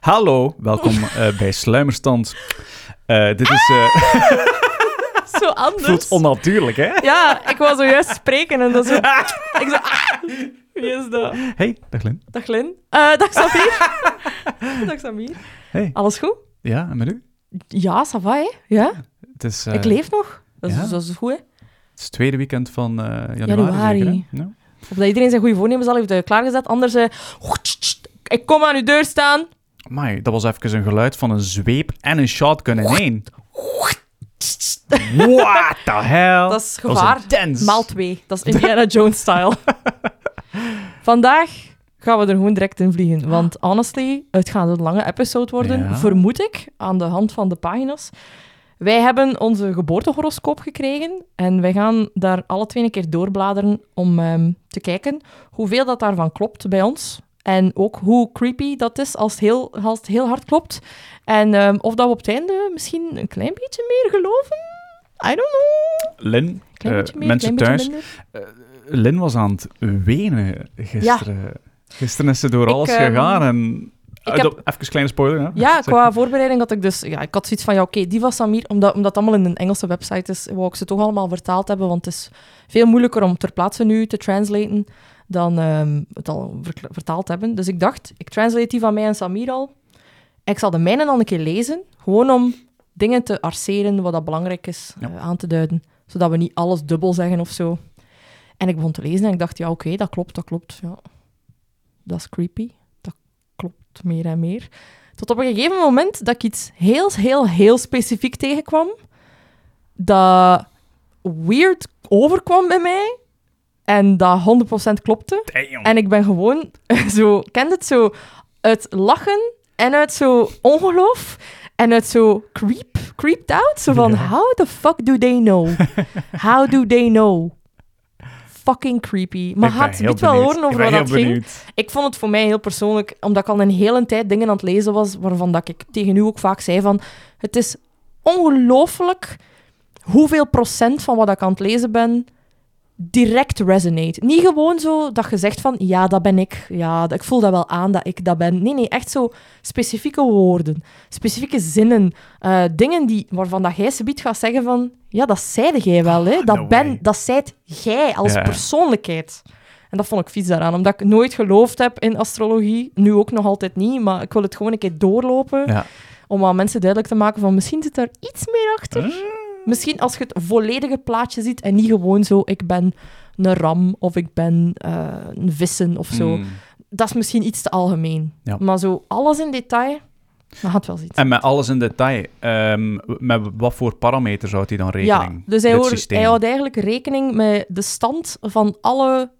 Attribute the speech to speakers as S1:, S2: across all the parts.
S1: Hallo, welkom eh, bij Sluimerstand. Eh, dit is... eh
S2: Ah, Zo anders.
S1: voelt onnatuurlijk, hè?
S2: Ja, ik wou zojuist spreken en dan zo... Ik zo... ah, Wie is dat?
S1: Hey, dag Lynn.
S2: Dag Lynn. Eh, dag Samir. dag Samir.
S1: Hey.
S2: Alles goed?
S1: Ja, en met u?
S2: Ja, ça va, hè? Ja,
S1: Het is, eh,
S2: ik leef nog. Dat is,
S1: ja.
S2: dat is goed, hè?
S1: Het is het tweede weekend van eh, januari,
S2: Januari.
S1: zeker, hè? Ja.
S2: Omdat iedereen zijn goede voornemens al heeft eh, klaargezet. Anders... eh, ik kom aan uw deur staan.
S1: Amai, dat was even een geluid van een zweep en een shotgun in één. What the hell?
S2: Dat is gevaar.
S1: was intens.
S2: Maal twee. Dat is Indiana Jones-style. Vandaag gaan we er gewoon direct in vliegen. Want honestly, het gaat een lange episode worden,
S1: Ah. Ja.
S2: vermoed ik, aan de hand van de pagina's. Wij hebben onze geboortehoroscoop gekregen en wij gaan daar alle twee een keer doorbladeren om ehm, te kijken hoeveel dat daarvan klopt bij ons. En ook hoe creepy dat is als het heel, als het heel hard klopt. En ehm, of dat we op het einde misschien een klein beetje meer geloven. I don't know.
S1: Lynn,
S2: Klein
S1: eh,
S2: beetje meer,
S1: mensen
S2: klein
S1: thuis.
S2: beetje minder.
S1: Lynn was aan het wenen gisteren. Gisteren is ze door
S2: Ik,
S1: alles
S2: ehm,
S1: gegaan en... eh,
S2: ik heb-
S1: Even kleine spoiler, hè?
S2: Ja,
S1: Zeg.
S2: qua voorbereiding had ik dus... Ja, ik had zoiets van, ja, oké, die van Samir, omdat, omdat het allemaal in een Engelse website is, wou ik ze toch allemaal vertaald hebben, want het is veel moeilijker om ter plaatse nu te translaten dan ehm, het al ver- vertaald hebben. Dus ik dacht, ik translate die van mij en Samir al. Ik zal de mijne dan een keer lezen, gewoon om dingen te arceren wat dat belangrijk is
S1: Ja.
S2: eh, aan te duiden, zodat we niet alles dubbel zeggen of zo. En ik begon te lezen en ik dacht, ja, oké, dat klopt, dat klopt, ja. Dat is creepy. Dat klopt meer en meer. Tot op een gegeven moment dat ik iets heel, heel, heel specifiek tegenkwam. Dat weird overkwam bij mij. En dat 100% klopte.
S1: Damn.
S2: En ik ben gewoon zo... Kent het zo? Uit lachen en uit zo ongeloof. En uit zo creep, creeped out. Zo van,
S1: Ja.
S2: how the fuck do they know? how do they know? Fucking creepy. Maar
S1: Ik ben
S2: had
S1: heel
S2: het wel
S1: benieuwd.
S2: horen over
S1: Ik ben
S2: wat dat
S1: heel
S2: ging.
S1: benieuwd.
S2: Ik vond het voor mij heel persoonlijk, omdat ik al een hele tijd dingen aan het lezen was, waarvan dat ik tegen u ook vaak zei van, het is ongelooflijk hoeveel procent van wat ik aan het lezen ben direct resonate. Niet gewoon zo dat je zegt van, ja, dat ben ik. Ja, dat- ik voel dat wel aan dat ik dat ben. Nee, nee, echt zo specifieke woorden, specifieke zinnen, eh, dingen die, waarvan dat jij subiet gaat zeggen van, ja, dat zeide jij wel, hè. Dat
S1: Ah, no way.
S2: ben, dat zijt jij als
S1: Ja.
S2: persoonlijkheid. En dat vond ik vies daaraan, omdat ik nooit geloofd heb in astrologie. Nu ook nog altijd niet, maar ik wil het gewoon een keer doorlopen.
S1: Ja.
S2: Om aan mensen duidelijk te maken van misschien zit er iets meer achter.
S1: Ah.
S2: Misschien als je het volledige plaatje ziet en niet gewoon zo, ik ben een ram of ik ben eh, een vissen of zo.
S1: Mm.
S2: Dat is misschien iets te algemeen.
S1: Ja.
S2: Maar zo alles in detail, dat had wel iets.
S1: En met alles in detail, ehm, met wat voor parameters houdt hij dan rekening?
S2: Ja, dus hij,
S1: dit
S2: hoort-
S1: systeem?
S2: hij houdt eigenlijk rekening met de stand van alle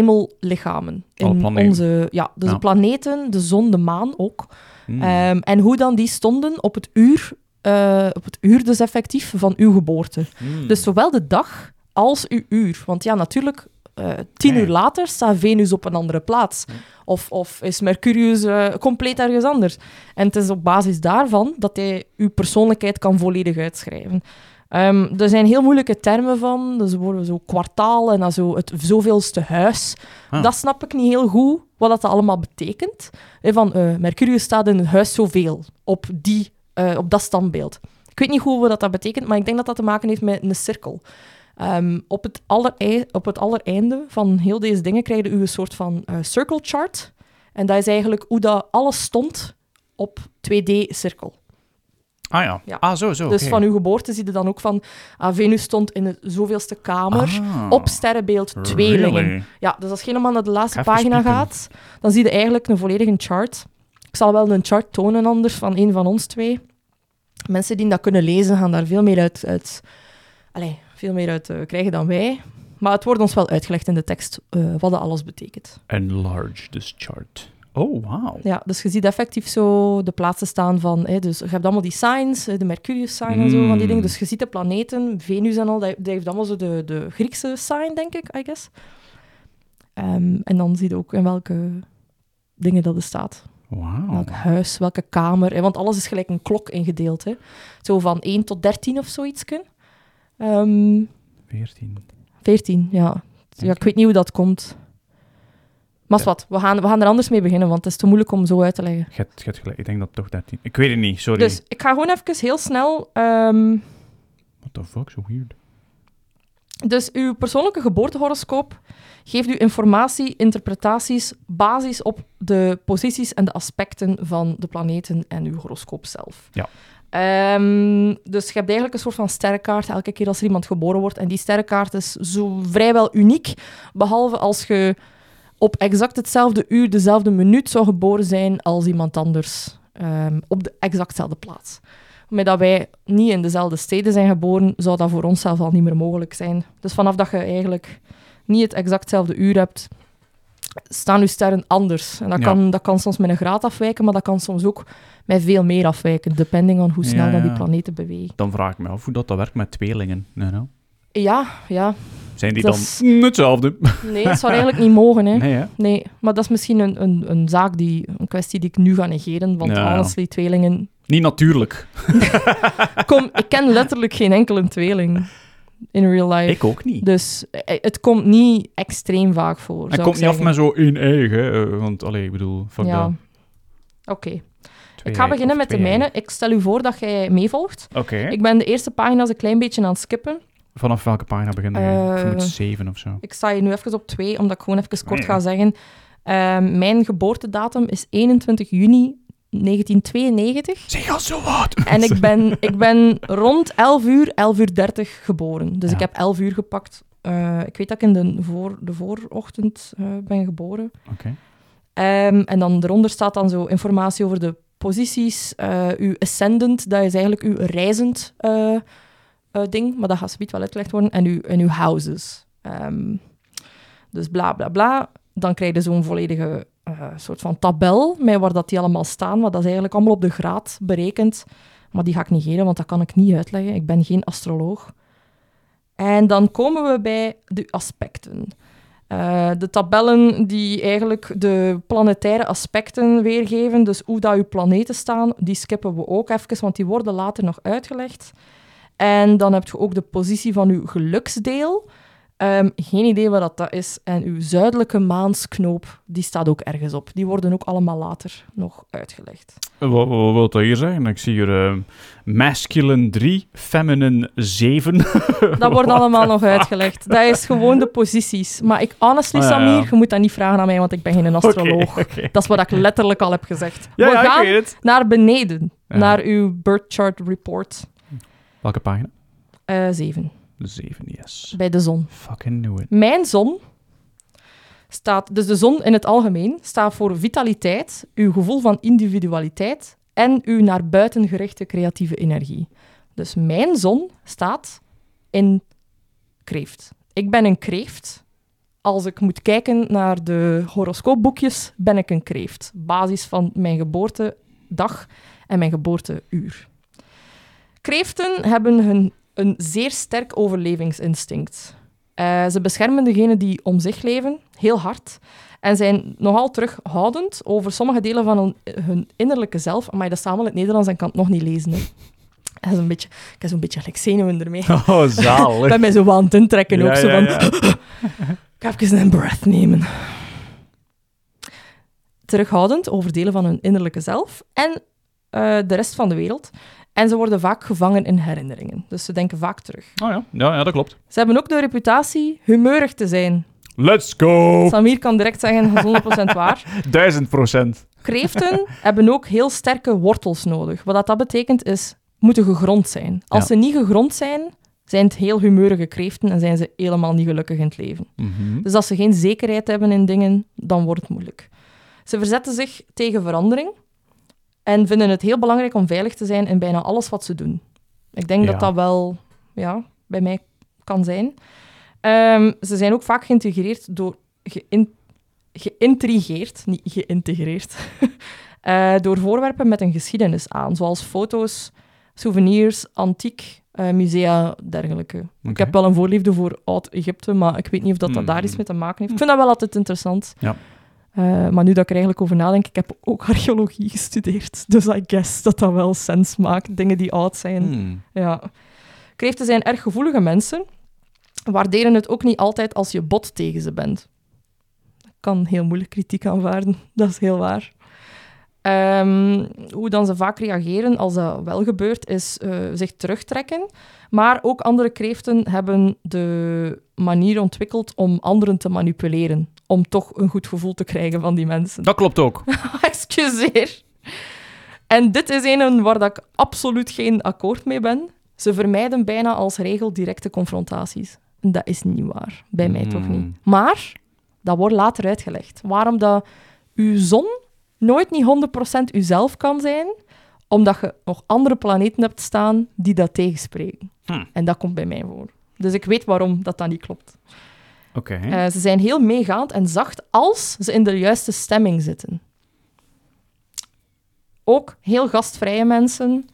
S2: hemellichamen.
S1: Alle
S2: in
S1: planeten.
S2: Onze, ja, dus
S1: Ja.
S2: de planeten, de zon, de maan ook.
S1: Hmm.
S2: Ehm, en hoe dan die stonden op het uur, eh, op het uur dus effectief, van uw geboorte.
S1: Hmm.
S2: Dus zowel de dag als uw uur. Want ja, natuurlijk, eh, tien
S1: Nee.
S2: uur later staat Venus op een andere plaats. Of, of is Mercurius eh, compleet ergens anders. En het is op basis daarvan dat hij uw persoonlijkheid kan volledig uitschrijven. Ehm, er zijn heel moeilijke termen van. Dus er worden zo kwartaal en dan zo het zoveelste huis.
S1: Ah.
S2: Dat snap ik niet heel goed, wat dat allemaal betekent. Hè, Van, eh, Mercurius staat in het huis zoveel, op, die, eh, op dat standbeeld. Ik weet niet goed wat dat betekent, maar ik denk dat dat te maken heeft met een cirkel. Ehm, op, het allerei- op het allereinde van heel deze dingen krijg je een soort van eh, circle chart. En dat is eigenlijk hoe dat alles stond op 2D-cirkel.
S1: Ah ja.
S2: Ja.
S1: Ah, zo, zo.
S2: Dus van uw geboorte zie je dan ook van... ah, Venus stond in de zoveelste kamer.
S1: Ah,
S2: Op sterrenbeeld tweelingen. Ja, dus als je helemaal naar de laatste
S1: Ik ga even
S2: pagina
S1: spieken.
S2: gaat, dan zie je eigenlijk een volledige chart. Ik zal wel een chart tonen anders van een van ons twee. Mensen die dat kunnen lezen gaan daar veel meer uit, uit, allee, veel meer uit eh, krijgen dan wij. Maar het wordt ons wel uitgelegd in de tekst eh, wat dat alles betekent.
S1: Enlarge this chart. Oh, wauw.
S2: Ja, dus je ziet effectief zo de plaatsen staan van... Hè, dus je hebt allemaal die signs, eh, de Mercurius-sign en zo, van die dingen.
S1: Mm.
S2: Dus je ziet de planeten, Venus en al, dat, dat heeft allemaal zo de, de Griekse sign, denk ik, I guess. Ehm, en dan zie je ook in welke dingen dat er staat.
S1: Wauw.
S2: Welk huis, welke kamer. Hè, want alles is gelijk een klok ingedeeld. Hè. Zo van 1 tot 13 of zoiets. Ehm
S1: 14.
S2: 14, ja. ja. Ik weet niet hoe dat komt. Maar is wat, we gaan, we gaan er anders mee beginnen, want het is te moeilijk om zo uit te leggen.
S1: Je hebt- je hebt gelijk. Ik denk dat het toch 13... Ik weet het niet, sorry.
S2: Dus ik ga gewoon even heel snel. ehm,
S1: What the fuck, so weird.
S2: dus uw persoonlijke geboortehoroscoop geeft u informatie, interpretaties, basis op de posities en de aspecten van de planeten en uw horoscoop zelf.
S1: Ja.
S2: Ehm, dus je hebt eigenlijk een soort van sterrenkaart elke keer als er iemand geboren wordt. En die sterrenkaart is zo vrijwel uniek, behalve als je op exact hetzelfde uur, dezelfde minuut zou geboren zijn als iemand anders ehm, op de exactzelfde plaats. Met dat wij niet in dezelfde steden zijn geboren, zou dat voor ons zelf al niet meer mogelijk zijn. Dus vanaf dat je eigenlijk niet het exactzelfde uur hebt, staan je sterren anders. En dat,
S1: Ja.
S2: kan, dat kan soms met een graad afwijken, maar dat kan soms ook met veel meer afwijken, depending on hoe snel
S1: Ja,
S2: dat die
S1: ja.
S2: planeten bewegen.
S1: Dan vraag ik me af hoe dat, dat werkt met tweelingen. Nou, nou.
S2: Ja, ja.
S1: Zijn die
S2: Dat
S1: dan
S2: is-
S1: Mm, hetzelfde?
S2: Nee, dat zou eigenlijk niet mogen, hè.
S1: Nee, hè?
S2: Nee, maar dat is misschien een, een, een zaak, die, een kwestie die ik nu ga negeren, want
S1: Ja, ja.
S2: honestly, tweelingen...
S1: Niet natuurlijk.
S2: Kom, ik ken letterlijk geen enkele tweeling in real life.
S1: Ik ook niet.
S2: Dus eh, het komt niet extreem vaak voor,
S1: Hij
S2: zou
S1: komt
S2: ik
S1: niet af
S2: zeggen.
S1: met zo één eigen, hè, eh, want allee, ik bedoel, fuck
S2: Ja.
S1: dat.
S2: Oké,
S1: Twee
S2: ik ga
S1: eigen
S2: beginnen
S1: of
S2: met de
S1: twee
S2: mijne.
S1: eigen.
S2: Ik stel u voor dat jij meevolgt.
S1: Oké,
S2: Ik ben de eerste pagina's een klein beetje aan het skippen.
S1: vanaf welke pagina beginnen we?
S2: Eh,
S1: Ik moet zeven of zo.
S2: Ik sta hier nu even op twee, omdat ik gewoon even kort
S1: Ja.
S2: ga zeggen. Ehm, mijn geboortedatum is 21 juni 1992.
S1: Zeg al zo wat!
S2: En ik ben, ik ben rond 11 uur, 11 uur 30 geboren. Dus
S1: Ja.
S2: ik heb 11 uur gepakt. Eh, ik weet dat ik in de, voor, de voorochtend eh, ben geboren.
S1: Oké.
S2: Ehm, en dan eronder staat dan zo informatie over de posities. eh, uw ascendant, dat is eigenlijk uw reizend eh, eh, ding, maar dat gaat zometeen wel uitgelegd worden. En uw, en uw houses. Ehm, dus bla bla bla. Dan krijg je zo'n volledige eh, soort van tabel met waar dat die allemaal staan. Maar dat is eigenlijk allemaal op de graad berekend. Maar die ga ik negeren, want dat kan ik niet uitleggen. Ik ben geen astroloog. En dan komen we bij de aspecten. Eh, de tabellen die eigenlijk de planetaire aspecten weergeven, dus hoe dat uw planeten staan, die skippen we ook even, want die worden later nog uitgelegd. En dan heb je ook de positie van uw geluksdeel. Ehm, geen idee wat dat- dat is. En uw zuidelijke maansknoop, die staat ook ergens op. Die worden ook allemaal later nog uitgelegd.
S1: Eh, Wat, wat wil dat hier zeggen? Ik zie hier eh, masculine 3, feminine 7.
S2: Dat wordt allemaal nog uitgelegd. Dat is gewoon de posities. Maar ik, honestly,
S1: Ah, ja, ja.
S2: Samir, je moet dat niet vragen aan mij, want ik ben geen astroloog.
S1: Oké, oké.
S2: Dat is wat ik letterlijk al heb gezegd.
S1: Ja,
S2: we
S1: ja,
S2: gaan
S1: ik weet het.
S2: naar beneden,
S1: Ja.
S2: naar uw birth chart report
S1: Welke pagina?
S2: 7,
S1: Zeven, yes.
S2: bij de zon.
S1: Fucking knew it.
S2: Mijn zon staat, dus de zon in het algemeen, staat voor vitaliteit, uw gevoel van individualiteit en uw naar buiten gerichte creatieve energie. Dus mijn zon staat in kreeft. Ik ben een kreeft. Als ik moet kijken naar de horoscoopboekjes, ben ik een kreeft. Basis van mijn geboortedag en mijn geboorteuur. Kreeften hebben hun, een zeer sterk overlevingsinstinct. Eh, ze beschermen degenen die om zich leven, heel hard. En zijn nogal terughoudend over sommige delen van hun, hun innerlijke zelf. Maar dat staat allemaal in het Nederlands en ik kan het nog niet lezen. Hè. Dat is een beetje, ik heb zo'n beetje Alexenuwen ermee.
S1: Oh, zalig.
S2: Ik ben mij zo aan het intrekken ook.
S1: Ja,
S2: zo
S1: ja,
S2: van,
S1: ja.
S2: Ik ga even een breath nemen. Terughoudend over delen van hun innerlijke zelf en eh, de rest van de wereld. En ze worden vaak gevangen in herinneringen. Dus ze denken vaak terug.
S1: Oh ja. ja, ja, dat klopt.
S2: Ze hebben ook de reputatie humeurig te zijn.
S1: Let's go!
S2: Samir kan direct zeggen, dat is 100% waar.
S1: Duizend procent.
S2: Kreeften hebben ook heel sterke wortels nodig. Wat dat- dat betekent is, moeten gegrond zijn. Als
S1: Ja.
S2: ze niet gegrond zijn, zijn het heel humeurige kreeften en zijn ze helemaal niet gelukkig in het leven.
S1: Mhm.
S2: Dus als ze geen zekerheid hebben in dingen, dan wordt het moeilijk. Ze verzetten zich tegen verandering en vinden het heel belangrijk om veilig te zijn in bijna alles wat ze doen. Ik denk
S1: Ja.
S2: dat dat wel ja, bij mij kan zijn. Ehm, ze zijn ook vaak geïntegreerd door... Geïn, geïntrigeerd, niet geïntegreerd. eh, door voorwerpen met een geschiedenis aan, zoals foto's, souvenirs, antiek, eh, musea, dergelijke. Ik
S1: Oké. Mm.
S2: heb wel een voorliefde voor Oud-Egypte, maar ik weet niet of dat, dat daar iets mee te maken heeft. Ik vind dat wel altijd interessant.
S1: Ja.
S2: Eh, maar nu dat ik er eigenlijk over nadenk, ik heb ook archeologie gestudeerd. Dus I guess dat dat wel sens maakt. Dingen die oud zijn.
S1: Hmm.
S2: Ja. Kreeften zijn erg gevoelige mensen. Waarderen het ook niet altijd als je bot tegen ze bent. kan heel moeilijk kritiek aanvaarden. Dat is heel waar. Ehm, hoe dan ze vaak reageren als dat wel gebeurt, is eh, zich terugtrekken. Maar ook andere kreeften hebben de manier ontwikkeld om anderen te manipuleren. Om toch een goed gevoel te krijgen van die mensen.
S1: Dat klopt ook.
S2: Excuseer. En dit is een waar dat ik absoluut geen akkoord mee ben. Ze vermijden bijna als regel directe confrontaties. En Dat is niet waar. Bij mij toch niet.
S1: Hmm.
S2: Maar dat wordt later uitgelegd. Waarom dat uw zon nooit niet 100% uzelf kan zijn, omdat je nog andere planeten hebt staan die dat tegenspreken.
S1: Hmm.
S2: En dat komt bij mij voor. Dus ik weet waarom dat, dat niet klopt.
S1: Oké.
S2: Eh, ze zijn heel meegaand en zacht als ze in de juiste stemming zitten. Ook heel gastvrije mensen,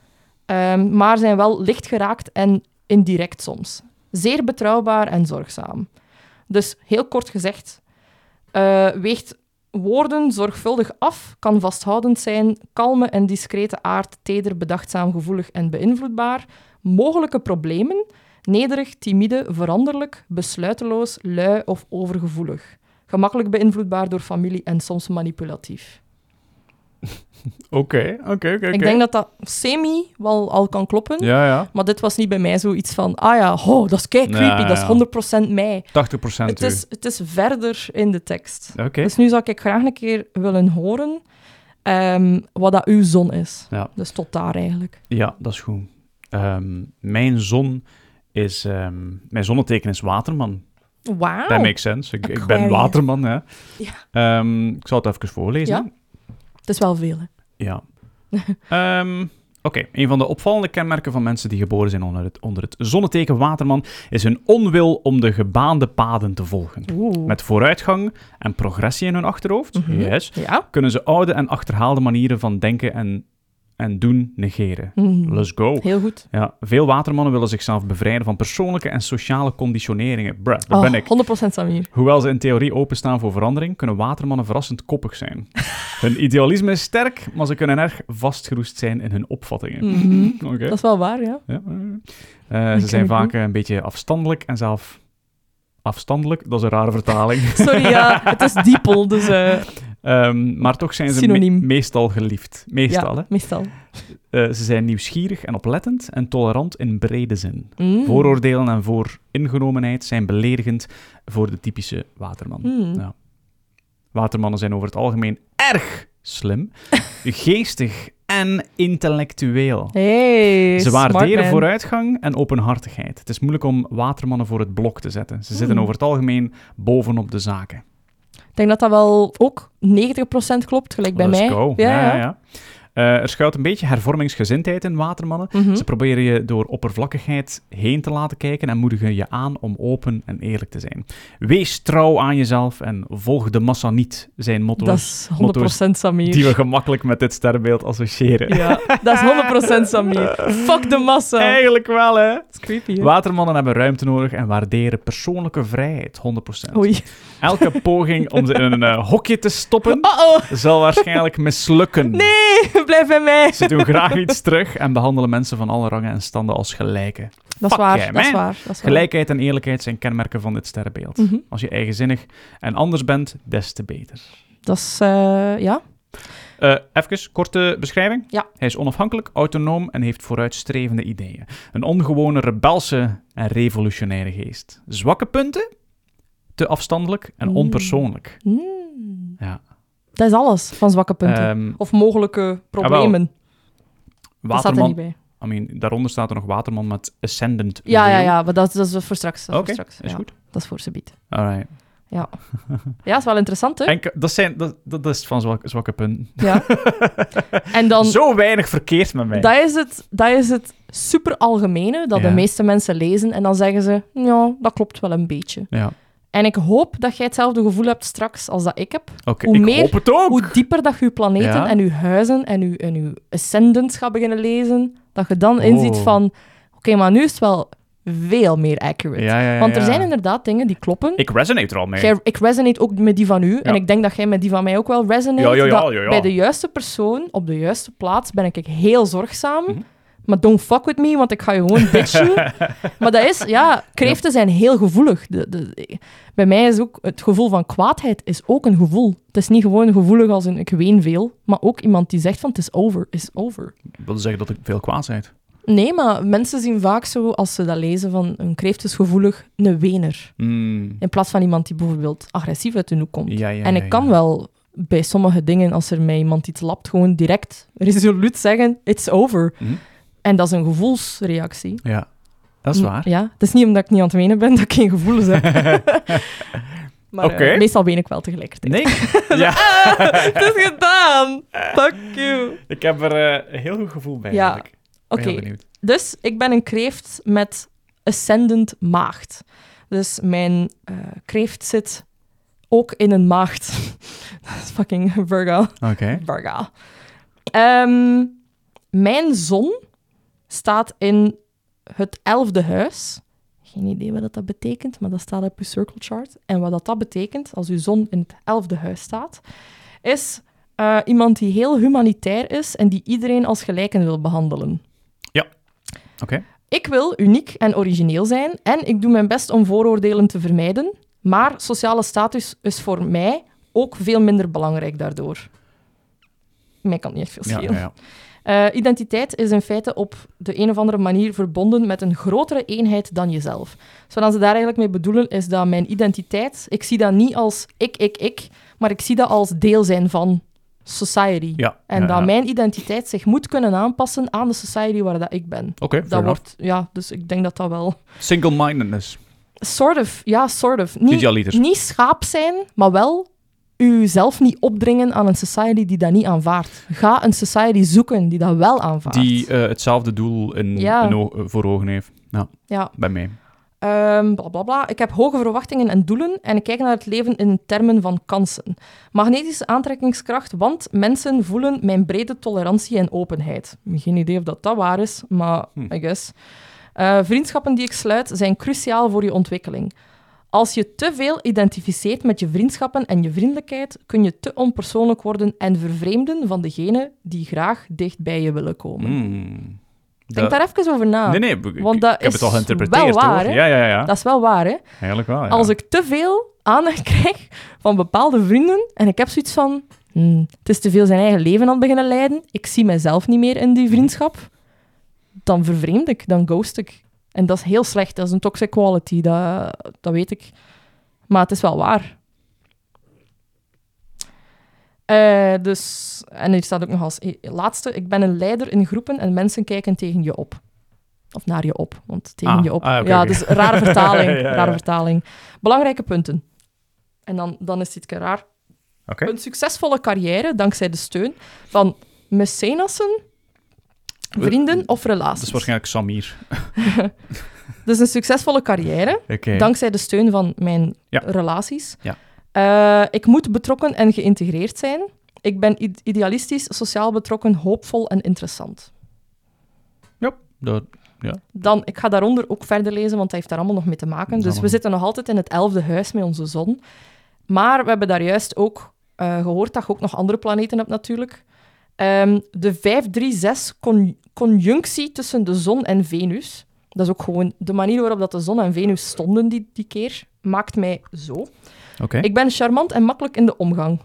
S2: ehm, maar zijn wel licht geraakt en indirect soms. Zeer betrouwbaar en zorgzaam. Dus heel kort gezegd, eh, weegt woorden zorgvuldig af, kan vasthoudend zijn, kalme en discrete aard, teder, bedachtzaam, gevoelig en beïnvloedbaar, mogelijke problemen, Nederig, timide, veranderlijk, besluiteloos, lui of overgevoelig. Gemakkelijk beïnvloedbaar door familie en soms manipulatief.
S1: Oké, oké, oké.
S2: Ik denk dat dat semi wel al kan kloppen.
S1: Ja, ja.
S2: Maar dit was niet bij mij zoiets van, ah ja, ho, dat is kei creepy,
S1: Ja, ja.
S2: dat is 100% mij.
S1: 80 procent
S2: Het is, het is verder in de tekst.
S1: Oké.
S2: Dus nu zou ik graag een keer willen horen ehm, wat dat uw zon is.
S1: Ja.
S2: Dus tot daar eigenlijk.
S1: Ja, dat is goed. Ehm, mijn zon is... ehm, mijn zonneteken is waterman.
S2: Wauw.
S1: Dat makes sense. Ik, ik ben
S2: Oh, Aquarius.
S1: waterman, hè. Ehm, ik zal het even voorlezen.
S2: Ja? Het is wel veel, hè.
S1: Ja. Ehm, Oké, een van de opvallende kenmerken van mensen die geboren zijn onder het, onder het zonneteken Waterman is hun onwil om de gebaande paden te volgen.
S2: Oeh.
S1: Met vooruitgang en progressie in hun achterhoofd
S2: Mhm.
S1: yes,
S2: Ja.
S1: kunnen ze oude en achterhaalde manieren van denken en, en doen negeren.
S2: Mhm.
S1: Let's go.
S2: Heel goed.
S1: Ja, veel watermannen willen zichzelf bevrijden van persoonlijke en sociale conditioneringen. Bruh, dat ben
S2: Oh,
S1: ik.
S2: 100% Samir.
S1: Hoewel ze in theorie openstaan voor verandering, kunnen watermannen verrassend koppig zijn. hun idealisme is sterk, maar ze kunnen erg vastgeroest zijn in hun opvattingen.
S2: Mhm.
S1: Oké.
S2: Dat is wel waar, ja.
S1: Ja, eh. Eh, ze
S2: ken
S1: zijn
S2: ik
S1: vaak
S2: niet.
S1: een beetje afstandelijk en zelf... Afstandelijk? Dat is een rare vertaling.
S2: Sorry, ja, het is diepel, dus eh,
S1: Ehm, maar toch zijn ze me-
S2: Synoniem.
S1: meestal geliefd. Meestal,
S2: ja,
S1: hè.
S2: meestal.
S1: Eh, ze zijn nieuwsgierig en oplettend en tolerant in brede zin.
S2: Mm.
S1: Vooroordelen en vooringenomenheid zijn beledigend voor de typische waterman.
S2: Mm.
S1: Ja. Watermannen zijn over het algemeen erg slim, geestig en intellectueel.
S2: Hey,
S1: Ze
S2: smart
S1: waarderen
S2: man.
S1: vooruitgang en openhartigheid. Het is moeilijk om watermannen voor het blok te zetten. Ze zitten
S2: Mm.
S1: over het algemeen bovenop de zaken.
S2: Ik denk dat dat wel ook 90% klopt, gelijk bij
S1: Let's
S2: mij.
S1: go.
S2: Ja, ja.
S1: Eh, er schuilt een beetje hervormingsgezindheid in watermannen.
S2: Mhm.
S1: Ze proberen je door oppervlakkigheid heen te laten kijken en moedigen je aan om open en eerlijk te zijn. Wees trouw aan jezelf en volg de massa niet, zijn
S2: Dat
S1: motto's
S2: is 100% Samir.
S1: die we gemakkelijk met dit sterrenbeeld associëren.
S2: Ja, dat is 100% Samir. Fuck de massa.
S1: Eigenlijk wel, hè?
S2: Dat is creepy, hè?
S1: Watermannen hebben ruimte nodig en waarderen persoonlijke vrijheid, 100%.
S2: Oei.
S1: Elke poging om ze in een eh, hokje te stoppen
S2: Uh-oh.
S1: zal waarschijnlijk mislukken.
S2: Oh. Nee, blijf bij mij.
S1: Ze doen graag iets terug en behandelen mensen van alle rangen en standen als gelijke.
S2: Dat
S1: Fuck
S2: is waar,
S1: yeah,
S2: dat is
S1: man.
S2: waar. Dat is waar.
S1: Gelijkheid en eerlijkheid zijn kenmerken van dit sterrenbeeld.
S2: Mhm.
S1: Als je eigenzinnig en anders bent, des te beter.
S2: Dat is, eh, ja.
S1: Eh even, korte beschrijving.
S2: Ja.
S1: Hij is onafhankelijk, autonoom en heeft vooruitstrevende ideeën. Een ongewone, rebelse en revolutionaire geest. Zwakke punten? Te afstandelijk en
S2: Mm.
S1: onpersoonlijk.
S2: Mm.
S1: Ja.
S2: Dat is alles van zwakke punten.
S1: Ehm,
S2: of mogelijke problemen. dat staat er
S1: waterman,
S2: niet bij.
S1: I mean, daaronder staat er nog Waterman met Ascendant.
S2: Ja, ja,
S1: Leo.
S2: ja, maar dat, dat is voor straks. dat
S1: Oké,
S2: is voor straks.
S1: is
S2: ja.
S1: goed.
S2: Dat is voor ze biedt.
S1: Alright.
S2: Ja, is wel interessant, hè?
S1: En k- dat, zijn, dat, dat is van zwak- zwakke punten.
S2: Ja. En dan,
S1: Zo weinig verkeerd met mij.
S2: dat is het, dat is het super algemene dat
S1: Ja.
S2: de meeste mensen lezen. En dan zeggen ze, ja, dat klopt wel een beetje.
S1: Ja,
S2: En ik hoop dat jij hetzelfde gevoel hebt straks als dat ik heb.
S1: oké.
S2: Hoe
S1: Ik
S2: meer-
S1: hoop het ook.
S2: Hoe dieper dat je je planeten
S1: Ja.
S2: en je huizen en je, en je ascendants gaat beginnen lezen, dat je dan inziet
S1: Oh.
S2: van, oké, maar nu is het wel veel meer accurate.
S1: Ja, ja, ja,
S2: Want er
S1: ja.
S2: zijn inderdaad dingen die kloppen.
S1: Ik resonate er al mee.
S2: Jij- ik resonate ook met die van u. En
S1: Ja.
S2: ik denk dat jij met die van mij ook wel resonate.
S1: Ja, ja, ja,
S2: Dat
S1: ja, ja.
S2: Bij de juiste persoon, op de juiste plaats, ben ik heel zorgzaam.
S1: Mhm.
S2: Maar don't fuck with me, want ik ga je gewoon bitchen. maar dat is, ja, kreeften zijn heel gevoelig. De, de- bij mij is ook het gevoel van kwaadheid is ook een gevoel. Het is niet gewoon gevoelig als een ik ween veel, maar ook iemand die zegt van het is over, is over.
S1: Dat wil zeggen dat ik veel kwaadheid.
S2: Nee, maar mensen zien vaak zo, als ze dat lezen, van een kreeft is gevoelig, een wener.
S1: Mm.
S2: In plaats van iemand die bijvoorbeeld agressief uit de hoek komt.
S1: Ja, ja,
S2: en
S1: ja,
S2: ik kan
S1: ja.
S2: wel bij sommige dingen, als er mij iemand iets lapt, gewoon direct resoluut zeggen, it's over.
S1: Mhm.
S2: En dat is een gevoelsreactie.
S1: Ja, dat is
S2: Mm,
S1: waar.
S2: Ja, het is niet omdat ik niet aan het wenen ben dat ik geen gevoelens heb. maar eh,
S1: Oké.
S2: meestal ween ik wel tegelijkertijd.
S1: Nee. ja,
S2: Ah, het is gedaan! Fuck you!
S1: ik heb er eh, een heel goed gevoel bij.
S2: Ja,
S1: eigenlijk. Ik ben
S2: Oké,
S1: heel benieuwd.
S2: dus ik ben een kreeft met ascendant maagd. Dus mijn eh, kreeft zit ook in een maagd. dat is fucking Virgo.
S1: Oké.
S2: Virgo. Ehm, mijn zon staat in het elfde huis. Geen idee wat dat betekent, maar dat staat op uw circle chart. En wat dat, dat betekent, als uw zon in het elfde huis staat, is eh, iemand die heel humanitair is en die iedereen als gelijken wil behandelen.
S1: Oké.
S2: Ik wil uniek en origineel zijn en ik doe mijn best om vooroordelen te vermijden, maar sociale status is voor mij ook veel minder belangrijk daardoor. Mij kan het niet echt veel
S1: Ja,
S2: schelen.
S1: ja, ja.
S2: Eh, identiteit is in feite op de een of andere manier verbonden met een grotere eenheid dan jezelf. Dus wat ze daar eigenlijk mee bedoelen is dat mijn identiteit, ik zie dat niet als ik, ik, ik, maar ik zie dat als deel zijn van society.
S1: Ja,
S2: En
S1: ja,
S2: dat
S1: ja.
S2: mijn identiteit zich moet kunnen aanpassen aan de society waar dat ik ben.
S1: Oké,
S2: Dat
S1: fair
S2: wordt, ja, dus ik denk dat dat wel.
S1: enough. Single-mindedness.
S2: Sort of, ja, sort of. Niet,
S1: Idealiter.
S2: niet schaap zijn, maar wel uzelf niet opdringen aan een society die dat niet aanvaardt. Ga een society zoeken die dat wel aanvaardt.
S1: Die eh, hetzelfde doel in,
S2: Ja.
S1: in o- voor ogen heeft. Ja,
S2: Ja,
S1: bij mij.
S2: Ehm, bla bla bla. Ik heb hoge verwachtingen en doelen en ik kijk naar het leven in termen van kansen. Magnetische aantrekkingskracht, want mensen voelen mijn brede tolerantie en openheid. Geen idee of dat dat waar is, maar
S1: Hm.
S2: I guess. Eh, vriendschappen die ik sluit zijn cruciaal voor je ontwikkeling. Als je te veel identificeert met je vriendschappen en je vriendelijkheid, kun je te onpersoonlijk worden en vervreemden van degenen die graag dicht bij je willen komen.
S1: Mm.
S2: Denk daar even over na.
S1: Nee, nee, ik,
S2: Want
S1: ik
S2: dat
S1: heb
S2: is
S1: het al geïnterpreteerd
S2: wel waar,
S1: hoor.
S2: hè?
S1: Ja, ja, ja.
S2: Dat is wel waar, hè?
S1: Eigenlijk wel. Ah, Ja.
S2: Als ik te veel aandacht krijg van bepaalde vrienden en ik heb zoiets van, hmm, het is te veel zijn eigen leven aan het beginnen leiden, ik zie mijzelf niet meer in die vriendschap, dan vervreemd ik, dan ghost ik. En dat is heel slecht, dat is een toxic quality, dat, dat weet ik. Maar het is wel waar. Eh, dus, en hier staat ook nog als e- laatste, ik ben een leider in groepen en mensen kijken tegen je op. Of naar je op, want tegen
S1: Ah,
S2: je op.
S1: ah, oké,
S2: ja,
S1: oké.
S2: dus rare vertaling,
S1: Ja, ja.
S2: rare vertaling. Belangrijke punten. En dan, dan is dit keer raar.
S1: Oké.
S2: Een succesvolle carrière dankzij de steun van mecenassen,
S1: Eh,
S2: vrienden of relaties.
S1: Dat is waarschijnlijk Samir.
S2: Dus een succesvolle carrière
S1: Oké.
S2: dankzij de steun van mijn
S1: Ja.
S2: relaties.
S1: Ja.
S2: Eh, ik moet betrokken en geïntegreerd zijn. Ik ben id- idealistisch, sociaal betrokken, hoopvol en interessant.
S1: Dat-
S2: Dan, ik ga daaronder ook verder lezen, want dat heeft daar allemaal nog mee te maken. Dus we
S1: Allemaal.
S2: zitten nog altijd in het elfde huis met onze zon. Maar we hebben daar juist ook eh, gehoord dat je ook nog andere planeten hebt natuurlijk. Ehm, de 536 con conjunctie tussen de zon en Venus. Dat is ook gewoon de manier waarop dat de zon en Venus stonden die, die keer. Maakt mij zo.
S1: Oké.
S2: Ik ben charmant en makkelijk in de omgang.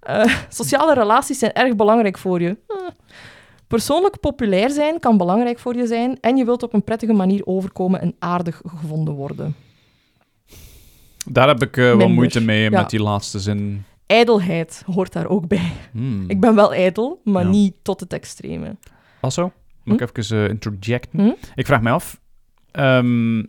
S2: Eh, eh, sociale relaties zijn erg belangrijk voor je. Eh. Persoonlijk populair zijn kan belangrijk voor je zijn en je wilt op een prettige manier overkomen en aardig gevonden worden.
S1: Daar heb ik eh, wat
S2: Minder.
S1: moeite mee
S2: Ja.
S1: met die laatste zin.
S2: Ijdelheid hoort daar ook bij.
S1: Hmm.
S2: Ik ben wel ijdel, maar
S1: Ja.
S2: niet tot het extreme.
S1: Also, mag ik even eh, interjecten?
S2: Hm?
S1: Ik vraag me af, ehm,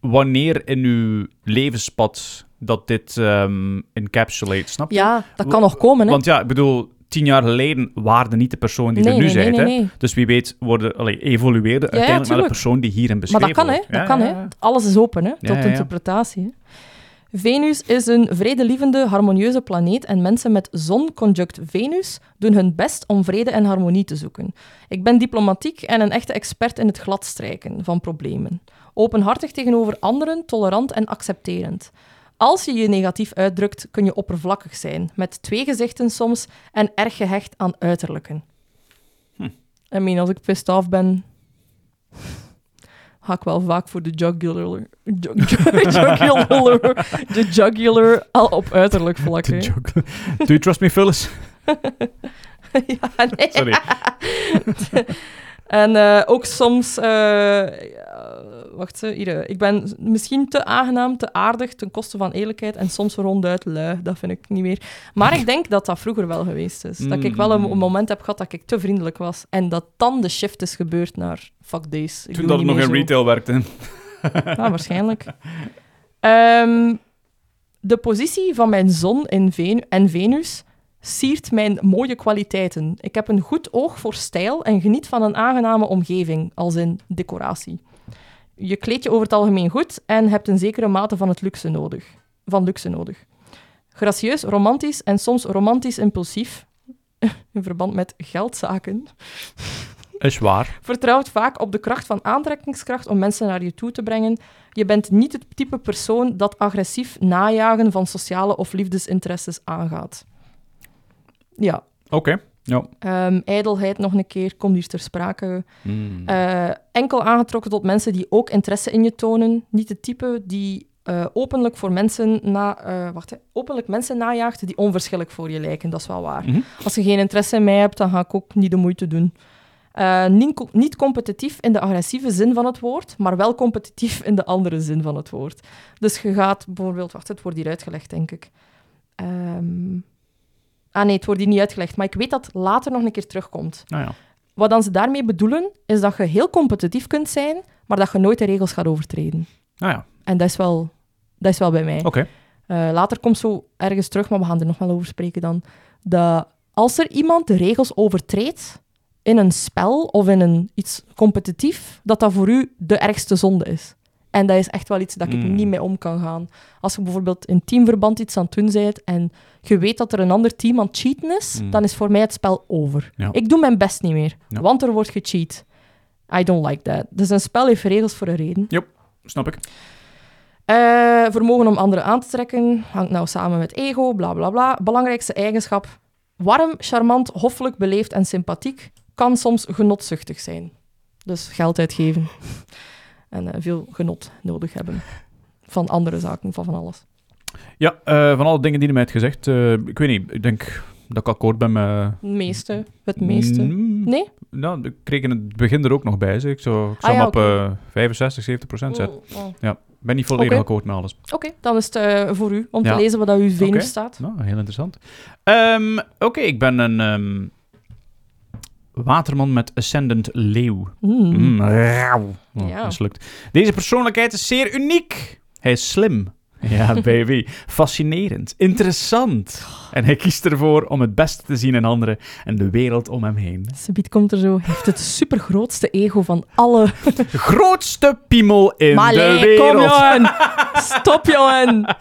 S1: wanneer in uw levenspad dat dit ehm encapsulate, snap je?
S2: Ja, dat
S1: Wa-
S2: kan nog komen, hè?
S1: Want ja, ik bedoel, tien jaar geleden waarde niet de persoon die
S2: nee,
S1: er nu
S2: nee, nee,
S1: bent.
S2: nee,
S1: hè?
S2: nee.
S1: Dus wie weet worden, allee, evolueerde uiteindelijk naar de
S2: tuurlijk.
S1: persoon die hierin
S2: Maar
S1: beschreven
S2: dat kan, hè?
S1: wordt.
S2: Dat
S1: Ja,
S2: kan,
S1: ja,
S2: hè?
S1: ja.
S2: Alles is open, hè? Tot
S1: ja, ja.
S2: interpretatie. Hè? Venus is een vredelievende, harmonieuze planeet en mensen met zonconjunct Venus doen hun best om vrede en harmonie te zoeken. Ik ben diplomatiek en een echte expert in het gladstrijken van problemen. Openhartig tegenover anderen, tolerant en accepterend. Als je je negatief uitdrukt, kun je oppervlakkig
S1: Hm.
S2: zijn, met twee gezichten soms en erg gehecht aan uiterlijken. I mean, als ik pissed off ben, ga ik wel vaak voor de jugular. jug- jug- jugular. De jugular al op uiterlijk vlak.
S1: De
S2: hè.
S1: joke. Do you trust me, Phyllis?
S2: ja, Ah, nee.
S1: Sorry.
S2: En eh, ook soms, eh, ja, wacht ze, hier. eh, Ik ben misschien te aangenaam, te aardig ten koste van eerlijkheid en soms ronduit lui. Dat vind ik niet meer. Maar ik denk dat dat vroeger wel geweest is. Dat ik wel een,
S1: Mm.
S2: moment heb gehad dat ik te vriendelijk was en dat dan de shift is gebeurd naar fuck deze.
S1: Toen dat het nog in retail werkte.
S2: Ja, Nou, waarschijnlijk. Ehm, de positie van mijn zon in Venu- en Venus siert mijn mooie kwaliteiten. Ik heb een goed oog voor stijl en geniet van een aangename omgeving, als in decoratie. Je kleed je over het algemeen goed en hebt een zekere mate van, het luxe nodig, van luxe nodig. Gracieus, romantisch en soms romantisch impulsief, in verband met geldzaken,
S1: Is waar.
S2: vertrouwt vaak op de kracht van aantrekkingskracht om mensen naar je toe te brengen. Je bent niet het type persoon dat agressief najagen van sociale of liefdesinteresses aangaat. Ja,
S1: Oké.
S2: Eh.
S1: Ja.
S2: ehm ijdelheid nog een keer komt hier ter sprake.
S1: Hmm.
S2: Eh, enkel aangetrokken tot mensen die ook interesse in je tonen. Niet het type die eh, openlijk voor mensen na, eh, wacht, hè, openlijk mensen najaagt die onverschillig voor je lijken. Dat is wel waar.
S1: Mhm.
S2: Als je geen interesse in mij hebt, dan ga ik ook niet de moeite doen. Eh, niet, co- niet competitief in de agressieve zin van het woord, maar wel competitief in de andere zin van het woord. Dus je gaat bijvoorbeeld, wacht, het wordt hier uitgelegd, denk ik. Ehm, ah nee, het wordt hier niet uitgelegd, maar ik weet dat het later nog een keer terugkomt.
S1: Nou ja.
S2: Wat dan ze daarmee bedoelen, is dat je heel competitief kunt zijn, maar dat je nooit de regels gaat overtreden.
S1: Nou ja.
S2: En dat is wel, dat is wel bij mij.
S1: Oké.
S2: Eh, later komt zo ergens terug, maar we gaan er nog wel over spreken dan. Dat als er iemand de regels overtreedt in een spel of in een iets competitief, dat dat voor u de ergste zonde is. En dat is echt wel iets dat ik
S1: Mm.
S2: niet mee om kan gaan. Als je bijvoorbeeld in teamverband iets aan het doen bent en je weet dat er een ander team aan het cheaten is,
S1: Mm.
S2: dan is voor mij het spel over.
S1: Ja.
S2: Ik doe mijn best niet meer,
S1: Ja.
S2: want er wordt gecheat. I don't like that. Dus een spel heeft regels voor een reden.
S1: Snap ik.
S2: Eh, vermogen om anderen aan te trekken hangt nou samen met ego, bla bla bla. Belangrijkste eigenschap: warm, charmant, hoffelijk, beleefd en sympathiek. Kan soms genotzuchtig zijn. Dus geld uitgeven. En eh, veel genot nodig hebben. Van andere zaken, van van alles.
S1: Ja, eh, van alle dingen die hij mij heeft gezegd, eh, ik weet niet, ik denk dat ik akkoord ben met...
S2: Het meeste, het meeste.
S1: Mm,
S2: Nee?
S1: nou, ik kreeg in het begin er ook nog bij. zeg. Ik zou, ik zou hem
S2: Ah, ja,
S1: op
S2: oké.
S1: eh, 65, 70 procent zetten.
S2: Oh, oh.
S1: Ik ben niet volledig
S2: Oké.
S1: akkoord met alles.
S2: Oké, dan is het eh, voor u om
S1: Ja.
S2: te lezen wat dat uw Venus
S1: Oké.
S2: staat.
S1: Nou, heel interessant. Ehm, Oké, ik ben een ehm, waterman met ascendant leeuw.
S2: Hmm.
S1: Mm, rauw. Oh,
S2: Ja.
S1: mislukt. Deze persoonlijkheid is zeer uniek. Hij is slim. Ja, baby. Fascinerend. Interessant. En hij kiest ervoor om het beste te zien in anderen en de wereld om hem heen.
S2: Subiet komt er zo. Heeft het supergrootste ego van alle
S1: De grootste piemel in
S2: Maar
S1: de
S2: allee,
S1: wereld.
S2: kom jongen! Stop jongen!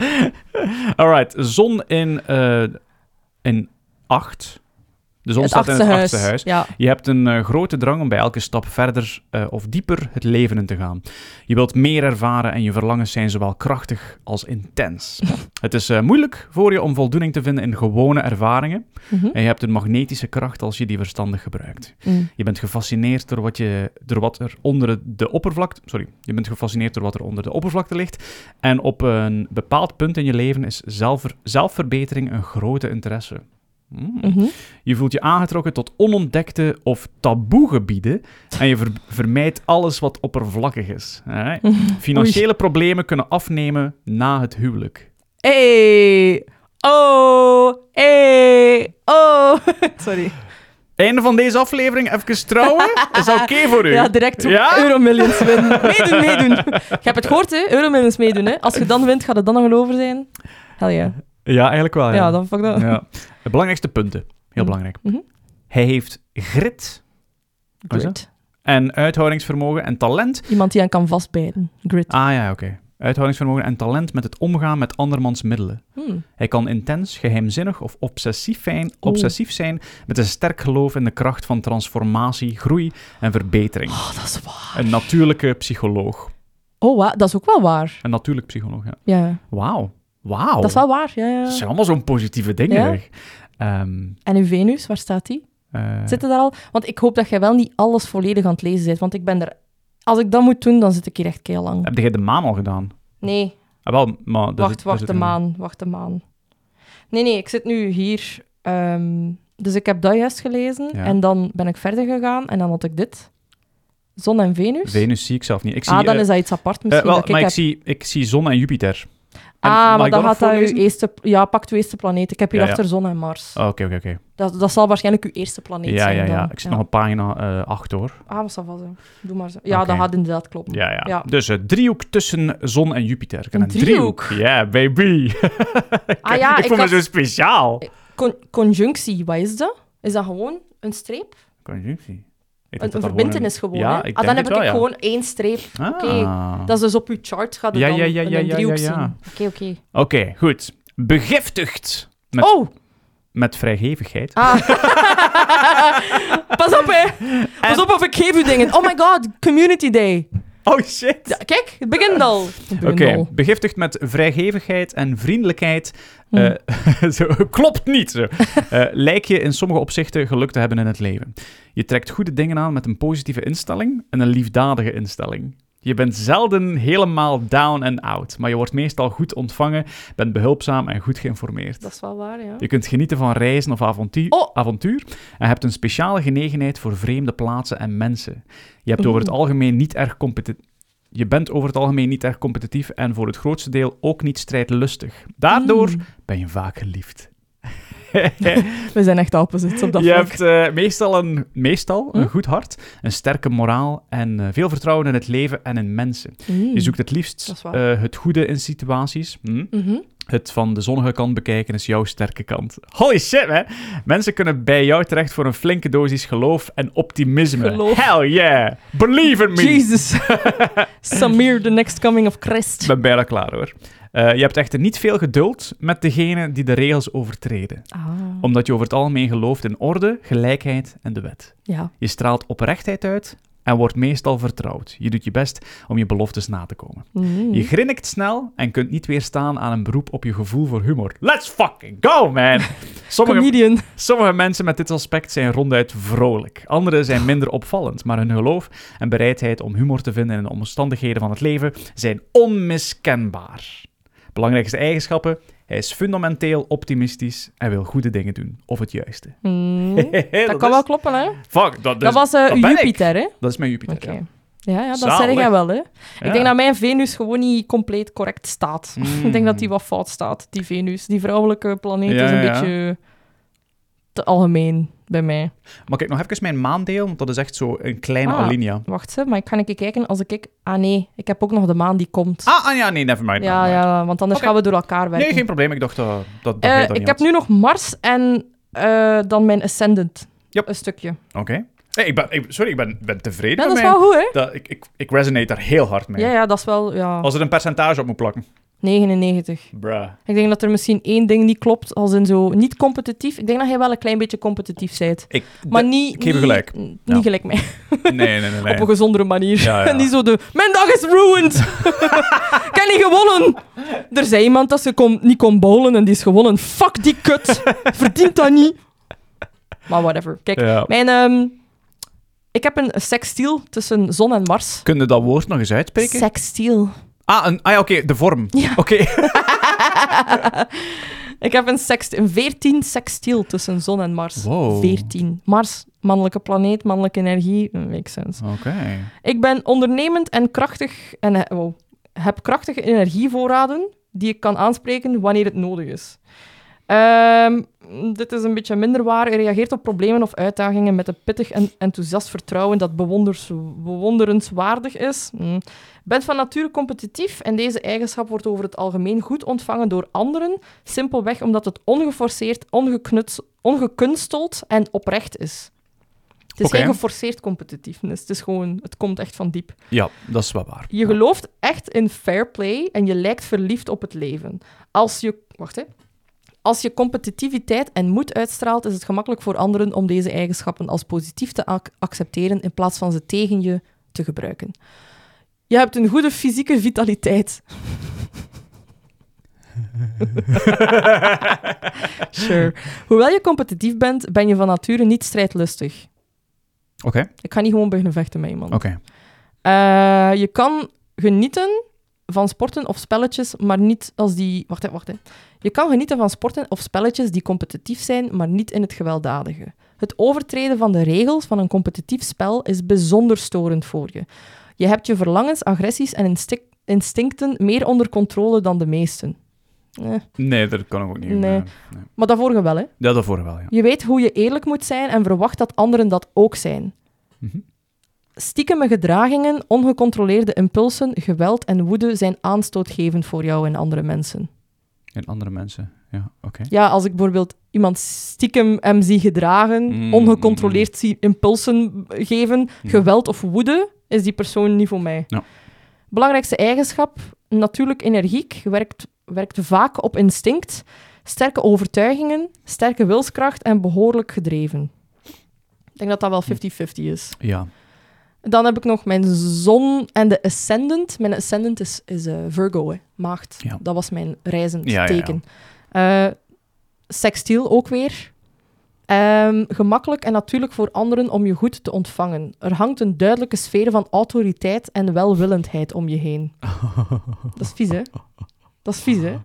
S1: Alright, zon in, eh, in acht. De zon staat in het achtste huis.
S2: Ja.
S1: Je hebt een eh, grote drang om bij elke stap verder eh, of dieper het leven in te gaan. Je wilt meer ervaren en je verlangens zijn zowel krachtig als intens. het is eh, moeilijk voor je om voldoening te vinden in gewone ervaringen.
S2: Mhm.
S1: En je hebt een magnetische kracht als je die verstandig gebruikt.
S2: Mm.
S1: Je bent gefascineerd door wat, je, door wat er onder de oppervlakte... Sorry, je bent gefascineerd door wat er onder de oppervlakte ligt. En op een bepaald punt in je leven is zelfver- zelfverbetering een grote interesse. Mm.
S2: Mhm.
S1: Je voelt je aangetrokken tot onontdekte of taboegebieden en je ver- vermijdt alles wat oppervlakkig is. Alright? Financiële problemen kunnen afnemen na het huwelijk.
S2: Hey! Eh, Oh! Hey! Oh! Sorry.
S1: Einde van deze aflevering. Even trouwen. Is dat oké voor u?
S2: Ja, direct op
S1: Ja?
S2: Euromillions winnen. Meedoen, meedoen. Je hebt het gehoord, hè? Euromillions meedoen, hè? Als je dan wint, gaat het dan nog wel over zijn? Hell yeah.
S1: Ja, eigenlijk wel.
S2: ja.
S1: Ah, Ja.
S2: dan fuck dat.
S1: Ja. De belangrijkste punten. Heel
S2: Mhm.
S1: belangrijk.
S2: Mhm.
S1: Hij heeft grit Wat is dat?
S2: Grit.
S1: en uithoudingsvermogen en talent.
S2: Iemand die aan kan vastbijten. Grit.
S1: Ah ja, oké. Uithoudingsvermogen en talent met het omgaan met andermans middelen.
S2: Hmm.
S1: Hij kan intens, geheimzinnig of obsessief zijn,
S2: Oeh.
S1: obsessief zijn met een sterk geloof in de kracht van transformatie, groei en verbetering.
S2: Oh, dat is waar.
S1: Een natuurlijke psycholoog.
S2: Oh, wa- dat is ook wel waar.
S1: Een natuurlijk psycholoog, ja.
S2: Ja.
S1: Wauw. Wauw.
S2: Dat is wel waar, ja.
S1: Dat
S2: ja.
S1: zijn allemaal zo'n positieve dingen.
S2: Ja.
S1: zeg. Ehm,
S2: En uw Venus, waar staat die?
S1: Eh,
S2: Zitten daar al? Want ik hoop dat jij wel niet alles volledig aan het lezen bent. Want ik ben er... Als ik dat moet doen, dan zit ik hier echt kei lang.
S1: Heb jij de maan al gedaan?
S2: Nee,
S1: Ah, wel, maar dat
S2: wacht,
S1: is- dat is
S2: wacht de
S1: het-
S2: maan. Wacht de maan. Nee, nee, ik zit nu hier. ehm, dus ik heb dat juist gelezen.
S1: Ja.
S2: En dan ben ik verder gegaan. En dan had ik dit. Zon en Venus.
S1: Venus zie ik zelf niet. Ik zie,
S2: ah, dan
S1: eh,
S2: is dat iets apart
S1: eh,
S2: misschien
S1: wel,
S2: dat ik
S1: maar
S2: heb.
S1: ik zie, ik zie zon en Jupiter. En- mag
S2: ah, maar
S1: ik
S2: dan
S1: dat
S2: gaat
S1: nog
S2: dat uw
S1: voorlezen?
S2: eerste... Ja, pakt uw eerste planeet. Ik heb
S1: Ja,
S2: hierachter zon en Mars.
S1: Oh, Oké, oké, oké.
S2: Dat, dat zal waarschijnlijk uw eerste planeet
S1: Ja,
S2: zijn
S1: ja,
S2: dan.
S1: ja. Ik zit nog op pagina eh 8 hoor.
S2: Ah, maar ça va zo. Doe maar zo. Ja,
S1: Oké.
S2: dat gaat inderdaad kloppen.
S1: Ja, ja.
S2: Ja.
S1: Dus eh, driehoek tussen zon en Jupiter. Ik heb
S2: Een driehoek?
S1: Ja, baby.
S2: Ah ja,
S1: ik, dus-
S2: ik
S1: vond het
S2: had-
S1: zo speciaal.
S2: Con- conjunctie, wat is dat? Is dat gewoon een streep?
S1: Conjunctie. Ik
S2: Een,
S1: denk dat dat
S2: een
S1: gewoon
S2: verbintenis gewoon,
S1: Ja,
S2: hè?
S1: ik
S2: ah,
S1: denk
S2: dan heb
S1: het wel,
S2: ik
S1: ja.
S2: gewoon één streep. Oké,
S1: Ah.
S2: dat is dus op uw chart gaat het
S1: Ja,
S2: dan
S1: ja, ja,
S2: een-
S1: ja,
S2: een
S1: ja,
S2: driehoek
S1: ja, ja.
S2: zien. Oké, oké.
S1: Oké, goed. Begiftigd Met-
S2: Oh!
S1: met vrijgevigheid.
S2: Ah. Pas op, hè. Pas op of ik geef u dingen. Oh my god, community day.
S1: Oh shit.
S2: Ja, kijk, het begint al. Het begint
S1: Oké,
S2: al.
S1: begiftigd met vrijgevigheid en vriendelijkheid.
S2: Hm.
S1: Eh, zo, klopt niet. Zo. Eh, lijk je in sommige opzichten geluk te hebben in het leven. Je trekt goede dingen aan met een positieve instelling en een liefdadige instelling. Je bent zelden helemaal down en out, maar je wordt meestal goed ontvangen, bent behulpzaam en goed geïnformeerd.
S2: Dat is wel waar, ja.
S1: Je kunt genieten van reizen of avontu-
S2: Oh.
S1: avontuur en hebt een speciale genegenheid voor vreemde plaatsen en mensen. Je, hebt over het algemeen niet erg competi- je bent over het algemeen niet erg competitief en voor het grootste deel ook niet strijdlustig. Daardoor
S2: Mm.
S1: ben je vaak geliefd.
S2: We zijn echt opposites op dat
S1: je
S2: vlak.
S1: hebt eh, meestal, een, meestal een
S2: Hm?
S1: goed hart, een sterke moraal en eh, veel vertrouwen in het leven en in mensen.
S2: Mm.
S1: Je zoekt het
S2: Dat is
S1: liefst
S2: waar.
S1: eh, het goede in situaties. Hm?
S2: Mhm.
S1: Het van de zonnige kant bekijken is jouw sterke kant. Holy shit, hè? Mensen kunnen bij jou terecht voor een flinke dosis geloof en optimisme.
S2: Geloof.
S1: Hell yeah! Believe in me!
S2: Jesus. Samir, the next coming of
S1: Ik
S2: Christ.
S1: ben bijna klaar, hoor. Eh, je hebt echter niet veel geduld met degenen die de regels overtreden.
S2: Ah.
S1: Omdat je over het algemeen gelooft in orde, gelijkheid en de wet.
S2: Ja.
S1: Je straalt oprechtheid uit en wordt meestal vertrouwd. Je doet je best om je beloftes na te komen.
S2: Mm.
S1: Je grinnikt snel en kunt niet weerstaan aan een beroep op je gevoel voor humor. Let's fucking go, man! Sommige
S2: Comedian.
S1: Sommige mensen met dit aspect zijn ronduit vrolijk. Anderen zijn minder opvallend, maar hun geloof en bereidheid om humor te vinden in de omstandigheden van het leven zijn onmiskenbaar. Belangrijkste eigenschappen: hij is fundamenteel optimistisch en wil goede dingen doen, of het juiste.
S2: Mm.
S1: dat,
S2: Dat kan
S1: is-
S2: wel kloppen, hè?
S1: Fuck, dat,
S2: dat
S1: is,
S2: was eh,
S1: dat ben ik.
S2: Jupiter, hè?
S1: dat is mijn Jupiter.
S2: Oké.
S1: ja.
S2: Ja, ja, dat
S1: Zalig.
S2: zeg jij wel, hè?
S1: Ja.
S2: Ik denk dat mijn Venus gewoon niet compleet correct staat.
S1: Mm.
S2: ik denk dat die wat fout staat, die Venus. Die vrouwelijke planeet
S1: Ja,
S2: is een
S1: ja, ja.
S2: beetje te algemeen bij mij.
S1: Maar kijk nog even mijn maandeel, want dat is echt zo een kleine
S2: Ah.
S1: alinea.
S2: Wacht, hè, maar ik ga even kijken als ik... ik- Ah nee, ik heb ook nog de maan die komt.
S1: Ah, ah ja, nee, never mind.
S2: ja,
S1: never mind.
S2: ja, want anders
S1: Oké.
S2: gaan we door elkaar werken.
S1: Nee, geen probleem. Ik dacht dat dat, dat
S2: Eh,
S1: jij dat
S2: ik
S1: niet
S2: heb
S1: had.
S2: nu nog Mars en eh, dan mijn Ascendant.
S1: Yep.
S2: Een stukje.
S1: Oké. Hey, ik ben, ik- sorry, ik ben, ben tevreden
S2: Ja,
S1: met
S2: dat is
S1: mijn-
S2: wel goed, hè?
S1: Dat, ik, ik, ik resonate daar heel hard mee.
S2: Ja, ja, dat is wel... Ja,
S1: Als er een percentage op moet plakken.
S2: 99.
S1: Bruh.
S2: Ik denk dat er misschien één ding niet klopt, als in zo niet competitief. Ik denk dat jij wel een klein beetje competitief bent.
S1: Ik,
S2: Maar niet,
S1: ik geef je
S2: niet-
S1: gelijk.
S2: n- Niet
S1: Ja.
S2: gelijk mij.
S1: nee, nee, nee. nee.
S2: Op een gezondere manier.
S1: Ja, ja.
S2: niet zo de... Mijn dag is ruined! ik heb niet gewonnen! Er zei iemand dat ze kon, niet kon bowlen en die is gewonnen. Fuck die kut! Verdient dat niet! Maar whatever. Kijk,
S1: Ja.
S2: mijn... ehm, ik heb een sextiel tussen zon en Mars.
S1: Kun je dat woord nog eens uitspreken?
S2: Sextiel.
S1: ah, een, ah ja, oké, de vorm.
S2: Ja.
S1: Oké.
S2: Ik heb een, sext, een 14 sextiel tussen zon en Mars.
S1: Wow.
S2: 14. Mars, mannelijke planeet, mannelijke energie. eh, Makes sense.
S1: Oké.
S2: Ik ben ondernemend en krachtig en eh, wow, heb krachtige energievoorraden die ik kan aanspreken wanneer het nodig is. Ehm, dit is een beetje minder waar. U reageert op problemen of uitdagingen met een pittig en enthousiast vertrouwen dat bewonders- bewonderenswaardig is. Hm. Bent van nature competitief en deze eigenschap wordt over het algemeen goed ontvangen door anderen, simpelweg omdat het ongeforceerd, ongeknuts- ongekunsteld en oprecht is. Het is
S1: Oké.
S2: geen geforceerd competitiveness. Het is gewoon, het komt echt van diep.
S1: Ja, dat is wel waar.
S2: Je gelooft echt in fair play en je lijkt verliefd op het leven. Als je, wacht hè. Als je competitiviteit en moed uitstraalt, is het gemakkelijk voor anderen om deze eigenschappen als positief te ac- accepteren in plaats van ze tegen je te gebruiken. Je hebt een goede fysieke vitaliteit. Sure. Hoewel je competitief bent, ben je van nature niet strijdlustig.
S1: Oké, oké.
S2: Ik ga niet gewoon beginnen vechten met iemand. Eh, je kan genieten van sporten of spelletjes, maar niet als die... Wacht, hè, wacht. Hè. Je kan genieten van sporten of spelletjes die competitief zijn, maar niet in het gewelddadige. Het overtreden van de regels van een competitief spel is bijzonder storend voor je. Je hebt je verlangens, agressies en instik- instincten meer onder controle dan de meesten. Eh,
S1: Nee, dat kan ik ook niet.
S2: Nee.
S1: nee.
S2: maar dat vorige wel, hè?
S1: Ja, daarvoor wel, ja.
S2: Je weet hoe je eerlijk moet zijn en verwacht dat anderen dat ook zijn.
S1: Mhm.
S2: Stiekeme gedragingen, ongecontroleerde impulsen, geweld en woede zijn aanstootgevend voor jou en andere mensen.
S1: En andere mensen. Ja, oké.
S2: Ja, als ik bijvoorbeeld iemand stiekem hem zie gedragen,
S1: Mm,
S2: ongecontroleerd zie impulsen geven, geweld of woede, is die persoon niet voor mij.
S1: Ja.
S2: Belangrijkste eigenschap, natuurlijk energiek, werkt, werkt vaak op instinct, sterke overtuigingen, sterke wilskracht en behoorlijk gedreven. Ik denk dat dat wel
S1: Hm.
S2: 50-50 is.
S1: Ja.
S2: Dan heb ik nog mijn zon en de ascendant. Mijn ascendant is, is eh, Virgo, hè, maagd.
S1: Ja.
S2: Dat was mijn reizend
S1: Ja, ja, ja.
S2: teken. Eh, sextiel ook weer. Ehm, gemakkelijk en natuurlijk voor anderen om je goed te ontvangen. Er hangt een duidelijke sfeer van autoriteit en welwillendheid om je heen. Dat is vies, hè? Dat is vies, hè?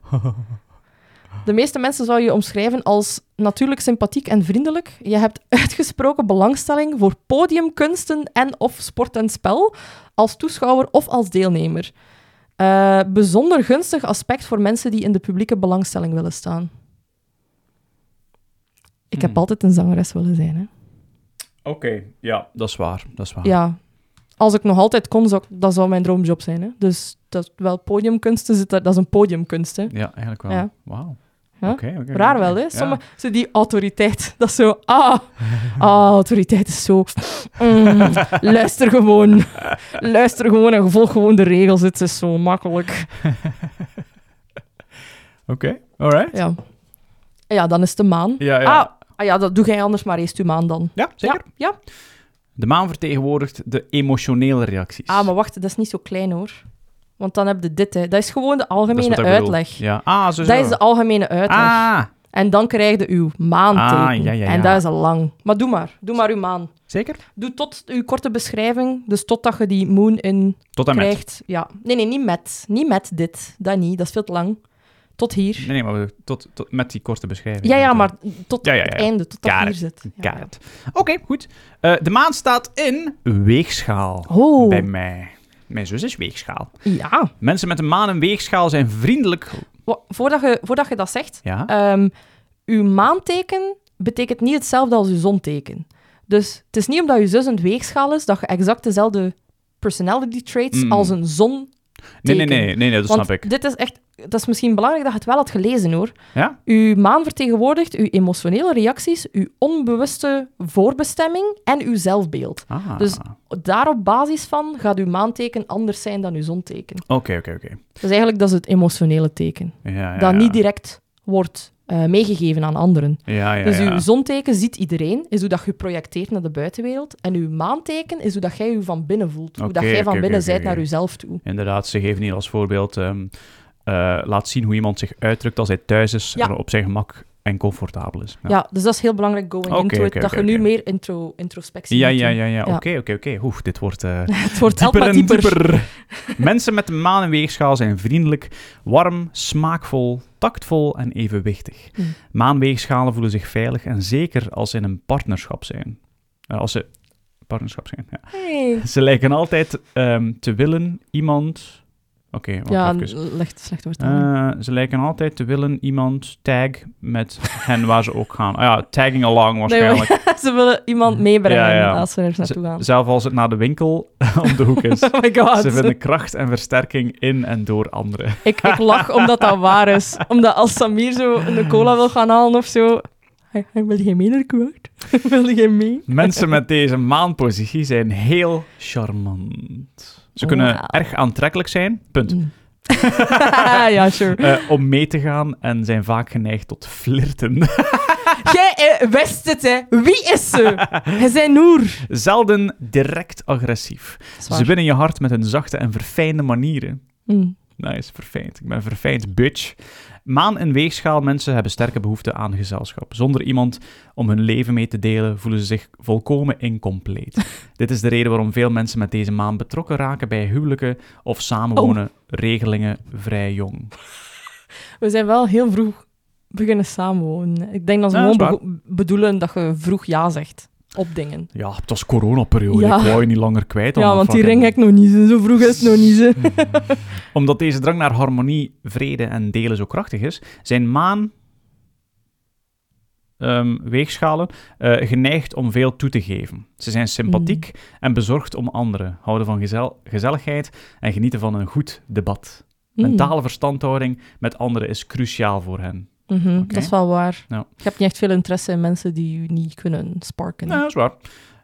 S2: De meeste mensen zou je omschrijven als natuurlijk sympathiek en vriendelijk. Je hebt uitgesproken belangstelling voor podiumkunsten en of sport en spel, als toeschouwer of als deelnemer. Eh, bijzonder gunstig aspect voor mensen die in de publieke belangstelling willen staan. Ik heb
S1: Hmm.
S2: altijd een zangeres willen zijn, hè?
S1: Oké, ja. Dat is waar, dat is waar.
S2: Ja. Als ik nog altijd kon, zou, ik- dat zou mijn droomjob zijn, hè? Dus dat, wel podiumkunsten, zit daar- dat is een podiumkunst, hè?
S1: Ja, eigenlijk wel.
S2: Ja.
S1: Wauw.
S2: Ja.
S1: Oké, oké,
S2: Raar
S1: oké.
S2: wel, hè?
S1: Ja.
S2: Sommige, zo die autoriteit. Dat is zo, ah, ah autoriteit is zo. mm, luister gewoon. Luister gewoon en volg gewoon de regels. Het is zo makkelijk.
S1: Oké, alright.
S2: Ja, Ah ja dan is de maan.
S1: Ja, ja.
S2: Ah, ah, ja, dat doe jij anders maar eerst, uw maan dan.
S1: ja, zeker.
S2: Ja, ja.
S1: De maan vertegenwoordigt de emotionele reacties.
S2: Ah, maar wacht, dat is niet zo klein hoor. Want dan heb je dit, hè. Dat is gewoon de
S1: Dat is
S2: algemene
S1: wat ik bedoel.
S2: uitleg.
S1: Ja. Ah, zo, zo.
S2: Dat is de algemene uitleg.
S1: Ah,
S2: En dan krijg je uw maanteken.
S1: Ah, ja, ja, ja.
S2: En dat is al lang. Maar doe maar. Doe maar uw maan.
S1: zeker?
S2: Doe tot uw korte beschrijving, dus totdat je die moon in
S1: Tot en met.
S2: krijgt. Ja. Nee, nee, niet met. Niet met dit. Dat niet, dat is veel te lang. Tot hier.
S1: Nee, nee, maar we- tot, tot, met die korte beschrijving.
S2: Ja, ja, maar tot
S1: Ja, ja, ja.
S2: het einde, tot dat
S1: Got
S2: je hier
S1: it.
S2: zit. Ja, ja.
S1: Kaart. Oké, goed. Eh, de maan staat in weegschaal.
S2: Oh,
S1: Bij mij. Mijn zus is weegschaal.
S2: ja.
S1: Mensen met een maan en weegschaal zijn vriendelijk.
S2: Wa- Voordat je, voordat je dat zegt,
S1: Ja?
S2: ehm, uw maanteken betekent niet hetzelfde als uw zonteken. Dus het is niet omdat je zus een weegschaal is, dat je exact dezelfde personality traits
S1: Mm.
S2: als een zon...
S1: nee, nee,
S2: teken.
S1: nee, nee, nee, dat
S2: Want
S1: snap ik.
S2: dit is echt... Dat is misschien belangrijk dat je het wel had gelezen, hoor.
S1: Ja?
S2: Uw maan vertegenwoordigt uw emotionele reacties, uw onbewuste voorbestemming en uw zelfbeeld.
S1: Ah.
S2: Dus- Daar op basis van gaat uw maanteken anders zijn dan uw zonteken.
S1: Oké, oké, oké.
S2: Dus eigenlijk dat is het emotionele teken,
S1: Ja, ja,
S2: dat
S1: ja.
S2: niet direct wordt eh, meegegeven aan anderen.
S1: Ja, ja,
S2: Dus
S1: ja.
S2: uw zonteken ziet iedereen, is hoe dat je projecteert naar de buitenwereld. En uw maanteken is hoe dat jij je van binnen voelt. hoe dat
S1: Oké,
S2: jij van
S1: oké, oké,
S2: binnen
S1: oké,
S2: zijt
S1: oké.
S2: naar jezelf toe.
S1: Inderdaad, ze geven hier als voorbeeld... ehm, eh, laat zien hoe iemand zich uitdrukt als hij thuis is
S2: Ja.
S1: en op zijn gemak en comfortabel is.
S2: Ja.
S1: Ja,
S2: dus dat is heel belangrijk going
S1: Oké,
S2: into it.
S1: oké,
S2: dat
S1: oké,
S2: je nu
S1: oké.
S2: meer intro, introspectie
S1: ja,
S2: moet
S1: ja,
S2: doen.
S1: ja. ja.
S2: Ja.
S1: Oké, oké, oké. Oef, dit wordt... eh,
S2: Het wordt
S1: dieper
S2: altijd
S1: en
S2: dieper.
S1: dieper. Mensen met een maan en weegschaal zijn vriendelijk, warm, smaakvol, tactvol en evenwichtig.
S2: Hmm.
S1: Maanweegschalen voelen zich veilig en zeker als ze in een partnerschap zijn. Eh, als ze partnerschap zijn, ja.
S2: Hey.
S1: Ze lijken altijd ehm, te willen iemand... Oké, wacht
S2: Ja,
S1: even.
S2: legt slecht woord aan.
S1: Eh, ze lijken altijd te willen iemand tag met hen waar ze ook gaan. Ah ja, tagging along waarschijnlijk.
S2: ze willen iemand meebrengen
S1: Eh, Ja, ja.
S2: als ze ergens naartoe gaan.
S1: Zelf als het naar de winkel om de hoek is.
S2: Oh my god.
S1: Ze vinden kracht en versterking in en door anderen.
S2: ik, ik lach omdat dat waar is. Omdat als Samir zo een cola wil gaan halen of zo... Hij, hij wil geen mee naar kwaad. Hij wil geen mee.
S1: Mensen met deze maanpositie zijn heel charmant. Ze kunnen
S2: Wauw.
S1: erg aantrekkelijk zijn, punt.
S2: Mm. ja, sure.
S1: Eh, om mee te gaan en zijn vaak geneigd tot flirten.
S2: Jij eh, wist het, hè. Wie is ze? Hij zijn Noer.
S1: Zelden direct agressief. Ze winnen je hart met hun zachte en verfijnde manieren.
S2: Mm.
S1: Nice, verfijnd. Ik ben verfijnd, bitch. Maan en weegschaal mensen hebben sterke behoefte aan gezelschap. Zonder iemand om hun leven mee te delen, voelen ze zich volkomen incompleet. Dit is de reden waarom veel mensen met deze maan betrokken raken bij huwelijken of samenwonen
S2: Oh.
S1: regelingen vrij jong.
S2: We zijn wel heel vroeg beginnen samenwonen. Ik denk dat ze
S1: Ja, dat
S2: gewoon
S1: is
S2: bego- bedoelen dat je vroeg ja zegt op dingen.
S1: Ja, het was coronaperiode.
S2: Ja.
S1: Ik wou je niet langer kwijt.
S2: Ja,
S1: allemaal
S2: want die
S1: fucking-
S2: ring heb ik nog niet. Zo vroeg is het nog niet. hè.
S1: Omdat deze drang naar harmonie, vrede en delen zo krachtig is, zijn maan. ehm, weegschalen, eh, geneigd om veel toe te geven. Ze zijn sympathiek
S2: Mm.
S1: en bezorgd om anderen, houden van gezel- gezelligheid en genieten van een goed debat.
S2: Mm.
S1: Mentale verstandhouding met anderen is cruciaal voor hen.
S2: Mhm,
S1: Oké.
S2: Dat is wel waar.
S1: Ja.
S2: Ik heb niet echt veel interesse in mensen die je niet kunnen sparken.
S1: Ja, Nou, dat is waar.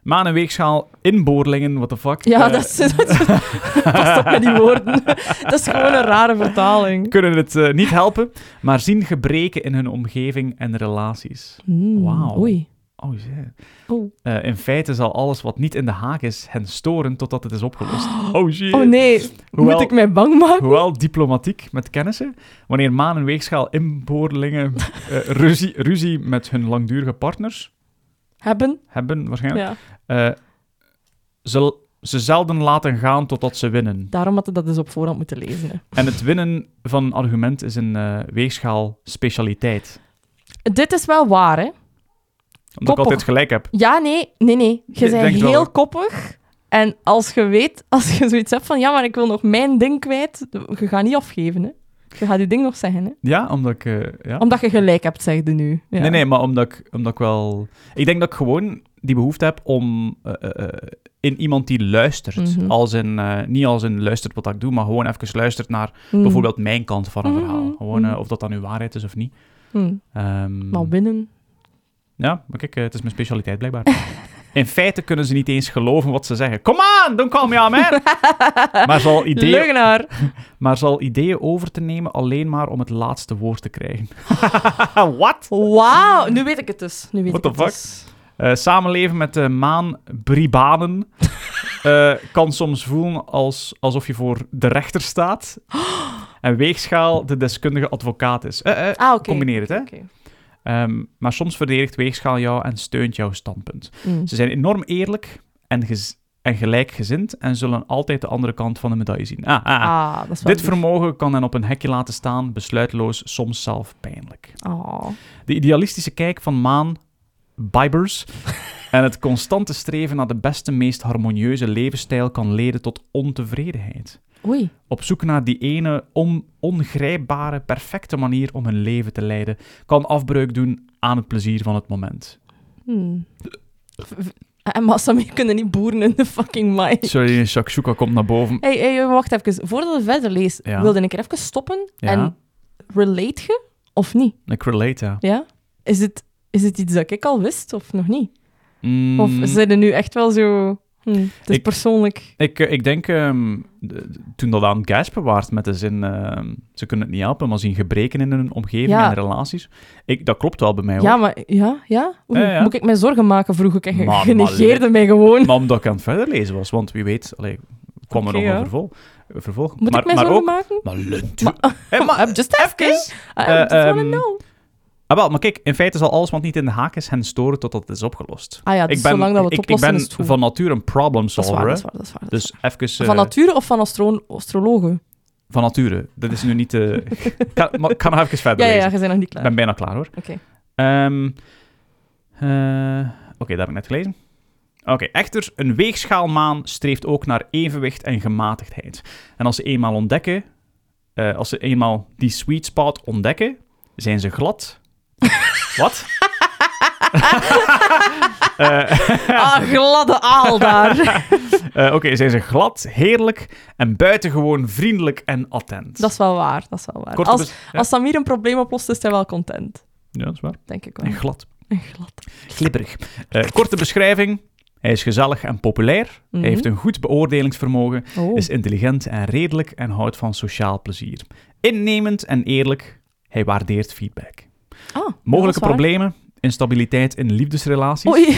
S1: Maan en weegschaal, inboorlingen, what the fuck.
S2: Ja,
S1: Eh,
S2: dat is, dat is- past op met die woorden. dat is gewoon een rare vertaling.
S1: Kunnen het eh, niet helpen, maar zien gebreken in hun omgeving en relaties.
S2: Hmm,
S1: Wauw.
S2: Oei.
S1: Oh, shit.
S2: Oh.
S1: Eh, in feite zal alles wat niet in de haak is hen storen totdat het is opgelost. Oh shit.
S2: Oh nee,
S1: Hoewel-
S2: moet ik mij bang maken?
S1: Hoewel diplomatiek met kennissen, wanneer maan en weegschaal inboorlingen eh, ruzie, ruzie met hun langdurige partners
S2: Hebben?
S1: hebben, waarschijnlijk,
S2: Ja.
S1: eh, ze, ze zelden laten gaan totdat ze winnen.
S2: Daarom had ik dat dus op voorhand moeten lezen. hè.
S1: En het winnen van een argument is een eh, weegschaal specialiteit.
S2: Dit is wel waar, hè?
S1: Omdat
S2: Koppel.
S1: ik altijd gelijk heb.
S2: Ja, nee, nee, nee. Je
S1: Ik denk
S2: bent
S1: het wel,
S2: heel
S1: hoor.
S2: koppig. En als je weet, als je zoiets hebt van ja, maar ik wil nog mijn ding kwijt, je gaat niet afgeven, hè? Je gaat je ding nog zeggen, hè?
S1: Ja, omdat ik... eh, ja.
S2: Omdat je gelijk hebt, zeg je nu. Ja.
S1: Nee, nee, maar omdat ik, omdat ik wel... Ik denk dat ik gewoon die behoefte heb om... eh, eh, eh, in iemand die luistert.
S2: Mhm.
S1: als in, eh, niet als in luistert wat ik doe, maar gewoon even luistert naar
S2: Hmm.
S1: bijvoorbeeld mijn kant van een
S2: Mhm,
S1: verhaal. Gewoon eh,
S2: mhm.
S1: of dat dan nu waarheid is of niet.
S2: Hmm.
S1: Ehm,
S2: Maar binnen.
S1: ja, maar kijk, eh, het is mijn specialiteit blijkbaar. In feite kunnen ze niet eens geloven wat ze zeggen. Kom aan, don't call me on, man! maar, zal ideeën,
S2: Leugenaar.
S1: maar zal ideeën over te nemen alleen maar om het laatste woord te krijgen. Wat?
S2: Wauw, nu weet ik het dus. Nu weet
S1: What
S2: ik
S1: the
S2: het
S1: fuck?
S2: dus.
S1: Eh, samenleven met de maan Bribanen eh, kan soms voelen als, alsof je voor de rechter staat. En Weegschaal de deskundige advocaat is. Eh, eh,
S2: Ah, oké.
S1: Combineer het, hè?
S2: Oké.
S1: Ehm, maar soms verdedigt Weegschaal jou en steunt jouw standpunt.
S2: Hmm.
S1: Ze zijn enorm eerlijk en, gez- en gelijkgezind en zullen altijd de andere kant van de medaille zien. Ah, ah.
S2: Ah, dat is wel
S1: Dit
S2: lief.
S1: vermogen kan hen op een hekje laten staan, besluitloos, soms zelf pijnlijk.
S2: Ah.
S1: De idealistische kijk van Maan, Bibers, en het constante streven naar de beste, meest harmonieuze levensstijl kan leiden tot ontevredenheid.
S2: Oei.
S1: Op zoek naar die ene on- ongrijpbare, perfecte manier om hun leven te leiden, kan afbreuk doen aan het plezier van het moment.
S2: Hmm. V- v- En Massamee kunnen niet boeren in de fucking mine.
S1: Sorry, Shakshuka komt naar boven.
S2: Hey, hey, wacht even. Voordat we verder lezen,
S1: Ja.
S2: wilde ik er even stoppen.
S1: Ja.
S2: En relate je of niet?
S1: Ik relate, ja.
S2: Ja? Is het, is het iets dat ik al wist of nog niet?
S1: Mm,
S2: Of zijn er nu echt wel zo... Hm, het is
S1: Ik-
S2: persoonlijk.
S1: ik, eh, ik denk, ehm, de- de- toen dat aan Gasper waard met de zin, ehm, ze kunnen het niet helpen, maar zien gebreken in hun omgeving
S2: Ja.
S1: en relaties. Ik, dat klopt wel bij mij, hoor.
S2: Ja, maar... Ja? Ja? Oei,
S1: Ja, ja.
S2: Moet ik mij zorgen maken, vroeg ik. En je
S1: Maar-
S2: genegeerde mij gewoon.
S1: Maar omdat ik aan het verder lezen was, want wie weet, allee, kwam er
S2: Oké,
S1: nog
S2: ja.
S1: een vervolg. een vervolg.
S2: Moet
S1: maar,
S2: ik mij
S1: maar
S2: zorgen
S1: ook,
S2: maken?
S1: Maar lunt u.
S2: Maar- Oh,
S1: Hé, maar
S2: I'm just asking.
S1: even.
S2: I
S1: Eh,
S2: just wanna
S1: ehm,
S2: know.
S1: Ah, wel, maar kijk, in feite zal alles wat niet in de haak is hen storen totdat het is opgelost.
S2: Ah ja, dus
S1: ik ben,
S2: zolang dat we
S1: ik,
S2: het
S1: ik
S2: oplossen
S1: ben
S2: is het goed.
S1: van nature een problem
S2: dat is
S1: solver.
S2: waar,
S1: hè.
S2: dat is waar, dat is waar. dat is
S1: Dus even...
S2: waar.
S1: eh,
S2: Van nature of van astro astrologen?
S1: van nature. Dat is nu niet... eh, ik ga- maar ik ga nog even verder
S2: Ja, ja, ja,
S1: lezen.
S2: je bent nog niet
S1: Ik
S2: klaar.
S1: ben bijna klaar, hoor.
S2: Oké.
S1: Ehm, eh, Oké, dat heb ik net gelezen. Oké, echter, een weegschaalmaan streeft ook naar evenwicht en gematigdheid. En als ze eenmaal ontdekken, eh, als ze eenmaal die sweet spot ontdekken, zijn ze glad. Wat? Eh,
S2: Ah, gladde aal daar.
S1: eh, Oké, zijn ze glad, heerlijk en buitengewoon vriendelijk en attent.
S2: dat is wel waar, dat is wel waar.
S1: Korte
S2: Als,
S1: bes- ja,
S2: als Samir een probleem oplost, is hij wel content.
S1: ja, dat is waar.
S2: Denk ik wel.
S1: En glad.
S2: En glad.
S1: Glibberig. Eh, korte beschrijving. Hij is gezellig en populair.
S2: Mhm.
S1: Hij heeft een goed beoordelingsvermogen,
S2: Oh.
S1: is intelligent en redelijk en houdt van sociaal plezier. Innemend en eerlijk, hij waardeert feedback.
S2: Ah, dat
S1: Mogelijke
S2: is waar.
S1: problemen, instabiliteit in liefdesrelaties.
S2: Oei.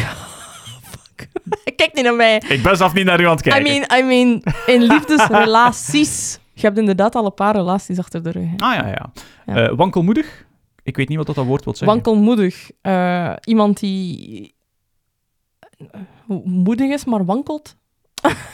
S2: Fuck. Kijk niet naar mij.
S1: Ik ben zelf niet naar u aan het
S2: I
S1: kijken.
S2: mean, I mean, in liefdesrelaties. Je hebt inderdaad al een paar relaties achter de rug. hè.
S1: Ah ja, ja.
S2: Ja.
S1: Eh, wankelmoedig. Ik weet niet wat dat, dat woord wil zeggen.
S2: Wankelmoedig. Eh, iemand die eh, moedig is, maar wankelt.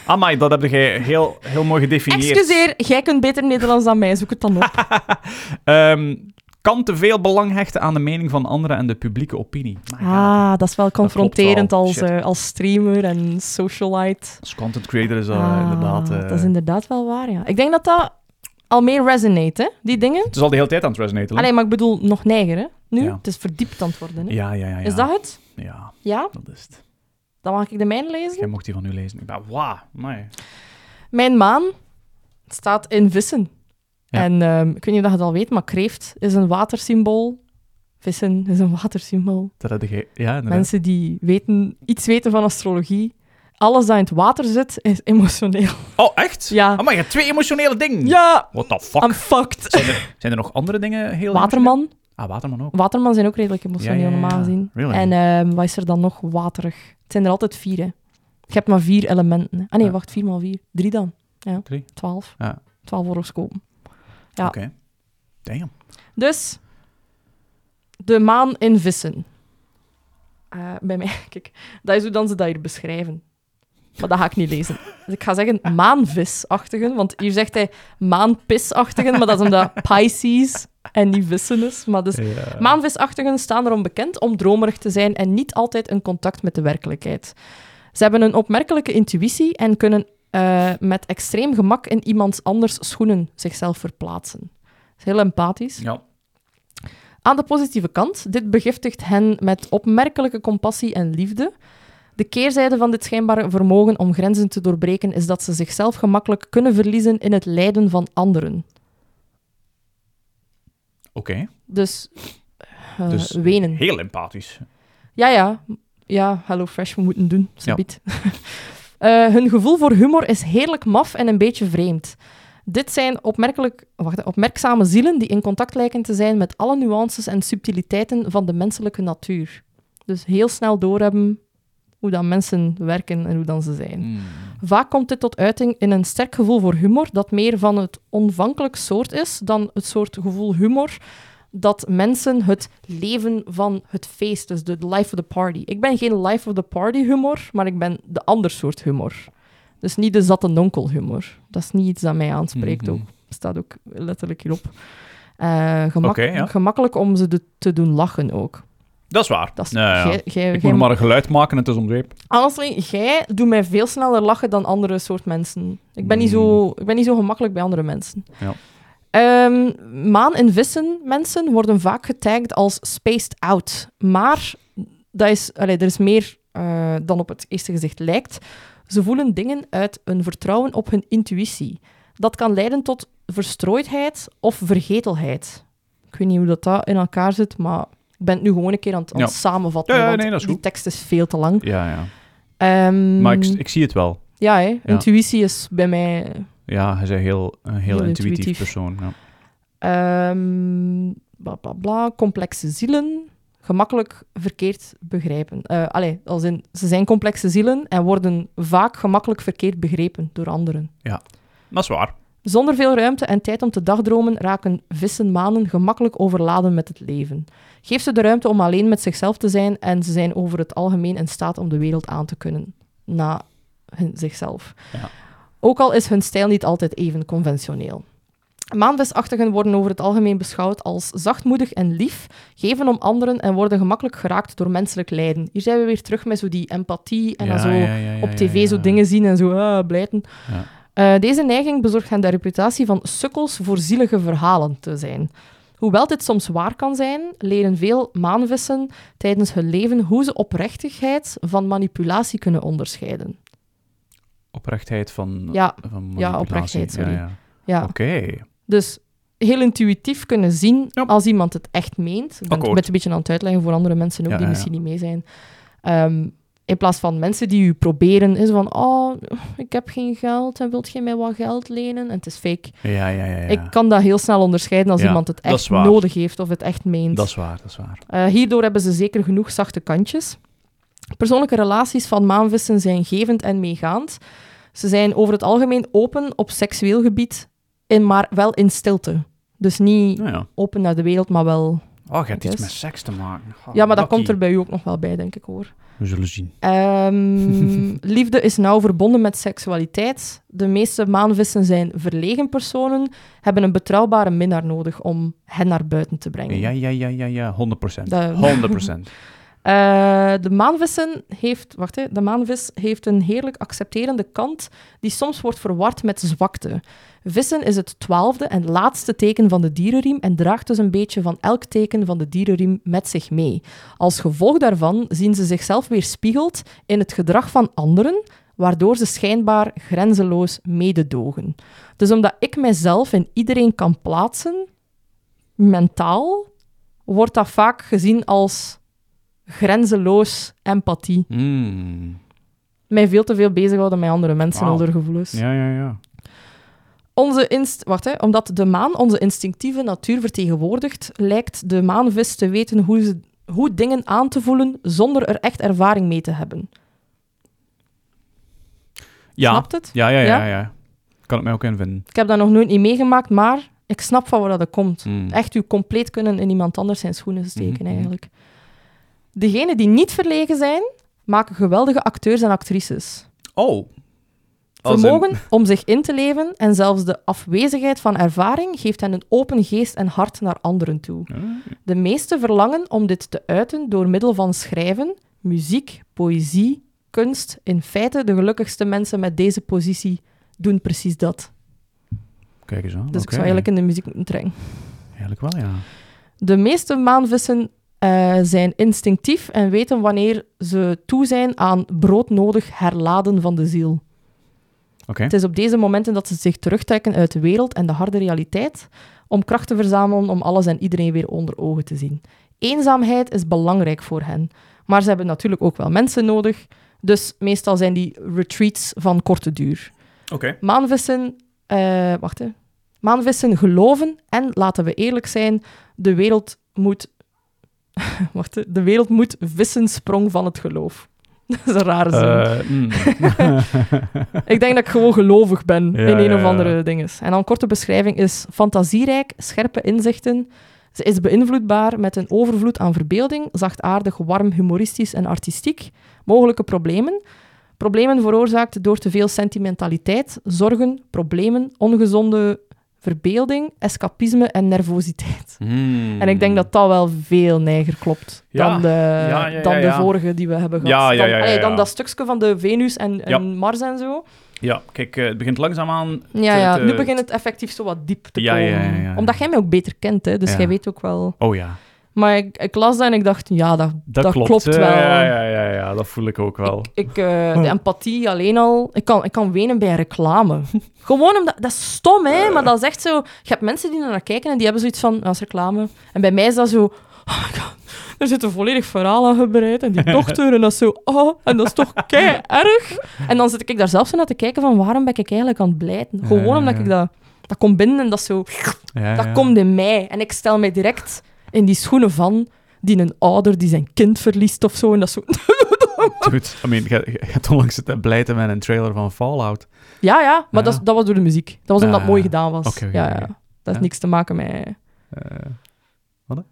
S1: Amai, dat heb jij heel, heel mooi gedefinieerd.
S2: Excuseer, jij kunt beter Nederlands dan mij. Zoek het dan op.
S1: Ehm, kan te veel belang hechten aan de mening van anderen en de publieke opinie. My god.
S2: Ah, dat is wel confronterend
S1: wel.
S2: als,
S1: Shit.
S2: eh, als streamer en socialite.
S1: Als content creator is dat eh,
S2: Ah,
S1: inderdaad... eh,
S2: Dat is inderdaad wel waar, ja. Ik denk dat dat al meer resonate, hè? Die dingen.
S1: Het is al de hele tijd aan het resonaten. hè?
S2: Alleen, maar ik bedoel, nog neiger, hè? Nu,
S1: Ja.
S2: het is verdiept aan het worden, hè?
S1: Ja, ja, ja, ja.
S2: Is dat het?
S1: Ja,
S2: Ja?
S1: dat is het.
S2: Dan mag ik de mijne lezen.
S1: Dus Jij mocht die van nu lezen. Ik ben, wauw, nee.
S2: Mijn maan staat in vissen.
S1: Ja.
S2: En ehm, ik weet niet of je het al weet, maar kreeft is een watersymbool. Vissen is een watersymbool.
S1: Dat had jij... Ja, inderdaad.
S2: Mensen die weten, iets weten van astrologie, alles dat in het water zit, is emotioneel.
S1: Oh, echt?
S2: Ja.
S1: maar je hebt twee emotionele dingen.
S2: Ja,
S1: What the fuck?
S2: I'm fucked.
S1: Zijn er, zijn er nog andere dingen heel...
S2: Waterman.
S1: Ah, Waterman ook.
S2: Waterman zijn ook redelijk emotioneel,
S1: Ja, ja, ja.
S2: normaal gezien.
S1: Really?
S2: En ehm, wat is er dan nog waterig? Het zijn er altijd vier, hè. Je hebt maar vier elementen. hè. Ah nee,
S1: Ja.
S2: wacht, vier maal vier. Drie dan. Ja,
S1: Drie.
S2: Twaalf.
S1: Ja.
S2: Twaalf horoscopen. Ja.
S1: Oké. Damn.
S2: Dus, de maan in vissen. Eh, bij mij, kijk, dat is hoe dan ze dat hier beschrijven. Maar dat ga ik niet lezen. Dus ik ga zeggen maanvisachtigen, want hier zegt hij maanpisachtigen, maar dat is omdat Pisces en niet vissen is. Maar dus
S1: Ja.
S2: Maanvisachtigen staan erom bekend om dromerig te zijn en niet altijd in contact met de werkelijkheid. Ze hebben een opmerkelijke intuïtie en kunnen eh, met extreem gemak in iemands anders schoenen zichzelf verplaatsen. Dat is heel empathisch.
S1: Ja.
S2: Aan de positieve kant, dit begiftigt hen met opmerkelijke compassie en liefde. De keerzijde van dit schijnbare vermogen om grenzen te doorbreken is dat ze zichzelf gemakkelijk kunnen verliezen in het lijden van anderen.
S1: Oké.
S2: Dus, eh,
S1: Dus-
S2: wenen.
S1: Heel empathisch.
S2: Ja, ja. Ja, Hello Fresh, we moeten doen. Ze
S1: Ja.
S2: biedt. Eh, hun gevoel voor humor is heerlijk maf en een beetje vreemd. Dit zijn opmerkelijk, wacht, opmerkzame zielen die in contact lijken te zijn met alle nuances en subtiliteiten van de menselijke natuur. Dus heel snel doorhebben hoe dan mensen werken en hoe dan ze zijn.
S1: Hmm.
S2: Vaak komt dit tot uiting in een sterk gevoel voor humor, dat meer van het onvankelijk soort is dan het soort gevoel humor dat mensen het leven van het feest, dus de life of the party. Ik ben geen life of the party humor, maar ik ben de ander soort humor. Dus niet de zatte nonkel humor. Dat is niet iets dat mij aanspreekt
S1: Mhm.
S2: ook. Staat ook letterlijk hierop. Eh, gemak-
S1: Oké, ja.
S2: Gemakkelijk om ze de- te doen lachen ook.
S1: Dat is waar.
S2: Dat is,
S1: Nou ja.
S2: gij- gij-
S1: Ik
S2: gij-
S1: moet nog maar een geluid maken en het is om zeep.
S2: Honestly, jij doet mij veel sneller lachen dan andere soort mensen. Ik ben, niet, zo, ik ben niet zo gemakkelijk bij andere mensen.
S1: Hmm. Ja.
S2: Ehm, maan- en vissen mensen worden vaak getagd als spaced out. Maar dat is, allee, er is meer eh, dan op het eerste gezicht lijkt. Ze voelen dingen uit een vertrouwen op hun intuïtie. Dat kan leiden tot verstrooidheid of vergetelheid. Ik weet niet hoe dat, dat in elkaar zit, maar ik ben het nu gewoon een keer aan het, aan het
S1: Ja.
S2: samenvatten.
S1: Ja, ja,
S2: want
S1: nee, dat is
S2: die
S1: goed.
S2: tekst is veel te lang.
S1: Ja, ja.
S2: Ehm,
S1: Maar ik, ik zie het wel.
S2: Ja, hè. intuïtie is bij mij...
S1: Ja, hij is een heel, een heel,
S2: Heel
S1: intuïtief,
S2: intuïtief.
S1: persoon. Ja.
S2: ehm, bla, bla, bla, complexe zielen, gemakkelijk verkeerd begrijpen. Eh allee, als in, ze zijn complexe zielen en worden vaak gemakkelijk verkeerd begrepen door anderen.
S1: Dat is waar.
S2: Zonder veel ruimte en tijd om te dagdromen raken vissen manen gemakkelijk overladen met het leven. Geef ze de ruimte om alleen met zichzelf te zijn en ze zijn over het algemeen in staat om de wereld aan te kunnen. Na hun zichzelf.
S1: Ja.
S2: Ook al is hun stijl niet altijd even conventioneel. Maanvisachtigen worden over het algemeen beschouwd als zachtmoedig en lief, geven om anderen en worden gemakkelijk geraakt door menselijk lijden. Hier zijn we weer terug met zo die empathie en
S1: Ja,
S2: dan zo
S1: ja, ja, ja,
S2: op
S1: ja,
S2: tv
S1: ja.
S2: zo dingen zien en zo ah, blijten.
S1: Ja.
S2: Eh, deze neiging bezorgt hen de reputatie van sukkels voor zielige verhalen te zijn. Hoewel dit soms waar kan zijn, leren veel maanvissen tijdens hun leven hoe ze oprechtigheid van manipulatie kunnen onderscheiden.
S1: Oprechtheid van,
S2: Ja,
S1: van manipulatie.
S2: oprechtheid, sorry.
S1: Ja, ja.
S2: ja.
S1: Oké.
S2: Dus heel intuïtief kunnen zien
S1: Ja.
S2: als iemand het echt meent. Ik ben het
S1: Akkoord.
S2: met een beetje aan het uitleggen voor andere mensen ook
S1: Ja,
S2: die
S1: ja,
S2: misschien niet mee zijn. Ehm, in plaats van mensen die u proberen, is van, oh, ik heb geen geld en wilt je mij wat geld lenen? En het is fake.
S1: Ja, ja, ja. ja.
S2: Ik kan dat heel snel onderscheiden als
S1: Ja,
S2: iemand het
S1: dat
S2: echt
S1: is waar.
S2: nodig heeft of het echt meent.
S1: Dat is waar, dat is waar.
S2: Eh, hierdoor hebben ze zeker genoeg zachte kantjes. Persoonlijke relaties van maanvissen zijn gevend en meegaand. Ze zijn over het algemeen open op seksueel gebied, in, maar wel in stilte. Dus niet
S1: Nou ja.
S2: open naar de wereld, maar wel...
S1: Oh, je hebt iets
S2: Yes.
S1: met seks te maken. Oh,
S2: Ja, maar dat
S1: bakkie.
S2: komt er bij u ook nog wel bij, denk ik hoor.
S1: We zullen zien.
S2: Ehm, liefde is nauw verbonden met seksualiteit. De meeste maanvissen zijn verlegen personen, hebben een betrouwbare minnaar nodig om hen naar buiten te brengen.
S1: Ja, ja, ja, ja, ja. 100%.
S2: Dat-
S1: 100%.
S2: Eh, de maanvissen heeft, wacht, hè, de maanvis heeft een heerlijk accepterende kant die soms wordt verward met zwakte. Vissen is het twaalfde en laatste teken van de dierenriem en draagt dus een beetje van elk teken van de dierenriem met zich mee. Als gevolg daarvan zien ze zichzelf weerspiegeld in het gedrag van anderen, waardoor ze schijnbaar grenzeloos mededogen. Dus omdat ik mijzelf in iedereen kan plaatsen, mentaal, wordt dat vaak gezien als grenzeloos empathie.
S1: Mm.
S2: Mij veel te veel bezighouden met andere mensen
S1: Wauw.
S2: en hun gevoelens.
S1: Ja, ja, ja.
S2: Onze inst Wacht, hè. Omdat de maan onze instinctieve natuur vertegenwoordigt, lijkt de maanvis te weten hoe, ze, hoe dingen aan te voelen zonder er echt ervaring mee te hebben.
S1: Ja,
S2: Snapt het?
S1: ja, ja, ja,
S2: Ja?
S1: ja. Kan ik mij ook invinden.
S2: Ik heb dat nog nooit niet meegemaakt, maar ik snap van waar dat het komt.
S1: Mm.
S2: Echt u compleet kunnen in iemand anders zijn schoenen steken,
S1: Mhm, mhm.
S2: eigenlijk. Degenen die niet verlegen zijn, maken geweldige acteurs en actrices.
S1: Oh. Als in-
S2: Vermogen om zich in te leven en zelfs de afwezigheid van ervaring geeft hen een open geest en hart naar anderen toe.
S1: Eh,
S2: De meesten verlangen om dit te uiten door middel van schrijven, muziek, poëzie, kunst. In feite, de gelukkigste mensen met deze positie doen precies dat.
S1: Kijk eens aan.
S2: Dus ik
S1: Oké.
S2: zou eigenlijk in de muziek moeten trekken.
S1: Eigenlijk wel, ja.
S2: De meeste maanvissen eh, zijn instinctief en weten wanneer ze toe zijn aan broodnodig herladen van de ziel.
S1: Oké.
S2: Het is op deze momenten dat ze zich terugtrekken uit de wereld en de harde realiteit om kracht te verzamelen om alles en iedereen weer onder ogen te zien. Eenzaamheid is belangrijk voor hen, maar ze hebben natuurlijk ook wel mensen nodig, dus meestal zijn die retreats van korte duur.
S1: Oké.
S2: Maanvissen, eh, wacht hè. Maanvissen geloven en laten we eerlijk zijn, de wereld moet, wacht hè, de wereld moet vissen sprong van het geloof. Dat is een rare zin.
S1: Eh, mm.
S2: Ik denk dat ik gewoon gelovig ben
S1: Ja,
S2: in een
S1: ja,
S2: of
S1: ja.
S2: andere dinges. En dan korte beschrijving is fantasierijk, scherpe inzichten. Ze is beïnvloedbaar met een overvloed aan verbeelding, zachtaardig, warm, humoristisch en artistiek. Mogelijke problemen. Problemen veroorzaakt door te veel sentimentaliteit, zorgen, problemen, ongezonde verbeelding, escapisme en nervositeit.
S1: Mm.
S2: En ik denk dat dat wel veel neiger klopt
S1: Ja.
S2: dan, de,
S1: ja, ja,
S2: dan de
S1: ja.
S2: vorige die we hebben gehad.
S1: Ja, ja,
S2: Dan-
S1: ja, ja,
S2: allee, dan
S1: ja.
S2: dat stukje van de Venus en, en
S1: Ja.
S2: Mars en zo.
S1: Ja, kijk, eh, het begint langzaamaan...
S2: Ja,
S1: te-
S2: ja.
S1: te-
S2: nu begint het effectief zo wat diep te
S1: Ja,
S2: komen.
S1: ja, ja, ja.
S2: Omdat jij mij ook beter kent, hè, dus
S1: Ja.
S2: jij weet ook wel.
S1: Oh ja,
S2: Maar ik, ik las dat en ik dacht, ja, dat,
S1: dat, klopt. Eh,
S2: wel.
S1: Ja, ja, ja, ja, dat voel ik ook wel.
S2: Ik, ik, eh, de empathie alleen al. Ik kan, ik kan wenen bij reclame. Gewoon omdat... Dat is stom, hè? Maar dat is echt zo... Je hebt mensen die er naar kijken en die hebben zoiets van... Dat is reclame. En bij mij is dat zo... Oh my god, er zit een volledig verhaal aan gebreid. En die dochter, en dat is zo... Oh, en dat is toch kei-erg. En dan zit ik daar zelf zo naar te kijken van... Waarom ben ik eigenlijk aan het blijten?
S1: Ja, ja,
S2: Gewoon omdat
S1: ja.
S2: ik dat... Dat komt binnen en dat is zo...
S1: Ja,
S2: Dat
S1: ja.
S2: komt in mij. En ik stel mij direct in die schoenen van die een ouder die zijn kind verliest of zo. En dat is zo...
S1: Goed, I mean, je je- je hebt onlangs het eh, blijten met een trailer van Fallout.
S2: Ja, ja. Maar
S1: Ja.
S2: Dat, is- dat was door de muziek. Dat was omdat
S1: Ah,
S2: het mooi gedaan was.
S1: oké, oké,
S2: ja, ja.
S1: oké.
S2: Dat heeft
S1: Ja.
S2: niks te maken met...
S1: Eh,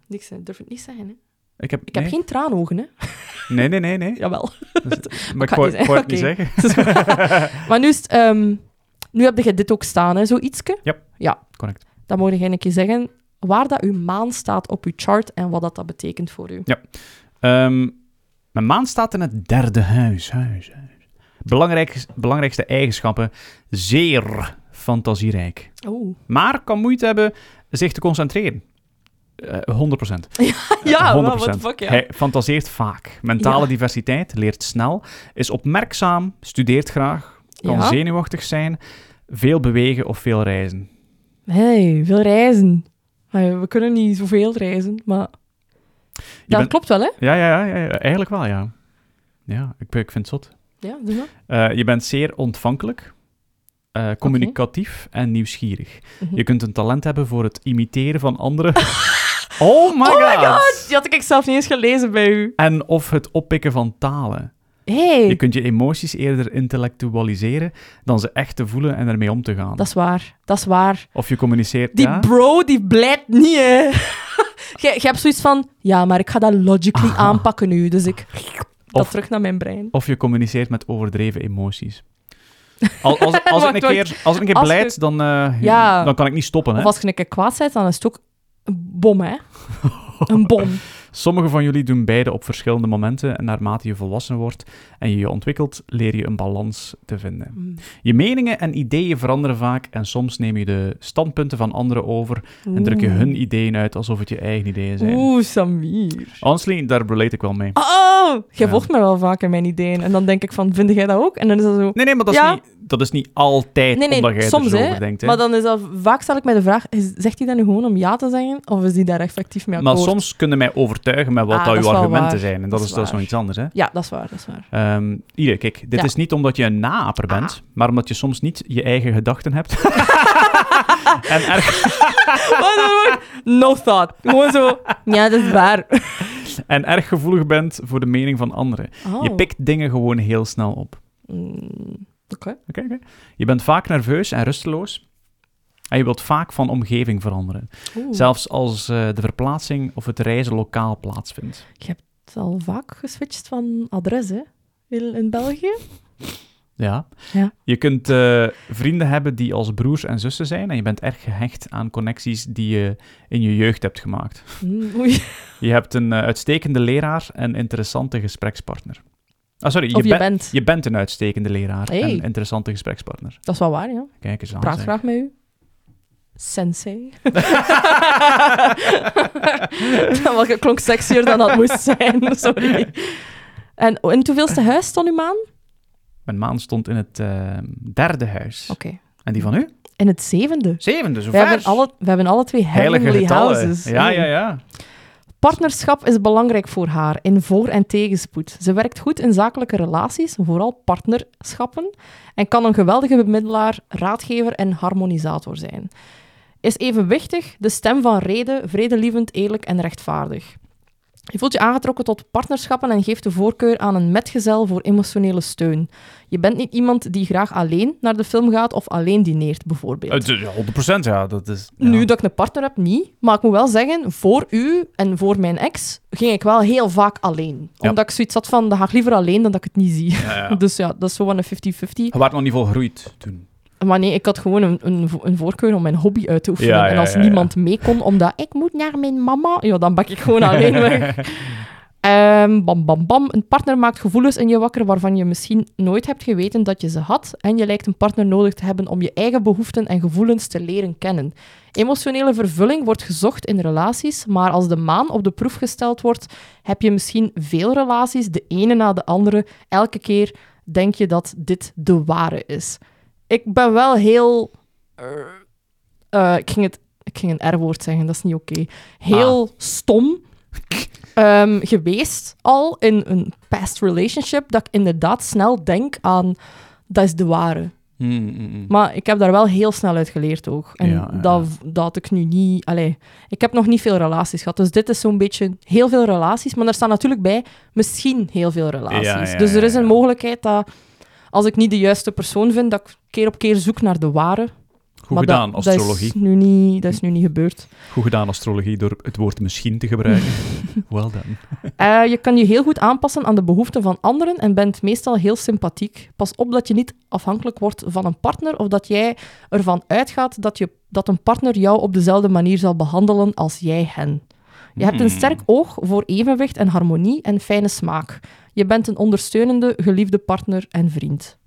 S2: Niks, hè. durf het niet zeggen, hè.
S1: ik heb,
S2: Ik heb
S1: nee.
S2: geen traanogen, hè.
S1: Nee, nee, nee, nee.
S2: Jawel.
S1: Maar ik
S2: ga
S1: wou
S2: het
S1: ik
S2: niet
S1: wou het niet
S2: zeggen.
S1: zeggen.
S2: Het is goed. maar nu is het, ehm, Nu heb je dit ook staan, hè. Zo ietske.
S1: Ja.
S2: Ja.
S1: Correct.
S2: Dan moet je een keer zeggen waar dat uw maan staat op uw chart en wat dat, dat betekent voor u.
S1: Ehm, mijn maan staat in het derde huis. huis, huis. Belangrijk, belangrijkste eigenschappen. Zeer fantasierijk.
S2: Oh.
S1: Maar kan moeite hebben zich te concentreren. Eh, 100%. 100%.
S2: Ja, wat what the fuck, ja.
S1: Hij fantaseert vaak. Mentale
S2: Ja.
S1: diversiteit, leert snel, is opmerkzaam, studeert graag, kan
S2: Ja.
S1: zenuwachtig zijn, veel bewegen of veel reizen.
S2: Hey, veel reizen. Hey, We kunnen niet zoveel reizen, maar...
S1: Je
S2: Ja, dat
S1: bent-
S2: klopt wel, hè?
S1: ja, ja, ja, ja, eigenlijk wel, ja. Ja, ik, ik vind het zot.
S2: Ja, doe maar.
S1: Eh, je bent zeer ontvankelijk, eh, communicatief en nieuwsgierig.
S2: Mhm.
S1: Je kunt een talent hebben voor het imiteren van anderen. oh my god!
S2: Die had ik zelf niet eens gelezen bij u.
S1: En of het oppikken van talen.
S2: hey,
S1: Je kunt je emoties eerder intellectualiseren dan ze echt te voelen en ermee om te gaan.
S2: dat is waar. Dat is waar.
S1: Of je communiceert...
S2: Die
S1: ja?
S2: bro, die blijft niet, hè. Je hebt zoiets van, ja, maar ik ga dat logically
S1: Ah.
S2: aanpakken nu. Dus ik... Dat
S1: Of-
S2: terug naar mijn brein.
S1: Of je communiceert met overdreven emoties. Al- Als, als, ik,
S2: Wacht,
S1: een
S2: wacht.
S1: keer, als ik een keer
S2: Als
S1: blijd,
S2: je-
S1: dan, eh,
S2: Ja.
S1: dan kan ik niet stoppen. Hè?
S2: Of als je een keer kwaad bent, dan is het ook een bom, hè. Een bom.
S1: Sommigen van jullie doen beide op verschillende momenten. En naarmate je volwassen wordt en je je ontwikkelt, leer je een balans te vinden. Je meningen en ideeën veranderen vaak. En soms neem je de standpunten van anderen over. En druk je
S2: Oeh.
S1: hun ideeën uit alsof het je eigen ideeën zijn.
S2: Oeh, Samir.
S1: Honestly, daar relate ik wel mee.
S2: Oh, jij
S1: Ja.
S2: volgt me wel vaak in mijn ideeën. En dan denk ik van, vind jij dat ook? En dan is dat zo...
S1: Nee, nee, maar dat is,
S2: Ja.
S1: niet, dat is niet altijd
S2: Nee, nee,
S1: omdat jij
S2: soms,
S1: er zo
S2: hè.
S1: over denkt. Hè?
S2: Maar dan is dat... Vaak stel ik mij de vraag, is- zegt hij dat nu gewoon om ja te zeggen? Of is die daar effectief mee
S1: Maar
S2: akkoord?
S1: soms kunnen mij overtuigen met wat
S2: Ah,
S1: dat
S2: dat
S1: uw
S2: is wel
S1: argumenten
S2: waar.
S1: zijn. En dat,
S2: Dat
S1: is,
S2: is
S1: dat is nog
S2: waar.
S1: iets anders, hè?
S2: Ja, dat is waar, dat is waar.
S1: Ehm, hier, kijk, dit
S2: Ja. Ah.
S1: is niet omdat je een naaper bent, maar omdat je soms niet je eigen gedachten hebt. Ah. en erg,
S2: Wat dan ook? No thought. Gewoon zo, ja, dat is waar.
S1: en erg gevoelig bent voor de mening van anderen. Je pikt dingen gewoon heel snel op.
S2: Oh. Mm, Oké.
S1: Oké, oké. Je bent vaak nerveus en rusteloos. En je wilt vaak van omgeving veranderen.
S2: Oeh.
S1: Zelfs als eh, de verplaatsing of het reizen lokaal plaatsvindt.
S2: Het is al vaak geswitcht van adres, hè? In, in België.
S1: Ja.
S2: Ja.
S1: Je kunt eh, vrienden hebben die als broers en zussen zijn. En je bent erg gehecht aan connecties die je in je jeugd hebt gemaakt.
S2: Mm, oei.
S1: Je hebt een eh, uitstekende leraar en interessante gesprekspartner. Ah, sorry. Je,
S2: Of je
S1: ben-
S2: bent.
S1: je bent een uitstekende leraar
S2: Hey.
S1: en interessante gesprekspartner.
S2: Dat is wel waar, ja.
S1: Kijk eens aan.
S2: Praat
S1: zeg.
S2: graag met u. Sensei. dat was- klonk sexier dan dat moest zijn, sorry. En in het hoeveelste huis stond uw maan? Oké.
S1: Mijn maan stond in het eh, derde huis. En die van u?
S2: In het zevende.
S1: Zevende, zo
S2: Oh. We
S1: ver.
S2: hebben, alle, we hebben alle twee heavenly
S1: Heilige getallen.
S2: houses.
S1: Ja, ja, ja.
S2: Partnerschap is belangrijk voor haar in voor- en tegenspoed. Ze werkt goed in zakelijke relaties, vooral partnerschappen, en kan een geweldige bemiddelaar, raadgever en harmonisator zijn. Is evenwichtig, de stem van rede, vredelievend, eerlijk en rechtvaardig. Je voelt je aangetrokken tot partnerschappen en geeft de voorkeur aan een metgezel voor emotionele steun. Je bent niet iemand die graag alleen naar de film gaat of alleen dineert, bijvoorbeeld.
S1: Het is 100% ja, dat is... ja.
S2: Nu dat ik een partner heb, niet. Maar ik moet wel zeggen, voor u en voor mijn ex ging ik wel heel vaak alleen.
S1: Ja.
S2: Omdat ik zoiets had van, dan ga ik liever alleen dan dat ik het niet zie.
S1: Ja, ja.
S2: Dus ja, dat is zo van een 50-50.
S1: Je werd nog niet volgroeid toen.
S2: Maar nee, ik had gewoon een, een, vo- een voorkeur om mijn hobby uit te oefenen.
S1: Ja, ja,
S2: en als
S1: ja, ja.
S2: niemand mee kon, omdat ik moet naar mijn mama, ja, dan bak ik gewoon alleen weg. Ehm, bam, bam, bam. Een partner maakt gevoelens in je wakker waarvan je misschien nooit hebt geweten dat je ze had. En je lijkt een partner nodig te hebben om je eigen behoeften en gevoelens te leren kennen. Emotionele vervulling wordt gezocht in relaties, maar als de maan op de proef gesteld wordt, heb je misschien veel relaties, de ene na de andere. Elke keer denk je dat dit de ware is. Ik ben wel heel. eh, ik, ging het, ik ging een R-woord zeggen, dat is niet oké. Heel stom ehm, geweest al in een past relationship, dat ik inderdaad snel denk aan dat is de ware.
S1: Mm, mm, mm.
S2: Maar ik heb daar wel heel snel uit geleerd ook. En
S1: Ja, ja,
S2: Dat, dat had ik nu niet... Allee, ik heb nog niet veel relaties gehad. Dus dit is zo'n beetje heel veel relaties. Maar er staan natuurlijk bij misschien heel veel relaties.
S1: Ja, ja,
S2: dus er is
S1: ja,
S2: een
S1: ja.
S2: mogelijkheid dat als ik niet de juiste persoon vind, dat ik keer op keer zoek naar de ware.
S1: Goed
S2: Maar dat-
S1: gedaan, astrologie.
S2: Dat is, nu niet, dat is nu niet gebeurd.
S1: Goed gedaan, astrologie, door het woord misschien te gebruiken. well done.
S2: Eh, je kan je heel goed aanpassen aan de behoeften van anderen en bent meestal heel sympathiek. Pas op dat je niet afhankelijk wordt van een partner of dat jij ervan uitgaat dat, je, dat een partner jou op dezelfde manier zal behandelen als jij hen. Je hebt een
S1: Hmm.
S2: sterk oog voor evenwicht en harmonie en fijne smaak. Je bent een ondersteunende, geliefde partner en vriend.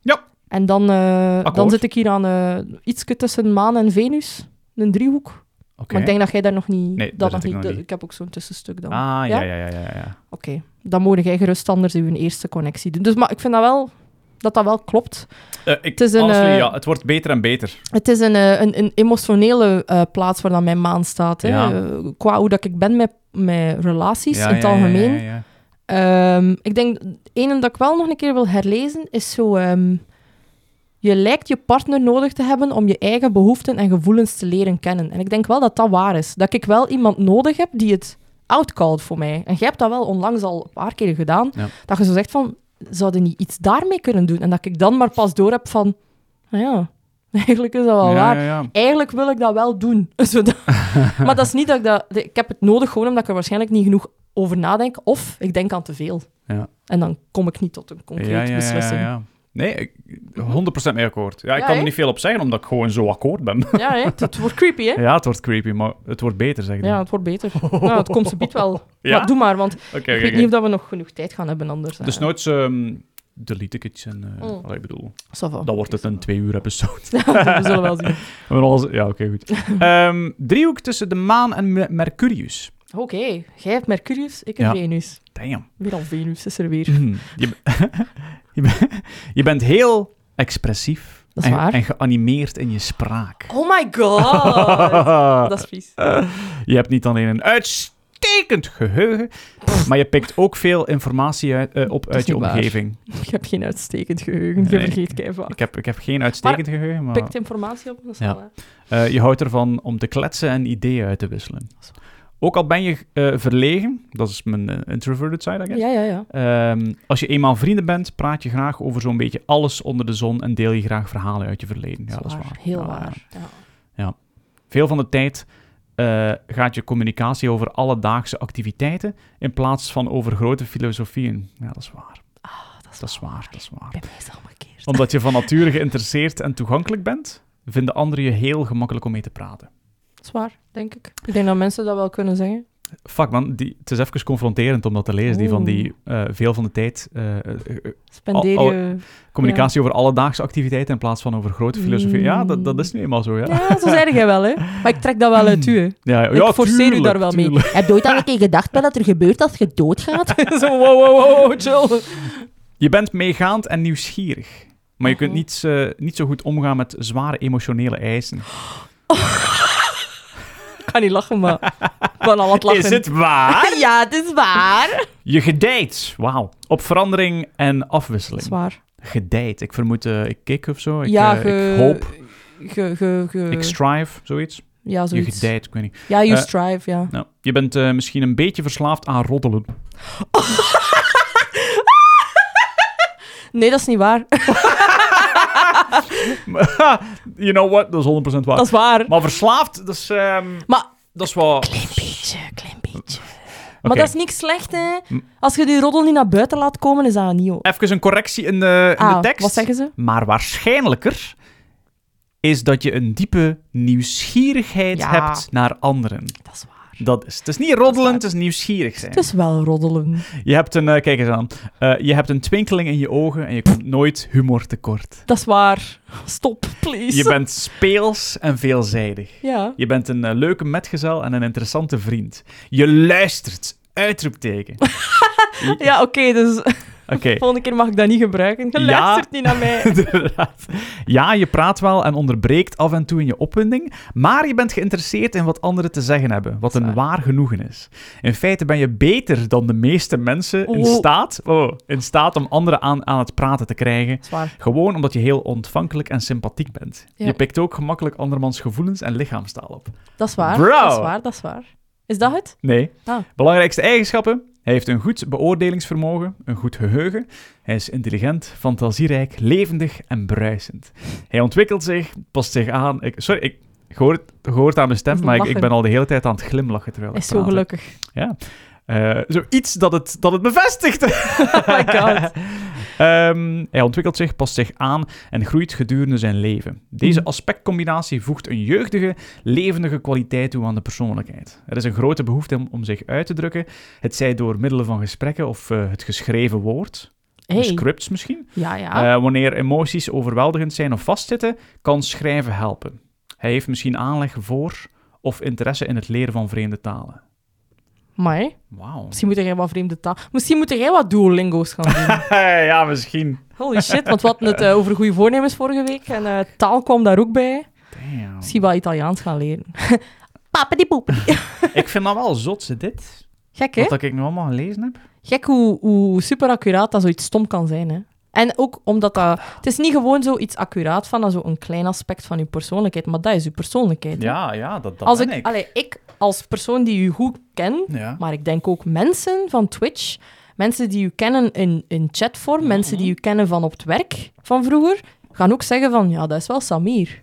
S1: Ja.
S2: En dan, eh, dan
S1: Akkoord.
S2: zit ik hier aan eh iets tussen Maan en Venus, een driehoek.
S1: Oké.
S2: Maar ik denk dat jij daar nog niet...
S1: Nee,
S2: dat
S1: daar
S2: nog
S1: zit ik
S2: niet
S1: nog
S2: dat-
S1: niet.
S2: ik heb ook zo'n tussenstuk dan.
S1: Ah, ja,
S2: Ja?
S1: ja, ja, ja. ja.
S2: Oké, dan mogen jij gerust anders uw eerste connectie doen. Dus, maar ik vind dat wel, dat dat wel klopt.
S1: Eh, ik,
S2: Het is een,
S1: honestly,
S2: eh,
S1: ja, het wordt beter en beter.
S2: Het is een, eh, een, een emotionele eh, plaats waar dan mijn maan staat. Hè?
S1: Ja.
S2: Eh, qua hoe dat ik ben met, met relaties
S1: Ja,
S2: in het
S1: ja, ja,
S2: algemeen.
S1: Ja, ja,
S2: Ehm, ik denk, ene dat ik wel nog een keer wil herlezen, is zo... ehm, je lijkt je partner nodig te hebben om je eigen behoeften en gevoelens te leren kennen. En ik denk wel dat dat waar is. Dat ik wel iemand nodig heb die het outcalled voor mij. En jij hebt dat wel onlangs al een paar keer gedaan.
S1: Ja.
S2: Dat je zo zegt van, zouden niet iets daarmee kunnen doen? En dat ik dan maar pas door heb van, "Ah ja, eigenlijk is dat wel waar.
S1: Ja, ja, ja.
S2: Eigenlijk wil ik dat wel doen. Zodat- maar dat is niet dat ik dat... Ik heb het nodig gewoon omdat ik er waarschijnlijk niet genoeg over nadenk. Of ik denk aan te veel.
S1: Ja.
S2: En dan kom ik niet tot een concrete
S1: Ja, ja, ja,
S2: beslissing.
S1: ja. Nee, ik- 100% mee akkoord. Ja, ik
S2: Ja,
S1: kan
S2: hè?
S1: er niet veel op zeggen, omdat ik gewoon zo akkoord ben.
S2: Ja, hè? Het, het wordt creepy, hè?
S1: Ja, het wordt creepy, maar het wordt beter, zeg ik.
S2: Ja, het wordt beter. Nou, het komt subiet wel.
S1: Ja?
S2: Maar doe maar, want
S1: Oké,
S2: ik
S1: oké,
S2: weet
S1: oké.
S2: niet of dat we nog genoeg tijd gaan hebben anders. eh. hè.
S1: Dus nooit ehm delete ik iets en... eh,
S2: Mm. Oh,
S1: allee, ik bedoel,
S2: Ça va.
S1: dan wordt het een twee uur episode.
S2: we zullen wel zien.
S1: We hebben alles- Ja, oké, goed. Ehm, driehoek tussen de maan en Me- Mercurius.
S2: Oké, jij hebt Mercurius, ik heb
S1: Ja.
S2: Venus.
S1: Damn.
S2: Weer al Venus is er weer.
S1: Mhm. Je, be- je, be- je bent heel expressief.
S2: Dat is
S1: en,
S2: waar.
S1: En geanimeerd in je spraak.
S2: Oh my god! Oh, dat is vies.
S1: Je hebt niet alleen een uitstekend geheugen, maar je pikt ook veel informatie uit- eh, op
S2: is
S1: uit je
S2: niet waar.
S1: omgeving.
S2: Ik heb geen uitstekend geheugen, je
S1: Nee.
S2: vergeet keihard.
S1: Ik heb, ik heb geen uitstekend geheugen, maar
S2: Pikt informatie op, dat is
S1: Ah. Ja.
S2: wel waar.
S1: eh, je houdt ervan om te kletsen en ideeën uit te wisselen. Ook al ben je eh, verlegen, dat is mijn eh, introverted side, I guess.
S2: Ja, ja, ja.
S1: Ehm, als je eenmaal vrienden bent, praat je graag over zo'n beetje alles onder de zon en deel je graag verhalen uit je verleden. Ja, dat is waar.
S2: Heel
S1: Ja, ja.
S2: waar. Ja.
S1: Veel van de tijd eh, gaat je communicatie over alledaagse activiteiten in plaats van over grote filosofieën. Ja, dat is waar.
S2: Ah, dat is,
S1: Dat is waar, dat is waar.
S2: Bij mij is het omgekeerd.
S1: Omdat je van nature geïnteresseerd en toegankelijk bent, vinden anderen je heel gemakkelijk om mee te praten.
S2: Dat is waar, denk ik. Ik denk dat mensen dat wel kunnen zeggen.
S1: Fuck man, die, het is even confronterend om dat te lezen, die van die eh, veel van de tijd eh, eh, eh,
S2: Spendeer
S1: Oh, oh,
S2: je...
S1: communicatie over alledaagse activiteiten in plaats van over grote filosofieën. Ja, dat, dat is nu eenmaal zo, ja.
S2: Ja, zo zeg jij wel, hè. Maar ik trek dat wel uit u, hè.
S1: Ja, ja,
S2: ik forceer u daar wel mee. Heb je ooit al een keer gedacht bij dat er gebeurt als je doodgaat? Zo, wow, wow, wow, chill.
S1: Je bent meegaand en nieuwsgierig. Maar je kunt
S2: Mhm.
S1: niet, eh, niet zo goed omgaan met zware emotionele eisen.
S2: Ik ga niet lachen, maar ik ben al wat lachen.
S1: Is het waar?
S2: Ja, het is waar.
S1: Je gedijt. Wauw. Op verandering en
S2: Dat is
S1: afwisseling.
S2: waar.
S1: Gedijt. Ik vermoed, eh, ik kik of zo. Ik,
S2: ja,
S1: eh,
S2: ge-
S1: ik hoop.
S2: Ge, ge, ge-
S1: Ik strive, zoiets.
S2: ja,
S1: Je
S2: zoiets.
S1: gedijt, ik weet niet.
S2: Ja, you
S1: Eh,
S2: strive, ja.
S1: Nou, je bent eh, misschien een beetje verslaafd aan roddelen.
S2: Nee, dat is niet waar.
S1: Ah. you know what? Dat is 100% waar.
S2: Dat is waar.
S1: Maar verslaafd, dat is, ehm,
S2: Maar
S1: dat is wel...
S2: klein beetje, klein beetje.
S1: Oké.
S2: Maar dat is niks slecht, hè.
S1: Hm.
S2: Als je die roddel niet naar buiten laat komen, is dat niet... o-
S1: Even een correctie in Eh, de, in
S2: Ah,
S1: de tekst.
S2: wat zeggen ze?
S1: Maar waarschijnlijker is dat je een diepe nieuwsgierigheid
S2: Ja.
S1: hebt naar anderen.
S2: Dat is waar.
S1: Dat is. Het is niet roddelen,
S2: waar.
S1: het is nieuwsgierig zijn.
S2: Het is wel roddelen.
S1: Je hebt een, eh, kijk eens aan, Eh, je hebt een twinkeling in je ogen en je komt nooit humor tekort.
S2: Dat is waar. Stop, please.
S1: Je bent speels en veelzijdig.
S2: Ja.
S1: Je bent een eh, leuke metgezel en een interessante vriend. Je luistert. Uitroepteken.
S2: Ja, oké, dus
S1: Oké.
S2: volgende keer mag ik dat niet gebruiken. Je
S1: Ja.
S2: luistert niet naar mij.
S1: Inderdaad. Ja, je praat wel en onderbreekt af en toe in je opwinding, maar je bent geïnteresseerd in wat anderen te zeggen hebben, wat een
S2: Zwaar.
S1: waar genoegen is. In feite ben je beter dan de meeste mensen in,
S2: Oh.
S1: staat, oh, in staat om anderen aan, aan het praten te krijgen,
S2: Dat is waar.
S1: gewoon omdat je heel ontvankelijk en sympathiek bent.
S2: Ja.
S1: Je pikt ook gemakkelijk andermans gevoelens en lichaamstaal op.
S2: Dat is waar.
S1: Bro.
S2: Dat is waar, dat is waar. Is dat het?
S1: Nee.
S2: Ah.
S1: Belangrijkste eigenschappen? Hij heeft een goed beoordelingsvermogen, een goed geheugen. Hij is intelligent, fantasierijk, levendig en bruisend. Hij ontwikkelt zich, past zich aan. Ik, sorry, ik je hoort, je hoort aan mijn stem, maar ik, ik ben al de hele tijd aan het glimlachen terwijl ik
S2: Is zo
S1: praat, hè.
S2: gelukkig.
S1: Eh, zoiets dat het, dat het bevestigt.
S2: Oh my god.
S1: Ehm, hij ontwikkelt zich, past zich aan en groeit gedurende zijn leven. Deze
S2: Mhm.
S1: aspectcombinatie voegt een jeugdige, levendige kwaliteit toe aan de persoonlijkheid. Er is een grote behoefte om, om zich uit te drukken, het zij door middelen van gesprekken of eh, het geschreven woord, de
S2: Hey. Ah.
S1: scripts misschien.
S2: Ja, ja.
S1: Eh, wanneer emoties overweldigend zijn of vastzitten, kan schrijven helpen. Hij heeft misschien aanleg voor of interesse in het leren van vreemde talen.
S2: maar hè,
S1: Wauw.
S2: misschien moet jij wat vreemde taal... Misschien moet jij wat Duolingo's gaan doen.
S1: ja, misschien.
S2: Holy shit, want we hadden het eh, over goede voornemens vorige week. En eh, taal kwam daar ook bij.
S1: Damn.
S2: Misschien wel Italiaans gaan leren. Papa die poep.
S1: Ik vind dat wel zot, ze, dit.
S2: Gek, hè?
S1: Wat dat ik nog allemaal gelezen heb.
S2: Gek hoe, hoe super accuraat dat zoiets stom kan zijn, hè? En ook omdat dat...
S1: Ah.
S2: Het is niet gewoon zoiets accuraat van dat zo'n klein aspect van je persoonlijkheid, maar dat is je persoonlijkheid. hè.
S1: Ja, ja, dat, dat
S2: als
S1: ben
S2: ik,
S1: ik.
S2: Allee, ik als persoon die u goed ken,
S1: Ja.
S2: maar ik denk ook mensen van Twitch Mensen die u kennen in, in chatvorm, mensen
S1: Mhm.
S2: die u kennen van op het werk van vroeger, gaan ook zeggen van, ja, dat is wel Samir.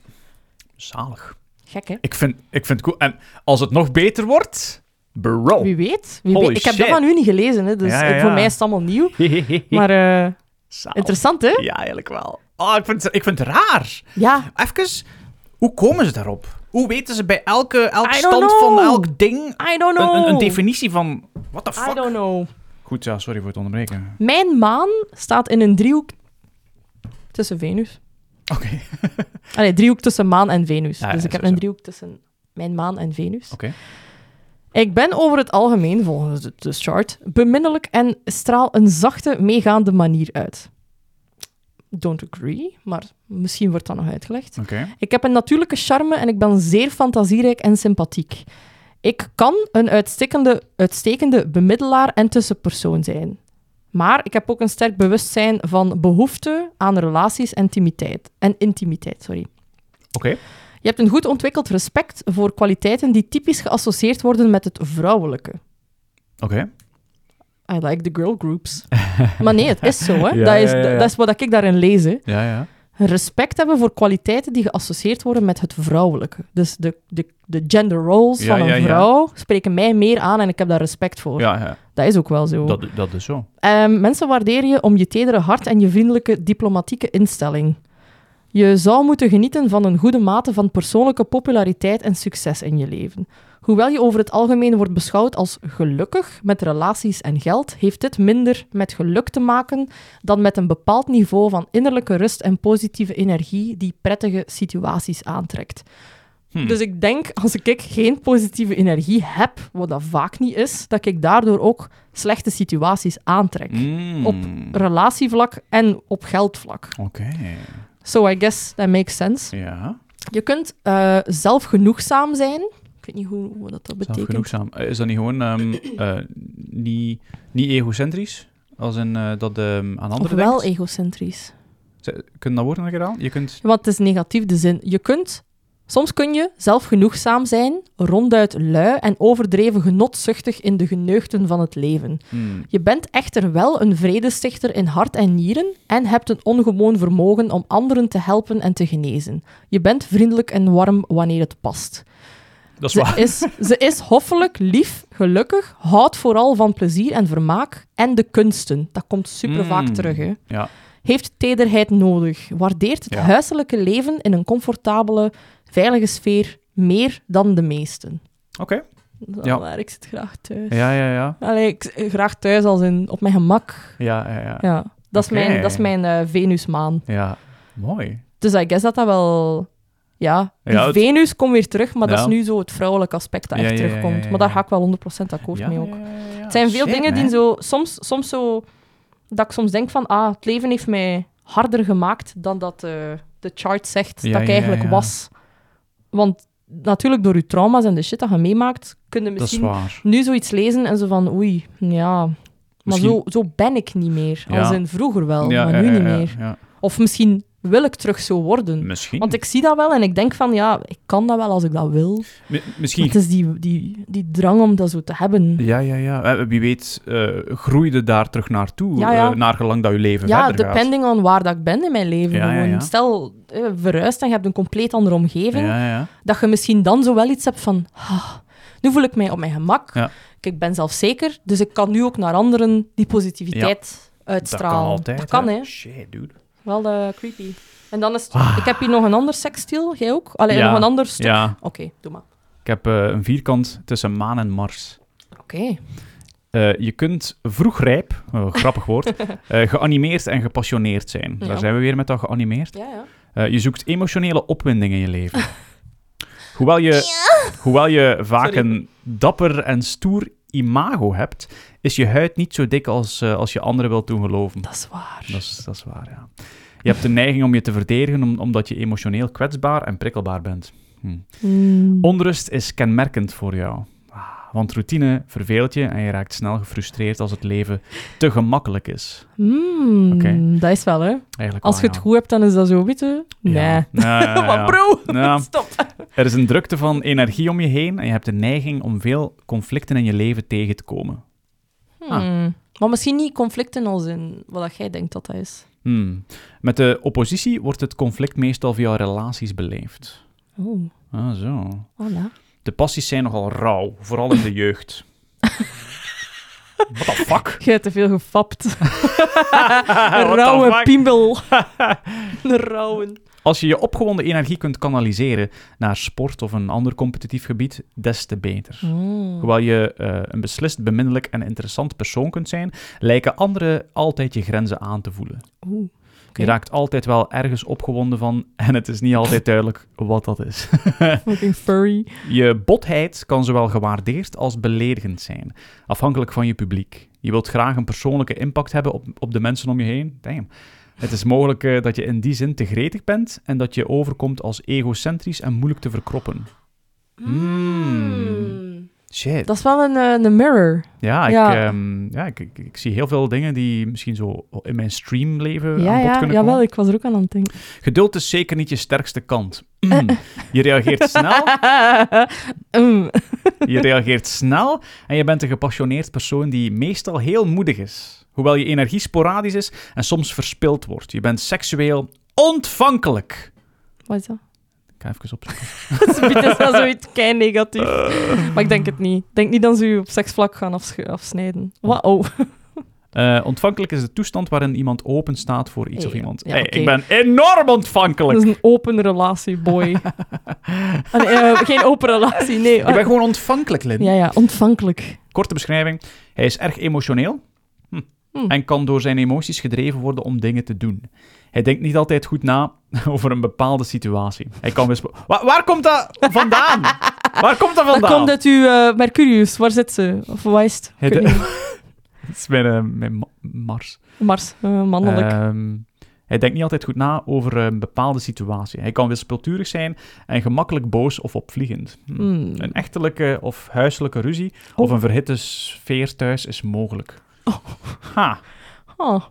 S1: Zalig.
S2: Gek, hè?
S1: Ik vind, ik vind het cool. En als het nog beter wordt, bro.
S2: Wie weet. Wie
S1: Holy
S2: weet. Ik heb dat
S1: shit.
S2: van u niet gelezen, hè, dus
S1: Ja, ja,
S2: eh,
S1: ja.
S2: voor
S1: Ah.
S2: mij is het allemaal nieuw.
S1: Hehehe.
S2: Maar eh,
S1: Zalig.
S2: interessant, hè?
S1: Ja, eigenlijk wel. Oh, ik vind, het, ik vind het raar.
S2: Ja.
S1: Even, hoe komen ze daarop? Hoe weten ze bij elke, elk
S2: I don't
S1: stand
S2: know.
S1: van elk ding
S2: I don't
S1: een,
S2: know.
S1: een, een definitie van... What the
S2: I
S1: fuck?
S2: don't know.
S1: Goed, ja, sorry voor het onderbreken.
S2: Mijn maan staat in een driehoek tussen Venus.
S1: Oké.
S2: Allee, driehoek tussen maan en Venus.
S1: Ja, ja,
S2: dus ik
S1: zo,
S2: heb een
S1: zo.
S2: driehoek tussen mijn maan en Venus.
S1: Oké.
S2: Ik ben over het algemeen, volgens de, de chart, beminnelijk en straal een zachte, meegaande manier uit. Don't agree, maar misschien wordt dat nog uitgelegd.
S1: Oké.
S2: Ik heb een natuurlijke charme en ik ben zeer fantasierijk en sympathiek. Ik kan een uitstekende, uitstekende bemiddelaar en tussenpersoon zijn. Maar ik heb ook een sterk bewustzijn van behoefte aan relaties en intimiteit. En intimiteit sorry.
S1: Oké.
S2: Je hebt een goed ontwikkeld respect voor kwaliteiten die typisch geassocieerd worden met het vrouwelijke.
S1: Oké.
S2: I like the girl groups. maar nee, het is zo. Hè.
S1: Ja,
S2: dat, is,
S1: ja, ja, ja.
S2: dat is wat ik daarin lees. Hè.
S1: Ja, ja.
S2: Respect hebben voor kwaliteiten die geassocieerd worden met het vrouwelijke. Dus de, de, de gender roles
S1: Ja,
S2: van
S1: ja,
S2: een
S1: ja.
S2: vrouw spreken mij meer aan en ik heb daar respect voor.
S1: Ja, ja.
S2: Dat is ook wel zo.
S1: Dat, dat is zo.
S2: Ehm, mensen waarderen je om je tedere hart en je vriendelijke diplomatieke instelling. Je zou moeten genieten van een goede mate van persoonlijke populariteit en succes in je leven. Hoewel je over het algemeen wordt beschouwd als gelukkig met relaties en geld, heeft dit minder met geluk te maken dan met een bepaald niveau van innerlijke rust en positieve energie die prettige situaties aantrekt.
S1: Hmm.
S2: Dus ik denk, als ik geen positieve energie heb, wat dat vaak niet is, dat ik daardoor ook slechte situaties aantrek.
S1: Mm.
S2: op Relatievlak en op geldvlak.
S1: Oké.
S2: So I guess that makes sense.
S1: Ja.
S2: Je kunt eh zelf genoegzaam zijn. Ik weet niet hoe, hoe dat, dat
S1: Zelf
S2: betekent.
S1: genoegzaam. Eh, Is dat niet gewoon ehm, eh, niet, niet egocentrisch? Als in eh, dat ehm aan
S2: Of
S1: anderen
S2: wel
S1: denkt?
S2: egocentrisch.
S1: Z-
S2: e-
S1: Kunnen dat worden gedaan? Je kunt...
S2: Want het is negatief de zin. Je kunt, soms kun je zelf genoegzaam zijn, ronduit lui en overdreven genotzuchtig in de geneugten van het leven.
S1: Hmm.
S2: Je bent echter wel een vredestichter in hart en nieren en hebt een ongewoon vermogen om anderen te helpen en te genezen. Je bent vriendelijk en warm wanneer het past.
S1: Dat is
S2: Ze
S1: waar.
S2: is, ze is hoffelijk, lief, gelukkig, houdt vooral van plezier en vermaak en de kunsten. Dat komt super vaak
S1: Mm.
S2: terug. Hè.
S1: Ja.
S2: Heeft tederheid nodig, waardeert het
S1: Ja.
S2: huiselijke leven in een comfortabele, veilige sfeer meer dan de meesten.
S1: Oké.
S2: Dat is
S1: Ja.
S2: waar, ik zit graag thuis.
S1: Ja, ja, ja.
S2: Allee, ik, graag thuis als in, op mijn gemak.
S1: Ja, ja, ja.
S2: Ja, dat is
S1: Oké.
S2: mijn, dat is mijn eh, Venusmaan.
S1: Ja. Mooi.
S2: Dus I guess dat dat wel... Ja, die
S1: Ja, het-
S2: Venus komt weer terug, maar dat
S1: Ja.
S2: is nu zo het vrouwelijke aspect dat
S1: Ja,
S2: echt
S1: ja, ja, ja,
S2: terugkomt.
S1: ja,
S2: Maar daar
S1: ja.
S2: ga ik wel 100% akkoord
S1: ja,
S2: mee ook.
S1: ja, ja, ja, ja.
S2: Het zijn
S1: Oh,
S2: veel
S1: Shit,
S2: dingen die
S1: man.
S2: zo... Soms, soms zo... Dat ik soms denk van, ah, het leven heeft mij harder gemaakt dan dat eh, de chart zegt
S1: Ja,
S2: dat ik
S1: ja,
S2: eigenlijk
S1: ja.
S2: was. Want natuurlijk door je trauma's en de shit dat je meemaakt, kunnen
S1: Dat is
S2: misschien
S1: waar.
S2: nu zoiets lezen en zo van, oei, ja... Maar
S1: Misschien-
S2: zo, zo ben ik niet meer.
S1: Ja.
S2: Als in vroeger wel,
S1: ja,
S2: maar
S1: ja,
S2: nu
S1: ja,
S2: niet
S1: ja,
S2: meer.
S1: ja.
S2: Of misschien wil ik terug zo worden.
S1: Misschien.
S2: Want ik zie dat wel en ik denk van ja, ik kan dat wel als ik dat wil. Maar
S1: Mi- misschien
S2: het is die, die, die drang om dat zo te hebben.
S1: Ja, ja, ja. Eh, Wie weet eh, groeide daar terug naartoe,
S2: Ja, ja.
S1: eh, naar gelang dat je leven
S2: Ja,
S1: verder gaat.
S2: depending on waar dat ik ben in mijn leven.
S1: Ja, ja,
S2: gewoon.
S1: ja.
S2: Stel, eh, verhuist en je hebt een compleet andere omgeving.
S1: Ja, ja.
S2: Dat je misschien dan zo wel iets hebt van... "Ah, nu voel ik mij op mijn gemak.
S1: Ja.
S2: Ik ben zelfzeker, dus ik kan nu ook naar anderen die positiviteit
S1: Dat
S2: uitstralen.
S1: kan altijd.
S2: Dat kan, hè.
S1: Shit, dude.
S2: Wel eh, creepy. En dan is het... Ik heb hier nog een ander sekstiel. Jij ook? Allee,
S1: Ah. Ja.
S2: nog een ander stuk.
S1: Ja,
S2: Oké, doe maar.
S1: ik heb eh, een vierkant tussen maan en Mars.
S2: Oké.
S1: Eh, je kunt vroegrijp, oh, grappig woord, eh, geanimeerd en gepassioneerd zijn.
S2: Ja.
S1: Daar zijn we weer met dat geanimeerd.
S2: Ja, ja.
S1: Eh, je zoekt emotionele opwinding in je leven. Hoewel je, hoewel je vaak
S2: Sorry.
S1: een dapper en stoer imago hebt, is je huid niet zo dik als, eh, als je anderen wilt doen geloven.
S2: Dat is waar.
S1: Dat is, dat is waar, ja. Je hebt de neiging om je te verdedigen om- omdat je emotioneel kwetsbaar en prikkelbaar bent. Hm.
S2: Mm.
S1: Onrust is kenmerkend voor jou. Ah, Want routine verveelt je en je raakt snel gefrustreerd als het leven te gemakkelijk is.
S2: Mm,
S1: Oké.
S2: Dat is wel, hè.
S1: Eigenlijk
S2: Als je
S1: wel,
S2: het
S1: ja.
S2: goed hebt, dan is dat zo, weet je. Nee.
S1: Ja. Ja, ja, ja.
S2: Maar bro,
S1: Ja.
S2: stop.
S1: Er is een drukte van energie om je heen en je hebt de neiging om veel conflicten in je leven tegen te komen. Ah.
S2: Hmm. Maar misschien niet conflicten als in wat dat jij denkt dat dat is.
S1: Hmm. Met de oppositie wordt het conflict meestal via relaties beleefd.
S2: Oh,
S1: Ah, zo.
S2: voilà.
S1: De passies zijn nogal rauw, vooral in de jeugd. What the fuck?
S2: Je hebt te veel gefapt.
S1: What the
S2: Een rauwe
S1: fuck?
S2: piemel. Een rauwe.
S1: Als je je opgewonden energie kunt kanaliseren naar sport of een ander competitief gebied, des te beter.
S2: Mm. Hmm.
S1: Hoewel je eh, een beslist beminnelijk en interessant persoon kunt zijn, lijken anderen altijd je grenzen aan te voelen.
S2: Oeh. Oké.
S1: Je raakt altijd wel ergens opgewonden van en het is niet altijd duidelijk wat dat is.
S2: Fucking furry.
S1: Je botheid kan zowel gewaardeerd als beledigend zijn, afhankelijk van je publiek. Je wilt graag een persoonlijke impact hebben op, op de mensen om je heen. Damn. Het is mogelijk eh, dat je in die zin te gretig bent en dat je overkomt als egocentrisch en moeilijk te verkroppen.
S2: Hmm.
S1: Mm. Shit.
S2: Dat is wel een, eh, een mirror.
S1: Ja, ik,
S2: Ja.
S1: ehm, ja ik, ik, ik zie heel veel dingen die misschien zo in mijn stream leven
S2: ja,
S1: Eh, aan bod
S2: ja.
S1: kunnen
S2: Jawel,
S1: komen.
S2: ik was er ook aan aan het denken.
S1: Geduld is zeker niet je sterkste kant. Mm. je reageert snel,
S2: Mm.
S1: je reageert snel en je bent een gepassioneerd persoon die meestal heel moedig is. Hoewel je energie sporadisch is en soms verspild wordt. Je bent seksueel ontvankelijk.
S2: Wat is dat?
S1: Ik ga even opzoeken.
S2: Subiet is dat zoiets kei negatief. Maar ik denk het niet. Ik denk niet dat ze u op seksvlak gaan afsch- afsnijden. Wow. Oh.
S1: Eh, ontvankelijk is de toestand waarin iemand open staat voor iets of
S2: Ja,
S1: iemand.
S2: ja,
S1: Hey,
S2: oké.
S1: Ik ben enorm ontvankelijk.
S2: Dat is een open relatie, boy. Ah, nee, eh, geen open relatie, nee.
S1: Ik ben gewoon ontvankelijk, Lin.
S2: Ja, ja, ontvankelijk.
S1: Korte beschrijving. Hij is erg emotioneel hm.
S2: Hm.
S1: en kan door zijn emoties gedreven worden om dingen te doen. Hij denkt niet altijd goed na over een bepaalde situatie. Hij kan wisp- Wa- waar komt dat vandaan? waar komt dat
S2: Dat
S1: vandaan?
S2: komt uit uw eh, Mercurius. Waar zit ze? Of waar is het? Ik
S1: Hij
S2: weet
S1: de-
S2: niet.
S1: Dat is mijn, eh, mijn ma- Mars.
S2: Mars, eh, mannelijk.
S1: Ehm, hij denkt niet altijd goed na over een bepaalde situatie. Hij kan wispelturig zijn en gemakkelijk boos of opvliegend. Hm.
S2: Hmm.
S1: Een echtelijke of huiselijke ruzie of
S2: Oh.
S1: een verhitte sfeer thuis is mogelijk.
S2: Oh.
S1: Ha.
S2: Ah.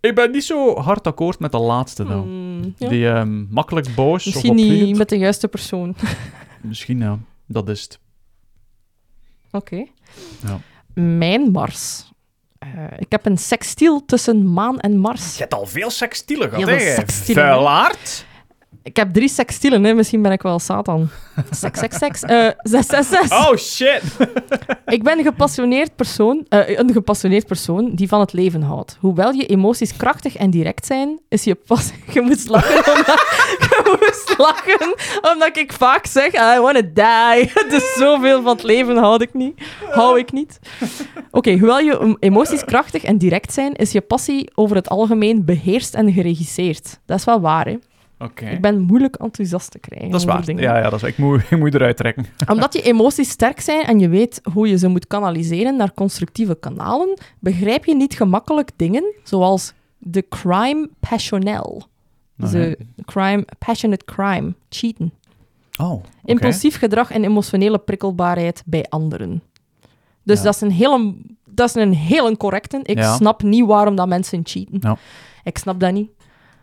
S1: Ik ben niet zo hard akkoord met de laatste nou.
S2: Hmm, ja.
S1: Die ehm, makkelijk boos
S2: Misschien
S1: of
S2: niet
S1: opvliegend.
S2: met de juiste persoon. Oké.
S1: Misschien ja, dat is het. Ja.
S2: Mijn Mars. Eh, ik heb een sextiel tussen maan en Mars.
S1: Je hebt al veel sekstielen gehad,
S2: Heel
S1: hè?
S2: veel sekstielen, hè.
S1: Vuilaard.
S2: Ik heb drie sextielen, hè. misschien ben ik wel Satan. Seks, seks, seks. Eh, zes, zes, zes.
S1: Oh, shit.
S2: Ik ben een gepassioneerd, persoon, eh, een gepassioneerd persoon die van het leven houdt. Hoewel je emoties krachtig en direct zijn, is je pas... Je moest lachen omdat, je moest lachen omdat ik vaak zeg, I wanna die. Dus zoveel van het leven houd ik niet. Hou ik niet. Oké, hoewel je emoties krachtig en direct zijn, is je passie over het algemeen beheerst en geregisseerd. Dat is wel waar, hè.
S1: Oké.
S2: Ik ben moeilijk enthousiast te krijgen.
S1: Dat is
S2: over
S1: waar.
S2: dingen.
S1: Ja, ja, dat is waar. Ik moet, ik moet eruit trekken.
S2: Omdat je emoties sterk zijn en je weet hoe je ze moet kanaliseren naar constructieve kanalen, begrijp je niet gemakkelijk dingen zoals de crime passionnel. Dus
S1: Oké.
S2: de crime, passionate crime, cheaten.
S1: Oh, oké.
S2: Impulsief gedrag en emotionele prikkelbaarheid bij anderen. Dus
S1: Ja.
S2: dat, is een hele, dat is een hele correcte. Ik
S1: Ja.
S2: snap niet waarom dat mensen cheaten.
S1: Ja.
S2: Ik snap dat niet.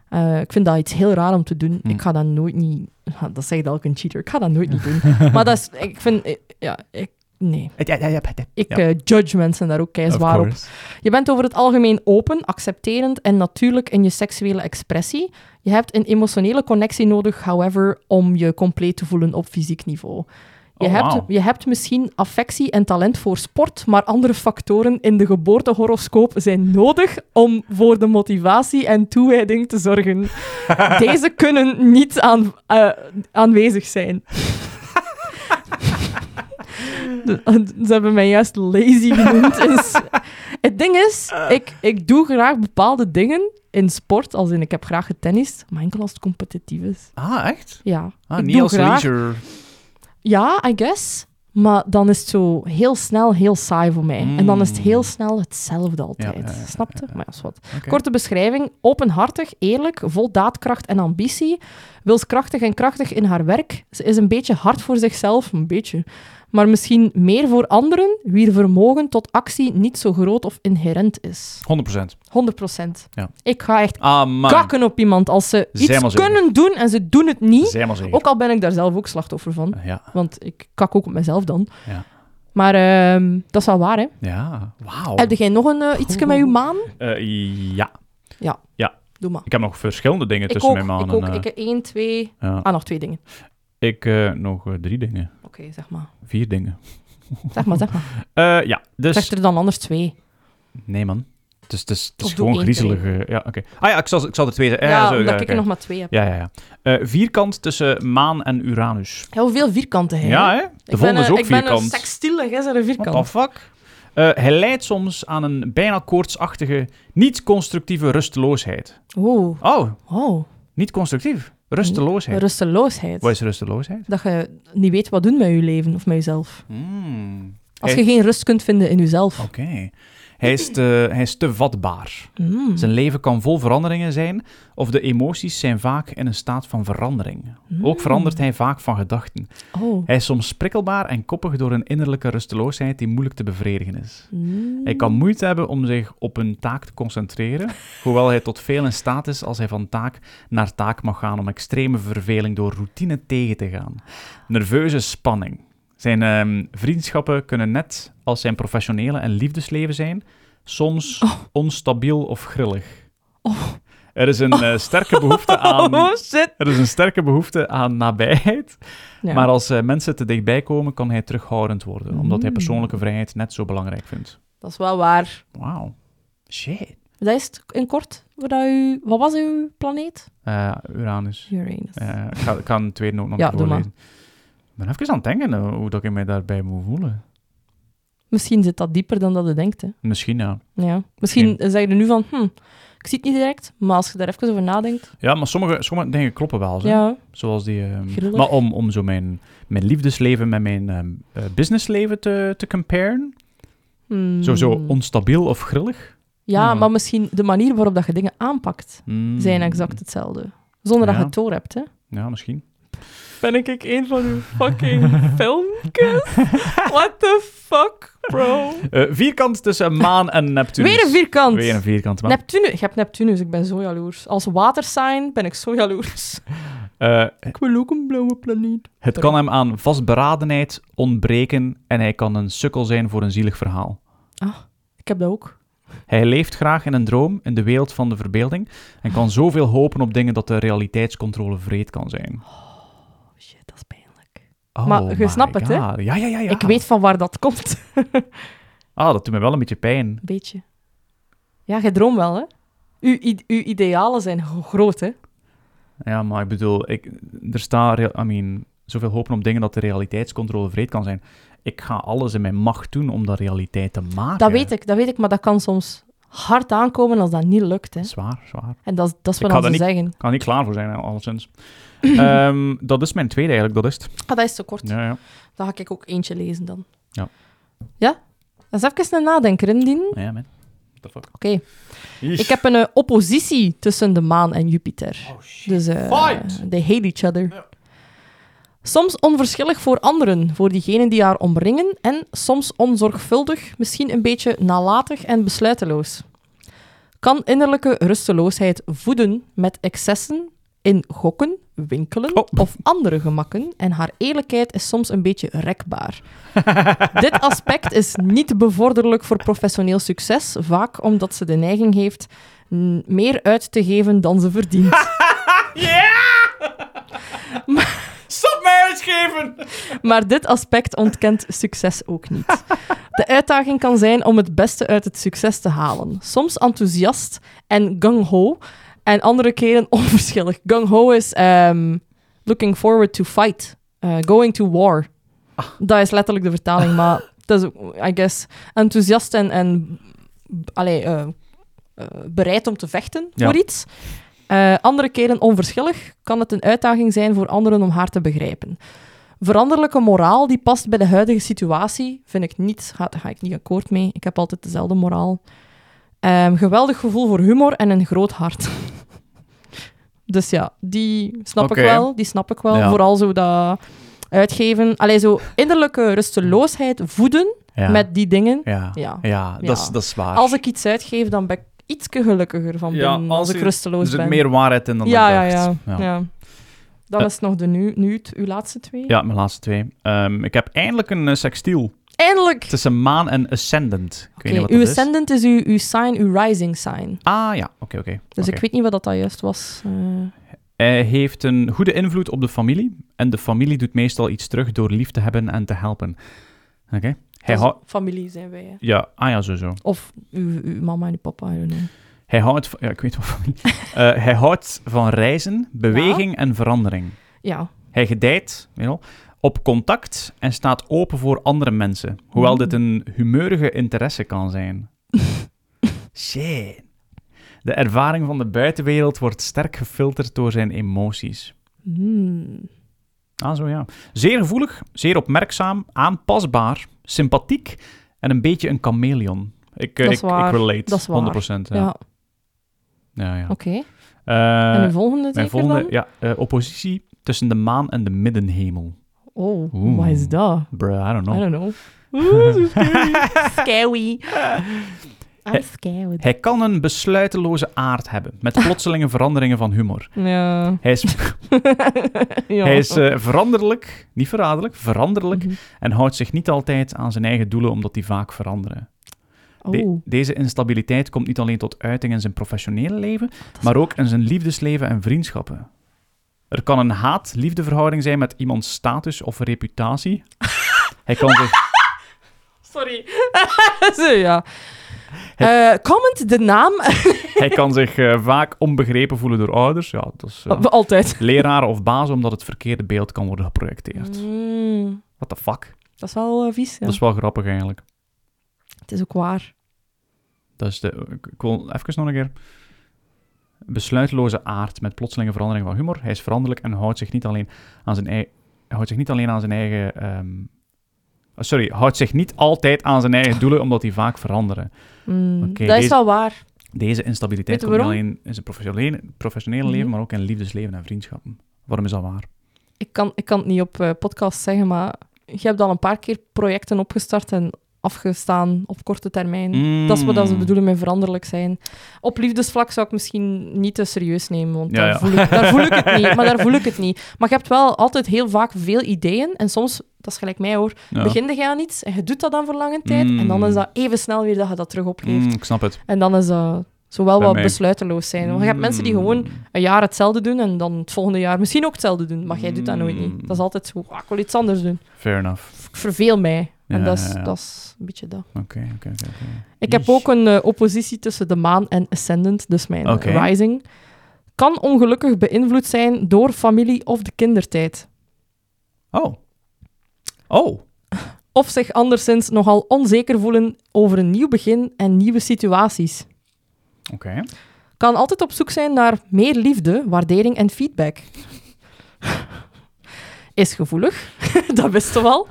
S2: Eh, ik vind dat iets heel raar om te doen.
S1: Hm.
S2: Ik ga dat nooit niet... Ja, Dat zegt elke cheater. Ik ga dat nooit niet doen. maar dat is... Ik vind... eh, Ja, ik... Nee.
S1: Ja, ja, ja, ja. Ja.
S2: Ik eh, judge mensen daar ook kei
S1: Of
S2: zwaar op.
S1: course.
S2: Je bent over het algemeen open, accepterend en natuurlijk in je seksuele expressie. Je hebt een emotionele connectie nodig, however, om je compleet te voelen op fysiek niveau. Je,
S1: Oh,
S2: hebt,
S1: wauw.
S2: je hebt misschien affectie en talent voor sport, maar andere factoren in de geboortehoroscoop zijn nodig om voor de motivatie en toewijding te zorgen. Deze kunnen niet aan, eh, aanwezig zijn. De- Ze hebben mij juist lazy genoemd. Dus het ding is,
S1: Eh.
S2: ik, ik doe graag bepaalde dingen in sport, als in ik heb graag getennist, maar enkel als het competitief is.
S1: Ah, echt?
S2: Ja,
S1: Ah,
S2: ik
S1: niet
S2: doe
S1: als
S2: graag-
S1: leisure.
S2: ja, I guess. Maar dan is het zo heel snel heel saai voor mij. En dan is het
S1: Mm.
S2: heel snel hetzelfde altijd.
S1: Ja, ja, ja, ja,
S2: Snapte? Maar ja, is wat.
S1: Oké.
S2: Korte beschrijving. Openhartig, eerlijk, vol daadkracht en ambitie. Wilskrachtig en krachtig in haar werk. Ze is een beetje hard voor zichzelf, een beetje. Maar misschien meer voor anderen, wier vermogen tot actie niet zo groot of inherent is.
S1: 100%.
S2: 100%.
S1: Ja.
S2: Ik ga echt
S1: Ah, man.
S2: kakken op iemand als ze
S1: Zij maar
S2: iets
S1: zeker.
S2: kunnen doen en ze doen het niet.
S1: Zij maar zeker.
S2: Ook al ben ik daar zelf ook slachtoffer van.
S1: Ja.
S2: Want ik kak ook op mezelf dan.
S1: Ja. Oh.
S2: Maar ehm, dat is wel waar, hè?
S1: Ja, wauw.
S2: Heb jij nog een, eh, ietsje met je maan?
S1: Eh, ja,
S2: Doe maar.
S1: ik heb nog verschillende dingen
S2: Ik
S1: tussen
S2: ook,
S1: mijn maanden.
S2: ik ook.
S1: eh,
S2: Ik heb één, twee...
S1: ja.
S2: Ah, nog twee dingen.
S1: Ik eh, nog eh, drie dingen.
S2: Oké, zeg maar.
S1: Vier dingen.
S2: Zeg maar, zeg maar.
S1: Eh, ja, dus...
S2: Zeg er dan anders twee.
S1: Nee, man. Dus het is, het is
S2: Of doe
S1: gewoon
S2: één keer één.
S1: griezelige... Ja, oké. Ah ja, ik zal, ik zal er twee zeggen.
S2: Ja,
S1: Ja, zo,
S2: omdat
S1: ja,
S2: ik
S1: oké.
S2: er nog maar twee heb.
S1: Ja, ja, ja. Eh, vierkant tussen maan en Uranus.
S2: Heel veel vierkanten, hè?
S1: Ja, hè? De
S2: ik
S1: volgende
S2: ben,
S1: is
S2: een-
S1: ook
S2: ik ben een
S1: vierkant.
S2: sextiel en jij bent een vierkant.
S1: What the fuck? Eh, hij leidt soms aan een bijna koortsachtige, niet-constructieve rusteloosheid.
S2: Oh,
S1: Oh,
S2: oh.
S1: niet constructief. Rusteloosheid.
S2: Rusteloosheid.
S1: Wat is rusteloosheid?
S2: Dat je niet weet wat doen met je leven of met jezelf.
S1: Hmm,
S2: Als
S1: Hey.
S2: je geen rust kunt vinden in jezelf.
S1: Oké. Hij, is te- hij is te vatbaar.
S2: Mm.
S1: Zijn leven kan vol veranderingen zijn, of de emoties zijn vaak in een staat van verandering.
S2: Mm.
S1: Ook verandert hij vaak van gedachten.
S2: Oh.
S1: Hij is soms prikkelbaar en koppig door een innerlijke rusteloosheid die moeilijk te bevredigen is.
S2: Mm.
S1: Hij kan moeite hebben om zich op een taak te concentreren, hoewel hij tot veel in staat is als hij van taak naar taak mag gaan om extreme verveling door routine tegen te gaan. Nerveuze spanning. Zijn ehm, vriendschappen kunnen net als zijn professionele en liefdesleven zijn, soms
S2: Oh.
S1: onstabiel of grillig. Er is een eh, sterke behoefte aan...
S2: Oh, shit.
S1: Er is een sterke behoefte aan nabijheid,
S2: Ja.
S1: maar als eh, mensen te dichtbij komen, kan hij terughoudend worden, omdat hij
S2: Mm.
S1: persoonlijke vrijheid net zo belangrijk vindt.
S2: Dat is wel waar.
S1: Wauw. Shit.
S2: Dat is het in kort. Wat, dat u, wat was uw planeet?
S1: Eh, Uranus.
S2: Uranus.
S1: Eh, ik, ga, ik ga een tweede noot nog
S2: Ja,
S1: even
S2: doe maar.
S1: voorlezen. Ik ben even aan het denken eh, hoe dat ik mij daarbij moet voelen.
S2: Misschien zit dat dieper dan dat je denkt. Hè.
S1: Misschien ja.
S2: Ja. Misschien zeg je er nu van, hm, ik zie het niet direct, maar als je daar even over nadenkt.
S1: Ja, maar sommige, sommige dingen kloppen wel. Zo.
S2: Ja.
S1: Zoals die... ehm,
S2: Grillig.
S1: maar om, om zo mijn, mijn liefdesleven met mijn ehm, eh, businessleven te, te comparen.
S2: Hmm.
S1: Sowieso onstabiel of grillig.
S2: Ja,
S1: Ja.
S2: maar misschien de manier waarop dat je dingen aanpakt
S1: Hmm.
S2: zijn exact hetzelfde. Zonder dat
S1: Ja.
S2: je het door hebt, hè?
S1: Hmm. Ja, misschien.
S2: Ben ik een van uw fucking filmpjes? What the fuck, bro?
S1: Eh, vierkant tussen maan en Neptunus.
S2: Weer een vierkant.
S1: Weer een vierkant. maan.
S2: Neptunus. Ik heb Neptunus, ik ben zo jaloers. Als watersign ben ik zo jaloers.
S1: Eh,
S2: Ik wil ook een blauwe planeet.
S1: Het kan hem aan vastberadenheid ontbreken en hij kan een sukkel zijn voor een zielig verhaal.
S2: Ik heb dat ook.
S1: Hij leeft graag in een droom, in de wereld van de verbeelding, en kan zoveel hopen op dingen dat de realiteitscontrole vreed kan zijn.
S2: Oh shit, dat is pijnlijk.
S1: Oh
S2: Maar je
S1: my
S2: snapt het, hè?
S1: God. Ja, ja, ja, ja.
S2: Ik weet van waar dat komt.
S1: Ah, dat doet me wel een beetje pijn.
S2: Beetje. Ja, jij droomt wel, hè? Uw, i- uw idealen zijn gro- groot, hè?
S1: Ah, Ja, maar ik bedoel, ik, er staat, real- I mean, zoveel hopen op dingen dat de realiteitscontrole vreed kan zijn. Ik ga alles in mijn macht doen om dat realiteit te maken.
S2: Dat weet ik, dat weet ik, maar dat kan soms hard aankomen als dat niet lukt, hè?
S1: Zwaar, zwaar.
S2: En dat, is- dat is wat
S1: Ik ga
S2: ze
S1: dat
S2: zeggen.
S1: Ik kan er niet klaar voor zijn, hè, alleszins. Ehm, dat is mijn tweede eigenlijk, dat is het.
S2: Ah, dat is te kort.
S1: Ja, ja.
S2: Dan ga ik ook eentje lezen dan.
S1: Ja.
S2: Ja? Dat is even een nadenker indien.
S1: Oh Ja, man. What the fuck?
S2: Oké. Ik heb een eh, oppositie tussen de maan en Jupiter.
S1: Oh, shit.
S2: Dus eh,
S1: Fight!
S2: they hate each other.
S1: Ja.
S2: Soms onverschillig voor anderen, voor diegenen die haar omringen, en soms onzorgvuldig, misschien een beetje nalatig en besluiteloos. Kan innerlijke rusteloosheid voeden met excessen in gokken, winkelen
S1: Oh.
S2: of andere gemakken, en haar eerlijkheid is soms een beetje rekbaar. Dit aspect is niet bevorderlijk voor professioneel succes, vaak omdat ze de neiging heeft mm, meer uit te geven dan ze verdient.
S1: Stop mij uitgeven!
S2: Maar dit aspect ontkent succes ook niet. De uitdaging kan zijn om het beste uit het succes te halen. Soms enthousiast en gung-ho, en andere keren onverschillig. Gung-ho is ehm, looking forward to fight, eh, going to war.
S1: Ah.
S2: Dat is letterlijk de vertaling, maar dat is, ook, I guess, enthousiast en, en b- allee, eh, eh, bereid om te vechten
S1: Ja.
S2: voor iets. Eh, andere keren onverschillig kan het een uitdaging zijn voor anderen om haar te begrijpen. Veranderlijke moraal die past bij de huidige situatie, vind ik niet. Ga, daar ga ik niet akkoord mee. Ik heb altijd dezelfde moraal. Ehm, geweldig gevoel voor humor en een groot hart. dus ja, die snap
S1: Oké.
S2: ik wel. Die snap ik wel.
S1: Ja.
S2: Vooral zo dat uitgeven. Allee, zo innerlijke rusteloosheid voeden
S1: Ja.
S2: met die dingen.
S1: Ja. Ja,
S2: Ja.
S1: Dat, is,
S2: Ja.
S1: dat is waar.
S2: Als ik iets uitgeef, dan ben ik iets gelukkiger van
S1: Ja,
S2: binnen.
S1: als
S2: als ik
S1: je-
S2: rusteloos
S1: er zit
S2: ben.
S1: Dus meer waarheid in dan
S2: ja, ja,
S1: ik dacht.
S2: ja,
S1: ja.
S2: ja, Dan
S1: Eh.
S2: is het nog de nu, nu het- uw laatste twee.
S1: Ja, mijn laatste twee. Ehm, ik heb eindelijk een eh, sextiel.
S2: Eindelijk!
S1: Tussen maan en ascendant. Ik weet niet
S2: Oké,
S1: wat
S2: uw
S1: dat is.
S2: ascendant is uw, uw sign, uw rising sign.
S1: Ah ja, oké, oké.
S2: Dus
S1: oké.
S2: ik weet niet wat dat dat juist was. eh.
S1: Hij heeft een goede invloed op de familie. En de familie doet meestal iets terug door lief te hebben en te helpen. Oké. Hij
S2: Dat is-
S1: houdt...
S2: Familie zijn wij. hè.
S1: Ja, ah ja, sowieso.
S2: Of uw, uw mama en uw papa. I don't know.
S1: Hij houdt... van- Ja, ik weet wel van wie. Eh, hij houdt van reizen, beweging en verandering.
S2: Ja.
S1: Hij gedijt, weet je wel, op contact en staat open voor andere mensen. Hoewel
S2: Mm.
S1: dit een humeurige interesse kan zijn. Shit. De ervaring van de buitenwereld wordt sterk gefilterd door zijn emoties.
S2: Hmm.
S1: Ah, zo ja. Zeer gevoelig, zeer opmerkzaam, aanpasbaar, sympathiek en een beetje een chameleon. Ik, eh,
S2: Dat is
S1: ik,
S2: waar.
S1: ik relate,
S2: Dat is waar.
S1: 100%.
S2: Ja,
S1: Ja. Ja, ja.
S2: oké.
S1: Eh,
S2: en de volgende
S1: mijn
S2: zeker
S1: volgende,
S2: dan?
S1: ja, eh, oppositie tussen de maan en de middenhemel.
S2: Oh,
S1: Oeh.
S2: wat is dat?
S1: Bruh, I don't
S2: I
S1: know.
S2: don't know. Oeh, zo scary. scary.
S1: Eh,
S2: I'm scared.
S1: Hij kan een besluiteloze aard hebben, met plotselinge veranderingen van humor.
S2: Ja.
S1: Hij is,
S2: ja.
S1: hij is eh, veranderlijk, niet verraderlijk, veranderlijk,
S2: Mhm.
S1: en houdt zich niet altijd aan zijn eigen doelen, omdat die vaak veranderen. De-
S2: Oh,
S1: deze instabiliteit komt niet alleen tot uiting in zijn professionele leven,
S2: is
S1: maar ook in zijn liefdesleven en vriendschappen. Er kan een haat-liefdeverhouding zijn met iemands status of reputatie. Hij kan zich...
S2: sorry. zo, ja. Eh, comment de naam.
S1: Hij kan zich eh, vaak onbegrepen voelen door ouders. Ja, dat is eh,
S2: Altijd.
S1: leraren of bazen, omdat het verkeerde beeld kan worden geprojecteerd.
S2: Mm,
S1: What the fuck?
S2: dat is wel eh, vies. Ja.
S1: Dat is wel grappig eigenlijk.
S2: Het is ook waar.
S1: Dat is de... Ik ik wil even nog een keer... Besluitloze aard met plotselinge verandering van humor. Hij is veranderlijk en houdt zich niet alleen aan zijn eigen... Houdt zich niet alleen aan zijn eigen... ehm, oh, Sorry, houdt zich niet altijd aan zijn eigen doelen, omdat die vaak veranderen.
S2: Mm,
S1: Oké,
S2: dat is
S1: deze-
S2: wel waar.
S1: Deze instabiliteit
S2: Weet
S1: komt
S2: je
S1: niet alleen in zijn professionele, professionele
S2: Mhm.
S1: leven, maar ook in liefdesleven en vriendschappen. Waarom is dat waar?
S2: Ik kan, ik kan het niet op eh, podcast zeggen, maar je hebt al een paar keer projecten opgestart en afgestaan op korte termijn. Dat is wat dat ze
S1: Mm.
S2: bedoelen met veranderlijk zijn. Op liefdesvlak zou ik misschien niet te serieus nemen, want
S1: Ja,
S2: daar,
S1: ja.
S2: Voel ik, daar voel ik het niet. Maar daar voel ik het niet. Maar je hebt wel altijd heel vaak veel ideeën. En soms, dat is gelijk mij hoor,
S1: Ja.
S2: begin je aan iets en je doet dat dan voor lange tijd. En dan
S1: Mm.
S2: is dat even snel weer dat je dat terug opgeeft.
S1: Mm, ik snap het.
S2: En dan is dat zowel
S1: Bij
S2: wat
S1: mij- Hmm.
S2: besluiteloos zijn. Want je hebt mensen die
S1: Mm.
S2: gewoon een jaar hetzelfde doen en dan het volgende jaar misschien ook hetzelfde doen. Maar jij doet dat nooit
S1: Mm.
S2: niet. Dat is altijd zo, ah, ik wil iets anders doen.
S1: Fair enough.
S2: Ik verveel mij. En
S1: Ja,
S2: dat, is,
S1: ja, ja.
S2: dat is een beetje dat.
S1: Oké, oké, oké, oké.
S2: Ik heb
S1: Eesh.
S2: ook een eh, oppositie tussen de maan en ascendant, dus mijn eh,
S1: Oké.
S2: rising. Kan ongelukkig beïnvloed zijn door familie of de kindertijd.
S1: Oh. Oh.
S2: Of zich anderszins nogal onzeker voelen over een nieuw begin en nieuwe situaties.
S1: Oké.
S2: Kan altijd op zoek zijn naar meer liefde, waardering en feedback. Is gevoelig, dat wist je wel.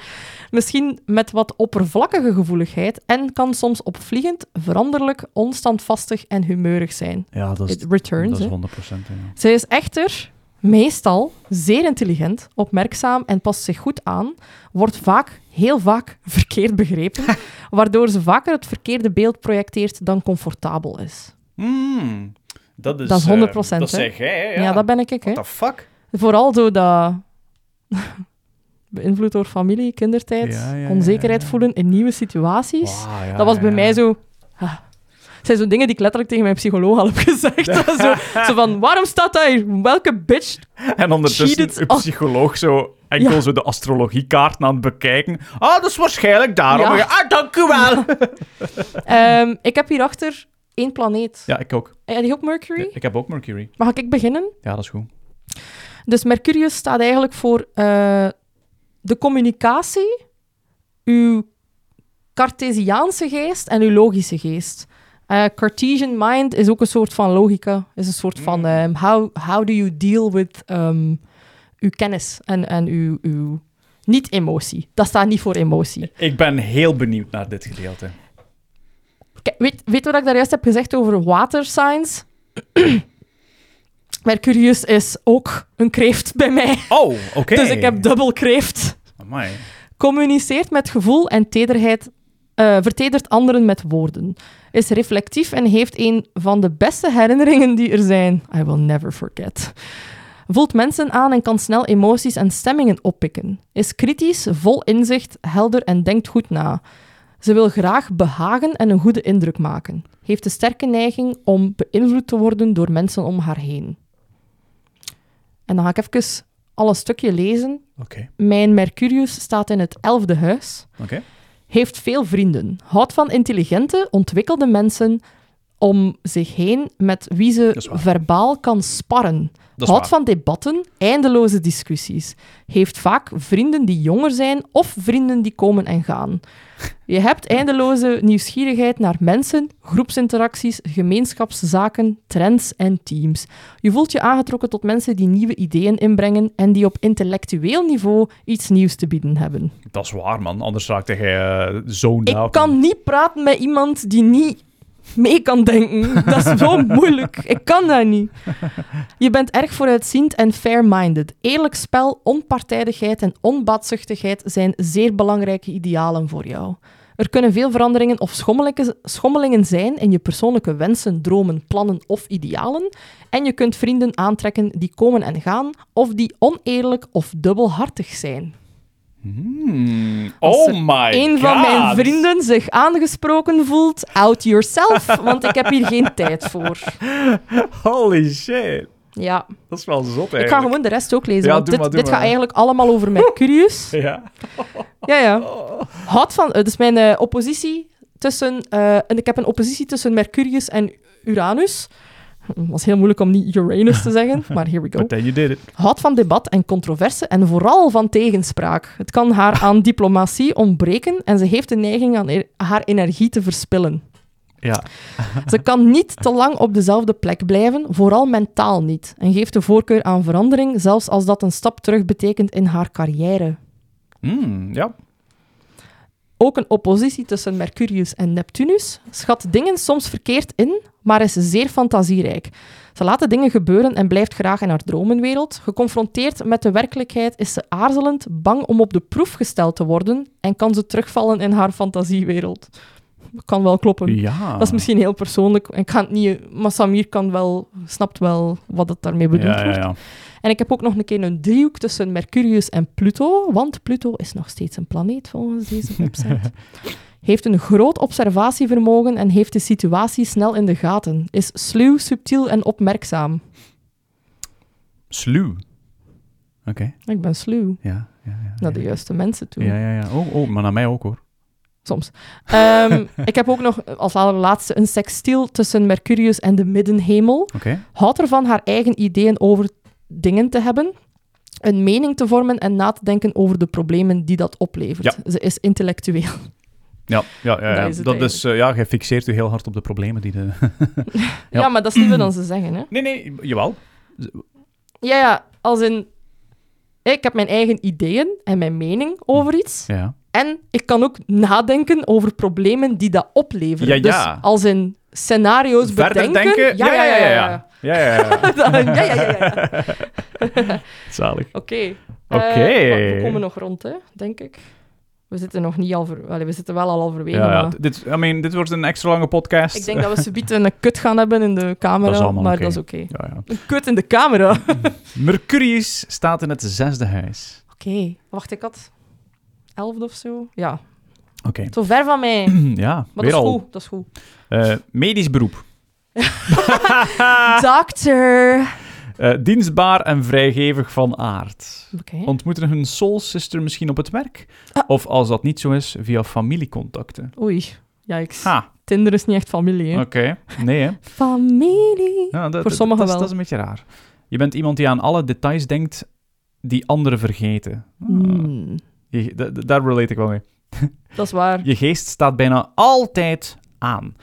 S2: Misschien met wat oppervlakkige gevoeligheid en kan soms opvliegend, veranderlijk, onstandvastig en humeurig zijn.
S1: Ja, dat is,
S2: It returns,
S1: dat
S2: hè.
S1: is 100%. Ja.
S2: Zij is echter meestal zeer intelligent, opmerkzaam en past zich goed aan, wordt vaak, heel vaak, verkeerd begrepen, waardoor ze vaker het verkeerde beeld projecteert dan comfortabel is.
S1: Mm, dat is...
S2: Dat is
S1: eh,
S2: 100%,
S1: Dat
S2: hè?
S1: zeg jij, hè,
S2: Ja, dat ben ik, ik, hè.
S1: What the fuck?
S2: Vooral door dat... Beïnvloed door familie, kindertijd,
S1: Ja, ja, ja,
S2: onzekerheid
S1: ja.
S2: voelen in nieuwe situaties.
S1: Wow, ja,
S2: dat was bij
S1: ja,
S2: mij
S1: ja.
S2: zo... ah. Het zijn zo dingen die ik letterlijk tegen mijn psycholoog al heb gezegd. zo, zo van, waarom staat dat hier? Welke bitch
S1: En ondertussen
S2: Cheated.
S1: een
S2: Oh.
S1: psycholoog zo enkel
S2: Ja.
S1: zo de astrologiekaart aan het bekijken. Ah, dat is waarschijnlijk daarom.
S2: Ja.
S1: Ah, dank u wel.
S2: Ehm, ik heb hierachter één planeet.
S1: Ja, ik ook.
S2: Heb je ook Mercury?
S1: Ik heb ook Mercury.
S2: Mag ik beginnen?
S1: Ja, dat is goed.
S2: Dus Mercurius staat eigenlijk voor eh, de communicatie, uw Cartesiaanse geest en uw logische geest. Eh, Cartesian mind is ook een soort van logica. Is een soort van
S1: Mm.
S2: ehm, how, how do you deal with ehm, uw kennis en, en uw, uw niet-emotie. Dat staat niet voor emotie.
S1: Ik ben heel benieuwd naar dit gedeelte.
S2: Kijk, weet, weet wat ik daar juist heb gezegd over water signs? Mercurius is ook een kreeft bij mij.
S1: Oh, oké.
S2: Dus ik heb dubbel kreeft.
S1: Amai.
S2: Communiceert met gevoel en tederheid. eh, vertedert anderen met woorden. Is reflectief en heeft een van de beste herinneringen die er zijn. I will never forget. voelt mensen aan en kan snel emoties en stemmingen oppikken. Is kritisch, vol inzicht, helder en denkt goed na. Ze wil graag behagen en een goede indruk maken. Heeft de sterke neiging om beïnvloed te worden door mensen om haar heen. En dan ga ik even al een stukje lezen.
S1: Oké.
S2: Mijn Mercurius staat in het elfde huis
S1: Oké.
S2: heeft veel vrienden, houdt van intelligente, ontwikkelde mensen om zich heen met wie
S1: is
S2: ze
S1: waar.
S2: verbaal kan sparren.
S1: Dat is
S2: houdt
S1: waar.
S2: van debatten, eindeloze discussies. Heeft vaak vrienden die jonger zijn of vrienden die komen en gaan. Je hebt eindeloze nieuwsgierigheid naar mensen, groepsinteracties, gemeenschapszaken, trends en teams. Je voelt je aangetrokken tot mensen die nieuwe ideeën inbrengen en die op intellectueel niveau iets nieuws te bieden hebben.
S1: Dat is waar, man. Anders raakte jij eh zo'n
S2: Ik kan niet praten met iemand die niet mee kan denken. Dat is zo moeilijk. Ik kan dat niet. Je bent erg vooruitziend en fair-minded. Eerlijk spel, onpartijdigheid en onbaatzuchtigheid zijn zeer belangrijke idealen voor jou. Er kunnen veel veranderingen of schommelingen- schommelingen zijn in je persoonlijke wensen, dromen, plannen of idealen. En je kunt vrienden aantrekken die komen en gaan, of die oneerlijk of dubbelhartig zijn.
S1: Hmm.
S2: Als
S1: Oh
S2: er
S1: my god.
S2: een van mijn vrienden zich aangesproken voelt, out yourself, want ik heb hier geen tijd voor.
S1: Holy shit.
S2: Ja,
S1: Dat is wel zot,
S2: ik
S1: eigenlijk.
S2: ga gewoon de rest ook lezen,
S1: Ja,
S2: want
S1: doe
S2: dit,
S1: maar, doe
S2: dit
S1: maar.
S2: gaat eigenlijk allemaal over Mercurius.
S1: Ja.
S2: Ja, ja.
S1: Oh.
S2: Had van, eh, dus mijn eh, oppositie tussen, eh, en ik heb een oppositie tussen Mercurius en Uranus. Het was heel moeilijk om niet Uranus te zeggen, maar here we go.
S1: But then you did it.
S2: houdt van debat en controverse en vooral van tegenspraak. Het kan haar aan diplomatie ontbreken en ze heeft de neiging aan e- haar energie te verspillen.
S1: Ja.
S2: Ze kan niet te lang op dezelfde plek blijven, vooral mentaal niet, en geeft de voorkeur aan verandering, zelfs als dat een stap terug betekent in haar carrière.
S1: Hmm, ja.
S2: Ook een oppositie tussen Mercurius en Neptunus schat dingen soms verkeerd in, maar is zeer fantasierijk. Ze laat de dingen gebeuren en blijft graag in haar dromenwereld. Geconfronteerd met de werkelijkheid is ze aarzelend, bang om op de proef gesteld te worden en kan ze terugvallen in haar fantasiewereld. Kan wel kloppen.
S1: Ja.
S2: Dat is misschien heel persoonlijk. Ik ga het niet... Maar Samir kan wel, snapt wel wat het daarmee bedoeld
S1: ja, ja,
S2: wordt.
S1: ja.
S2: En ik heb ook nog een keer een driehoek tussen Mercurius en Pluto, want Pluto is nog steeds een planeet volgens deze website. heeft een groot observatievermogen en heeft de situatie snel in de gaten. Is sluw, subtiel en opmerkzaam.
S1: Sluw. Oké.
S2: Ik ben sluw.
S1: Ja. Ja, ja,
S2: Naar
S1: ja.
S2: de juiste mensen toe.
S1: Ja, ja, ja. Oh, oh, maar naar mij ook, hoor.
S2: Soms. Ehm, ik heb ook nog als allerlaatste een sextiel tussen Mercurius en de middenhemel.
S1: Oké.
S2: Houdt ervan haar eigen ideeën over dingen te hebben, een mening te vormen en na te denken over de problemen die dat oplevert. Ze is intellectueel.
S1: Ja, ja, ja. ja.
S2: Dat
S1: Dat
S2: is
S1: is,
S2: het
S1: eh, ja, jij fixeert je heel hard op de problemen die de... Ja.
S2: Ja, maar dat is niet wat dan ze zeggen, hè?
S1: Nee, nee, jawel.
S2: Ja, ja, als in... Ik heb mijn eigen ideeën en mijn mening over iets.
S1: Ja.
S2: En ik kan ook nadenken over problemen die dat opleveren.
S1: Ja, ja.
S2: Dus als in scenario's
S1: Verder
S2: bedenken...
S1: denken? Ja, ja, ja. ja.
S2: ja, ja, ja, ja, ja.
S1: Zalig.
S2: Oké. Eh,
S1: Oké.
S2: maar we komen nog rond, hè, denk ik. We zitten nog niet al... Ver... Allee, we zitten wel al halverwege,
S1: Ja, dus- ja.
S2: maar...
S1: Dit, I mean, dit wordt een extra lange podcast.
S2: Ik denk dat we subiet een kut gaan hebben in de
S1: Dat is
S2: camera, maar
S1: allemaal oké.
S2: dat is oké.
S1: Ja, ja.
S2: Een kut in de camera? Oké.
S1: Mercurius staat in het zesde huis.
S2: Wacht, ik had... Elfde of zo? Ja.
S1: Oké.
S2: Zo ver van mij.
S1: Ja,
S2: Maar
S1: weer
S2: dat is
S1: al.
S2: goed, dat is goed.
S1: Eh, medisch beroep. Ah.
S2: Doctor!
S1: Eh, dienstbaar en vrijgevig van aard.
S2: Oké.
S1: Ontmoeten hun soul sister misschien op het werk?
S2: Ah.
S1: Of als dat niet zo is, via familiecontacten.
S2: Oei. Jijks.
S1: Ha,
S2: Tinder is niet echt familie, hè?
S1: oké. Nee, hè?
S2: Familie!
S1: Ja, dat,
S2: Voor
S1: dat-
S2: sommigen
S1: dat, is-
S2: wel.
S1: Dat is een beetje raar. Je bent iemand die aan alle details denkt die anderen vergeten. Ah,
S2: Hmm,
S1: je- da- da- daar relate ik wel mee.
S2: Dat is waar.
S1: Je geest staat bijna altijd aan.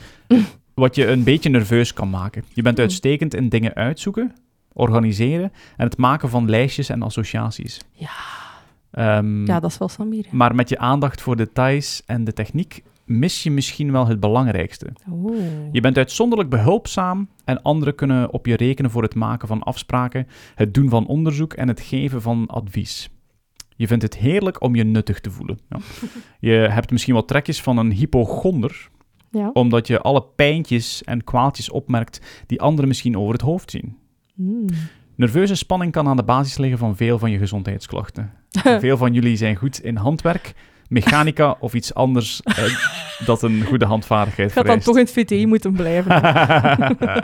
S1: Wat je een beetje nerveus kan maken. Je bent
S2: Hmm.
S1: uitstekend in dingen uitzoeken, organiseren en het maken van lijstjes en associaties.
S2: Ja.
S1: Ehm,
S2: Ja, dat is wel Samir. hè.
S1: Maar met je aandacht voor details en de techniek mis je misschien wel het belangrijkste.
S2: Oeh.
S1: Mm. Je bent uitzonderlijk behulpzaam en anderen kunnen op je rekenen voor het maken van afspraken, het doen van onderzoek en het geven van advies. Je vindt het heerlijk om je nuttig te voelen. Ja. Je hebt misschien wat trekjes van een hypochonder,
S2: Ja.
S1: omdat je alle pijntjes en kwaaltjes opmerkt die anderen misschien over het hoofd zien.
S2: Hmm.
S1: Nerveuze spanning kan aan de basis liggen van veel van je gezondheidsklachten. veel van jullie zijn goed in handwerk, mechanica of iets anders eh, dat een goede handvaardigheid
S2: Ik had dan
S1: vereist.
S2: toch in het VTI moeten blijven.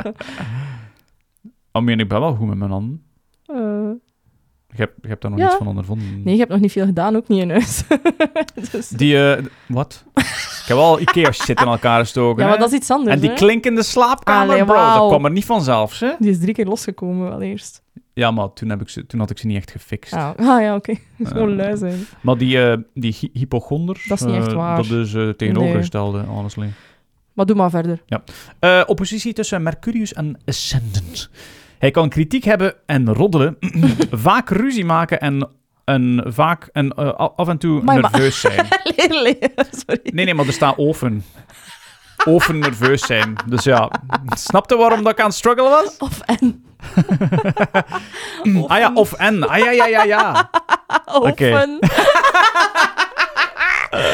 S1: Oh, meen ik ben wel goed met mijn handen.
S2: Eh,
S1: Je hebt, je hebt daar nog
S2: Ja.
S1: niets van ondervonden.
S2: nee, je hebt nog niet veel gedaan, ook niet in huis. Dus-
S1: Die, eh, wat? ik heb al Ikea's shit in elkaar gestoken.
S2: ja, maar
S1: hè?
S2: dat is iets anders.
S1: en die
S2: hè?
S1: klinkende slaapkamer,
S2: Allee,
S1: bro, dat
S2: wauw.
S1: kwam er niet vanzelf, hè?
S2: Die is drie keer losgekomen, wel eerst.
S1: Ja, maar toen, heb ik ze, toen had ik ze niet echt gefixt.
S2: Ah, ah ja, oké. Dat is
S1: Eh,
S2: Gewoon lui zijn.
S1: Maar die, eh, die hy- hypochonders,
S2: Dat is niet echt
S1: eh,
S2: waar.
S1: dat is eh, tegenovergestelde, honestly.
S2: Maar doe maar verder.
S1: Eh, oppositie tussen Mercurius en Ascendant. Hij kan kritiek hebben en roddelen, vaak ruzie maken en, en vaak en, eh, af en toe
S2: Maar- maar-
S1: nerveus zijn.
S2: Allee, allee, Sorry.
S1: Nee, nee, maar er staat oven. Oven nerveus zijn. Dus ja, snapte waarom dat ik aan het struggelen was?
S2: Of en.
S1: Ah ja, of en. Ah ja, ja, ja, ja.
S2: Of
S1: Oké.
S2: en.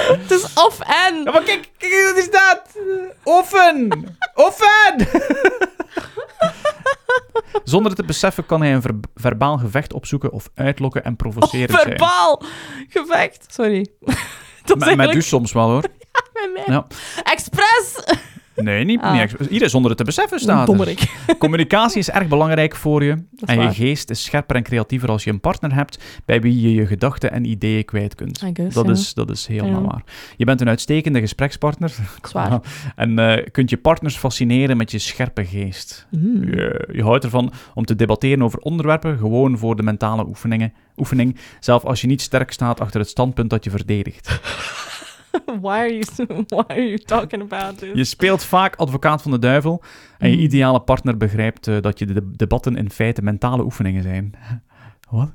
S2: Het is of en.
S1: Ja, maar kijk, kijk, wat is dat? Offen! Offen! Zonder het te beseffen kan hij een ver- verbaal gevecht opzoeken of uitlokken en provoceren.
S2: Verbaal. Gevecht. Sorry. Dat
S1: Met, met u
S2: is eigenlijk
S1: dus soms wel hoor.
S2: met mij.
S1: Ja.
S2: Expres.
S1: Nee, niet,
S2: Ah.
S1: niet ex- Hier is zonder het te beseffen staat. er.
S2: Dommerik.
S1: Communicatie is erg belangrijk voor je.
S2: is
S1: En je
S2: waar.
S1: geest is scherper en creatiever als je een partner hebt bij wie je je gedachten en ideeën kwijt kunt.
S2: I guess,
S1: Dat
S2: Ah, ja.
S1: is, dat is helemaal
S2: Ja.
S1: waar. Je bent een uitstekende gesprekspartner.
S2: Zwaar.
S1: En eh, kunt je partners fascineren met je scherpe geest.
S2: Mm.
S1: Je, je houdt ervan om te debatteren over onderwerpen, gewoon voor de mentale oefeningen, oefening, zelf als je niet sterk staat achter het standpunt dat je verdedigt.
S2: Why are you, so- why are you talking about this?
S1: Je speelt vaak advocaat van de duivel en je
S2: Mm.
S1: ideale partner begrijpt eh, dat je de de- debatten in feite mentale oefeningen zijn. Wat?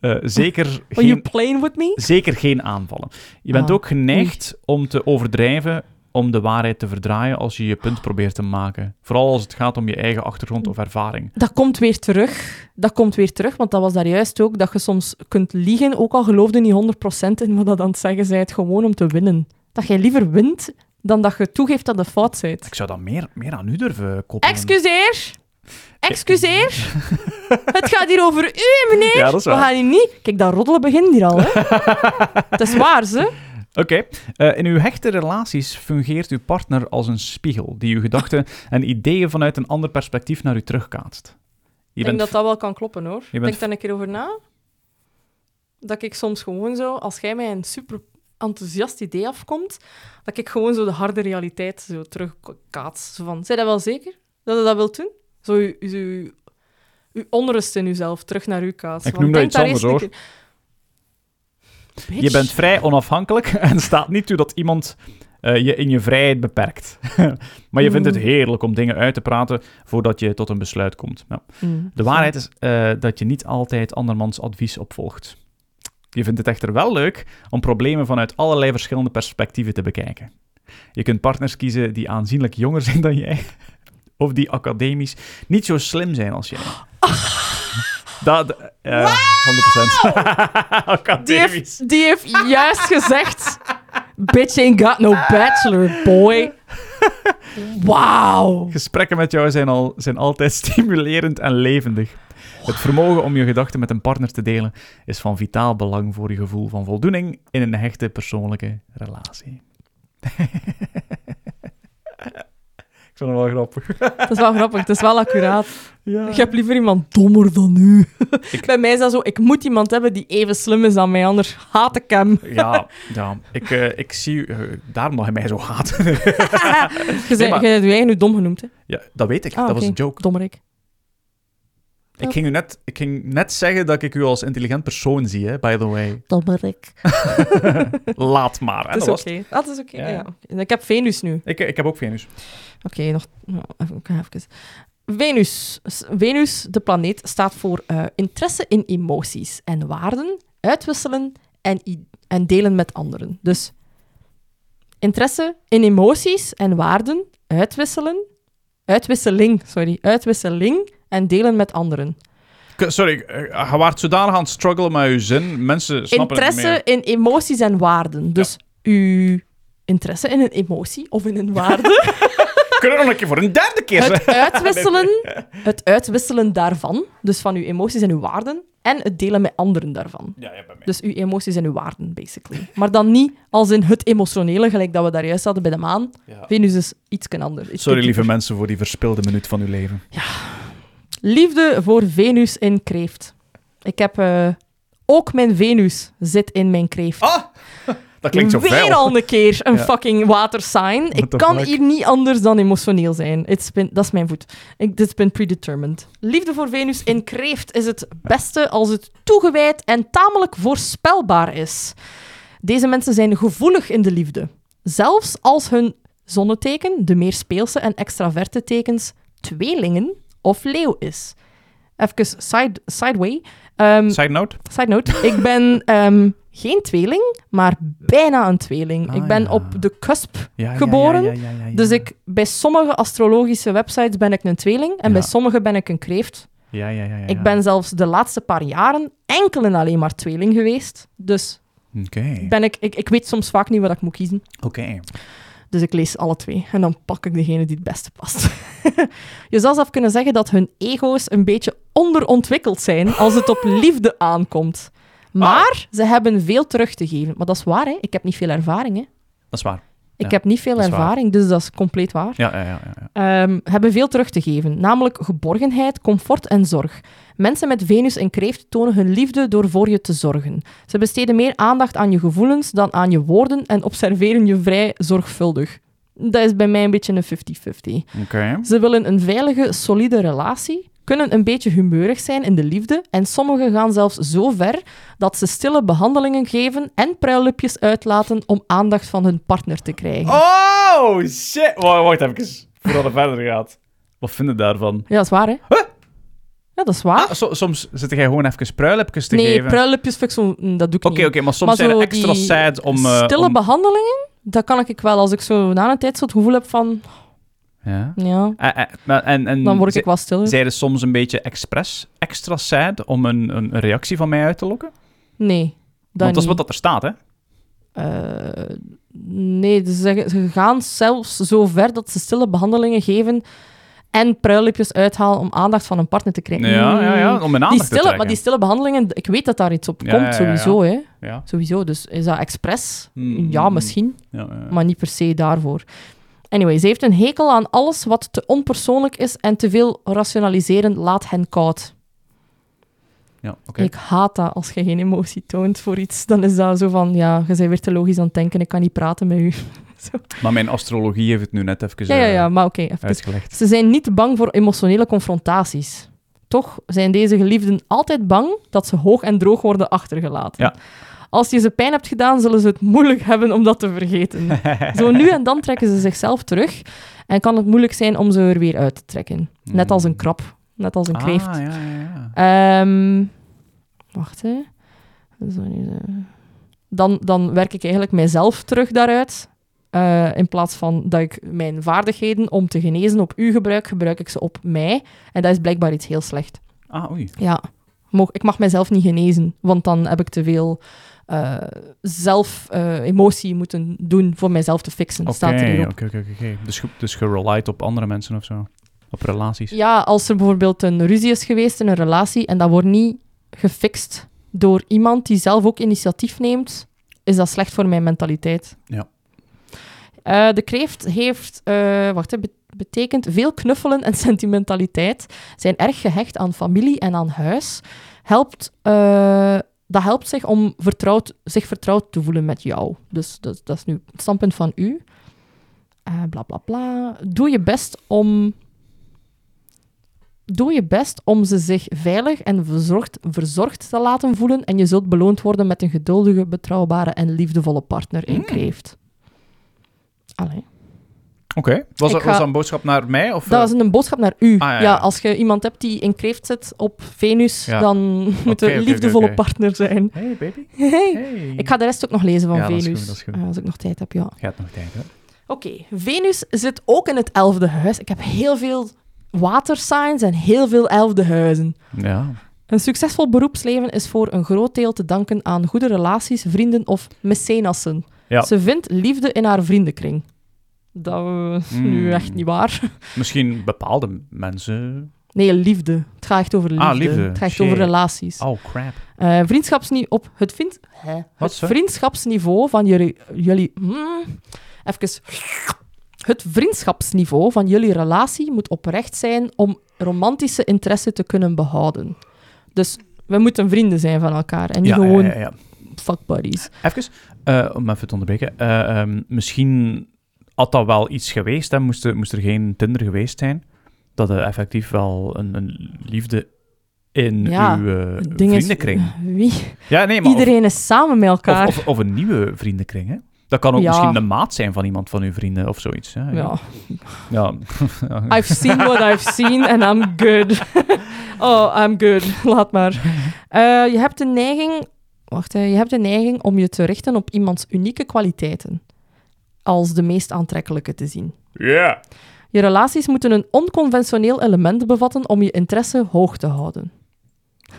S1: Eh, zeker,
S2: Are you
S1: geen,
S2: playing with me?
S1: zeker geen aanvallen. Je bent
S2: Oh, Ah.
S1: ook geneigd om te overdrijven, om de waarheid te verdraaien als je je punt probeert te maken. Vooral als het gaat om je eigen achtergrond of ervaring.
S2: Dat komt weer terug. Dat komt weer terug, want dat was daar juist ook. Dat je soms kunt liegen, ook al geloofde niet 100% in wat dat aan het zeggen zijt, gewoon om te winnen. Dat jij liever wint dan dat je toegeeft dat je fout zijt.
S1: Ik zou dat meer, meer aan u durven koppelen.
S2: Excuseer! Excuseer! Het gaat hier over u, hè, meneer!
S1: Ja, dat is
S2: We
S1: waar.
S2: gaan hier niet... Kijk, dat roddelen begint hier al, hè. Het is waar, ze.
S1: Oké. Eh, in uw hechte relaties fungeert uw partner als een spiegel die uw gedachten en ideeën vanuit een ander perspectief naar u terugkaatst. Je
S2: Ik denk dat dat wel kan kloppen, hoor.
S1: bent-
S2: Denk daar een keer over na. Dat ik soms gewoon zo, als jij mij een super enthousiast idee afkomt, dat ik gewoon zo de harde realiteit zo terugkaats. Zo van, zij dat wel zeker? Dat je dat wilt doen? Zo je, je, je- je onrust in jezelf terug naar u kaats.
S1: Ik noem dat iets anders, Je bent vrij onafhankelijk en staat niet toe dat iemand eh, je in je vrijheid beperkt. maar je vindt het
S2: Mm.
S1: heerlijk om dingen uit te praten voordat je tot een besluit komt. Nou,
S2: Mm.
S1: de waarheid is eh, dat je niet altijd andermans advies opvolgt. Je vindt het echter wel leuk om problemen vanuit allerlei verschillende perspectieven te bekijken. Je kunt partners kiezen die aanzienlijk jonger zijn dan jij, of die academisch niet zo slim zijn als jij. Dat, eh 100%.
S2: Die
S1: academisch.
S2: heeft, die heeft juist gezegd... Bitch ain't got no bachelor, boy. Wauw.
S1: Gesprekken met jou zijn, al, zijn altijd stimulerend en levendig. Het vermogen om je gedachten met een partner te delen is van vitaal belang voor je gevoel van voldoening in een hechte persoonlijke relatie. Ik vond hem wel grappig.
S2: Dat is wel grappig, dat is wel accuraat.
S1: Ja.
S2: Ik heb liever iemand dommer dan u.
S1: Ik-
S2: Bij mij is dat zo, ik moet iemand hebben die even slim is dan mij, anders haat ik hem.
S1: Ja, ja. Ik, eh, ik zie... eh, daarom dat hij mij zo haat.
S2: Je zei-
S1: maar-
S2: je hebt je eigen nu dom genoemd, hè?
S1: ja, dat weet ik. dat
S2: Ah,
S1: was
S2: oké. Ah.
S1: een joke.
S2: Dommerik.
S1: Ik ging, u net, ik ging net zeggen dat ik u als intelligent persoon zie, hè, by the way.
S2: Dommerik.
S1: Laat maar. hè,
S2: Dat is
S1: dat was-
S2: oké. Ah, Dat is oké,
S1: Ja.
S2: ja. Ik heb Venus nu.
S1: ik, ik heb ook Venus.
S2: Oké, nog nou, even, ik ga even. Venus. S- Venus, de planeet, staat voor eh, interesse in emoties en waarden, uitwisselen en, i- en delen met anderen. Dus interesse in emoties en waarden, uitwisselen, uitwisseling, sorry, uitwisseling en delen met anderen.
S1: K- Sorry, eh, je waart zodanig aan het struggelen met je zin. Mensen snappen het
S2: interesse
S1: niet
S2: in emoties en waarden. Dus uw interesse in een emotie of in een waarde.
S1: Kunnen we nog een keer voor een derde keer zeggen?
S2: Het uitwisselen, het uitwisselen daarvan, dus van uw emoties en uw waarden, en het delen met anderen daarvan.
S1: Ja, ja, bij mij.
S2: Dus uw emoties en uw waarden, basically. Maar dan niet als in het emotionele, gelijk dat we daar juist hadden bij de maan.
S1: Ja.
S2: Venus is iets anders. iets
S1: Sorry, lieve
S2: dieper.
S1: mensen, voor die verspilde minuut van uw leven.
S2: Liefde voor Venus in kreeft. Ik heb... eh, ook mijn Venus zit in mijn kreeft.
S1: Ah! Dat klinkt zo
S2: Weer
S1: vuil.
S2: al een keer een
S1: Ja.
S2: fucking watersign. Ik
S1: the
S2: kan
S1: fuck?
S2: hier niet anders dan emotioneel zijn. It's been, dat is mijn voet. Ik, dit is been predetermined. Liefde voor Venus in kreeft is het beste als het toegewijd en tamelijk voorspelbaar is. Deze mensen zijn gevoelig in de liefde. Zelfs als hun zonneteken, de meer speelse en extraverte tekens, tweelingen of leeuw is. Even side, sideway. Ehm,
S1: Side note?
S2: Side note, ik ben ehm, geen tweeling, maar bijna een tweeling.
S1: Ah,
S2: ik ben
S1: ja.
S2: op de cusp.
S1: Ja, ja,
S2: Geboren,
S1: ja, ja, ja, ja, ja.
S2: Dus ik, bij sommige astrologische websites ben ik een tweeling en bij
S1: Ja.
S2: sommige ben ik een kreeft.
S1: Ja, ja, ja, ja, ja.
S2: Ik ben zelfs de laatste paar jaren enkel en alleen maar tweeling geweest. Dus
S1: Oké.
S2: ben ik, ik, ik weet soms vaak niet wat ik moet kiezen.
S1: Oké.
S2: Dus ik lees alle twee en dan pak ik degene die het beste past. Je zou zelf kunnen zeggen dat hun ego's een beetje onderontwikkeld zijn als het op liefde aankomt.
S1: Ah.
S2: Maar ze hebben veel terug te geven. Maar dat is waar, hè? Ik heb niet veel ervaring, hè?
S1: Dat is waar.
S2: Ik
S1: Ja,
S2: heb niet veel
S1: dat is waar.
S2: ervaring, dus dat is compleet waar.
S1: Ja, ja, ja. ja, ja.
S2: Ehm, hebben veel terug te geven, namelijk geborgenheid, comfort en zorg. Mensen met Venus en kreeft tonen hun liefde door voor je te zorgen. Ze besteden meer aandacht aan je gevoelens dan aan je woorden en observeren je vrij zorgvuldig. Dat is bij mij een beetje een 50-50.
S1: Oké.
S2: Ze willen een veilige, solide relatie, kunnen een beetje humeurig zijn in de liefde en sommigen gaan zelfs zo ver dat ze stille behandelingen geven en pruilupjes uitlaten om aandacht van hun partner te krijgen.
S1: Oh, shit. Wacht, wacht even. Voordat het verder gaat. Wat vind je daarvan?
S2: Ja, dat is waar, hè?
S1: Huh?
S2: Ja, dat is waar.
S1: Ah, so- soms zit jij gewoon even pruilipjes te
S2: nee,
S1: geven.
S2: pruilupjes vind ik zo... mm, Dat doe ik
S1: Oké,
S2: niet.
S1: oké, maar soms
S2: Maar
S1: zijn
S2: zo
S1: er extra
S2: die
S1: sad om... eh,
S2: Stille
S1: om...
S2: behandelingen, dat kan ik wel. Als ik zo na een tijd zo het gevoel heb van...
S1: Ja.
S2: Ja,
S1: Eh, eh, maar- en, en,
S2: dan word
S1: ze-
S2: ik wel stiller.
S1: Zeiden soms een beetje expres extra sad om een, een een reactie van mij uit te lokken?
S2: Nee, dat
S1: Want dat is wat
S2: niet.
S1: dat er staat, hè?
S2: Eh, nee, ze, zeggen- ze gaan zelfs zo ver dat ze stille behandelingen geven en pruilipjes uithalen om aandacht van een partner te krijgen.
S1: Ja, ja, ja.
S2: Mm.
S1: Om mijn aandacht
S2: Die
S1: te
S2: stille,
S1: trekken.
S2: maar die stille behandelingen, ik weet dat daar iets op
S1: Ja,
S2: komt,
S1: ja, ja, ja.
S2: sowieso. Hè.
S1: Ja,
S2: Sowieso, dus is dat expres?
S1: Mm.
S2: Ja, misschien.
S1: ja, ja, ja.
S2: maar niet per se daarvoor. Anyway, ze heeft een hekel aan alles wat te onpersoonlijk is en te veel rationaliseren laat hen koud.
S1: ja oké.
S2: Ik haat dat als je geen emotie toont voor iets. Dan is dat zo van, ja, je bent weer te logisch aan het denken, ik kan niet praten met u.
S1: Maar mijn astrologie heeft het nu net even
S2: Ja, ja,
S1: eh,
S2: ja, maar oké, even.
S1: uitgelegd.
S2: Ze zijn niet bang voor emotionele confrontaties. Toch zijn deze geliefden altijd bang dat ze hoog en droog worden achtergelaten.
S1: Ja.
S2: Als je ze pijn hebt gedaan, zullen ze het moeilijk hebben om dat te vergeten. Zo nu en dan trekken ze zichzelf terug en kan het moeilijk zijn om ze er weer uit te trekken. Net als een krab, net als een kreeft.
S1: Ah, ja, ja, ja.
S2: Ehm, wacht, hè. Zo nu, eh. Dan, dan werk ik eigenlijk mijzelf terug daaruit. Eh, in plaats van dat ik mijn vaardigheden om te genezen op u gebruik, gebruik ik ze op mij. En dat is blijkbaar iets heel slecht.
S1: Ah, oei.
S2: Ja, Mo- ik mag mijzelf niet genezen, want dan heb ik te veel eh, zelf eh, emotie moeten doen voor mijzelf te fixen. Staat er
S1: Oké,
S2: hier ook.
S1: oké, oké, oké. Dus ge- Dus je relied op andere mensen of zo? Op relaties?
S2: Ja, als er bijvoorbeeld een ruzie is geweest in een relatie en dat wordt niet gefixt door iemand die zelf ook initiatief neemt, is dat slecht voor mijn mentaliteit.
S1: Ja.
S2: Eh, de kreeft heeft, eh, wacht, hè, bet- betekent veel knuffelen en sentimentaliteit, zijn erg gehecht aan familie en aan huis. Helpt, eh, dat helpt zich om vertrouwd, zich vertrouwd te voelen met jou. Dus dat, dat is nu het standpunt van u. Eh bla bla bla. Doe je best om Doe je best om ze zich veilig en verzorgd, verzorgd te laten voelen en je zult beloond worden met een geduldige, betrouwbare en liefdevolle partner in
S1: Mm.
S2: kreeft. Allee.
S1: Oké. Was,
S2: Ik
S1: dat
S2: ga-
S1: was dat een boodschap naar mij? Of, eh?
S2: Dat is een boodschap naar u.
S1: Ah, ja,
S2: ja,
S1: ja.
S2: als je iemand hebt die in kreeft zit op Venus,
S1: Ja.
S2: dan moet
S1: Oké,
S2: er
S1: oké,
S2: een
S1: oké,
S2: liefdevolle
S1: oké.
S2: partner zijn.
S1: Hey, baby. Hey.
S2: Ik ga de rest ook nog lezen van
S1: Ja, dat is
S2: Venus,
S1: goed, dat is goed.
S2: eh, als ik nog tijd heb, ja.
S1: Je hebt nog tijd, hè?
S2: Oké, Venus zit ook in het elfde huis. Ik heb heel veel watersigns en heel veel elfde huizen.
S1: Ja.
S2: Een succesvol beroepsleven is voor een groot deel te danken aan goede relaties, vrienden of mecenassen.
S1: Ja.
S2: Ze vindt liefde in haar vriendenkring. Dat we
S1: Mm.
S2: nu echt niet waar.
S1: Misschien bepaalde mensen.
S2: Nee, liefde. Het gaat echt over liefde.
S1: Ah, liefde.
S2: Het gaat echt
S1: Shit.
S2: over relaties.
S1: Oh crap.
S2: Eh, vriendschapsniveau op het, vind, hè,
S1: Wat
S2: het
S1: ze?
S2: vriendschapsniveau van jullie... jullie mm, even... Het vriendschapsniveau van jullie relatie moet oprecht zijn om romantische interesse te kunnen behouden. Dus we moeten vrienden zijn van elkaar en niet
S1: ja,
S2: gewoon
S1: ja, ja, ja.
S2: fuck buddies.
S1: Even, eh, om even te onderbreken. eh, ehm, misschien had dat wel iets geweest. Hè? Moest, er, moest er geen Tinder geweest zijn. Dat er effectief wel een, een liefde in
S2: Ja,
S1: uw eh,
S2: Het ding is,
S1: vriendenkring.
S2: Wie?
S1: Ja, nee, maar of-
S2: Iedereen is samen met
S1: of,
S2: elkaar.
S1: of, of een nieuwe vriendenkring. Hè? Dat kan ook
S2: Ja.
S1: misschien de maat zijn van iemand van uw vrienden of zoiets. Hè?
S2: ja.
S1: ja.
S2: I've seen what I've seen and I'm good. oh, I'm good. Laat maar. Eh, je hebt de neiging... Wacht, hè. je hebt de neiging om je te richten op iemands unieke kwaliteiten. Als de meest aantrekkelijke te zien.
S1: Ja.
S2: Je relaties moeten een onconventioneel element bevatten om je interesse hoog te houden.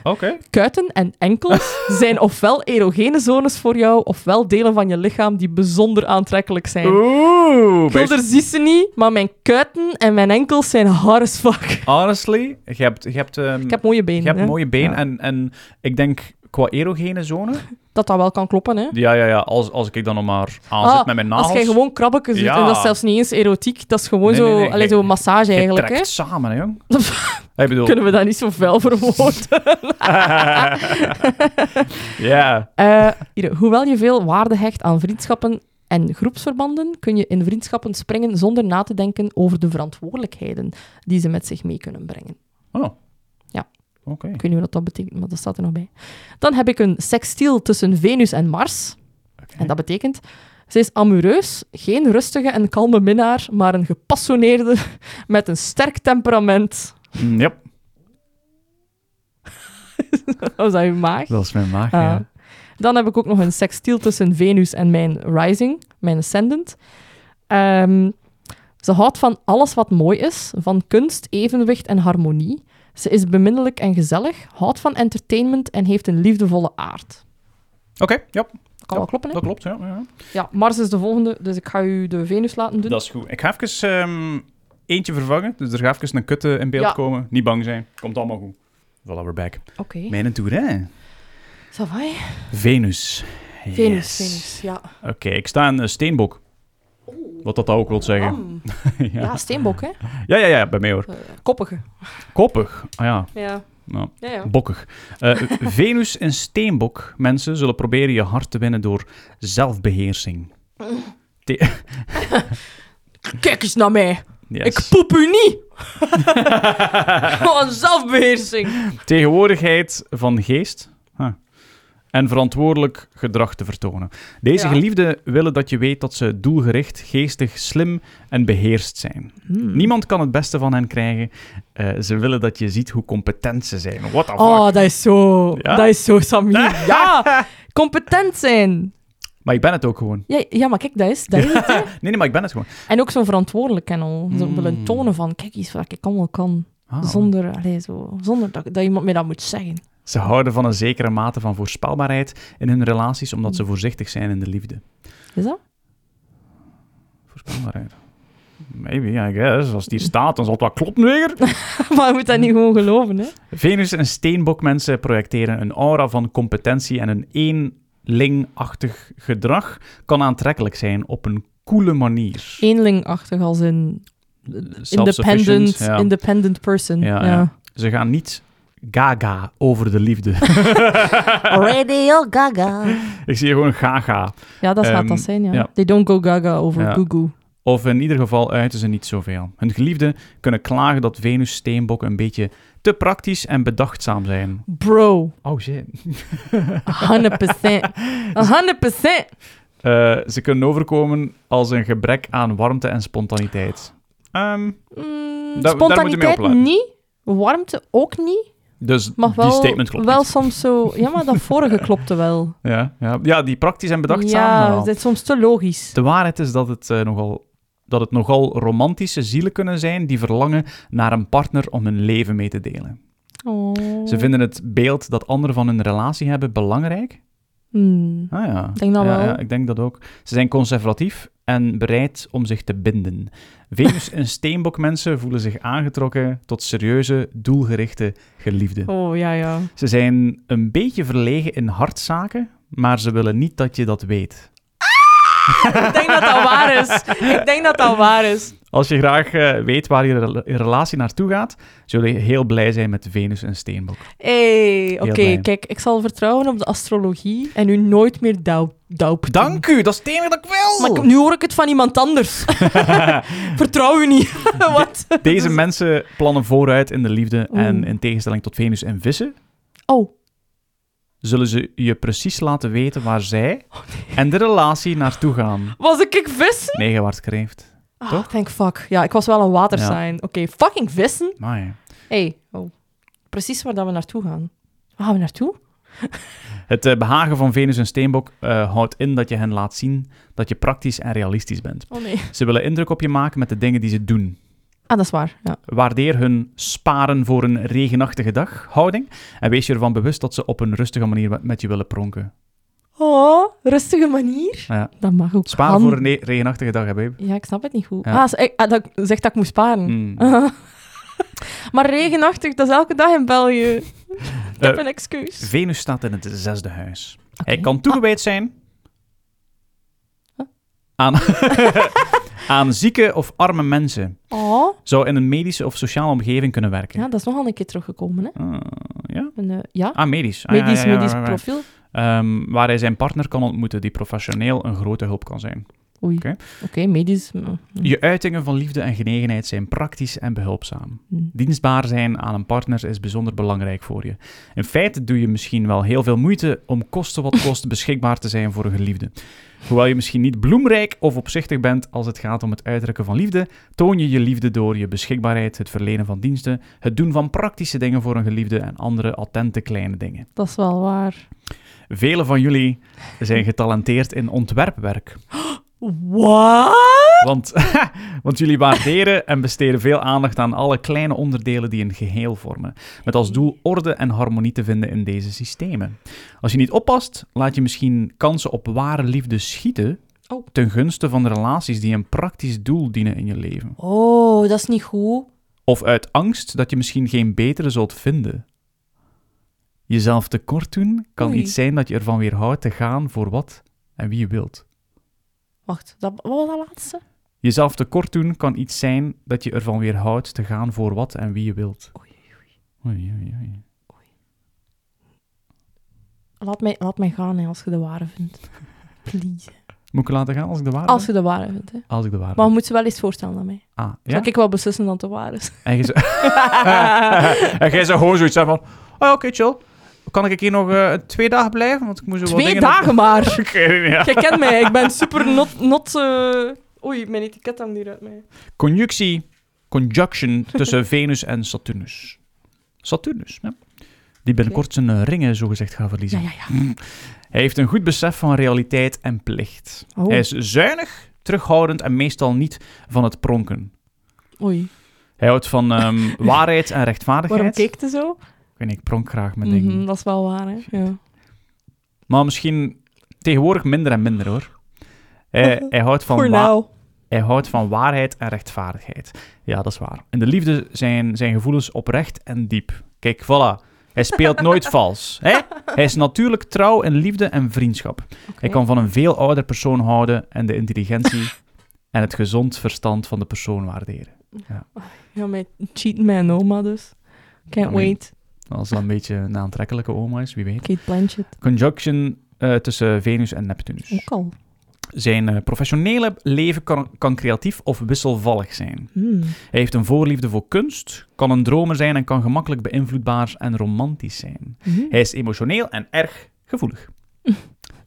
S1: Oké.
S2: Kuiten en enkels zijn ofwel erogene zones voor jou, ofwel delen van je lichaam die bijzonder aantrekkelijk zijn.
S1: Oeh, bij-
S2: Gilder ziet ze niet, maar mijn kuiten en mijn enkels zijn hard as fuck.
S1: honestly, je hebt, je hebt, ehm,
S2: Ik heb mooie benen.
S1: je hebt
S2: hè.
S1: een mooie been
S2: Ja.
S1: en, en ik denk qua erogene zone.
S2: dat dat wel kan kloppen, hè?
S1: Ja, ja, ja. Als, als ik dan nog maar aanzet
S2: Ah,
S1: met mijn nagels.
S2: Als jij gewoon krabbetjes doet,
S1: Ja.
S2: en dat is zelfs niet eens erotiek, dat is gewoon
S1: Nee,
S2: zo,
S1: nee, nee,
S2: allee,
S1: jij-
S2: zo massage
S1: Jij
S2: eigenlijk,
S1: trekt
S2: hè?
S1: samen, hè, jong. ik bedoel...
S2: Kunnen we dat niet zo fel verwoorden?
S1: ja.
S2: Eh, hier, hoewel je veel waarde hecht aan vriendschappen en groepsverbanden, kun je in vriendschappen springen zonder na te denken over de verantwoordelijkheden die ze met zich mee kunnen brengen.
S1: Oh.
S2: Ja.
S1: Oké.
S2: Ik weet niet wat dat betekent, maar dat staat er nog bij. Dan heb ik een sextiel tussen Venus en Mars. En dat betekent, ze is amoureus, geen rustige en kalme minnaar, maar een gepassioneerde met een sterk temperament.
S1: Mm, yep.
S2: Was dat je maag?
S1: Dat is mijn maag,
S2: Ah.
S1: ja.
S2: Dan heb ik ook nog een sextiel tussen Venus en mijn rising, mijn ascendant. Ehm, ze houdt van alles wat mooi is, van kunst, evenwicht en harmonie. Ze is beminnelijk en gezellig, houdt van entertainment en heeft een liefdevolle aard.
S1: Oké, ja.
S2: Kan wel kloppen, hè?
S1: Dat klopt, ja. ja.
S2: Ja, Mars is de volgende, dus ik ga u de Venus laten doen.
S1: Dat is goed. Ik ga even ehm, eentje vervangen. Dus er gaat even een kutte in beeld
S2: Ja.
S1: komen. Niet bang zijn. Komt allemaal goed. Voilà, we're back.
S2: Oké.
S1: Mijn tour, hè.
S2: Ça va, hè?
S1: Venus.
S2: Venus,
S1: Yes.
S2: Venus, ja.
S1: Oké, ik sta een eh, steenbok. Wat dat ook wil zeggen.
S2: Am. Ja.
S1: ja.
S2: steenbok, hè?
S1: ja, ja, ja, bij mij hoor.
S2: Eh, koppige.
S1: Koppig. Ah ja,
S2: Ja,
S1: nou,
S2: ja, ja.
S1: bokkig. Eh, Venus en steenbok, mensen, zullen proberen je hart te winnen door zelfbeheersing.
S2: Kijk eens naar mij.
S1: Yes.
S2: Ik poep u niet. Wat een zelfbeheersing.
S1: Tegenwoordigheid van geest huh. en verantwoordelijk gedrag te vertonen. Deze
S2: Ja.
S1: geliefden willen dat je weet dat ze doelgericht, geestig, slim en beheerst zijn.
S2: Hmm.
S1: Niemand kan het beste van hen krijgen. Eh, ze willen dat je ziet hoe competent ze zijn. What the fuck?
S2: Oh, dat is zo.
S1: Ja?
S2: Dat is zo, Samir. Ja, competent zijn.
S1: Maar ik ben het ook gewoon.
S2: Ja, ja, maar kijk, dat is, dat is het. hè.
S1: Nee, nee, maar ik ben het gewoon.
S2: En ook zo verantwoordelijk en al. Zo
S1: Mm.
S2: willen tonen van, kijk eens wat ik allemaal kan.
S1: Ah.
S2: Zonder, allee, zo, zonder dat, dat iemand mij dat moet zeggen.
S1: Ze houden van een zekere mate van voorspelbaarheid in hun relaties, omdat ze voorzichtig zijn in de liefde.
S2: Is dat?
S1: Voorspelbaarheid. Maybe, I guess. Als die staat, dan zal het wel kloppen weer.
S2: maar je moet dat niet gewoon geloven, hè?
S1: Venus en steenbokmensen projecteren een aura van competentie en een eenlingachtig gedrag kan aantrekkelijk zijn op een coole manier.
S2: Eenlingachtig als een independent,
S1: Self-sufficient, ja.
S2: independent person.
S1: Ja,
S2: Ja,
S1: ja. Ze gaan niet gaga over de liefde.
S3: Radio Gaga.
S1: Ik zie hier gewoon gaga.
S2: Ja, dat gaat
S1: Ehm,
S2: dat zijn, ja.
S1: ja.
S2: They don't go gaga over
S1: Ja.
S2: goo goo.
S1: Of in ieder geval eh, uiten ze niet zoveel. Hun geliefden kunnen klagen dat Venus steenbokken een beetje te praktisch en bedachtzaam zijn.
S2: Bro,
S1: Oh shit.
S2: 100%. 100%.
S1: Eh, ze kunnen overkomen als een gebrek aan warmte en spontaniteit. Ehm,
S2: Mm,
S1: daar moet je mee
S2: spontaniteit
S1: opletten.
S2: niet. Warmte ook niet.
S1: dus
S2: Maar wel,
S1: die statement klopt
S2: wel
S1: niet.
S2: soms zo... Ja, maar dat vorige klopte wel.
S1: Ja, ja. ja, die praktisch en bedachtzaam.
S2: ja,
S1: nou wel.
S2: dat is soms te logisch.
S1: De waarheid is dat het, eh, nogal, dat het nogal romantische zielen kunnen zijn die verlangen naar een partner om hun leven mee te delen.
S2: Oh.
S1: Ze vinden het beeld dat anderen van hun relatie hebben belangrijk
S2: Hmm.
S1: Ah ja.
S2: Ik denk dat
S1: ja,
S2: wel.
S1: ja, ik denk dat ook. Ze zijn conservatief en bereid om zich te binden. Venus- en steenbokmensen voelen zich aangetrokken tot serieuze, doelgerichte geliefden.
S2: Oh, ja, ja.
S1: Ze zijn een beetje verlegen in hartzaken, maar ze willen niet dat je dat weet.
S2: Ah! Ik denk dat dat waar is. Ik denk dat dat waar is.
S1: Als je graag eh, weet waar je rela- je relatie naartoe gaat, zul je heel blij zijn met Venus en Steenbok.
S2: Hey, oké,
S1: blij.
S2: kijk, ik zal vertrouwen op de astrologie en u nooit meer douw, douwp doen.
S1: Dank u, dat is het enige dat ik wil!
S2: Maar ik- nu hoor ik het van iemand anders. Vertrouw u niet. Wat?
S1: Deze mensen plannen vooruit in de liefde en
S2: Oeh.
S1: in tegenstelling tot Venus en vissen,
S2: Oh,
S1: zullen ze je precies laten weten waar zij
S2: Oh,
S1: en de relatie naartoe gaan.
S2: was ik ik vissen?
S1: Nee, je wordt kreeft.
S2: Ah,
S1: Toch?
S2: thank fuck. Ja, ik was wel een watersign. Oké, fucking vissen.
S1: Amai.
S2: Hey, oh. precies waar dat we naartoe gaan. Waar gaan we naartoe?
S1: Het eh, behagen van Venus en Steenbok eh, houdt in dat je hen laat zien dat je praktisch en realistisch bent.
S2: Oh nee.
S1: Ze willen indruk op je maken met de dingen die ze doen.
S2: Ah, dat is waar. Ja.
S1: Waardeer hun sparen voor een regenachtige dag houding en wees je ervan bewust dat ze op een rustige manier met- met je willen pronken.
S2: Oh, rustige manier.
S1: Ja.
S2: Dat mag ook.
S1: Spaar
S2: Han-
S1: voor een re- regenachtige dag, hè, babe.
S2: Ja, ik snap het niet goed.
S1: Ja.
S2: Ah, ze- eh, ah, dat, zegt dat ik moet sparen.
S1: Hmm.
S2: maar regenachtig, dat is elke dag in België. Ik heb
S1: Eh,
S2: een excuus.
S1: Venus staat in het zesde huis.
S2: Oké. Ah.
S1: Hij kan toegewijd zijn aan, aan zieke of arme mensen.
S2: Oh,
S1: Zou in een medische of sociale omgeving kunnen werken.
S2: ja, dat is nogal een keer teruggekomen. Hè?
S1: Ah, ja?
S2: Een, eh, ja,
S1: Ah, medisch. Ah, ja,
S2: medisch,
S1: ja, ja,
S2: medisch
S1: ja, ja.
S2: profiel.
S1: Ehm, waar hij zijn partner kan ontmoeten die professioneel een grote hulp kan zijn.
S2: Oei.
S1: Oké.
S2: Oké, medisch. mm, mm.
S1: Je uitingen van liefde en genegenheid zijn praktisch en behulpzaam.
S2: Mm.
S1: Dienstbaar zijn aan een partner is bijzonder belangrijk voor je. In feite doe je misschien wel heel veel moeite om kosten wat kost beschikbaar te zijn voor een geliefde. Hoewel je misschien niet bloemrijk of opzichtig bent als het gaat om het uitdrukken van liefde, toon je je liefde door je beschikbaarheid, het verlenen van diensten, het doen van praktische dingen voor een geliefde en andere attente kleine dingen.
S2: Dat is wel waar.
S1: Velen van jullie zijn getalenteerd in ontwerpwerk.
S2: Wat?
S1: Want, want jullie waarderen en besteden veel aandacht aan alle kleine onderdelen die een geheel vormen. Met als doel orde en harmonie te vinden in deze systemen. Als je niet oppast, laat je misschien kansen op ware liefde schieten.
S2: Oh.
S1: Ten gunste van de relaties die een praktisch doel dienen in je leven.
S2: Oh, dat is niet goed.
S1: Of uit angst dat je misschien geen betere zult vinden. Jezelf tekort doen kan
S2: Oei.
S1: iets zijn dat je ervan weerhoudt te gaan voor wat en wie je wilt.
S2: Wacht, dat, wat was dat laatste?
S1: Jezelf tekort doen kan iets zijn dat je ervan weerhoudt te gaan voor wat en wie je wilt.
S2: Oei,
S1: Oei, oei, oei.
S2: Laat mij, laat mij gaan hè, als je de ware vindt. Please.
S1: Moet ik je laten gaan als ik de waarde
S2: Als
S1: ben?
S2: je de ware vindt. Hè.
S1: Als ik de waarde
S2: Maar
S1: ben.
S2: je moet ze wel eens voorstellen aan mij.
S1: Ah, ja?
S2: Zal ik wel beslissen dat het waar is?
S1: En jij zo- En jij zou gewoon zoiets zijn van... Oh, oké, chill. Kan ik hier nog eh, twee dagen blijven? Want ik moest wel
S2: Twee dagen maar.
S1: ja.
S2: Jij kent mij, ik ben super not... not eh, Oei, mijn etiket hangt hier uit mij.
S1: Conjunctie, conjunction tussen Venus en Saturnus. Saturnus, ja. Die binnenkort zijn eh, ringen zogezegd gaat verliezen.
S2: Ja, ja, ja.
S1: Hij heeft een goed besef van realiteit en plicht.
S2: Oh.
S1: Hij is zuinig, terughoudend en meestal niet van het pronken.
S2: Oei.
S1: Hij houdt van ehm, waarheid en
S2: Waarom
S1: rechtvaardigheid.
S2: keek het zo?
S1: Ik weet niet, ik pronk graag met dingen.
S2: Mhm, dat is wel waar, hè. Ja.
S1: Maar misschien tegenwoordig minder en minder hoor. Hij, hij, houdt van
S2: Voor
S1: wa-
S2: nou.
S1: hij houdt van waarheid en rechtvaardigheid. Ja, dat is waar. In de liefde zijn zijn gevoelens oprecht en diep. Kijk, voilà. Hij speelt nooit vals. Hè? Hij is natuurlijk trouw in liefde en vriendschap. Hij kan van een veel ouder persoon houden en de intelligentie en het gezond verstand van de persoon waarderen.
S2: Ja, mijn cheat mijn oma dus. Can't
S1: I mean-
S2: wait.
S1: Als dat een beetje een aantrekkelijke oma is, wie weet.
S2: Kate Blanchett.
S1: Conjunction eh, tussen Venus en Neptunus.
S2: Ook al.
S1: Zijn eh, professionele leven kan, kan creatief of wisselvallig zijn.
S2: Hmm.
S1: Hij heeft een voorliefde voor kunst, kan een dromer zijn en kan gemakkelijk beïnvloedbaar en romantisch zijn.
S2: Mhm.
S1: Hij is emotioneel en erg gevoelig.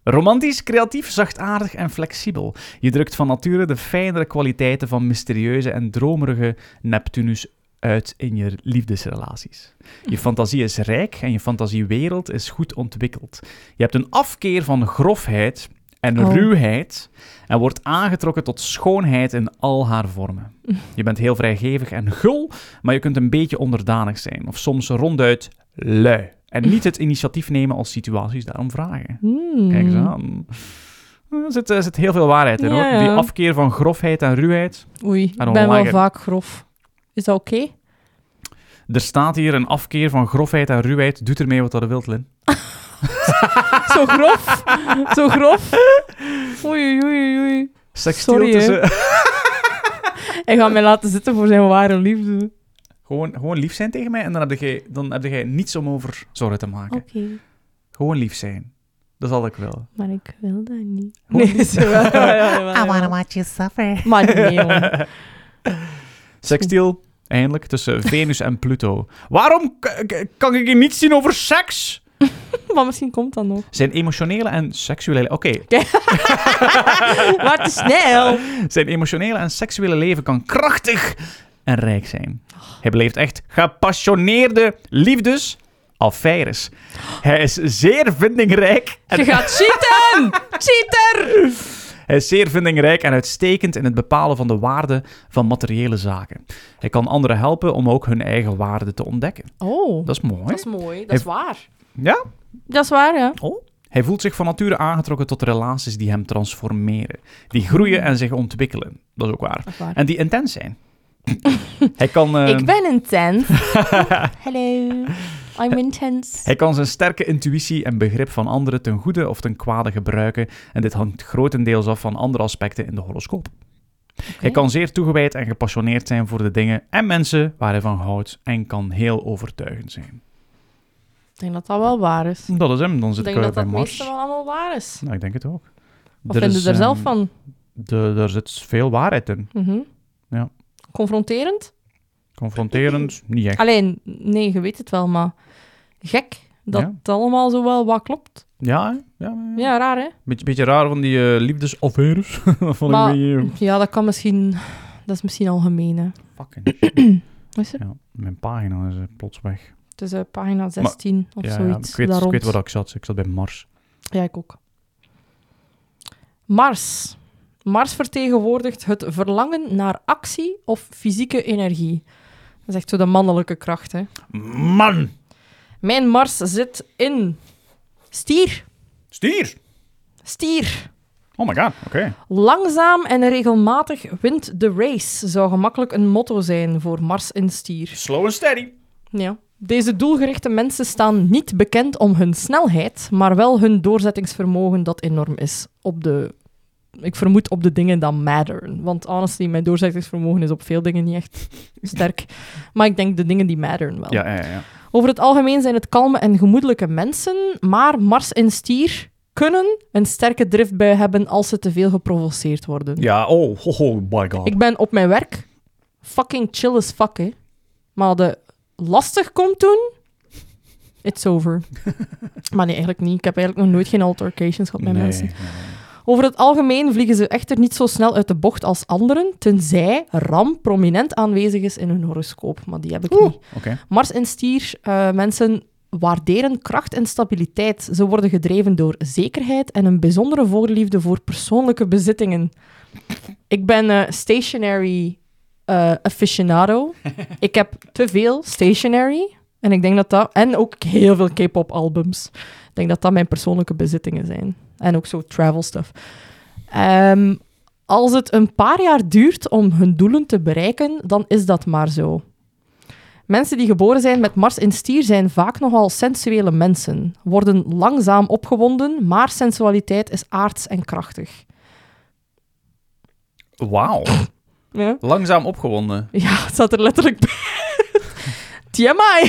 S1: Romantisch, creatief, zachtaardig en flexibel. Je drukt van nature de fijnere kwaliteiten van mysterieuze en dromerige Neptunus uit in je liefdesrelaties.
S2: Mhm.
S1: Je fantasie is rijk en je fantasiewereld is goed ontwikkeld. Je hebt een afkeer van grofheid en
S2: Oh.
S1: ruwheid en wordt aangetrokken tot schoonheid in al haar vormen. Je bent heel vrijgevig en gul, maar je kunt een beetje onderdanig zijn of soms ronduit lui. En niet het initiatief nemen als situaties daarom vragen.
S2: Hmm.
S1: Kijk eens aan. Er zit, er zit heel veel waarheid in,
S2: Ja,
S1: hoor. Die
S2: ja.
S1: afkeer van grofheid en ruwheid.
S2: Oei, ik
S1: don't
S2: ben wel
S1: like it.
S2: vaak grof. Is dat oké?
S1: Er staat hier een afkeer van grofheid en ruwheid. Doet ermee wat dat wilt, Lin.
S2: Zo grof. Zo grof. Oei, oei, oei, oei.
S1: Sextiel
S2: Sorry, hè.
S1: tussen...
S2: Hij gaat mij laten zitten voor zijn ware liefde.
S1: Gewoon, gewoon lief zijn tegen mij en dan heb, jij, dan heb jij niets om over zorgen te maken.
S2: Oké,
S1: Gewoon lief zijn. Dat is al ik wil.
S2: maar ik wil dat niet.
S1: Hoe-
S2: Nee, ze wel. Ja, ja, jawel,
S3: I wanna
S2: jawel.
S3: watch you suffer.
S2: Maar nee, jongen.
S1: Sextiel, eindelijk, tussen Venus en Pluto. Waarom k- k- kan ik hier niets zien over seks?
S2: Maar misschien komt dat nog.
S1: Zijn emotionele en seksuele... Oké,
S2: maar te snel.
S1: zijn emotionele en seksuele leven kan krachtig en rijk zijn. Hij beleeft echt gepassioneerde liefdes... Affaires. Hij is zeer vindingrijk en
S2: Je gaat cheaten! Cheater!
S1: Hij is zeer vindingrijk en uitstekend in het bepalen van de waarde van materiële zaken. Hij kan anderen helpen om ook hun eigen waarde te ontdekken.
S2: Oh,
S1: Dat is mooi.
S2: dat is mooi. Dat is
S1: Heeft-
S2: waar.
S1: Ja?
S2: Dat is waar, ja.
S1: Hij voelt zich van nature aangetrokken tot relaties die hem transformeren, die groeien en zich ontwikkelen. Dat is ook waar.
S2: Dat is waar.
S1: En die intens zijn. hij, kan, eh,
S2: Ik ben intense. Hello. I'm intense.
S1: hij kan zijn sterke intuïtie en begrip van anderen ten goede of ten kwade gebruiken en dit hangt grotendeels af van andere aspecten in de horoscoop. Hij kan zeer toegewijd en gepassioneerd zijn voor de dingen en mensen waar hij van houdt en kan heel overtuigend zijn.
S2: Ik denk dat dat wel waar is.
S1: Dat is hem, dan
S2: Ik
S1: zit ik
S2: denk dat
S1: weer bij
S2: dat meeste
S1: Mars.
S2: wel allemaal waar is.
S1: Nou, ik denk het ook.
S2: Wat vinden
S1: is,
S2: ze er zelf
S1: ehm,
S2: van?
S1: de- daar zit veel waarheid in.
S2: Mhm.
S1: ja.
S2: Confronterend?
S1: Confronterend, niet echt.
S2: Alleen, nee, je weet het wel, maar gek dat
S1: Ja.
S2: het allemaal zo wel wat klopt.
S1: Ja, hè? ja, ja.
S2: Ja, raar hè?
S1: Beetje, beetje raar van die eh, liefdesaffaires. dat vond
S2: Maar-
S1: ik een beetje...
S2: Ja, dat kan misschien. Dat is misschien algemeen. Hè.
S1: eh, Fucking shit.
S2: Wat is er?
S1: ja, mijn pagina is eh, plots weg.
S2: Het is eh, pagina 16 of
S1: ja, ja,
S2: zoiets.
S1: ik, weet,
S2: daar
S1: ik weet
S2: rond.
S1: waar ik zat. Ik zat bij Mars.
S2: Ja, ik ook. Mars. Mars vertegenwoordigt het verlangen naar actie of fysieke energie. Dat is echt zo de mannelijke kracht. Hè.
S1: Man!
S2: Mijn Mars zit in stier.
S1: Stier!
S2: Stier.
S1: Oh my god, oké.
S2: Langzaam en regelmatig wint de race zou gemakkelijk een motto zijn voor Mars in stier.
S1: Slow and steady.
S2: Ja. Deze doelgerichte mensen staan niet bekend om hun snelheid, maar wel hun doorzettingsvermogen dat enorm is. Op de, ik vermoed op de dingen dat matteren. Want honestly, mijn doorzettingsvermogen is op veel dingen niet echt sterk. Maar ik denk de dingen die matteren wel.
S1: Ja, ja, ja, ja.
S2: Over het algemeen zijn het kalme en gemoedelijke mensen, maar Mars en Stier kunnen een sterke driftbui hebben als ze te veel geprovoceerd worden.
S1: Ja, oh, ho, ho, by god.
S2: Ik ben op mijn werk fucking chill as fuck, hè. Maar de lastig komt toen, it's over. maar nee, eigenlijk niet. Ik heb eigenlijk nog nooit geen altercations gehad met mensen. Over het algemeen vliegen ze echter niet zo snel uit de bocht als anderen, tenzij Ram prominent aanwezig is in hun horoscoop. Maar die heb ik niet.
S1: Oké.
S2: Mars en stier, eh, mensen waarderen kracht en stabiliteit. Ze worden gedreven door zekerheid en een bijzondere voorliefde voor persoonlijke bezittingen. Ik ben eh, stationary eh, aficionado. Ik heb te veel stationary. En ik denk dat dat... En ook heel veel K-pop albums. Ik denk dat dat mijn persoonlijke bezittingen zijn. En ook zo travel stuff. Ehm, als het een paar jaar duurt om hun doelen te bereiken, dan is dat maar zo. Mensen die geboren zijn met Mars in stier zijn vaak nogal sensuele mensen, worden langzaam opgewonden, maar sensualiteit is aards en krachtig.
S1: Wauw.
S2: Ja,
S1: Langzaam opgewonden.
S2: ja het staat er letterlijk bij. TMI!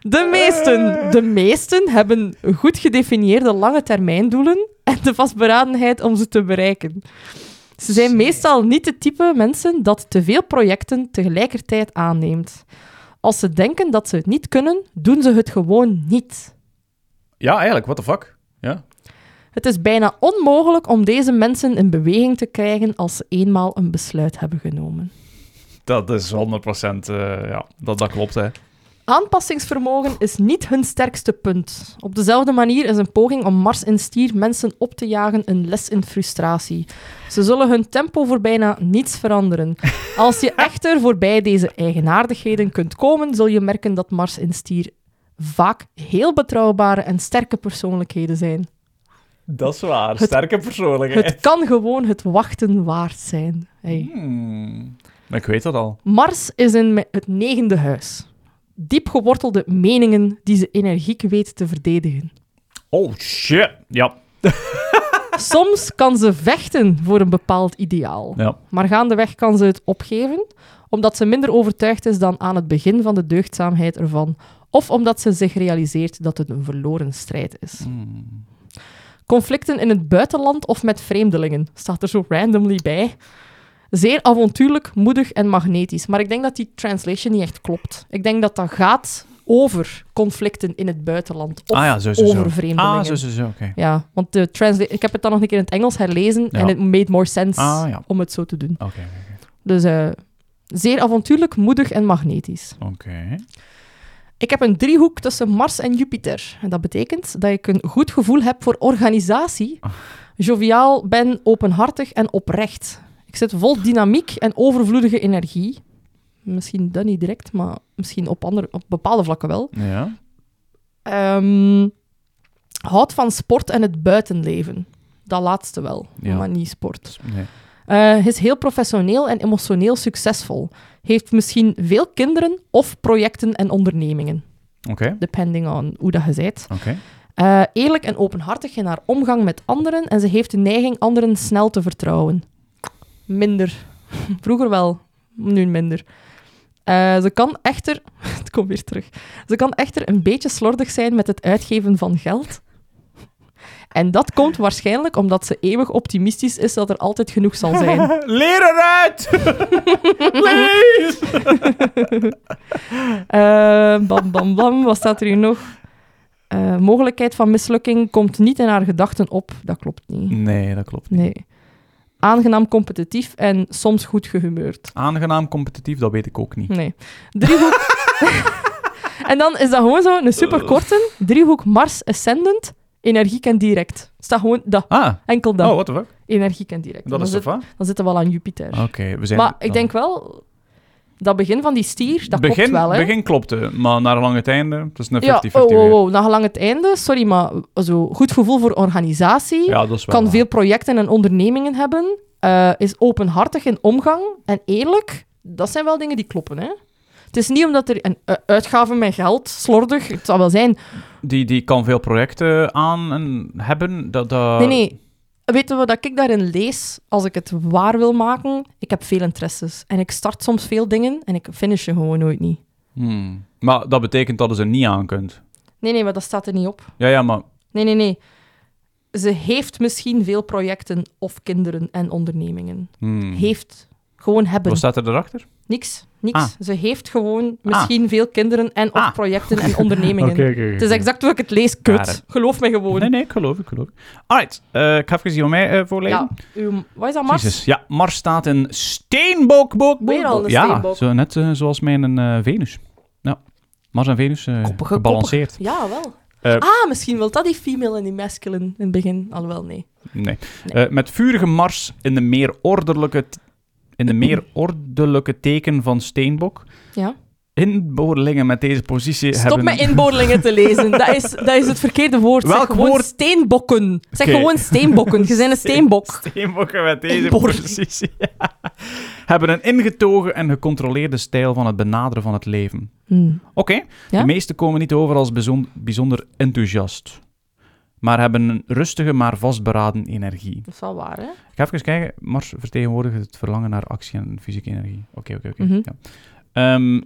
S2: De meesten, de meesten hebben goed gedefinieerde lange termijndoelen en de vastberadenheid om ze te bereiken. Ze zijn meestal niet het type mensen dat te veel projecten tegelijkertijd aanneemt. Als ze denken dat ze het niet kunnen, doen ze het gewoon niet.
S1: Ja, eigenlijk, what the fuck? Ja.
S2: Het is bijna onmogelijk om deze mensen in beweging te krijgen als ze eenmaal een besluit hebben genomen.
S1: Dat is 100%, eh, ja, dat, dat klopt, hè.
S2: Aanpassingsvermogen is niet hun sterkste punt. Op dezelfde manier is een poging om Mars en Stier mensen op te jagen een les in frustratie. Ze zullen hun tempo voor bijna niets veranderen. Als je echter voorbij deze eigenaardigheden kunt komen, zul je merken dat Mars en Stier vaak heel betrouwbare en sterke persoonlijkheden zijn.
S1: Dat is waar.
S2: Het-
S1: Sterke persoonlijkheid.
S2: Het kan gewoon het wachten waard zijn. Hey.
S1: Hmm. Ik weet dat al.
S2: Mars is in me- het negende huis. Diep gewortelde meningen die ze energiek weet te verdedigen.
S1: Oh shit. Ja.
S2: Soms kan ze vechten voor een bepaald ideaal.
S1: ja.
S2: Maar gaandeweg kan ze het opgeven, omdat ze minder overtuigd is dan aan het begin van de deugdzaamheid ervan. Of omdat ze zich realiseert dat het een verloren strijd is.
S1: Hmm.
S2: Conflicten in het buitenland of met vreemdelingen staat er zo randomly bij. Zeer avontuurlijk, moedig en magnetisch. Maar ik denk dat die translation niet echt klopt. Ik denk dat dat gaat over conflicten in het buitenland of
S1: Ah ja, zo, zo, zo.
S2: over vreemdelingen.
S1: Ah, zo, zo, zo. Oké.
S2: Ja, want de transla- ik heb het dan nog een keer in het Engels herlezen
S1: Ja.
S2: en it made more sense
S1: Ah, ja.
S2: om het zo te doen.
S1: Oké, oké,
S2: Dus eh, zeer avontuurlijk, moedig en magnetisch.
S1: Oh. oké.
S2: Ik heb een driehoek tussen Mars en Jupiter. En dat betekent dat ik een goed gevoel heb voor organisatie,
S1: Ah.
S2: joviaal ben, openhartig en oprecht. Ik zit vol dynamiek en overvloedige energie. Misschien dat niet direct, maar misschien op, andere, op bepaalde vlakken wel.
S1: Ja.
S2: Ehm houd van sport en het buitenleven. Dat laatste wel,
S1: Ja.
S2: maar niet sport.
S1: Nee.
S2: Eh, is heel professioneel en emotioneel succesvol. Heeft misschien veel kinderen of projecten en ondernemingen,
S1: Oké.
S2: depending on hoe dat je bent.
S1: Oké.
S2: Eh, eerlijk en openhartig in haar omgang met anderen en ze heeft de neiging anderen snel te vertrouwen. Minder. Vroeger wel, nu minder. Eh, ze kan echter... Het komt weer terug. Ze kan echter een beetje slordig zijn met het uitgeven van geld. En dat komt waarschijnlijk omdat ze eeuwig optimistisch is dat er altijd genoeg zal zijn.
S1: Leer eruit! Please!
S2: Eh, bam, bam, bam. Wat staat er hier nog? Eh, mogelijkheid van mislukking komt niet in haar gedachten op. Dat klopt niet.
S1: Nee, dat klopt niet.
S2: Nee. Aangenaam competitief en soms goed gehumeurd.
S1: Aangenaam competitief, dat weet ik ook niet.
S2: Nee. Driehoek. en dan is dat gewoon zo een superkorte. Driehoek Mars Ascendant. Energiek en direct. Staat gewoon dat.
S1: Ah,
S2: Enkel dat.
S1: oh, what the fuck?
S2: Energiek en direct.
S1: Dat
S2: dan,
S1: is
S2: zit,
S1: toch waar?
S2: dan zitten we al aan Jupiter.
S1: Oké, we zijn...
S2: maar
S1: dan-
S2: ik denk wel... Dat begin van die stier, dat
S1: begin,
S2: klopt wel, hè?
S1: Begin klopte, maar naar lang het einde, het is een 50-50
S2: Ja, oh,
S1: weer.
S2: oh, oh, na lang het einde, sorry, maar zo goed gevoel voor organisatie,
S1: Ja, dat is wel
S2: kan
S1: waar.
S2: veel projecten en ondernemingen hebben, eh, is openhartig in omgang en eerlijk. Dat zijn wel dingen die kloppen, hè. Het is niet omdat er een eh, uitgaven met geld, slordig, het zal wel zijn.
S1: Die, die kan veel projecten aan en hebben. Dat, dat...
S2: Nee, nee. Weten we dat ik daarin lees, als ik het waar wil maken, ik heb veel interesses. En ik start soms veel dingen en ik finish ze gewoon nooit niet.
S1: Hmm. Maar dat betekent dat je ze niet aan kunt.
S2: Nee, nee, maar dat staat er niet op.
S1: Ja, ja, maar...
S2: Nee, nee, nee. Ze heeft misschien veel projecten of kinderen en ondernemingen.
S1: hmm.
S2: Heeft. Gewoon hebben.
S1: Wat staat er daarachter?
S2: Niks. Niks.
S1: Ah.
S2: Ze heeft gewoon misschien veel kinderen en of
S1: Ah.
S2: projecten en ondernemingen. Het is exact hoe ik het lees. Kut.
S1: Karen.
S2: Geloof me gewoon.
S1: Nee, nee, ik geloof, ik geloof. Alright, eh, ik ga even die van mij eh, voorlezen.
S2: Ja, uw, wat is dat, Mars?
S1: Jezus, ja, Mars staat in steenbok, bok, bok.
S2: Weer al een
S1: ja,
S2: steenbok.
S1: Zo, net eh, zoals mijn eh, Venus. Ja, Mars en Venus eh,
S2: Koppige,
S1: gebalanceerd.
S2: Ja, wel.
S1: Eh.
S2: ah, misschien wil dat die female en die masculine in het begin. Alhoewel, nee.
S1: Nee. Eh, met vurige Mars in de meer ordelijke, t- in de meer ordelijke teken van steenbok.
S2: Ja.
S1: Inboorlingen met deze positie
S2: Stop
S1: hebben...
S2: met inboorlingen te lezen. Dat is, dat is het verkeerde woord. zeg
S1: Welk
S2: gewoon
S1: woord?
S2: steenbokken. Zeg
S1: Oké.
S2: gewoon steenbokken. Je bent een steenbok.
S1: Steenbokken met deze
S2: Inboorlingen.
S1: positie. hebben een ingetogen en gecontroleerde stijl van het benaderen van het leven.
S2: Hm.
S1: Oké,
S2: Ja?
S1: de meesten komen niet over als bijzon- bijzonder enthousiast. Maar hebben een rustige, maar vastberaden energie.
S2: Dat is wel waar, hè?
S1: Ik ga even kijken. Mars vertegenwoordigt het verlangen naar actie en fysieke energie. Oké, oké, oké.
S2: Mhm.
S1: ja. Ehm,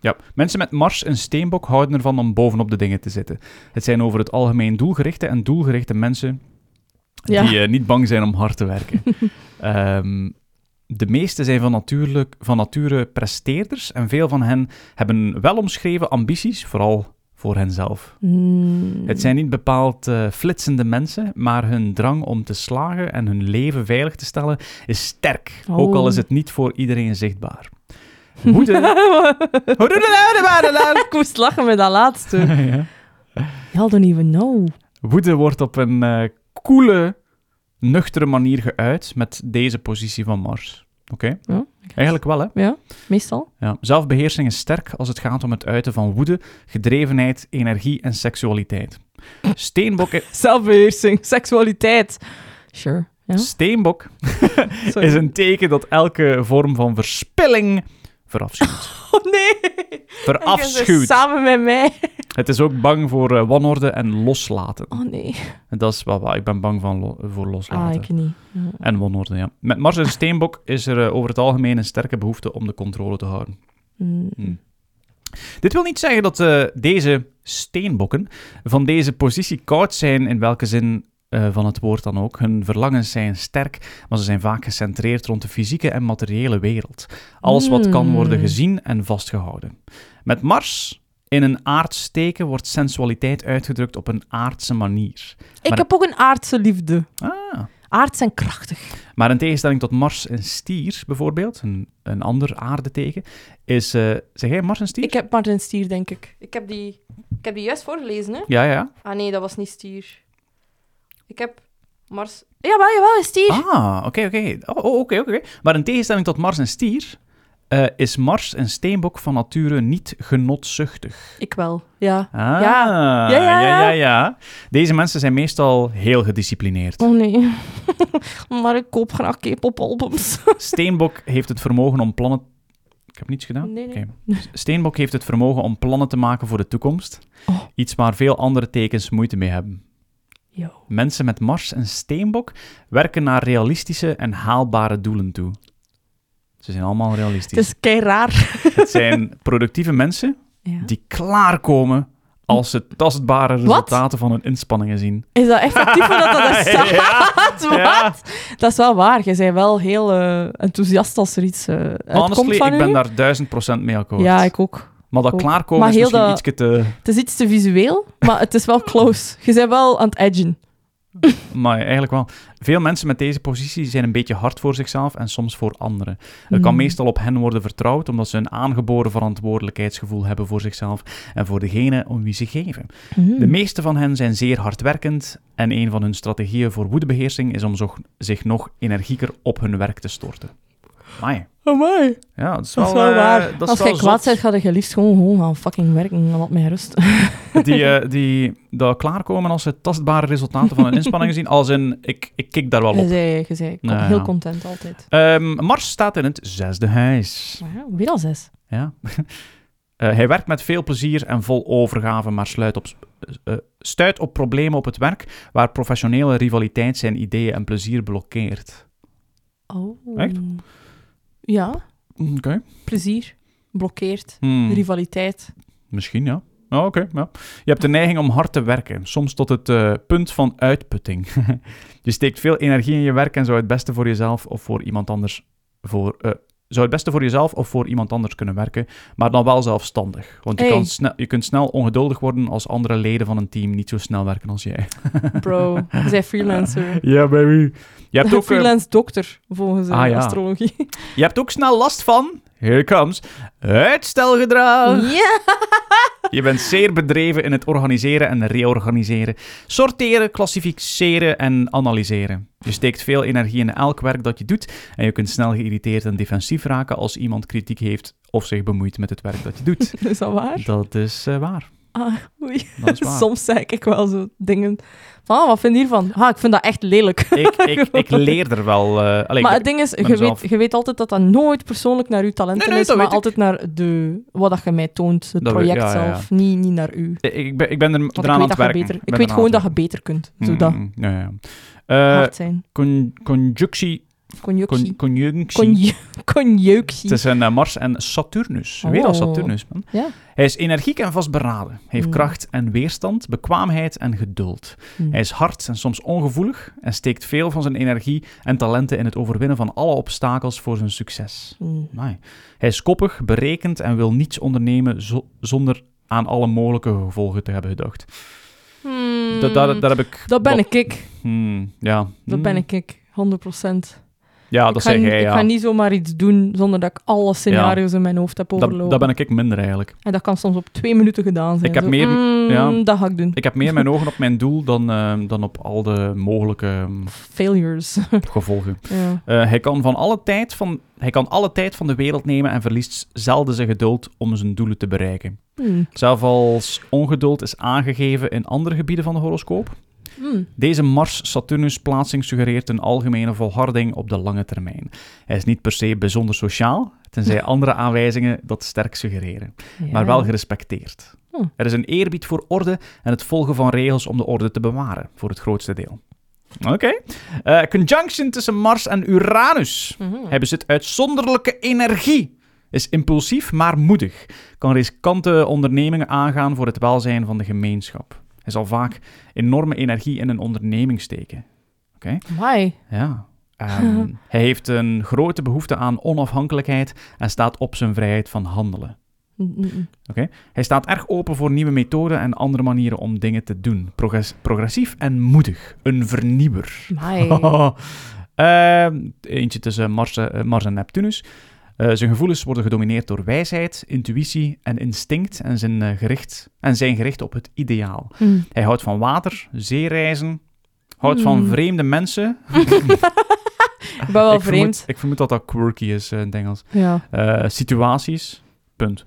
S1: ja. Mensen met Mars en steenbok houden ervan om bovenop de dingen te zitten. Het zijn over het algemeen doelgerichte en doelgerichte mensen
S2: Ja.
S1: die eh, niet bang zijn om hard te werken. Ehm, de meeste zijn van, natuurlijk, van nature presteerders en veel van hen hebben welomschreven ambities, vooral voor henzelf.
S2: Hm.
S1: Het zijn niet bepaald eh, flitsende mensen, maar hun drang om te slagen en hun leven veilig te stellen is sterk, ook al
S2: Oh.
S1: is het niet voor iedereen zichtbaar. Woede. Hoe doe je dat?
S2: ik moest lachen met dat laatste.
S1: Ja.
S2: Y'all don't even know.
S1: Woede wordt op een eh, koele, nuchtere manier geuit met deze positie van Mars. Oké?
S2: Ja,
S1: Eigenlijk wel, hè?
S2: Ja, meestal.
S1: Ja. Zelfbeheersing is sterk als het gaat om het uiten van woede, gedrevenheid, energie en seksualiteit. Steenbok, i-
S2: Zelfbeheersing, seksualiteit. Sure. Ja,
S1: Steenbok
S2: sorry.
S1: is een teken dat elke vorm van verspilling verafschuwt.
S2: Oh nee! Jij bent
S1: Verafschuwt.
S2: Samen met mij.
S1: Het is ook bang voor eh, wanorde en loslaten.
S2: Oh nee.
S1: En dat is wel waar. Ik ben bang van lo- voor
S2: Ah,
S1: loslaten.
S2: ik niet. Ja.
S1: En wanorde, ja. Met Mars en Steenbok is er eh, over het algemeen een sterke behoefte om de controle te houden.
S2: Mm.
S1: Hmm. Dit wil niet zeggen dat eh, deze steenbokken van deze positie koud zijn, in welke zin eh, van het woord dan ook. Hun verlangens zijn sterk, maar ze zijn vaak gecentreerd rond de fysieke en materiële wereld. Alles wat kan worden
S2: Hmm.
S1: gezien en vastgehouden. Met Mars in een aardsteken wordt sensualiteit uitgedrukt op een aardse manier.
S2: Ik
S1: Maar-
S2: heb ook een aardse liefde.
S1: Ah.
S2: Aards en krachtig.
S1: Maar in tegenstelling tot Mars en Stier bijvoorbeeld, een, een ander aardeteken, is... eh zeg jij Mars en Stier?
S2: Ik heb Martin Stier, denk ik. Ik heb die, ik heb die juist voorgelezen, hè?
S1: Ja, ja.
S2: Ah nee, dat was niet Stier. Ik heb Mars... Jawel, jawel, Stier.
S1: Ah, oké, oké. Oh, oh, oké, oké. Maar in tegenstelling tot Mars en Stier eh, is Mars en Steenbok van nature niet genotzuchtig.
S2: Ik wel, ja.
S1: Ah,
S2: Ja, ja.
S1: ja, ja. Deze mensen zijn meestal heel gedisciplineerd.
S2: Oh nee. maar ik koop graag K-pop albums.
S1: Steenbok heeft het vermogen om plannen... Ik heb niets gedaan?
S2: Nee, nee.
S1: Oké. Steenbok heeft het vermogen om plannen te maken voor de toekomst.
S2: Oh.
S1: Iets waar veel andere tekens moeite mee hebben.
S2: Yo.
S1: Mensen met Mars en Steenbok werken naar realistische en haalbare doelen toe. Ze zijn allemaal realistisch.
S2: Het is kei raar.
S1: Het zijn productieve mensen die klaarkomen als ze tastbare resultaten van hun inspanningen zien.
S2: Is dat echt actief dat dat er staat? Wat?
S1: Ja.
S2: Dat is wel waar. Je bent wel heel eh, enthousiast als er iets eh uitkomt
S1: Honestly,
S2: van
S1: ik
S2: u.
S1: ben daar duizend procent mee akkoord.
S2: Ja, ik ook.
S1: maar dat
S2: ook.
S1: klaarkomen
S2: Maar
S1: is
S2: heel
S1: misschien
S2: dat-
S1: ietsje te...
S2: Het is iets te visueel, maar het is wel close. Je bent wel aan het edgen.
S1: Maar eigenlijk wel. Veel mensen met deze positie zijn een beetje hard voor zichzelf en soms voor anderen. Er kan
S2: Hmm.
S1: meestal op hen worden vertrouwd omdat ze een aangeboren verantwoordelijkheidsgevoel hebben voor zichzelf en voor degene om wie ze geven.
S2: Hm.
S1: De meeste van hen zijn zeer hardwerkend en een van hun strategieën voor woedebeheersing is om zo- zich nog energieker op hun werk te storten. Amai.
S2: Oh mooi.
S1: Ja, dat is wel,
S2: Dat is wel
S1: eh,
S2: waar.
S1: dat is
S2: als
S1: wel
S2: je kwaad
S1: zot.
S2: bent, ga je liefst gewoon, gewoon gaan fucking werken. en Laat mij rust.
S1: Die, eh, die dat klaarkomen als ze tastbare resultaten van hun inspanningen zien, als in, ik, ik kik daar wel
S2: Je
S1: op.
S2: zei, je zei, ik ben
S1: Ja, ja.
S2: heel content altijd.
S1: Ehm, Mars staat in het zesde huis.
S2: Maar ja, weer al zes.
S1: Ja. Eh, hij werkt met veel plezier en vol overgave, maar sluit op, eh, stuit op problemen op het werk waar professionele rivaliteit zijn ideeën en plezier blokkeert.
S2: Oh.
S1: Echt?
S2: Ja,
S1: Oké.
S2: plezier. Blokkeert.
S1: Hm.
S2: Rivaliteit.
S1: Hmm. Misschien, ja. Oh, Oké, ja. Je hebt de neiging om hard te werken, soms tot het eh, punt van uitputting. je steekt veel energie in je werk en zou het beste voor jezelf of voor iemand anders voor, eh, zou het beste voor jezelf of voor iemand anders kunnen werken, maar dan wel zelfstandig. Want je,
S2: Hey.
S1: kan sne- je kunt snel ongeduldig worden als andere leden van een team niet zo snel werken als jij.
S2: Bro, je bent freelancer.
S1: Ja, baby. Je hebt, ook, eh,
S2: freelance dokter, volgens eh,
S1: Ah, ja.
S2: astrologie.
S1: je hebt ook snel last van, here it comes, uitstelgedrag.
S2: Ja.
S1: Je bent zeer bedreven in het organiseren en reorganiseren, sorteren, klassificeren en analyseren. Je steekt veel energie in elk werk dat je doet en je kunt snel geïrriteerd en defensief raken als iemand kritiek heeft of zich bemoeit met het werk dat je doet.
S2: Is dat waar?
S1: Dat is eh, waar.
S2: Ah, oei.
S1: Dat is waar.
S2: Soms zeg ik wel zo dingen van, ah, wat vind je hiervan? Ah, ik vind dat echt lelijk.
S1: Ik, ik, ik leer er wel. eh allee,
S2: maar
S1: ik-
S2: het ding is, je
S1: mezelf.
S2: weet, je weet altijd dat dat nooit persoonlijk naar uw talenten
S1: Nee, nee,
S2: is,
S1: dat
S2: maar
S1: weet ik.
S2: altijd naar de, wat dat je mij toont, het
S1: Dat weet-
S2: project
S1: ja, ja, ja.
S2: zelf, Niet, niet naar u.
S1: ik, ben, ik ben er
S2: Want
S1: eraan
S2: ik
S1: aan
S2: weet,
S1: het
S2: dat je
S1: werken.
S2: beter, ik weet gewoon dat je beter kunt. Zo dat,
S1: ja, ja. ja. Mm. Eh,
S2: hard zijn.
S1: con- conjunctie.
S2: Conjunctie.
S1: con- conjunctie.
S2: Conju- Conjunctie.
S1: Het is een eh, Mars en Saturnus. Weer al
S2: Oh.
S1: Saturnus, man.
S2: Ja.
S1: Hij is energiek en vastberaden, heeft
S2: Mm.
S1: kracht en weerstand, bekwaamheid en geduld.
S2: Mm.
S1: Hij is hard en soms ongevoelig en steekt veel van zijn energie en talenten in het overwinnen van alle obstakels voor zijn succes.
S2: Mm.
S1: Amai. Hij is koppig, berekend en wil niets ondernemen zo- zonder aan alle mogelijke gevolgen te hebben gedacht.
S2: Hmm.
S1: Dat, daar, daar heb ik...
S2: Mm. Dat ben
S1: wat-
S2: ik, ik.
S1: Hmm, ja.
S2: Dat ben ik, ik. 100%.
S1: Ja,
S2: ik,
S1: dat
S2: ga,
S1: zeg jij,
S2: ik
S1: ja.
S2: ga niet zomaar iets doen zonder dat ik alle scenario's in mijn hoofd heb overlopen.
S1: dat, dat ben ik minder eigenlijk.
S2: En dat kan soms op twee minuten gedaan zijn.
S1: Ik heb
S2: Zo,
S1: meer-
S2: mm,
S1: ja.
S2: Dat ga ik doen.
S1: Ik heb meer mijn ogen op mijn doel dan, ehm, dan op al de mogelijke ehm,
S2: Failures.
S1: gevolgen.
S2: ja.
S1: Eh, hij, kan van alle tijd van, hij kan alle tijd van de wereld nemen en verliest zelden zijn geduld om zijn doelen te bereiken.
S2: Hmm.
S1: Zelfs als ongeduld is aangegeven in andere gebieden van de horoscoop.
S2: Hmm.
S1: Deze Mars-Saturnus-plaatsing suggereert een algemene volharding op de lange termijn. Hij is niet per se bijzonder sociaal, tenzij andere aanwijzingen dat sterk suggereren, maar wel gerespecteerd.
S2: Hm.
S1: Er is een eerbied voor orde en het volgen van regels om de orde te bewaren, voor het grootste deel. Oké. Eh, conjunction tussen Mars en Uranus.
S2: Mhm.
S1: Hij bezit uitzonderlijke energie. Is impulsief, maar moedig. Kan riskante ondernemingen aangaan voor het welzijn van de gemeenschap. Hij zal vaak enorme energie in een onderneming steken.
S2: Amai.
S1: Ja. Ehm, hij heeft een grote behoefte aan onafhankelijkheid en staat op zijn vrijheid van handelen.
S2: Mm, mm, mm.
S1: Hij staat erg open voor nieuwe methoden en andere manieren om dingen te doen. Progress- progressief en moedig. Een vernieuwer.
S2: Amai.
S1: Ehm, eentje tussen Mars, eh, Mars en Neptunus. Eh, zijn gevoelens worden gedomineerd door wijsheid, intuïtie en instinct en zijn, eh, gericht, en zijn gericht op het ideaal.
S2: Mm.
S1: Hij houdt van water, zeereizen, houdt van
S2: Hmm.
S1: vreemde mensen.
S2: Ik ben wel
S1: ik,
S2: vreemd.
S1: vermoed, ik vermoed dat dat quirky is eh, in het Engels.
S2: Ja.
S1: Eh, situaties, punt.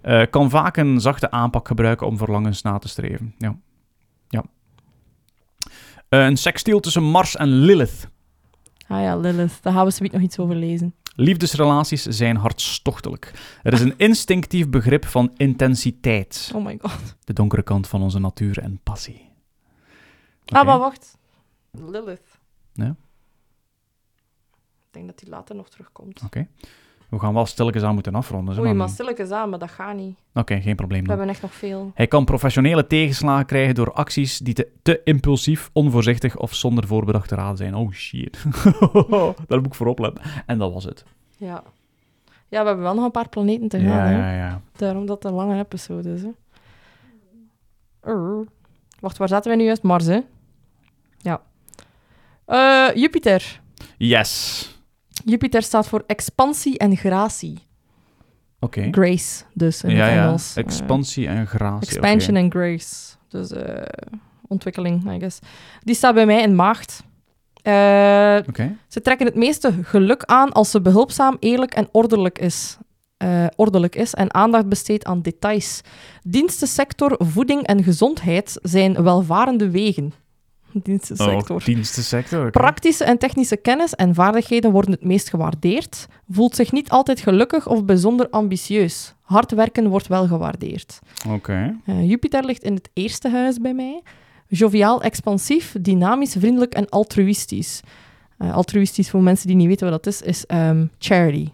S1: Eh, kan vaak een zachte aanpak gebruiken om verlangens na te streven. Ja. ja. Eh, een sextiel tussen Mars en Lilith.
S2: Ah ja, Lilith. Daar gaan we zoiets nog iets over lezen.
S1: Liefdesrelaties zijn hartstochtelijk. Er is een instinctief begrip van intensiteit.
S2: Oh my god.
S1: De donkere kant van onze natuur en passie. Oké.
S2: Ah, maar wacht. Lilith.
S1: Ja.
S2: Ik denk dat die later nog terugkomt.
S1: Ah, We gaan wel stilletjes aan moeten afronden. zeg
S2: Oei,
S1: maar.
S2: maar stilletjes aan, maar dat gaat niet.
S1: Oké, geen probleem
S2: We
S1: dan.
S2: hebben echt nog veel.
S1: Hij kan professionele tegenslagen krijgen door acties die te, te impulsief, onvoorzichtig of zonder voorbedachte raad zijn. Oh shit. Daar moet ik voor opletten. En dat was het.
S2: Ja. Ja, we hebben wel nog een paar planeten te gaan.
S1: ja,
S2: hè.
S1: ja, ja.
S2: Daarom dat het een lange episode is. Hè. Err. Wacht, waar zaten wij nu juist? Mars, hè? Ja. Eh, Jupiter.
S1: Yes.
S2: Jupiter staat voor expansie en gratie.
S1: Oké.
S2: Grace, dus in
S1: Ja,
S2: het
S1: ja.
S2: Engels. Eh,
S1: Expansie en gratie.
S2: expansion
S1: oké.
S2: en grace. Dus eh, ontwikkeling, I guess. Die staat bij mij in maagd. Eh,
S1: Oké.
S2: ze trekken het meeste geluk aan als ze behulpzaam, eerlijk en ordelijk is. Eh, ordelijk is en aandacht besteedt aan details. Dienstensector, voeding en gezondheid zijn welvarende wegen. Dienstensector.
S1: Oh, dienstensector. oké.
S2: Praktische en technische kennis en vaardigheden worden het meest gewaardeerd. Voelt zich niet altijd gelukkig of bijzonder ambitieus. Hard werken wordt wel gewaardeerd.
S1: Oké.
S2: Eh, Jupiter ligt in het eerste huis bij mij. Joviaal, expansief, dynamisch, vriendelijk en altruïstisch. Eh, altruïstisch, voor mensen die niet weten wat dat is, is ehm, charity.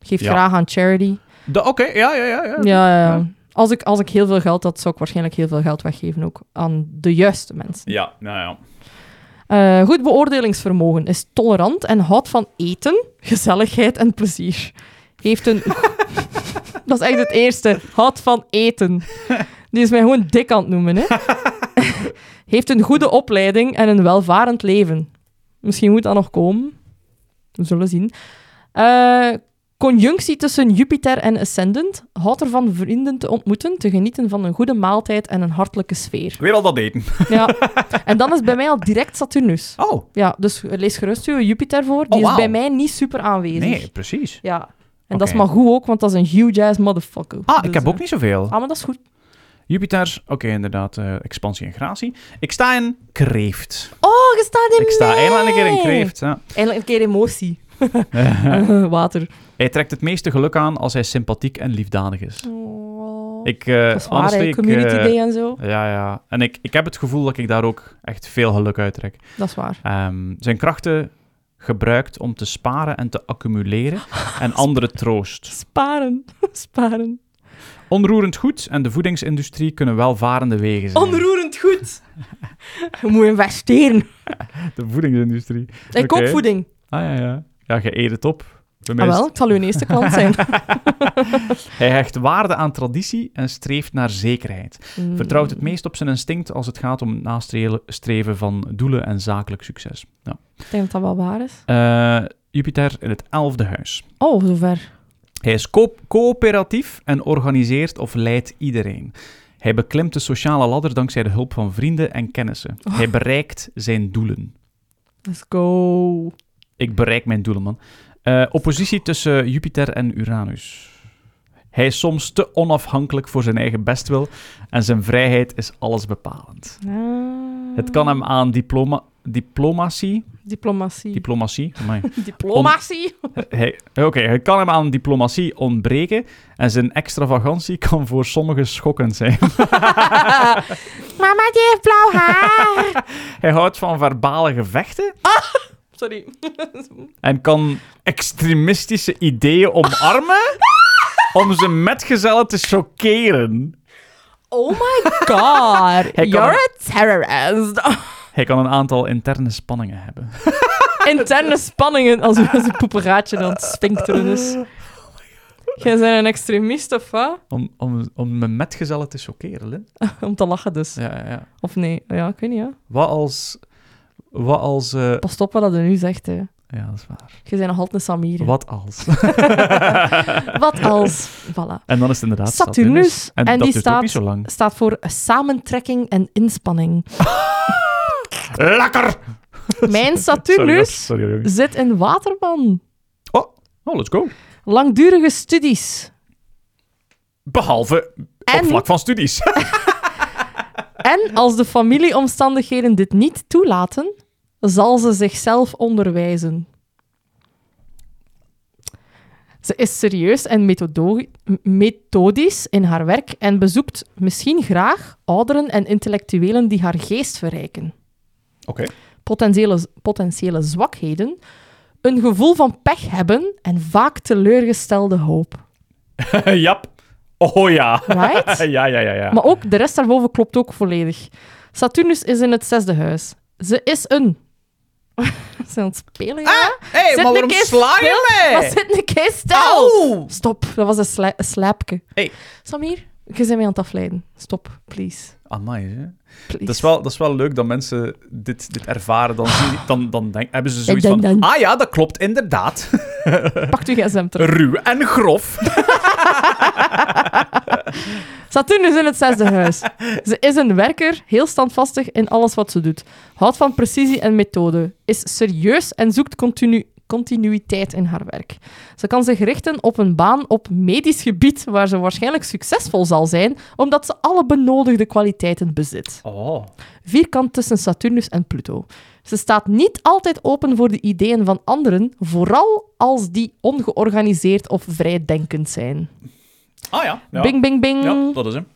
S2: Geef
S1: Ja.
S2: graag aan charity.
S1: Da- Oké, ja, ja, ja. ja.
S2: Ja, ja, ja.
S1: Ja.
S2: Als, ik, als ik heel veel geld had, zou ik waarschijnlijk heel veel geld weggeven ook aan de juiste mensen.
S1: Ja, nou ja.
S2: Eh, goed beoordelingsvermogen is tolerant en houdt van eten, gezelligheid en plezier. Heeft een... dat is echt het eerste. Houdt van eten. Die is mij gewoon dik aan het noemen, hè. Heeft een goede opleiding en een welvarend leven. Misschien moet dat nog komen. We zullen zien. Eh, conjunctie tussen Jupiter en Ascendant. Houdt ervan vrienden te ontmoeten, te genieten van een goede maaltijd en een hartelijke sfeer.
S1: Weer al dat eten.
S2: Ja. En dan is bij mij al direct Saturnus.
S1: Oh,
S2: Ja, dus lees gerust uw Jupiter voor. Die
S1: Oh,
S2: is
S1: wauw.
S2: bij mij niet super aanwezig.
S1: nee, precies.
S2: Ja. En dat is
S1: Oké.
S2: maar goed ook, want dat is een huge ass motherfucker.
S1: Ah, ik
S2: Dus,
S1: heb
S2: eh,
S1: ook niet zoveel.
S2: Ah, maar dat is goed.
S1: Jupiter, oké, inderdaad, eh, expansie en gratie. Ik sta in kreeft.
S2: Oh, je staat in
S1: Ik sta
S2: mij.
S1: eindelijk een keer in kreeft. Ja.
S2: Eindelijk een keer emotie. Water.
S1: hij trekt het meeste geluk aan als hij sympathiek en liefdadig is.
S2: Oh,
S1: Ik, eh
S2: dat is waar, hè.
S1: honestly, ik,
S2: Community
S1: eh,
S2: day en zo.
S1: ja, ja. En ik, ik heb het gevoel dat ik daar ook echt veel geluk uit trek.
S2: Dat is waar.
S1: Ehm, zijn krachten gebruikt om te sparen en te accumuleren en anderen troost.
S2: Sparen. Sparen.
S1: Onroerend goed en de voedingsindustrie kunnen welvarende wegen zijn.
S2: Onroerend goed. je moet investeren. Eh,
S1: De voedingsindustrie.
S2: Ik
S1: Oké.
S2: koop voeding.
S1: Ah ja, ja. Ja, je eet het op. Bij mij
S2: Ah
S1: is-
S2: wel, ik zal uw eerste klant zijn.
S1: Hij hecht waarde aan traditie en streeft naar zekerheid.
S2: Mm.
S1: Vertrouwt het meest op zijn instinct als het gaat om het nastreven van doelen en zakelijk succes. Ja.
S2: Ik denk dat dat wel waar is.
S1: Eh, Jupiter in het elfde huis.
S2: Oh, zover.
S1: Hij is co- coöperatief en organiseert of leidt iedereen. Hij beklimt de sociale ladder dankzij de hulp van vrienden en kennissen. Hij bereikt zijn doelen.
S2: Let's go.
S1: Ik bereik mijn doelen, man. Eh, oppositie tussen Jupiter en Uranus. Hij is soms te onafhankelijk voor zijn eigen bestwil en zijn vrijheid is allesbepalend.
S2: Ah,
S1: Het kan hem aan diploma, diplomatie...
S2: Diplomatie.
S1: Diplomatie? Amai.
S2: Diplomatie?
S1: Hij- Oké, het kan hem aan diplomatie ontbreken en zijn extravagantie kan voor sommigen schokkend zijn.
S3: Mama, die heeft blauw haar.
S1: Hij houdt van verbale gevechten
S2: Sorry.
S1: en kan extremistische ideeën omarmen om zijn metgezellen te chockeren.
S2: Oh my god.
S1: kan
S2: You're
S1: hem-
S2: a terrorist.
S1: Hij kan een aantal interne spanningen hebben.
S2: Interne spanningen als als een poeperaatje dan spinkteren is.
S1: Oh
S2: Jij bent een extremist of wat?
S1: Om, om, om mijn metgezellen te chockeren, Lin.
S2: Om te lachen dus.
S1: Ja, ja, ja.
S2: Of nee? Ja, ik weet niet. Ja.
S1: Wat als... Wat als... eh,
S2: Pas op wat dat er nu zegt. Hè. Je
S1: Ja, dat is waar.
S2: bent nog altijd een Samir. hè.
S1: Wat als...
S2: Wat als? Voilà.
S1: En dan is het inderdaad dus-
S2: Saturnus.
S1: En,
S2: En,
S1: dat
S2: die
S1: duurt ook
S2: staat,
S1: niet zo lang.
S2: staat voor samentrekking en inspanning.
S1: Lekker!
S2: Mijn
S1: Sorry,
S2: Saturnus
S1: sorry, sorry.
S2: zit in waterman.
S1: Oh, let's go.
S2: Langdurige studies.
S1: Behalve op
S2: En,
S1: vlak van studies.
S2: en als de familieomstandigheden dit niet toelaten, zal ze zichzelf onderwijzen. Ze is serieus en methodo- m- methodisch in haar werk en bezoekt misschien graag ouderen en intellectuelen die haar geest verrijken.
S1: Oké.
S2: potentiële, potentiële zwakheden, een gevoel van pech hebben en vaak teleurgestelde hoop.
S1: Jap. Oh ja.
S2: Right?
S1: ja, ja, ja, ja.
S2: Maar ook de rest daarboven klopt ook volledig. Saturnus is in het zesde huis. Ze is een. Ze is aan het spelen, ja?
S1: Ah, hey,
S2: Zit ah, een keer stil. Maar zit een keer stil.
S1: Au!
S2: Stop, dat was een, sla een slijpke.
S1: Hey.
S2: Samir, je bent mij aan het afleiden. Stop, please.
S1: Amai, hè.
S2: please.
S1: Dat is, wel, dat is wel leuk dat mensen dit, dit ervaren. Dan, zien- dan, dan denk, hebben ze zoiets
S2: denk
S1: van...
S2: dan-
S1: Ah ja, dat klopt inderdaad.
S2: Pak uw gsm terug.
S1: Ruw en grof.
S2: Saturnus in het zesde huis. Ze is een werker, heel standvastig in alles wat ze doet. Houdt van precisie en methode. Is serieus en zoekt continu continuïteit in haar werk. Ze kan zich richten op een baan op medisch gebied waar ze waarschijnlijk succesvol zal zijn, omdat ze alle benodigde kwaliteiten bezit.
S1: Oh.
S2: Vierkant tussen Saturnus en Pluto. Ze staat niet altijd open voor de ideeën van anderen, vooral als die ongeorganiseerd of vrijdenkend zijn.
S1: Ah ja. Ja,
S2: Bing, bing, bing.
S1: ja dat is hem.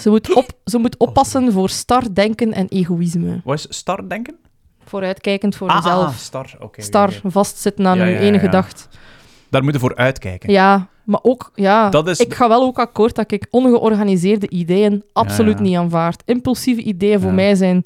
S2: Ze moet, op, ze moet oppassen voor star denken en egoïsme.
S1: Wat is star denken?
S2: Vooruitkijkend voor
S1: Ah, ah,
S2: jezelf.
S1: star. Oké. oké,
S2: Star,
S1: oké.
S2: vastzitten aan
S1: Ja,
S2: uw
S1: ja,
S2: ene
S1: ja.
S2: gedacht.
S1: Daar moeten we voor uitkijken.
S2: Ja, maar ook, ja.
S1: Dat is-
S2: Ik ga wel ook akkoord dat ik ongeorganiseerde ideeën absoluut
S1: ja.
S2: niet aanvaard. Impulsieve ideeën voor
S1: Ja.
S2: mij zijn.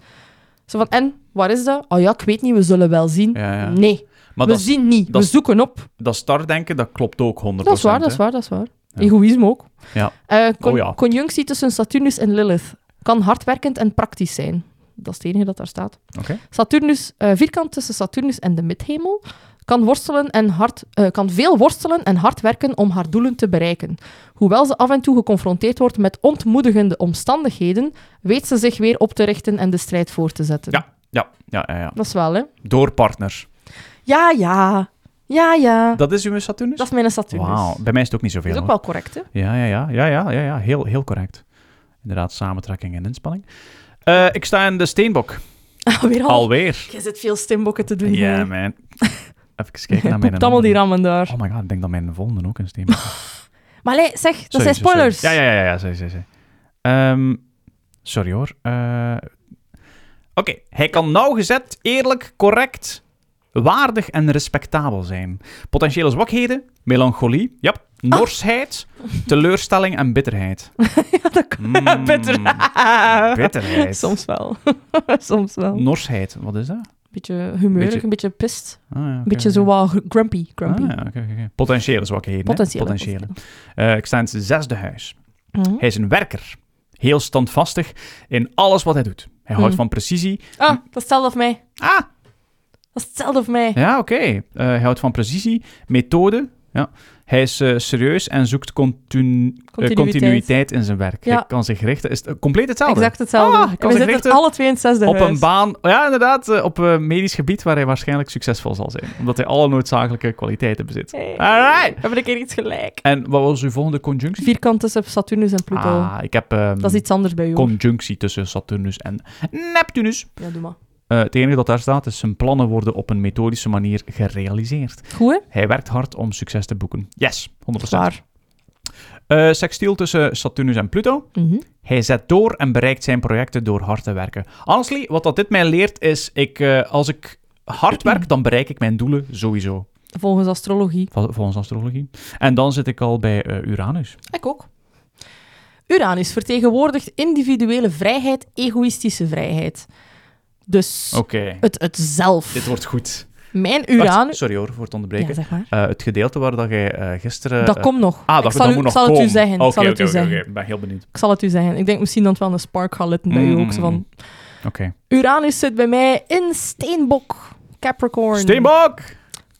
S2: Zo van, en waar is dat? Oh ja, ik weet niet, we zullen wel zien.
S1: Ja, ja.
S2: Nee,
S1: Maar
S2: we
S1: dat,
S2: zien niet.
S1: dat
S2: we
S1: is-
S2: zoeken op.
S1: dat star denken, dat klopt ook 100%.
S2: Dat is waar, dat is
S1: hè.
S2: waar, dat is waar.
S1: Ja.
S2: Egoïsme ook.
S1: Ja.
S2: Eh, con-
S1: Oh ja.
S2: Conjunctie tussen Saturnus en Lilith kan hardwerkend en praktisch zijn. Dat is het enige dat daar staat.
S1: Oké.
S2: Saturnus, eh, vierkant tussen Saturnus en de midhemel, kan, worstelen en hard, eh, kan veel worstelen en hard werken om haar doelen te bereiken. Hoewel ze af en toe geconfronteerd wordt met ontmoedigende omstandigheden, weet ze zich weer op te richten en de strijd voor te zetten.
S1: Ja, ja, ja, ja.
S2: Dat is wel, hè?
S1: Door partners.
S2: Ja, ja. Ja, ja.
S1: Dat is uw Saturnus?
S2: Dat is mijn Saturnus.
S1: Wauw, bij mij is het ook niet
S2: Dat
S1: zoveel.
S2: is ook
S1: hoor.
S2: wel correct, hè?
S1: Ja, ja, ja, ja, ja, ja, ja. Heel, heel correct. Inderdaad, samentrekking en inspanning. Eh, ik sta in de steenbok.
S2: Alweer al.
S1: Alweer.
S2: Je zit veel stembokken te doen.
S1: Ja,
S2: hè.
S1: man. Even kijken
S2: Je
S1: naar mijn.
S2: poept allemaal die rammen daar.
S1: Oh my god, ik denk dat mijn volgende ook een steenbok is.
S2: Maar allee, zeg, dat
S1: Sorry,
S2: zijn
S1: sorry,
S2: spoilers.
S1: Sorry. Ja, ja, ja, ja, sorry, sorry. sorry. Ehm, sorry hoor. Eh, Oké, hij kan nauwgezet, eerlijk, correct, waardig en respectabel zijn. Potentiële zwakheden, melancholie, ja,
S2: Ah.
S1: norsheid, teleurstelling en bitterheid.
S2: dat kan
S1: Mm,
S2: bitter.
S1: bitterheid.
S2: Soms wel. Soms wel.
S1: Norsheid, wat is dat?
S2: beetje humeurig,
S1: Mm. Beetje-
S2: een beetje pist.
S1: Ah, ja, oké,
S2: Een beetje
S1: oké.
S2: zo wat gr- grumpy. grumpy.
S1: Ah, ja, oké, oké, oké. Potentiële zwakheden. hè?
S2: Potentiële,
S1: Potentiële. Eh, ik sta in het zesde huis.
S2: Mhm.
S1: Hij is een werker. Heel standvastig in alles wat hij doet. Hij houdt
S2: Hmm.
S1: van precisie.
S2: Ah, dat stelde af mij.
S1: Ah,
S2: Dat is hetzelfde voor mij.
S1: Ja, oké. Eh, hij houdt van precisie, methode. Ja. Hij is eh, serieus en zoekt continu- eh,
S2: Continuïteit.
S1: continuïteit in zijn werk.
S2: Ja.
S1: Hij kan zich richten. Is het, eh, compleet hetzelfde.
S2: Exact hetzelfde.
S1: Ah, ik was
S2: en we
S1: echt
S2: zitten
S1: richten
S2: alle twee in hetzelfde
S1: Op
S2: huis.
S1: een baan, ja inderdaad, eh, op eh, medisch gebied waar hij waarschijnlijk succesvol zal zijn. Omdat hij alle noodzakelijke kwaliteiten bezit.
S2: Hey,
S1: Alright.
S2: We hebben een keer iets gelijk.
S1: En wat was uw volgende conjunctie?
S2: Vierkant tussen Saturnus en Pluto.
S1: Ah, ik heb ehm,
S2: Dat is iets anders bij jou.
S1: conjunctie tussen Saturnus en Neptunus.
S2: Ja, doe maar.
S1: Eh, het enige dat daar staat is zijn plannen worden op een methodische manier gerealiseerd.
S2: Goed, hè?
S1: Hij werkt hard om succes te boeken. Yes, 100%.
S2: Zwaar.
S1: Eh, sextiel tussen Saturnus en Pluto.
S2: Mhm.
S1: Hij zet door en bereikt zijn projecten door hard te werken. Honestly, wat dat dit mij leert is, ik, eh, als ik hard werk, dan bereik ik mijn doelen sowieso.
S2: Volgens astrologie.
S1: Vol- Volgens astrologie. En dan zit ik al bij eh, Uranus.
S2: Ik ook. Uranus vertegenwoordigt individuele vrijheid, egoïstische vrijheid. Dus
S1: Oké,
S2: het, het zelf.
S1: dit wordt goed.
S2: Mijn
S1: Wacht,
S2: Uranus...
S1: sorry hoor, voor het onderbreken.
S2: Ja, zeg maar.
S1: Eh, het gedeelte waar dat jij eh, gisteren...
S2: dat
S1: eh,
S2: komt nog.
S1: Ah, dat,
S2: ik
S1: dat
S2: zal, u,
S1: moet
S2: ik
S1: nog
S2: zal het u
S1: komen.
S2: zeggen. ik
S1: Oké,
S2: zal het
S1: oké,
S2: u
S1: oké,
S2: zeggen.
S1: oké. Ik ben heel benieuwd.
S2: Ik zal het u zeggen. Ik denk misschien dat het wel een spark gaat letten bij u ook.
S1: Mm.
S2: Zo van,
S1: Oké.
S2: Uranus zit bij mij in Steenbok. Capricorn.
S1: Steenbok!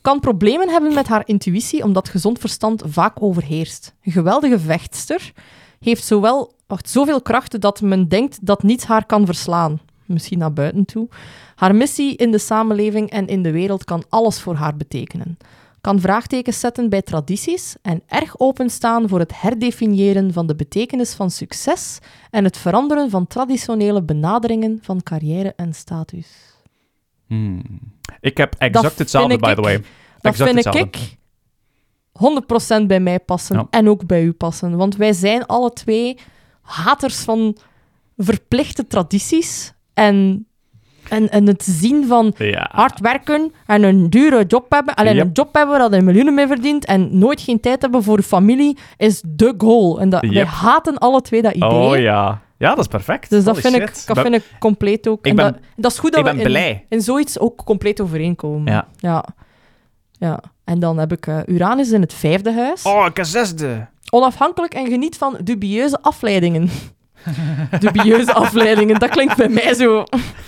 S2: Kan problemen hebben met haar intuïtie, omdat gezond verstand vaak overheerst. Een geweldige vechtster. Heeft zowel, wacht, zoveel krachten dat men denkt dat niets haar kan verslaan. Misschien naar buiten toe. Haar missie in de samenleving en in de wereld kan alles voor haar betekenen. Kan vraagtekens zetten bij tradities en erg openstaan voor het herdefiniëren van de betekenis van succes en het veranderen van traditionele benaderingen van carrière en status.
S1: Ik heb exact
S2: Hmm. vind
S1: hetzelfde,
S2: ik-
S1: by the way.
S2: Dat
S1: Exact
S2: vind
S1: hetzelfde.
S2: ik 100% bij mij passen
S1: Ja.
S2: en ook bij u passen. Want wij zijn alle twee haters van verplichte tradities en, en, en het zien van
S1: Ja.
S2: hard werken en een dure job hebben. Alleen
S1: Ah. Yep.
S2: een job hebben waar je miljoenen mee verdient en nooit geen tijd hebben voor familie is de goal. En dat, wij
S1: Yep.
S2: haten alle twee dat idee.
S1: Oh ja. Ja, dat is perfect.
S2: Dus dat
S1: Holy
S2: vind, ik,
S1: shit.
S2: dat
S1: Ben-
S2: vind ik compleet ook.
S1: Ik
S2: en
S1: ben-
S2: dat, dat is goed dat
S1: ik ben
S2: we in,
S1: blij.
S2: in zoiets ook compleet overeenkomen.
S1: Ja.
S2: ja. Ja. En dan heb ik eh, Uranus in het vijfde huis.
S1: Oh, ik heb zesde.
S2: Onafhankelijk en geniet van dubieuze afleidingen. dubieuze afleidingen, dat klinkt bij mij zo.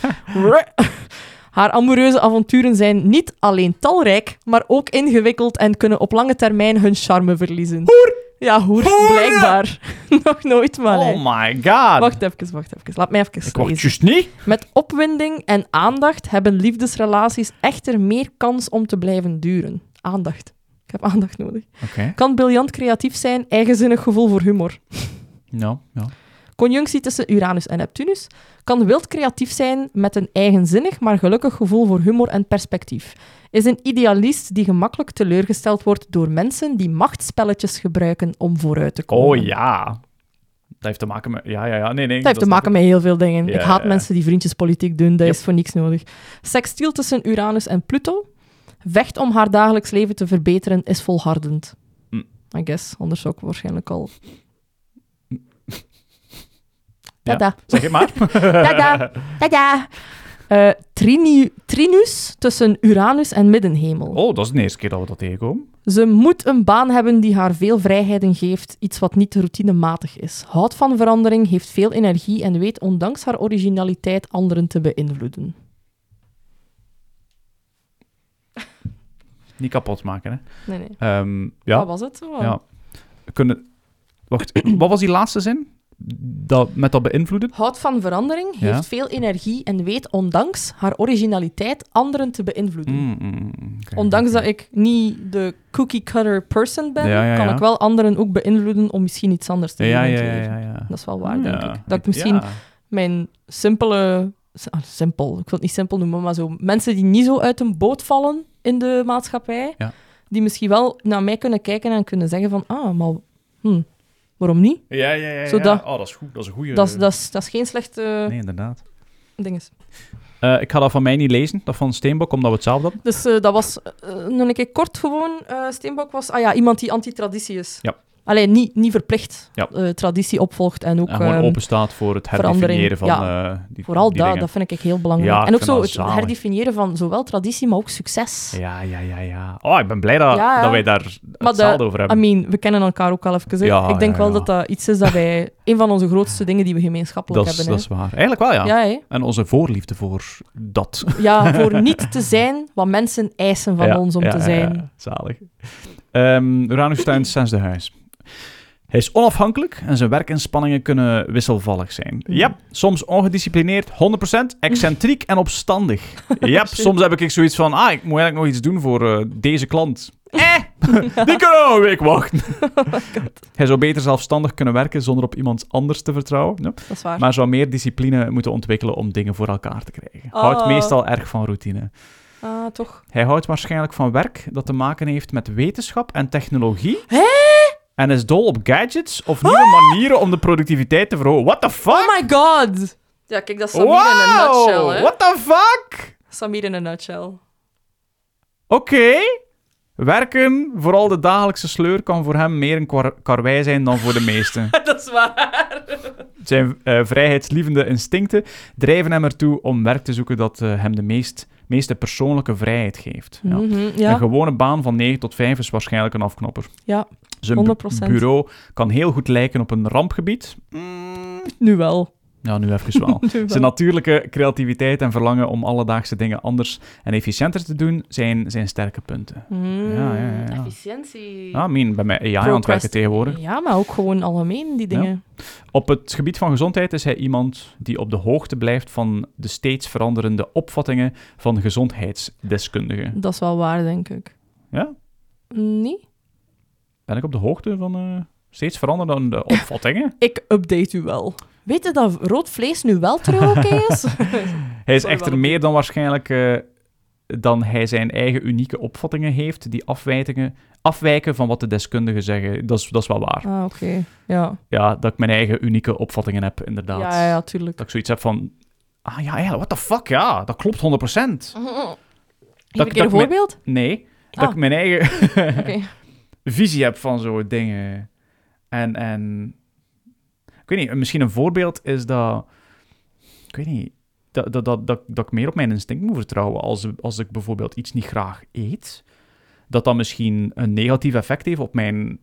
S2: Haar amoureuze avonturen zijn niet alleen talrijk, maar ook ingewikkeld en kunnen op lange termijn hun charme verliezen. Hoer! Ja, hoer,
S1: Hoer!
S2: blijkbaar. Nog nooit, maar. hè.
S1: Oh my god.
S2: Wacht even, wacht even. Laat mij even
S1: ik word
S2: lezen.
S1: juist niet.
S2: Met opwinding en aandacht hebben liefdesrelaties echter meer kans om te blijven duren. Aandacht. Ik heb aandacht nodig.
S1: Oké.
S2: Kan briljant creatief zijn, eigenzinnig gevoel voor humor.
S1: Nou, ja.
S2: Conjunctie tussen Uranus en Neptunus. Kan wild creatief zijn met een eigenzinnig, maar gelukkig gevoel voor humor en perspectief. Is een idealist die gemakkelijk teleurgesteld wordt door mensen die machtspelletjes gebruiken om vooruit te komen.
S1: Oh ja. Dat heeft te maken met... Ja, ja, ja. Nee, nee.
S2: Dat heeft te maken met heel veel dingen.
S1: Ja,
S2: ik haat
S1: ja, ja.
S2: mensen die vriendjespolitiek doen, dat
S1: Yep.
S2: is voor niks nodig. Sextiel tussen Uranus en Pluto. Vecht om haar dagelijks leven te verbeteren is volhardend.
S1: Hm.
S2: I guess, anders zou ik waarschijnlijk al...
S1: Ja.
S2: Tada.
S1: Zeg het maar.
S2: Tada. Tada. Eh, trini- trinus tussen Uranus en Middenhemel.
S1: Oh, dat is de eerste keer dat we dat tegenkomen.
S2: Ze moet een baan hebben die haar veel vrijheden geeft, iets wat niet routinematig is. Houdt van verandering, heeft veel energie en weet ondanks haar originaliteit anderen te beïnvloeden.
S1: Niet kapot maken, hè.
S2: Nee, nee.
S1: Ehm, ja.
S2: Dat was het. hoor.
S1: Ja. Kunnen... Wacht. Wat was die laatste zin? Dat, met dat beïnvloeden?
S2: Houdt van verandering,
S1: Ja.
S2: heeft veel energie en weet ondanks haar originaliteit anderen te beïnvloeden.
S1: Mm, mm, mm, oké.
S2: Ondanks dat ik niet de cookie-cutter person ben,
S1: Ja, ja,
S2: kan
S1: ja.
S2: ik wel anderen ook beïnvloeden om misschien iets anders te doen.
S1: Ja,
S2: in
S1: ja,
S2: het
S1: ja,
S2: leven.
S1: ja, ja.
S2: Dat is wel waar,
S1: Ja.
S2: denk ik. Dat ik misschien
S1: Ja.
S2: mijn simpele... ah, simpel, ik wil het niet simpel noemen, maar zo... Mensen die niet zo uit een boot vallen in de maatschappij,
S1: Ja.
S2: die misschien wel naar mij kunnen kijken en kunnen zeggen van, ah, maar hm, waarom niet?
S1: Ja, ja, ja.
S2: Zo dat-
S1: Oh, dat is goed. Dat is een goede...
S2: Dat, is- dat, is, dat is geen slechte
S1: Nee, inderdaad.
S2: dinges.
S1: Eh, ik ga dat van mij niet lezen, dat van Steenbok, omdat we hetzelfde hadden.
S2: Dus eh, dat was eh, nog een keer kort gewoon. eh Steenbok was ah ja, iemand die anti-traditie is.
S1: Ja.
S2: Alleen niet, niet verplicht
S1: Ja.
S2: eh, traditie opvolgt en ook
S1: En gewoon
S2: ehm,
S1: openstaat voor het herdefiniëren
S2: verandering,
S1: van eh, die
S2: vooral
S1: die
S2: dat,
S1: dingen.
S2: dat vind ik heel belangrijk.
S1: Ja, ik
S2: en ook
S1: vind
S2: zo
S1: dat
S2: het
S1: zalig.
S2: herdefiniëren van zowel traditie, maar ook succes.
S1: Ja, ja, ja, ja. Oh, ik ben blij dat,
S2: Ja, ja.
S1: dat wij daar
S2: Maar de-
S1: hetzelfde over
S2: I
S1: hebben.
S2: mean, we kennen elkaar ook al even. hè.
S1: Ehm, Ja,
S2: ik denk
S1: ja,
S2: wel
S1: ja.
S2: dat dat iets is dat wij... Een van onze grootste dingen die we gemeenschappelijk
S1: Dat is,
S2: hebben.
S1: dat is waar. Eigenlijk wel, ja.
S2: hè. ja, hè.
S1: En onze voorliefde voor dat.
S2: ja, voor niet te zijn wat mensen eisen van
S1: Ja,
S2: ons om
S1: ja,
S2: te
S1: ja,
S2: zijn.
S1: ja. Zalig. Ehm Uranus Tuin Sens de Huis. Hij is onafhankelijk en zijn werkinspanningen kunnen wisselvallig zijn.
S2: Mm.
S1: Ja, soms ongedisciplineerd, 100%, excentriek en opstandig. Ja, soms heb ik zoiets van, ah, ik moet eigenlijk nog iets doen voor eh, deze klant. Eh, die kunnen nog een week wachten.
S2: Oh
S1: Hij zou beter zelfstandig kunnen werken zonder op iemand anders te vertrouwen. Ja.
S2: Dat is waar.
S1: Maar zou meer discipline moeten ontwikkelen om dingen voor elkaar te krijgen. Houdt
S2: Oh.
S1: meestal erg van routine.
S2: Ah, toch.
S1: Hij houdt waarschijnlijk van werk dat te maken heeft met wetenschap en technologie.
S2: Hè?
S1: En is dol op gadgets of nieuwe manieren om de productiviteit te verhogen. What the fuck?
S2: Oh my god! Ja, kijk, dat is Samir in een
S1: wow!
S2: nutshell, hè.
S1: What the fuck?
S2: Samir in een nutshell.
S1: Oké. Werken, vooral de dagelijkse sleur, kan voor hem meer een kwar- karwei zijn dan voor de meesten.
S2: dat is waar.
S1: Zijn eh, vrijheidslievende instincten drijven hem ertoe om werk te zoeken dat eh, hem de meest, meeste persoonlijke vrijheid geeft. Ja. Een
S2: Mm, Mhm, ja.
S1: gewone baan van 9 tot 5 is waarschijnlijk een afknopper.
S2: Ja,
S1: Zijn bu-
S2: 100%.
S1: bureau kan heel goed lijken op een rampgebied. Mm,
S2: nu wel.
S1: Ja, nu even wel.
S2: Nu wel.
S1: Zijn natuurlijke creativiteit en verlangen om alledaagse dingen anders en efficiënter te doen zijn zijn sterke punten.
S2: Mm.
S1: Ja, ja, ja, ja.
S2: Efficiëntie.
S1: Ah, min bij mij AI aan het werken
S2: Procrast-
S1: tegenwoordig.
S2: Ja, maar ook gewoon algemeen die dingen.
S1: Op het gebied van gezondheid is hij iemand die op de hoogte blijft van de steeds veranderende opvattingen van gezondheidsdeskundigen.
S2: Dat is wel waar, denk ik.
S1: Ja?
S2: Nee?
S1: Ben ik op de hoogte van eh, steeds veranderende opvattingen?
S2: Ik update u wel. Weet je dat rood vlees nu wel terug oké is?
S1: Hij is
S2: Sorry,
S1: echter
S2: wat
S1: meer dan waarschijnlijk eh, dan hij zijn eigen unieke opvattingen heeft, die afwijkingen, afwijken van wat de deskundigen zeggen. Dat is, dat is wel waar.
S2: ah, oké. Ja.
S1: Ja, dat ik mijn eigen unieke opvattingen heb, inderdaad.
S2: Ja, ja, tuurlijk.
S1: Dat ik zoiets heb van, ah ja, ja, what the fuck, ja, dat klopt 100%.
S2: Heb
S1: dat
S2: ik een
S1: ik me-
S2: voorbeeld?
S1: Nee, dat
S2: Ah.
S1: ik mijn eigen
S2: Oké.
S1: visie heb van zo'n dingen. En, en, ik weet niet, misschien een voorbeeld is dat, ik weet niet, dat, dat, dat, dat, dat ik meer op mijn instinct moet vertrouwen. Als, als ik bijvoorbeeld iets niet graag eet, dat dat misschien een negatief effect heeft op mijn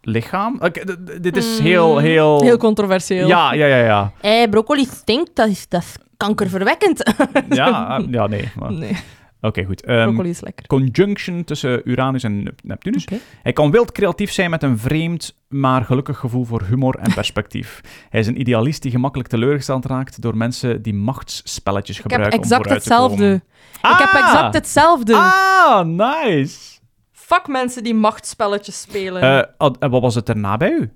S1: lichaam. Ik- d- d- dit is heel,
S2: Mm,
S1: heel...
S2: Heel controversieel.
S1: Oh. ja, ja, ja, ja.
S2: Eh, broccoli stinkt, dat is, dat is kankerverwekkend.
S1: Ja, eh, ja nee. maar- Oké,
S2: Nee,
S1: goed. Ehm,
S2: broccoli is lekker.
S1: conjunction tussen Uranus en Nep- Neptunus.
S2: Oké.
S1: Hij kan wild creatief zijn met een vreemd, maar gelukkig gevoel voor humor en perspectief. Hij is een idealist die gemakkelijk teleurgesteld raakt door mensen die machtsspelletjes
S2: Ik heb
S1: gebruiken om
S2: exact
S1: vooruit te komen.
S2: hetzelfde. Ik heb exact hetzelfde.
S1: Ah, nice.
S2: Fuck mensen die machtsspelletjes spelen.
S1: Eh, ad- en wat was het daarna bij u?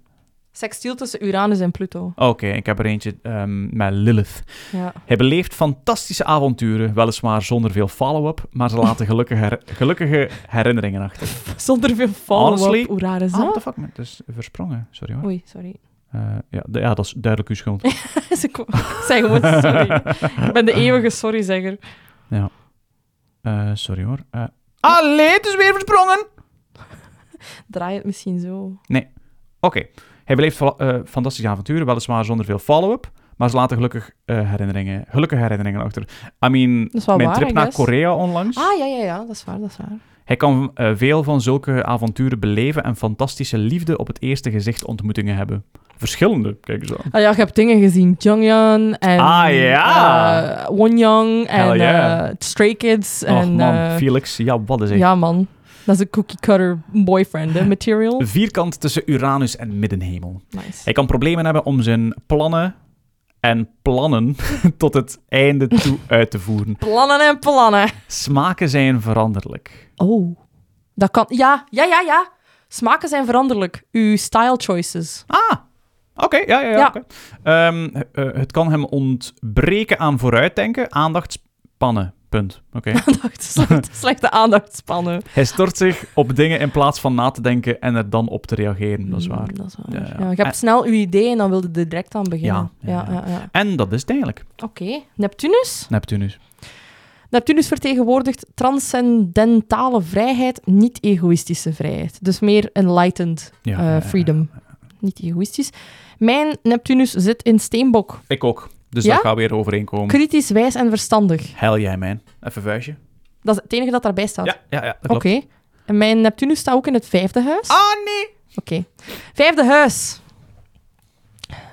S2: Sextiel tussen Uranus en Pluto.
S1: Oké, ik heb er eentje ehm, met Lilith.
S2: Ja.
S1: Hij beleeft fantastische avonturen, weliswaar zonder veel follow-up, maar ze laten gelukkige, her- gelukkige herinneringen achter.
S2: Zonder veel follow-up.
S1: Honestly-
S2: Uranus,
S1: Ah,
S2: hè?
S1: what the fuck, man. het is versprongen. Sorry hoor.
S2: Oei, sorry.
S1: Eh, ja, d- ja, dat is duidelijk uw schuld.
S2: Ze ko- Ik zeg gewoon sorry. Ik ben de
S1: Ah.
S2: eeuwige sorryzegger.
S1: Eh, sorry hoor. Eh Allee, het is weer versprongen!
S2: Draai het misschien zo.
S1: Oké, hij beleeft fa- eh, fantastische avonturen, weliswaar zonder veel follow-up, maar ze laten gelukkig eh, herinneringen, gelukkige herinneringen achter. I mean,
S2: is wel
S1: mijn
S2: waar,
S1: trip
S2: I
S1: naar
S2: guess.
S1: Korea onlangs.
S2: Ah, ja, ja, ja. Dat is waar, dat is waar.
S1: Hij kan eh, veel van zulke avonturen beleven en fantastische liefde op het eerste gezicht ontmoetingen hebben. Verschillende, kijk eens aan.
S2: Ah ja, je hebt dingen gezien. Jonghyun en...
S1: Ah, ja.
S2: eh, Wonyoung en
S1: Hell yeah.
S2: eh, Stray Kids.
S1: Och
S2: en,
S1: man,
S2: eh,
S1: Felix, ja, wat is hij?
S2: Ja, man. Dat is een cookie cutter boyfriend, hè, material.
S1: Vierkant tussen Uranus en Middenhemel.
S2: Nice.
S1: Hij kan problemen hebben om zijn plannen en plannen tot het einde toe uit te voeren.
S2: Plannen en plannen.
S1: Smaken zijn veranderlijk.
S2: Oh. Dat kan... Ja, ja, ja, ja. Smaken zijn veranderlijk. Uw style choices.
S1: Ah, oké, ja, ja, ja.
S2: Ja.
S1: oké. Ehm, eh, eh, het kan hem ontbreken aan vooruitdenken, aandachtspannen. Punt. Oké.
S2: Aandacht, slechte, slechte aandachtspannen.
S1: Hij stort zich op dingen in plaats van na te denken en er dan op te reageren, dat is
S2: Mm,
S1: waar.
S2: Dat is waar.
S1: Ja,
S2: Ja,
S1: ja.
S2: je hebt
S1: En-
S2: snel uw idee en dan wilde je er direct aan beginnen.
S1: Ja, ja,
S2: ja,
S1: En dat is het eigenlijk,
S2: Oké, Neptunus?
S1: Neptunus.
S2: Neptunus vertegenwoordigt transcendentale vrijheid, niet egoïstische vrijheid. Dus meer enlightened
S1: Ja,
S2: eh,
S1: ja, ja,
S2: freedom. Niet egoïstisch. Mijn Neptunus zit in steenbok.
S1: Ik ook. Dus
S2: Ja?
S1: dat gaat weer overeenkomen.
S2: Kritisch, wijs en verstandig.
S1: Hel jij, man. Even vuistje.
S2: Dat is het enige dat daarbij staat.
S1: Ja, ja, ja, dat
S2: Oké.
S1: klopt.
S2: En mijn Neptunus staat ook in het vijfde huis.
S1: Ah, nee!
S2: Oké. Vijfde huis.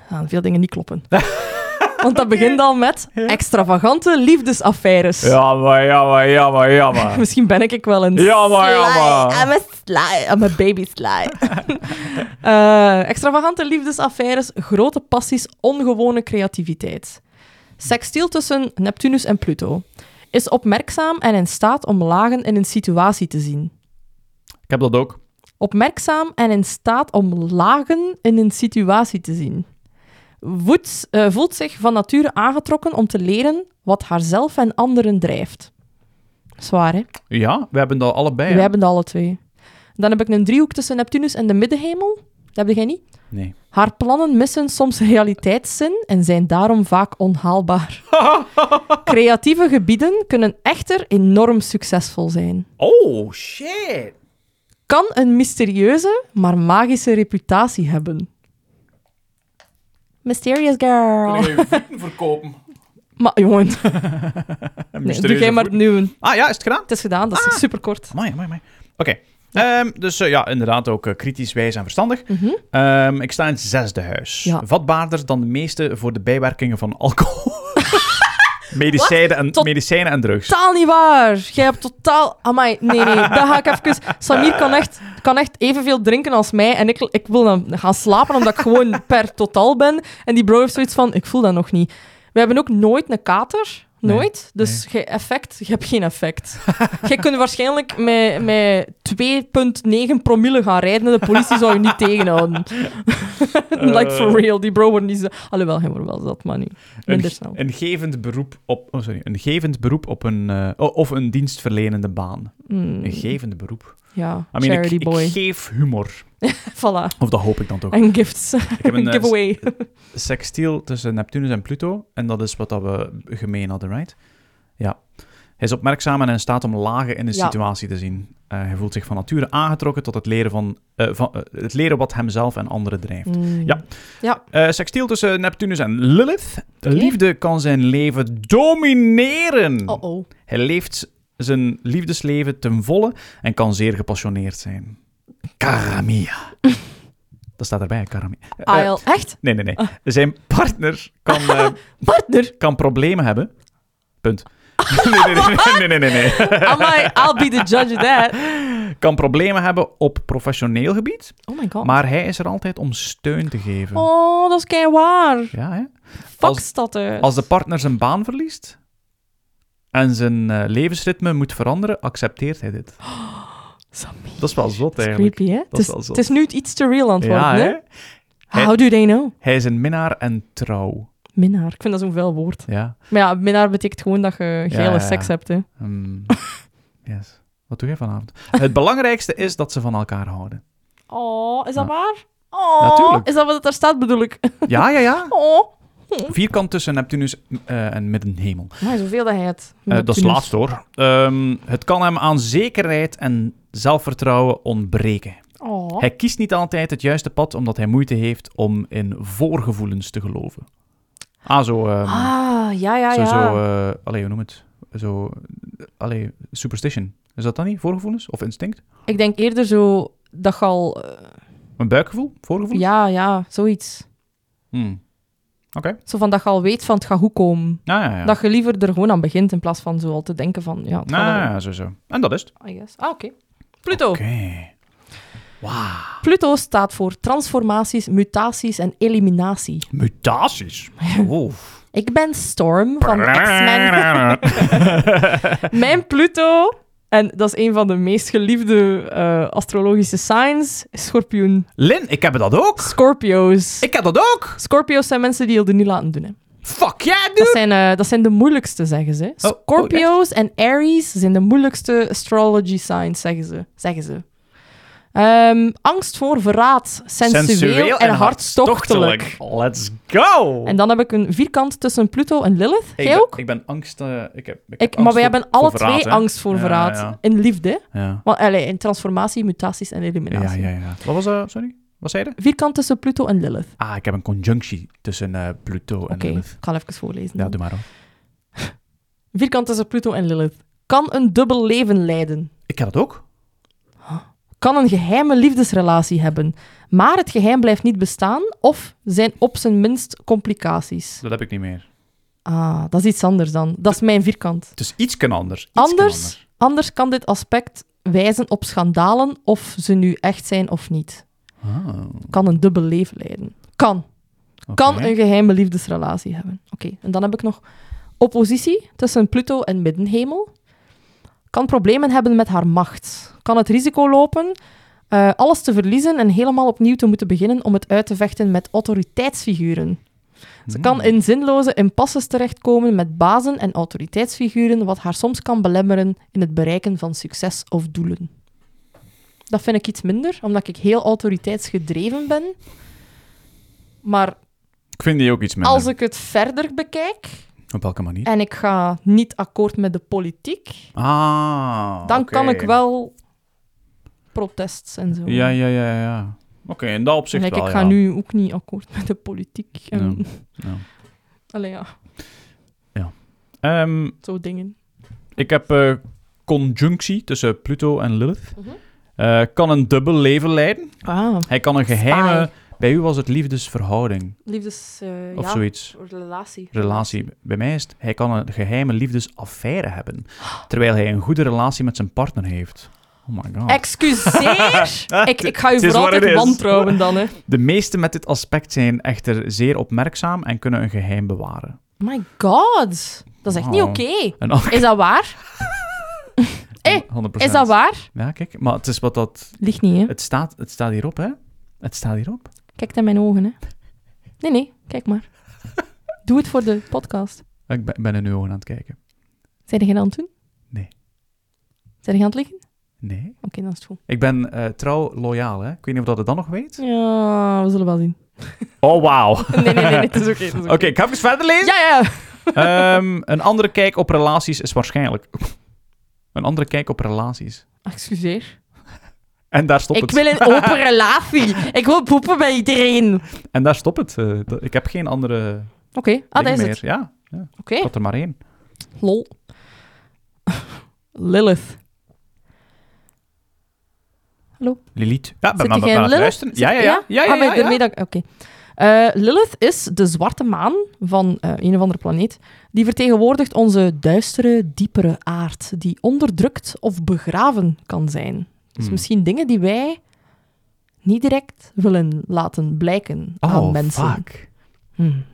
S2: Gaan veel dingen niet kloppen. Want dat begint al met extravagante liefdesaffaires.
S1: Jammer, jammer, jammer, jammer.
S2: Misschien ben ik ik wel een
S1: Jammer, jammer.
S2: I'm a sly. I'm a baby sly. Eh, extravagante liefdesaffaires, grote passies, ongewone creativiteit. Sextiel tussen Neptunus en Pluto. Is opmerkzaam en in staat om lagen in een situatie te zien.
S1: Ik heb dat ook.
S2: Opmerkzaam en in staat om lagen in een situatie te zien. Voedt, eh, voelt zich van nature aangetrokken om te leren wat haarzelf en anderen drijft. Zwaar, hè?
S1: Ah, Ja, we hebben dat allebei.
S2: We
S1: hè?
S2: hebben het alle twee. Dan heb ik een driehoek tussen Neptunus en de middenhemel. Dat heb jij niet.
S1: Nee.
S2: Haar plannen missen soms realiteitszin en zijn daarom vaak onhaalbaar. Creatieve gebieden kunnen echter enorm succesvol zijn.
S1: Oh, shit.
S2: Kan een mysterieuze, maar magische reputatie hebben. Mysterious girl.
S1: je voeten verkopen?
S2: Maar jongen, nee, doe jij maar Ah, nu.
S1: Ah ja, is het gedaan?
S2: Het is gedaan, dat is superkort.
S1: Amai, amai, amai. Oké. Ehm, dus eh, ja, inderdaad ook eh, kritisch, wijs en verstandig.
S2: Mhm.
S1: Ehm, ik sta in het zesde huis.
S2: Ja.
S1: Vatbaarder dan de meeste voor de bijwerkingen van alcohol. medicijnen, en,
S2: Tot-
S1: medicijnen en drugs.
S2: totaal niet waar. Jij hebt totaal... Amai, nee, nee. Dat ga ik even... Samir kan echt, kan echt evenveel drinken als mij. En ik, ik wil dan gaan slapen, omdat ik gewoon per totaal ben. En die bro heeft zoiets van, ik voel dat nog niet. We hebben ook nooit een kater.
S1: Nee,
S2: Nooit. Dus je effect, je hebt geen effect. Jij kunt waarschijnlijk met, met 2,9 promille gaan rijden en de politie zou je niet tegenhouden. like for real, die bro wordt niet zo... Alhoewel, hij wordt wel zat, maar nu minder
S1: Eh. Een,
S2: snel.
S1: een gevend beroep op... Oh, sorry. Een gevend beroep op een... eh, o- of een dienstverlenende baan.
S2: Mm,
S1: Een gevende beroep.
S2: ja,
S1: I mean, ik,
S2: charity
S1: ik
S2: boy.
S1: geef humor.
S2: voilà.
S1: Of dat hoop ik dan toch.
S2: En gifts.
S1: Ik heb een eh,
S2: giveaway.
S1: sextiel tussen Neptunus en Pluto. En dat is wat dat we gemeen hadden, right? Ja. Hij is opmerkzaam en in staat om lagen in een
S2: Ja.
S1: situatie te zien. Eh, hij voelt zich van nature aangetrokken tot het leren, van, eh, van, eh, het leren wat hemzelf en anderen drijft.
S2: Mm.
S1: Ja. Eh sextiel tussen Neptunus en Lilith. Liefde kan zijn leven domineren.
S2: Oh oh.
S1: Hij leeft zijn liefdesleven ten volle en kan zeer gepassioneerd zijn. Karamia. Dat staat erbij, Karamia. Eh,
S2: Aisle. Ah, Echt?
S1: Nee, nee, nee. Zijn partner kan, eh,
S2: Partner?
S1: kan problemen hebben. Punt. Nee, nee, nee, nee, nee, nee, nee.
S2: Amai, I'll be the judge of that.
S1: Kan problemen hebben op professioneel gebied,
S2: Oh my god.
S1: maar hij is er altijd om steun te geven.
S2: Oh, dat is kei waar.
S1: Ja, hè?
S2: Fuck
S1: Als-
S2: staat er.
S1: Als de partner zijn baan verliest en zijn eh, levensritme moet veranderen, accepteert hij dit.
S2: Sammy.
S1: Dat is wel zot
S2: Dat is
S1: eigenlijk.
S2: creepy, hè?
S1: is
S2: Het is,
S1: wel zo.
S2: het is nu iets te real aan het worden,
S1: Ja,
S2: hè?
S1: hè? Hij-
S2: How do they know?
S1: Hij is een minnaar en trouw.
S2: Minnaar. Ik vind dat zo'n vuil woord.
S1: Ja.
S2: Maar ja, minnaar betekent gewoon dat je geile
S1: ja, ja.
S2: seks hebt, hè?
S1: Hmm. Yes. Wat doe jij vanavond? Het belangrijkste is dat ze van elkaar houden.
S2: Oh, is dat
S1: Ja.
S2: waar? Oh,
S1: Natuurlijk.
S2: is dat wat het daar staat, bedoel ik?
S1: Ja, ja, ja.
S2: Oh.
S1: Vierkant tussen Neptunus eh, en middenhemel.
S2: Maar zoveel dat hij het.
S1: Eh, dat is laatst hoor. Ehm, het kan hem aan zekerheid en zelfvertrouwen ontbreken.
S2: Oh.
S1: Hij kiest niet altijd het juiste pad omdat hij moeite heeft om in voorgevoelens te geloven. Ah, zo. ehm,
S2: Ah, ja, ja,
S1: zo,
S2: ja.
S1: zo eh, allee, hoe noem het? Zo. eh, Allee, superstition. Is dat dan niet? Voorgevoelens? Of instinct?
S2: Ik denk eerder zo dat je al... eh,
S1: Een buikgevoel? Voorgevoel?
S2: ja, ja, zoiets.
S1: Hmm.
S2: Zo van dat je al weet van het gaat goed komen.
S1: Ah, ja, ja.
S2: Dat je liever er gewoon aan begint in plaats van zo al te denken van... Ja, het
S1: Ah,
S2: gaat
S1: ja,
S2: wel,
S1: ja, zo, zo. En dat is het.
S2: I guess. Ah, oké. Pluto.
S1: Oké. Wauw.
S2: Pluto staat voor transformaties, mutaties en eliminatie.
S1: Mutaties. Wow.
S2: Ik ben Storm van X-Men. Mijn Pluto, en dat is een van de meest geliefde eh, astrologische signs, is schorpioen.
S1: Lin, ik heb dat ook.
S2: Scorpio's.
S1: Ik heb dat ook.
S2: Scorpio's zijn mensen die het niet laten doen, hè.
S1: Fuck yeah, dude.
S2: Dat zijn, eh, dat zijn de moeilijkste, zeggen ze.
S1: oh, echt?
S2: Scorpio's en Aries zijn de moeilijkste astrology signs, zeggen ze. Zeggen ze. Ehm, angst voor verraad, sensueel, en hartstochtelijk.
S1: Let's go!
S2: En dan heb ik een vierkant tussen Pluto en Lilith.
S1: ik,
S2: Jij
S1: ben-
S2: ook?
S1: Ik ben angst... eh, ik heb, ik heb
S2: Ik,
S1: angst
S2: maar wij
S1: voor-
S2: hebben alle
S1: voor verraad,
S2: twee
S1: hè.
S2: angst voor
S1: Ja,
S2: verraad.
S1: ja.
S2: In liefde. hè?
S1: Ja.
S2: Want, allee, in transformatie, mutaties en
S1: Ja, ja,
S2: eliminatie.
S1: ja, ja. Wat was dat? sorry? Wat zei je?
S2: Vierkant tussen Pluto en Lilith.
S1: Ah, ik heb een conjunctie tussen eh, Pluto en
S2: Oké,
S1: Lilith.
S2: ik ga even voorlezen.
S1: Ja,
S2: dan.
S1: doe maar hoor.
S2: Vierkant tussen Pluto en Lilith. Kan een dubbel leven leiden.
S1: Ik heb dat ook.
S2: Kan een geheime liefdesrelatie hebben. Maar het geheim blijft niet bestaan of zijn op zijn minst complicaties.
S1: Dat heb ik niet meer.
S2: Ah, dat is iets anders dan. Dat is mijn vierkant.
S1: Het is iets anders. Ietsken
S2: Anders, anders kan dit aspect wijzen op schandalen of ze nu echt zijn of niet.
S1: anders. Ah,
S2: Kan een dubbel leven leiden. Kan. Kan
S1: oké.
S2: een geheime liefdesrelatie hebben. Oké, en dan heb ik nog oppositie tussen Pluto en Middenhemel. Kan problemen hebben met haar macht. Kan het risico lopen eh, alles te verliezen en helemaal opnieuw te moeten beginnen om het uit te vechten met autoriteitsfiguren.
S1: Hmm.
S2: Ze kan in zinloze impasses terechtkomen met bazen en autoriteitsfiguren, wat haar soms kan belemmeren in het bereiken van succes of doelen. Dat vind ik iets minder, omdat ik heel autoriteitsgedreven ben. Maar
S1: Ik vind die ook iets minder.
S2: als ik het verder bekijk
S1: Op welke manier?
S2: en ik Eh, ga niet akkoord met de politiek,
S1: Ah,
S2: dan
S1: oké.
S2: kan ik wel protests en zo.
S1: Ja, ja, ja, ja. Oké, in dat opzicht
S2: Gelijk,
S1: wel,
S2: ik ga
S1: ja.
S2: nu ook niet akkoord met de politiek. En...
S1: Ja, ja.
S2: Allee, ja,
S1: Ehm,
S2: zo dingen.
S1: ik heb eh, conjunctie tussen Pluto en Lilith.
S2: Mhm.
S1: Eh, kan een dubbel leven leiden.
S2: Ah,
S1: Hij kan een geheime... Bij u was het liefdesverhouding
S2: liefdes... eh,
S1: of
S2: ja,
S1: zoiets.
S2: relatie.
S1: Relatie. Bij mij is het, hij kan een geheime liefdesaffaire hebben. Terwijl hij een goede relatie met zijn partner heeft. Oh my god.
S2: Excuseer! ik, ik ga u
S1: Het is
S2: voor
S1: wat het
S2: altijd
S1: is.
S2: wantrouwen dan, hè.
S1: De meesten met dit aspect zijn echter zeer opmerkzaam en kunnen een geheim bewaren.
S2: My god! Dat is echt niet
S1: Wow.
S2: oké.
S1: Een ander-
S2: Is dat waar? Eh,
S1: 100%.
S2: Is dat waar? Hm?
S1: Ja, kijk, maar het is wat dat...
S2: Ligt niet, hè.
S1: Het staat, het staat hierop, hè? Het staat hierop.
S2: Kijk naar mijn ogen, hè. Nee, nee, kijk maar. Doe het voor de podcast.
S1: Ik ben, ik ben in uw ogen aan het kijken.
S2: Zijn er aan het doen?
S1: Nee.
S2: Zijn er aan het liggen? Oké,
S1: Nee.
S2: dan is het goed.
S1: Ik ben eh, trouw loyaal, hè? Ik weet niet of dat het dan nog weet.
S2: Ja, we zullen wel zien.
S1: Oh, wauw.
S2: Nee, nee, nee, nee, het is oké. het is
S1: Oké, ik ga even verder lezen.
S2: Ja, ja.
S1: Ehm, een andere kijk op relaties is waarschijnlijk... Een andere kijk op relaties.
S2: Ah, Excuseer.
S1: En daar stopt
S2: ik
S1: het.
S2: wil een open relatie. Ik wil poepen bij iedereen. Oké.
S1: En daar stopt het. Eh, dat- ik heb geen andere
S2: Ah, dat
S1: dingen
S2: is
S1: meer.
S2: het. Eh.
S1: Ja,
S2: Oké.
S1: ik had er maar één.
S2: Lol. Lilith.
S1: Lilith. Ja, ben, ben,
S2: Zit jij
S1: ben
S2: in
S1: aan het
S2: Lilith?
S1: luisteren. Ja, ja, ja.
S2: Ja?
S1: ja, ja,
S2: Ah, ben
S1: ja,
S2: je
S1: ja.
S2: ermee dat- Oké. Eh, Lilith is de zwarte maan van eh, een of andere planeet. Die vertegenwoordigt onze duistere, diepere aard, die onderdrukt of begraven kan zijn. Dus
S1: Hmm.
S2: misschien dingen die wij niet direct willen laten blijken aan
S1: Oh,
S2: mensen.
S1: fuck.
S2: Hmm.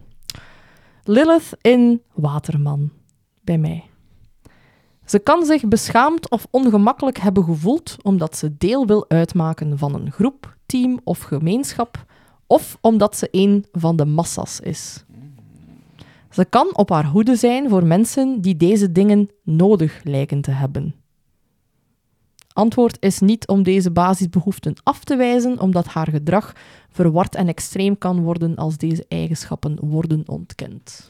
S2: Lilith in Waterman, bij mij. Ze kan zich beschaamd of ongemakkelijk hebben gevoeld omdat ze deel wil uitmaken van een groep, team of gemeenschap, of omdat ze een van de massa's is. Ze kan op haar hoede zijn voor mensen die deze dingen nodig lijken te hebben. Antwoord is niet om deze basisbehoeften af te wijzen, omdat haar gedrag verward en extreem kan worden als deze eigenschappen worden ontkend.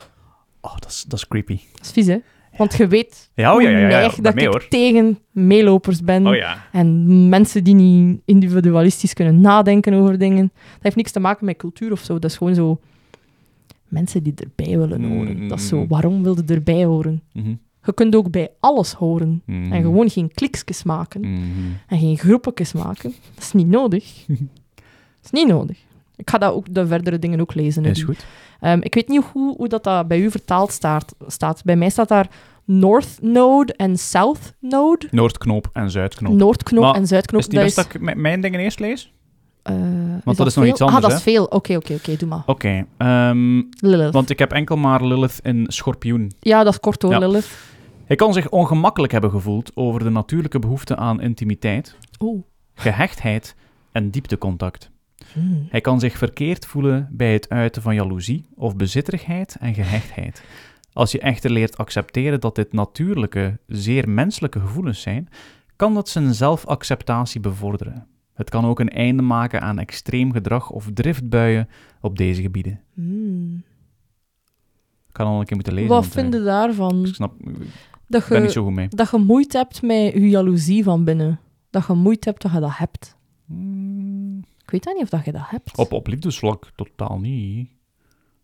S1: Oh, dat is, dat is creepy.
S2: Dat is vies, hè? Want je weet
S1: Ja, oh, ja, ja, ja,
S2: hoe
S1: ja.
S2: neig
S1: Bij
S2: dat
S1: mij,
S2: ik
S1: hoor.
S2: tegen meelopers ben
S1: Oh ja.
S2: en mensen die niet individualistisch kunnen nadenken over dingen. Dat heeft niks te maken met cultuur of zo. Dat is gewoon zo mensen die erbij willen horen. Dat is zo,
S1: Mm.
S2: waarom wil je erbij horen?
S1: Mhm,
S2: Je kunt ook bij alles horen
S1: Mm-hmm.
S2: en gewoon geen kliksjes maken
S1: Mhm.
S2: en geen groepjes maken. Dat is niet nodig. dat is niet nodig. Ik ga dat ook, de verdere dingen ook lezen. hè,
S1: Is
S2: die-
S1: goed.
S2: Ehm, ik weet niet hoe, hoe dat, dat bij u vertaald staat, staat. Bij mij staat daar North Node en South Node.
S1: Noordknoop en Zuidknoop.
S2: Noordknoop
S1: Maar
S2: en Zuidknoop.
S1: is het niet
S2: dat
S1: best dat ik m- mijn dingen eerst lees?
S2: eh,
S1: dat is nog
S2: veel?
S1: iets anders,
S2: Ah, dat
S1: hè?
S2: is veel. Oké, oké, oké. Doe maar.
S1: Oké. ehm,
S2: Lilith.
S1: want ik heb enkel maar Lilith in Schorpioen.
S2: Ja, dat is kort hoor,
S1: Ja.
S2: Lilith.
S1: Hij kan zich ongemakkelijk hebben gevoeld over de natuurlijke behoefte aan intimiteit,
S2: Oeh.
S1: gehechtheid en dieptecontact.
S2: Hmm.
S1: Hij kan zich verkeerd voelen bij het uiten van jaloezie of bezitterigheid en gehechtheid. Als je echter leert accepteren dat dit natuurlijke, zeer menselijke gevoelens zijn, kan dat zijn zelfacceptatie bevorderen. Het kan ook een einde maken aan extreem gedrag of driftbuien op deze gebieden.
S2: Hmm.
S1: Ik had al een keer moeten lezen.
S2: Wat
S1: want, eh,
S2: vind je daarvan?
S1: Ik snap, ik
S2: Dat
S1: ben niet
S2: je,
S1: zo goed mee.
S2: dat je moeite hebt met je jaloezie van binnen. Dat je moeite hebt dat je dat hebt.
S1: Mm,
S2: Ik weet dat niet of dat je dat hebt.
S1: Op, op liefdesvlak totaal niet.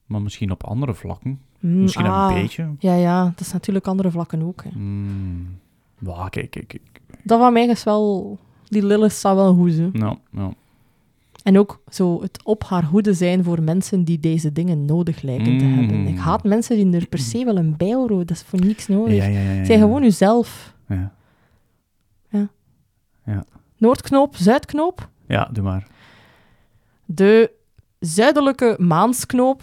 S1: Maar misschien op andere vlakken.
S2: Hmm,
S1: Misschien
S2: ah.
S1: een beetje.
S2: Ja, ja, dat is natuurlijk andere vlakken ook. Hè.
S1: Mm. Bah, kijk, kijk, kijk.
S2: Dat van mij is wel... Die Lilith staat wel goed, hè.
S1: Nou, nou.
S2: En ook zo het op haar hoede zijn voor mensen die deze dingen nodig lijken te
S1: Mm.
S2: hebben. Ik haat mensen die er per se wel een bij horen. Dat is voor niks nodig.
S1: ja, ja, ja.
S2: Zij gewoon uzelf.
S1: Ja.
S2: Noordknoop, Zuidknoop.
S1: ja, doe maar.
S2: De zuidelijke maansknoop.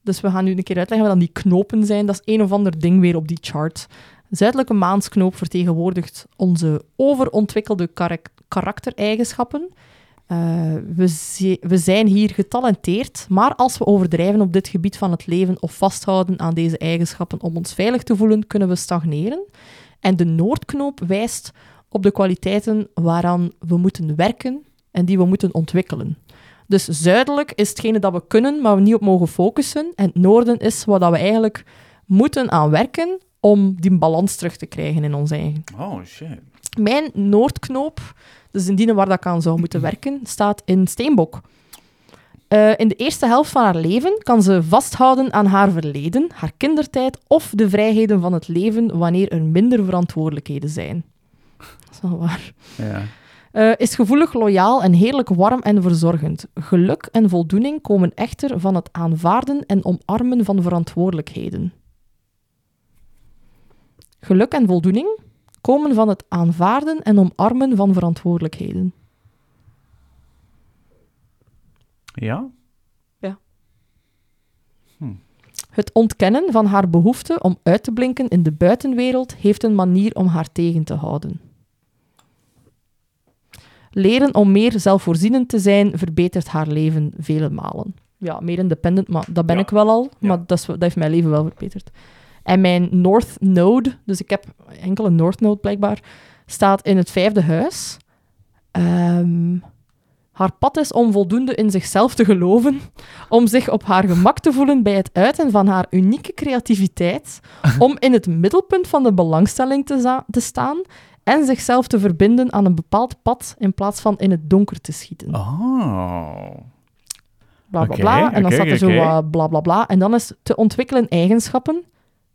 S2: Dus we gaan nu een keer uitleggen wat dan die knopen zijn. Dat is een of ander ding weer op die chart. Zuidelijke maansknoop vertegenwoordigt onze overontwikkelde karak- karaktereigenschappen. Eh, we, zi- we zijn hier getalenteerd, maar als we overdrijven op dit gebied van het leven of vasthouden aan deze eigenschappen om ons veilig te voelen, kunnen we stagneren. En de noordknoop wijst op de kwaliteiten waaraan we moeten werken en die we moeten ontwikkelen. Dus zuidelijk is hetgene dat we kunnen, maar we niet op mogen focussen. En het noorden is wat dat we eigenlijk moeten aan werken om die balans terug te krijgen in ons eigen.
S1: Oh, shit.
S2: Mijn noordknoop, dus indien waar dat ik aan zou moeten werken, staat in Steenbok. Eh, in de eerste helft van haar leven kan ze vasthouden aan haar verleden, haar kindertijd of de vrijheden van het leven wanneer er minder verantwoordelijkheden zijn. Dat is wel waar.
S1: Ja.
S2: Eh, is gevoelig, loyaal en heerlijk warm en verzorgend. Geluk en voldoening komen echter van het aanvaarden en omarmen van verantwoordelijkheden. Geluk en voldoening komen van het aanvaarden en omarmen van verantwoordelijkheden.
S1: Ja?
S2: Het ontkennen van haar behoefte om uit te blinken in de buitenwereld heeft een manier om haar tegen te houden. Leren om meer zelfvoorzienend te zijn verbetert haar leven vele malen. Ja, meer independent, maar dat ben
S1: Ja.
S2: ik wel al.
S1: Ja.
S2: Maar dat, is, dat heeft mijn leven wel verbeterd. En mijn North Node, dus ik heb enkele North Node blijkbaar, staat in het vijfde huis. Ehm, haar pad is om voldoende in zichzelf te geloven, om zich op haar gemak te voelen bij het uiten van haar unieke creativiteit, om in het middelpunt van de belangstelling te, za- te staan en zichzelf te verbinden aan een bepaald pad in plaats van in het donker te schieten.
S1: Oh.
S2: Bla bla
S1: Ah, oké,
S2: bla. en dan
S1: oké,
S2: staat er zo
S1: oké.
S2: wat bla bla bla. En dan is te ontwikkelen eigenschappen,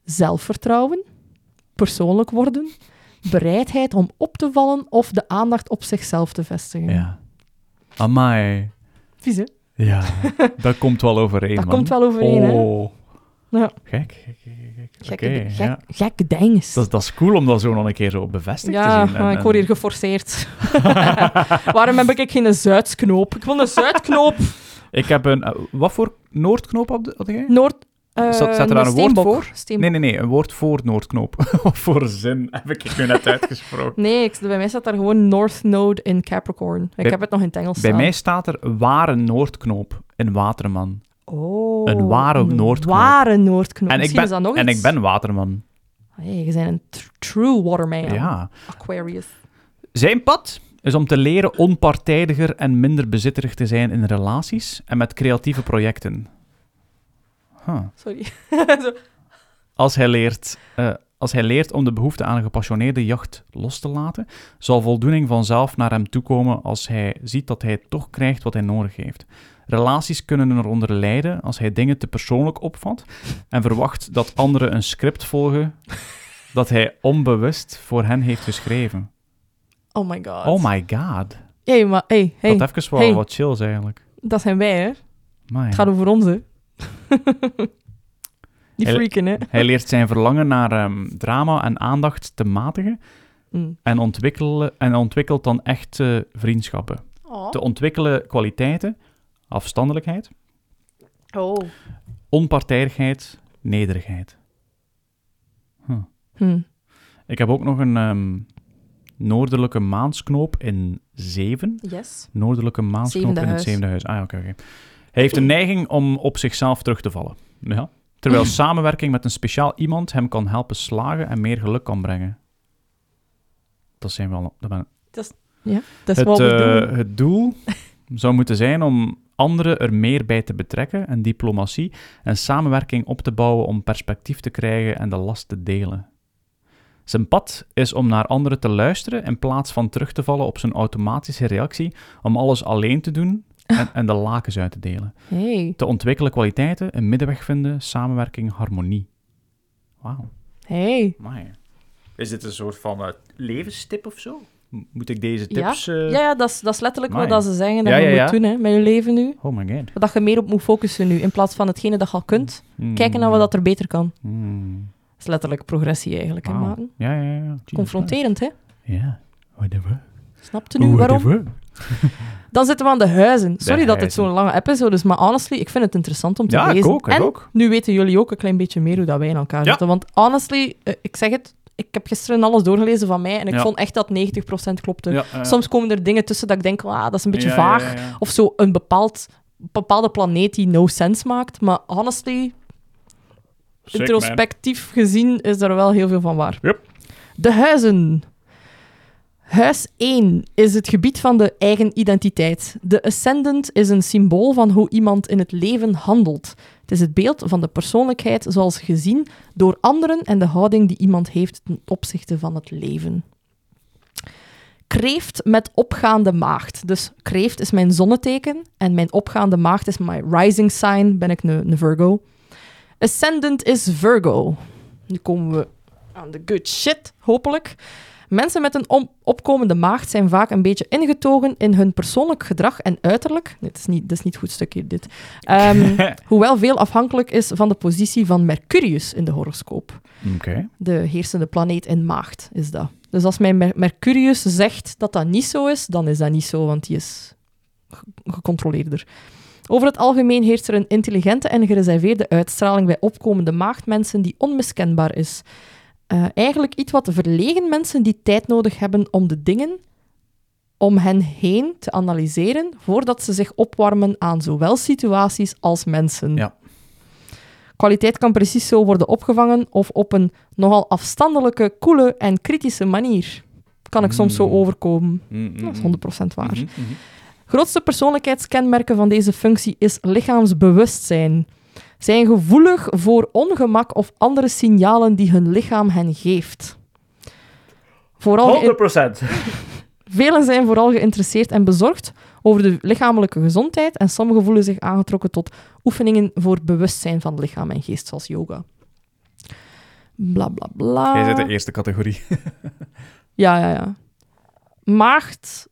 S2: zelfvertrouwen, persoonlijk worden, bereidheid om op te vallen of de aandacht op zichzelf te vestigen.
S1: Ja. Amai.
S2: Vies, hè?
S1: Ja, dat komt wel overeen,
S2: Dat
S1: man.
S2: komt wel overeen, hè?
S1: Oh.
S2: Ja.
S1: Gek, gek, gek, gek.
S2: Gekke,
S1: Oké,
S2: gek,
S1: ja.
S2: gekke dinges.
S1: Dat, dat is cool om dat zo nog een keer zo bevestigd
S2: ja,
S1: te zien. En-
S2: maar ik
S1: en-
S2: word hier geforceerd. Waarom heb ik geen Zuidknoop? Ik wil een Zuidknoop.
S1: Ik heb een... eh, Wat voor Noordknoop had had jij?
S2: Noord... eh,
S1: Zat- zat er daar een woord
S2: Steenbok.
S1: voor?
S2: Steenbok.
S1: Nee, nee, nee. Een woord voor Noordknoop. Wat voor zin heb ik nu net uitgesproken?
S2: Nee, ik, bij mij staat daar gewoon North Node in Capricorn. Ik
S1: Bij-
S2: heb het nog in het Engels
S1: Bij
S2: staan.
S1: mij staat er ware Noordknoop in Waterman.
S2: Oh,
S1: Een ware
S2: een
S1: Noordknoop.
S2: ware Noordknoop.
S1: En ik,
S2: Misschien
S1: ben,
S2: is dat nog
S1: en
S2: iets.
S1: ik ben Waterman.
S2: Hey, je bent een tr- true waterman.
S1: ja.
S2: Aquarius.
S1: Zijn pad is om te leren onpartijdiger en minder bezitterig te zijn in relaties en met creatieve projecten. Huh.
S2: Sorry. Zo.
S1: Als hij, leert, eh, als hij leert om de behoefte aan een gepassioneerde jacht los te laten, zal voldoening vanzelf naar hem toekomen als hij ziet dat hij toch krijgt wat hij nodig heeft. Relaties kunnen eronder lijden als hij dingen te persoonlijk opvat en verwacht dat anderen een script volgen dat hij onbewust voor hen heeft geschreven.
S2: Oh my god.
S1: Oh my god.
S2: Hey, maar hey, hey.
S1: Dat even wel
S2: hey.
S1: wat chills eigenlijk.
S2: Dat zijn wij, hè.
S1: Amai.
S2: Het gaat over ons, hè. Die
S1: Hij-
S2: freaken, hè.
S1: Hij leert zijn verlangen naar ehm, drama en aandacht te matigen
S2: Mm.
S1: en, ontwikkelen, en ontwikkelt dan echte vriendschappen.
S2: Oh.
S1: te ontwikkelen kwaliteiten, afstandelijkheid,
S2: Oh.
S1: onpartijdigheid, nederigheid.
S2: Hm.
S1: Ik heb ook nog een ehm, noordelijke maansknoop in zeven.
S2: Yes.
S1: Noordelijke maansknoop
S2: Zevende
S1: in het
S2: huis.
S1: zevende huis. Ah, ja, oké, oké. Hij heeft een neiging om op zichzelf terug te vallen. Ja. Terwijl samenwerking met een speciaal iemand hem kan helpen slagen en meer geluk kan brengen. Dat zijn wel... Dat ben,
S2: Dat is Dat is
S1: Het,
S2: wat we
S1: eh,
S2: doen.
S1: het doel zou moeten zijn om anderen er meer bij te betrekken en diplomatie en samenwerking op te bouwen om perspectief te krijgen en de last te delen. Zijn pad is om naar anderen te luisteren in plaats van terug te vallen op zijn automatische reactie om alles alleen te doen en, en de lakens uit te delen.
S2: Hey,
S1: Te ontwikkelen kwaliteiten, een middenweg vinden, samenwerking, harmonie. Wauw,
S2: hey.
S1: amai. Is dit een soort van eh, levenstip of zo? M- moet ik deze
S2: Ja.
S1: tips... eh,
S2: Ja, ja, dat is, dat is letterlijk
S1: Amai.
S2: wat dat ze zeggen dat
S1: Ja,
S2: je
S1: ja,
S2: moet
S1: ja.
S2: doen hè, met je leven nu.
S1: Oh my god.
S2: Dat je meer op moet focussen nu, in plaats van hetgene dat je al kunt. Kijken naar wat dat er beter kan.
S1: Hmm.
S2: Dat is letterlijk progressie eigenlijk, hè,
S1: Wauw.
S2: maken.
S1: Ja, ja, ja. Jesus
S2: Confronterend, hè?
S1: Christ. Ja. Whatever.
S2: Snapte nu waarom?
S1: Whatever.
S2: Dan zitten we aan de huizen. Sorry dat dit
S1: huizen.
S2: zo'n lange episode is, maar honestly, ik vind het interessant om te
S1: Ja,
S2: lezen.
S1: ik ook, ik
S2: en
S1: ook.
S2: nu weten jullie ook een klein beetje meer hoe dat wij in elkaar
S1: Ja.
S2: zitten. Want honestly, eh, ik zeg het, ik heb gisteren alles doorgelezen van mij en ik
S1: Ja.
S2: vond echt dat 90% klopte.
S1: Ja, eh,
S2: Soms komen er dingen tussen dat ik denk, ah, dat is een beetje
S1: ja, ja,
S2: vaag.
S1: ja, ja.
S2: Of zo een bepaald, bepaalde planeet die no sense maakt. Maar honestly,
S1: Sick,
S2: introspectief gezien is er wel heel veel van waar.
S1: Yep.
S2: De huizen. Huis 1 is het gebied van de eigen identiteit. De ascendant is een symbool van hoe iemand in het leven handelt. Het is het beeld van de persoonlijkheid zoals gezien door anderen en de houding die iemand heeft ten opzichte van het leven. Kreeft met opgaande maagd. Dus kreeft is mijn zonneteken en mijn opgaande maagd is my rising sign, ben ik een een Virgo. Ascendant is Virgo. Nu komen we aan de good shit, hopelijk. Mensen met een om- opkomende maagd zijn vaak een beetje ingetogen in hun persoonlijk gedrag en uiterlijk. Dit is niet, dit is niet goed stukje, dit. Ehm, hoewel veel afhankelijk is van de positie van Mercurius in de horoscoop.
S1: man. Oké.
S2: De heersende planeet in maagd is dat. Dus als mijn Mer- Mercurius zegt dat dat niet zo is, dan is dat niet zo, want die is ge- gecontroleerder. Over het algemeen heerst er een intelligente en gereserveerde uitstraling bij opkomende maagdmensen die onmiskenbaar is. Eh, eigenlijk iets wat verlegen mensen die tijd nodig hebben om de dingen om hen heen te analyseren voordat ze zich opwarmen aan zowel situaties als mensen.
S1: Ja.
S2: Kwaliteit kan precies zo worden opgevangen of op een nogal afstandelijke, koele en kritische manier. Kan ik soms zo
S1: Mm.
S2: overkomen.
S1: Mm, mm,
S2: Dat is
S1: mm.
S2: 100% waar.
S1: Mhm, mhm.
S2: Grootste persoonlijkheidskenmerken van deze functie is lichaamsbewustzijn. Zijn gevoelig voor ongemak of andere signalen die hun lichaam hen geeft. Vooral geïn- Velen zijn vooral geïnteresseerd en bezorgd over de lichamelijke gezondheid en sommigen voelen zich aangetrokken tot oefeningen voor bewustzijn van lichaam en geest, zoals yoga. Bla bla bla.
S1: Jij zit de eerste categorie.
S2: Ja, ja, ja. Maagd.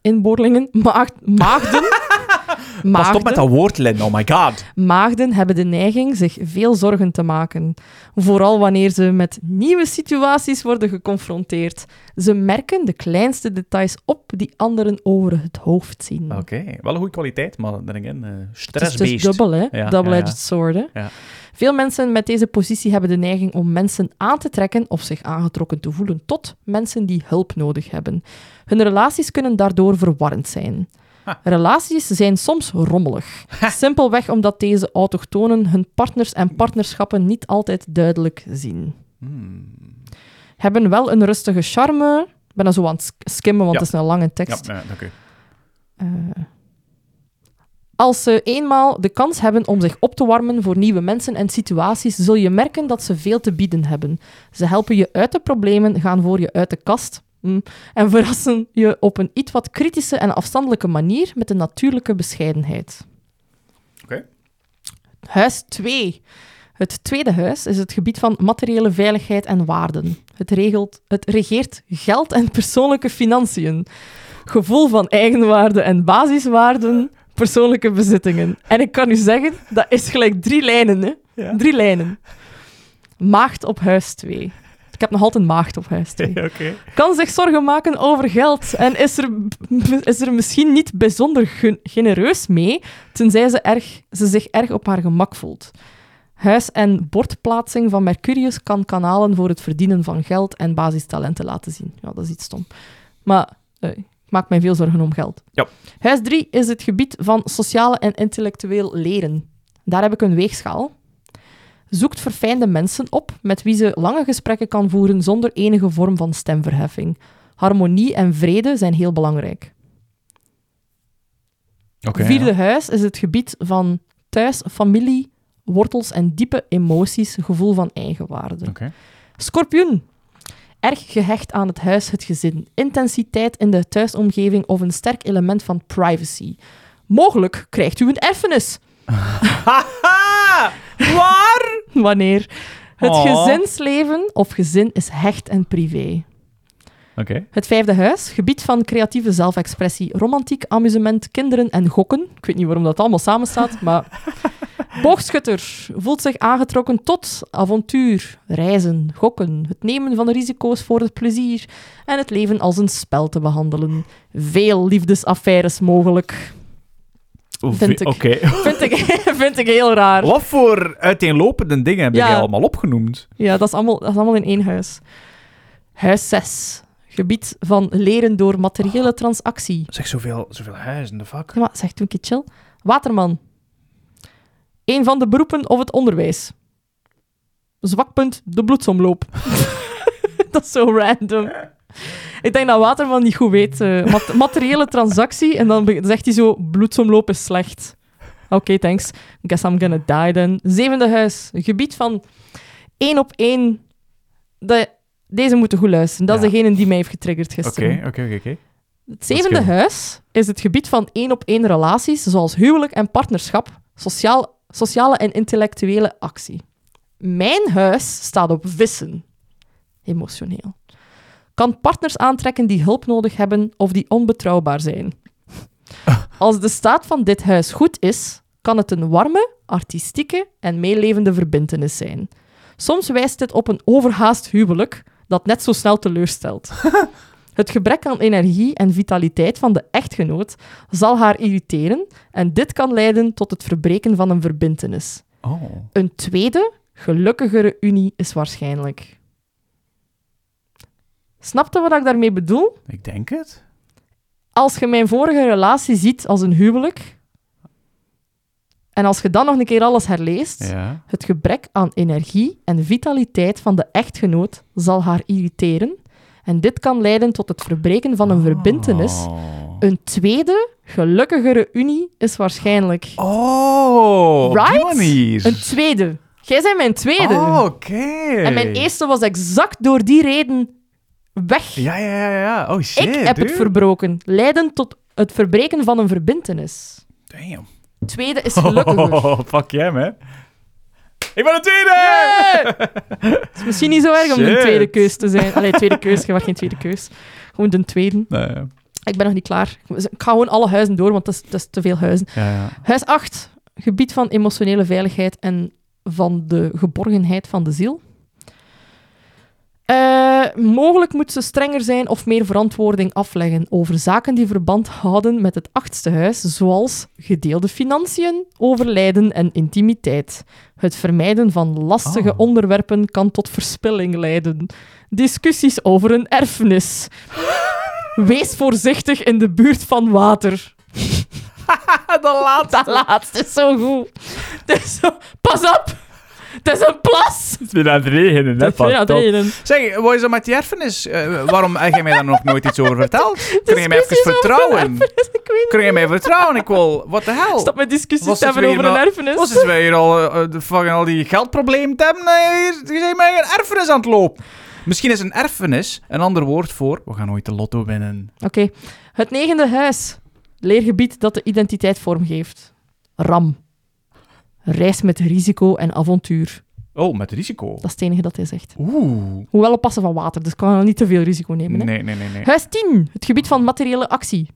S2: Inboorlingen. Maagd, maagden.
S1: Pas op met
S2: maagden.
S1: dat woord, Lin. Oh my god.
S2: Maagden hebben de neiging zich veel zorgen te maken. Vooral wanneer ze met nieuwe situaties worden geconfronteerd. Ze merken de kleinste details op die anderen over het hoofd zien.
S1: Oké. Wel een goede kwaliteit, maar dan in eh
S2: Het is dus
S1: stressbeest.
S2: dubbel, hè?
S1: ja,
S2: Double-edged
S1: ja.
S2: sword. Hè?
S1: Ja.
S2: Veel mensen met deze positie hebben de neiging om mensen aan te trekken of zich aangetrokken te voelen tot mensen die hulp nodig hebben. Hun relaties kunnen daardoor verwarrend zijn. Relaties zijn soms rommelig. Simpelweg omdat deze autochtonen hun partners en partnerschappen niet altijd duidelijk zien.
S1: Hmm.
S2: Hebben wel een rustige charme. Ik ben dan zo aan het sk- skimmen, want
S1: Ja.
S2: het is een lange
S1: Ja,
S2: tekst.
S1: ja, dank u.
S2: Eh, als ze eenmaal de kans hebben om zich op te warmen voor nieuwe mensen en situaties, zul je merken dat ze veel te bieden hebben. Ze helpen je uit de problemen, gaan voor je uit de kast hm, en verrassen je op een iets wat kritische en afstandelijke manier met een natuurlijke bescheidenheid.
S1: Oké.
S2: Huis 2. Het tweede huis is het gebied van materiële veiligheid en waarden. Het, regelt, het regeert geld en persoonlijke financiën gevoel van eigenwaarde en basiswaarden, persoonlijke bezittingen. En ik kan u zeggen, dat is gelijk drie lijnen, hè?
S1: Ja.
S2: Drie lijnen. Maagd op huis 2. Ik heb nog altijd maagd op huis 2.
S1: Oké.
S2: Kan zich zorgen maken over geld en is er, is er misschien niet bijzonder gen- genereus mee, tenzij ze, erg, ze zich erg op haar gemak voelt. Huis- en bordplaatsing van Mercurius kan kanalen voor het verdienen van geld en basistalenten laten zien. Ja, dat is iets stom. Maar eh, ik maak mij veel zorgen om geld.
S1: Ja.
S2: Huis 3 is het gebied van sociale en intellectueel leren. Daar heb ik een weegschaal. Zoekt verfijnde mensen op met wie ze lange gesprekken kan voeren zonder enige vorm van stemverheffing. harmonie en vrede zijn heel belangrijk.
S1: Oké,
S2: Vierde
S1: ja.
S2: huis is het gebied van thuis, familie, wortels en diepe emoties, gevoel van eigenwaarde.
S1: Oké.
S2: Scorpioen. Erg gehecht aan het huis, het gezin. Intensiteit in de thuisomgeving of een sterk element van privacy. Mogelijk krijgt u een erfenis.
S1: Haha! Waar?
S2: Wanneer? Het
S1: Oh.
S2: gezinsleven of gezin is hecht en privé.
S1: Oké.
S2: Het vijfde huis, gebied van creatieve zelfexpressie, romantiek, amusement, kinderen en gokken. Ik weet niet waarom dat allemaal samen staat, maar... Boogschutter voelt zich aangetrokken tot avontuur, reizen, gokken, het nemen van risico's voor het plezier en het leven als een spel te behandelen. Veel liefdesaffaires mogelijk.
S1: Oeh,
S2: Vind
S1: vi-
S2: ik.
S1: Oké.
S2: Vind ik, vind ik heel raar.
S1: Wat voor uiteenlopende dingen heb
S2: Ja.
S1: jij allemaal opgenoemd?
S2: Ja, dat is allemaal, dat is allemaal in één huis. Huis 6. Gebied van leren door materiële transactie.
S1: Zeg, zoveel, zoveel huizen, de fuck?
S2: Ja, maar zeg toen een keer chill. Waterman. Eén van de beroepen of het onderwijs. Zwakpunt, de bloedsomloop. dat is zo random. Ik denk dat Waterman niet goed weet. eh, mat- materiële transactie. En dan be- zegt hij zo, bloedsomloop is slecht. Oké, thanks. Guess I'm gonna die then. Zevende huis. Een gebied van één op één. De, deze moeten goed luisteren. Dat is
S1: Ja.
S2: degene die mij heeft getriggerd
S1: Oké,
S2: gisteren.
S1: oké, oké, oké.
S2: Het
S1: is
S2: zevende
S1: goed.
S2: huis is het gebied van één-op-één relaties, zoals huwelijk en partnerschap, sociaal, sociale en intellectuele actie. Mijn huis staat op vissen. Emotioneel. Kan partners aantrekken die hulp nodig hebben of die onbetrouwbaar zijn. Als de staat van dit huis goed is, kan het een warme, artistieke en meelevende verbintenis zijn. Soms wijst dit op een overhaast huwelijk dat net zo snel teleurstelt. Het gebrek aan energie en vitaliteit van de echtgenoot zal haar irriteren en dit kan leiden tot het verbreken van een verbintenis.
S1: Oh.
S2: Een tweede, gelukkigere unie is waarschijnlijk. Snapte wat ik daarmee bedoel?
S1: Ik denk het.
S2: Als je mijn vorige relatie ziet als een huwelijk, en als je dan nog een keer alles herleest,
S1: Ja.
S2: het gebrek aan energie en vitaliteit van de echtgenoot zal haar irriteren en dit kan leiden tot het verbreken van
S1: Ah.
S2: een verbintenis
S1: Oh.
S2: een tweede, gelukkigere unie is waarschijnlijk.
S1: Oh, op die
S2: Right?
S1: manier.
S2: Een tweede. Jij bent mijn tweede.
S1: Oh, oké.
S2: En mijn eerste was exact door die reden weg.
S1: Ja, ja, ja, ja. Oh, shit,
S2: Ik heb het
S1: dude.
S2: verbroken. Leiden tot het verbreken van een verbintenis.
S1: Damn.
S2: Tweede is gelukkiger.
S1: Oh, fuck jij, hè. Ik ben de tweede!
S2: Yeah! Het is misschien niet zo erg om de
S1: Shit.
S2: tweede keus te zijn. Allee, tweede keus. Je mag geen tweede keus. Gewoon de tweede.
S1: Nee,
S2: Ik ben nog niet klaar. Ik ga gewoon alle huizen door, want dat is, dat is te veel huizen.
S1: ja, ja.
S2: Huis 8, gebied van emotionele veiligheid en van de geborgenheid van de ziel. Eh, mogelijk moet ze strenger zijn of meer verantwoording afleggen over zaken die verband houden met het achtste huis, zoals gedeelde financiën, overlijden en intimiteit. Het vermijden van lastige
S1: Oh.
S2: onderwerpen kan tot verspilling leiden. Discussies over een erfenis. Wees voorzichtig in de buurt van water.
S1: De laatste.
S2: Dat laatste is zo goed. Het is zo- Pas op! Het is een plas!
S1: Het is weer aan het regenen, hè,
S2: Ik vind dat
S1: Pascal.
S2: reden.
S1: Zeg, wat is dat met die erfenis? Eh, waarom heb jij mij daar nog nooit iets over verteld? Kun je mij even
S2: Discussies over een
S1: vertrouwen?
S2: erfenis, ik weet
S1: Kun je mij vertrouwen? Ik wil... What the hell?
S2: niet. Stop met discussies
S1: Was
S2: te
S1: het
S2: hebben
S1: weer
S2: over een
S1: maar-
S2: erfenis.
S1: Als zitten wij hier al, eh, eh, de fucking al die geldproblemen te hebben, eh, hier, hier zijn wij een erfenis aan het lopen. Misschien is een erfenis een ander woord voor we gaan ooit de lotto winnen.
S2: Oké. Het negende huis. Leergebied dat de identiteit vormgeeft. Ram. Reis met risico en avontuur.
S1: Oh, met risico.
S2: Dat is het enige dat hij zegt.
S1: Oeh.
S2: Hoewel op passen van water, dus ik kan nog niet te veel risico nemen. hè.
S1: Nee, nee, nee, nee.
S2: Huis 10, het gebied van materiële actie.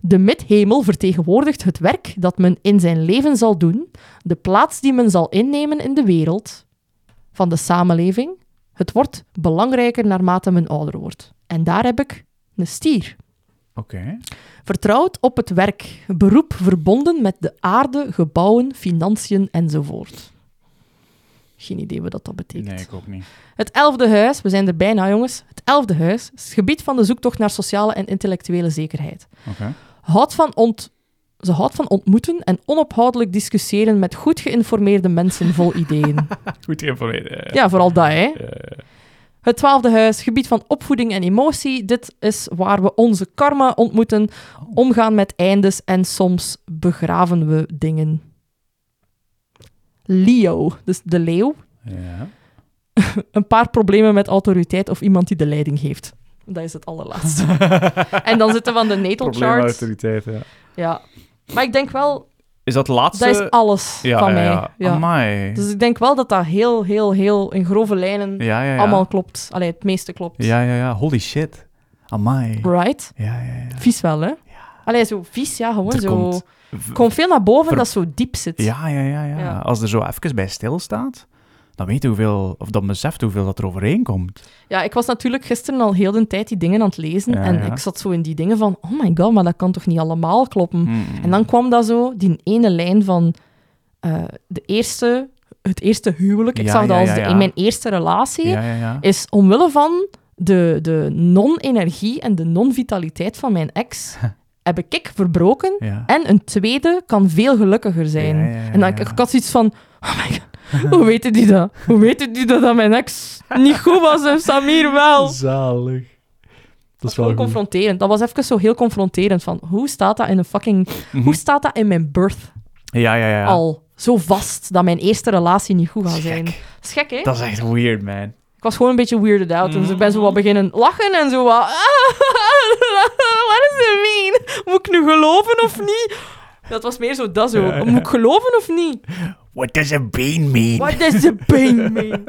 S2: De midhemel vertegenwoordigt het werk dat men in zijn leven zal doen, de plaats die men zal innemen in de wereld, van de samenleving. Het wordt belangrijker naarmate men ouder wordt. En daar heb ik een stier.
S1: Oké.
S2: Vertrouwd op het werk, beroep verbonden met de aarde, gebouwen, financiën enzovoort. Geen idee wat dat betekent.
S1: Nee, ik ook niet.
S2: Het elfde huis, we zijn er bijna jongens. Het elfde huis is het gebied van de zoektocht naar sociale en intellectuele zekerheid.
S1: Oké.
S2: Houdt van ont... Ze houdt van ontmoeten en onophoudelijk discussiëren met goed geïnformeerde mensen vol ideeën.
S1: Goed geïnformeerd. eh.
S2: ja, vooral dat, hè.
S1: Eh,
S2: Het twaalfde huis, gebied van opvoeding en emotie. Dit is waar we onze karma ontmoeten, omgaan met eindes en soms begraven we dingen. Leo, dus de leeuw.
S1: Ja.
S2: Een paar problemen met autoriteit of iemand die de leiding heeft. Dat is het allerlaatste. en dan zitten we aan de natal chart.
S1: Probleemautoriteit, ja.
S2: Ja. Maar ik denk wel,
S1: Is dat laatste...
S2: dat is alles
S1: ja,
S2: van
S1: ja,
S2: mij.
S1: Ja,
S2: Ja.
S1: Amai.
S2: Dus ik denk wel dat dat heel, heel, heel in grove lijnen
S1: ja, ja, ja.
S2: allemaal klopt. Allee, het meeste klopt.
S1: Ja, ja, ja. Holy shit. Amai.
S2: Right?
S1: Ja, ja, ja.
S2: Vies wel, hè? Allee, zo vies, ja, gewoon
S1: Er
S2: zo...
S1: komt-
S2: Komt veel naar boven
S1: Ver-
S2: dat zo diep zit.
S1: Ja, ja, ja, ja,
S2: Ja.
S1: Als er zo even bij stilstaat, dan weet je hoeveel... Of dan beseft je hoeveel dat er overheen komt.
S2: Ja, ik was natuurlijk gisteren al heel de tijd die dingen aan het lezen.
S1: Ja,
S2: en
S1: ja.
S2: ik zat zo in die dingen van, oh my god, maar dat kan toch niet allemaal kloppen?
S1: Mm.
S2: En dan kwam dat zo, die ene lijn van eh, de eerste, het eerste huwelijk. Ik
S1: Ja,
S2: zag dat
S1: ja,
S2: als
S1: ja,
S2: de-
S1: ja.
S2: in mijn eerste relatie.
S1: Ja, ja, ja.
S2: Is omwille van de, de non-energie en de non-vitaliteit van mijn ex, heb ik ik verbroken.
S1: ja.
S2: En een tweede kan veel gelukkiger zijn.
S1: Ja, ja, ja,
S2: en dan,
S1: ja.
S2: ik, ik had zoiets van... Oh my god, hoe weten die dat? Hoe weten die dat, dat mijn ex niet goed was en Samir wel?
S1: Zalig. Dat
S2: Dat was gewoon confronterend. Dat was even zo heel confronterend. Van, hoe staat dat in een fucking...
S1: Mhm.
S2: Hoe staat dat in mijn birth
S1: Ja, ja, ja.
S2: al? Zo vast dat mijn eerste relatie niet goed
S1: Dat
S2: gaat
S1: is
S2: zijn.
S1: gek.
S2: Dat is gek, hè?
S1: Dat Mm. is echt weird, man.
S2: Ik was gewoon een beetje weirded out. En dus ik ben zo wat beginnen lachen en zo wat... "Ah, What does it mean? Moet ik nu geloven of niet? Dat was meer zo dat zo.
S1: Ja, ja.
S2: Moet ik geloven of niet?
S1: What does a bean mean?
S2: What does the pain mean?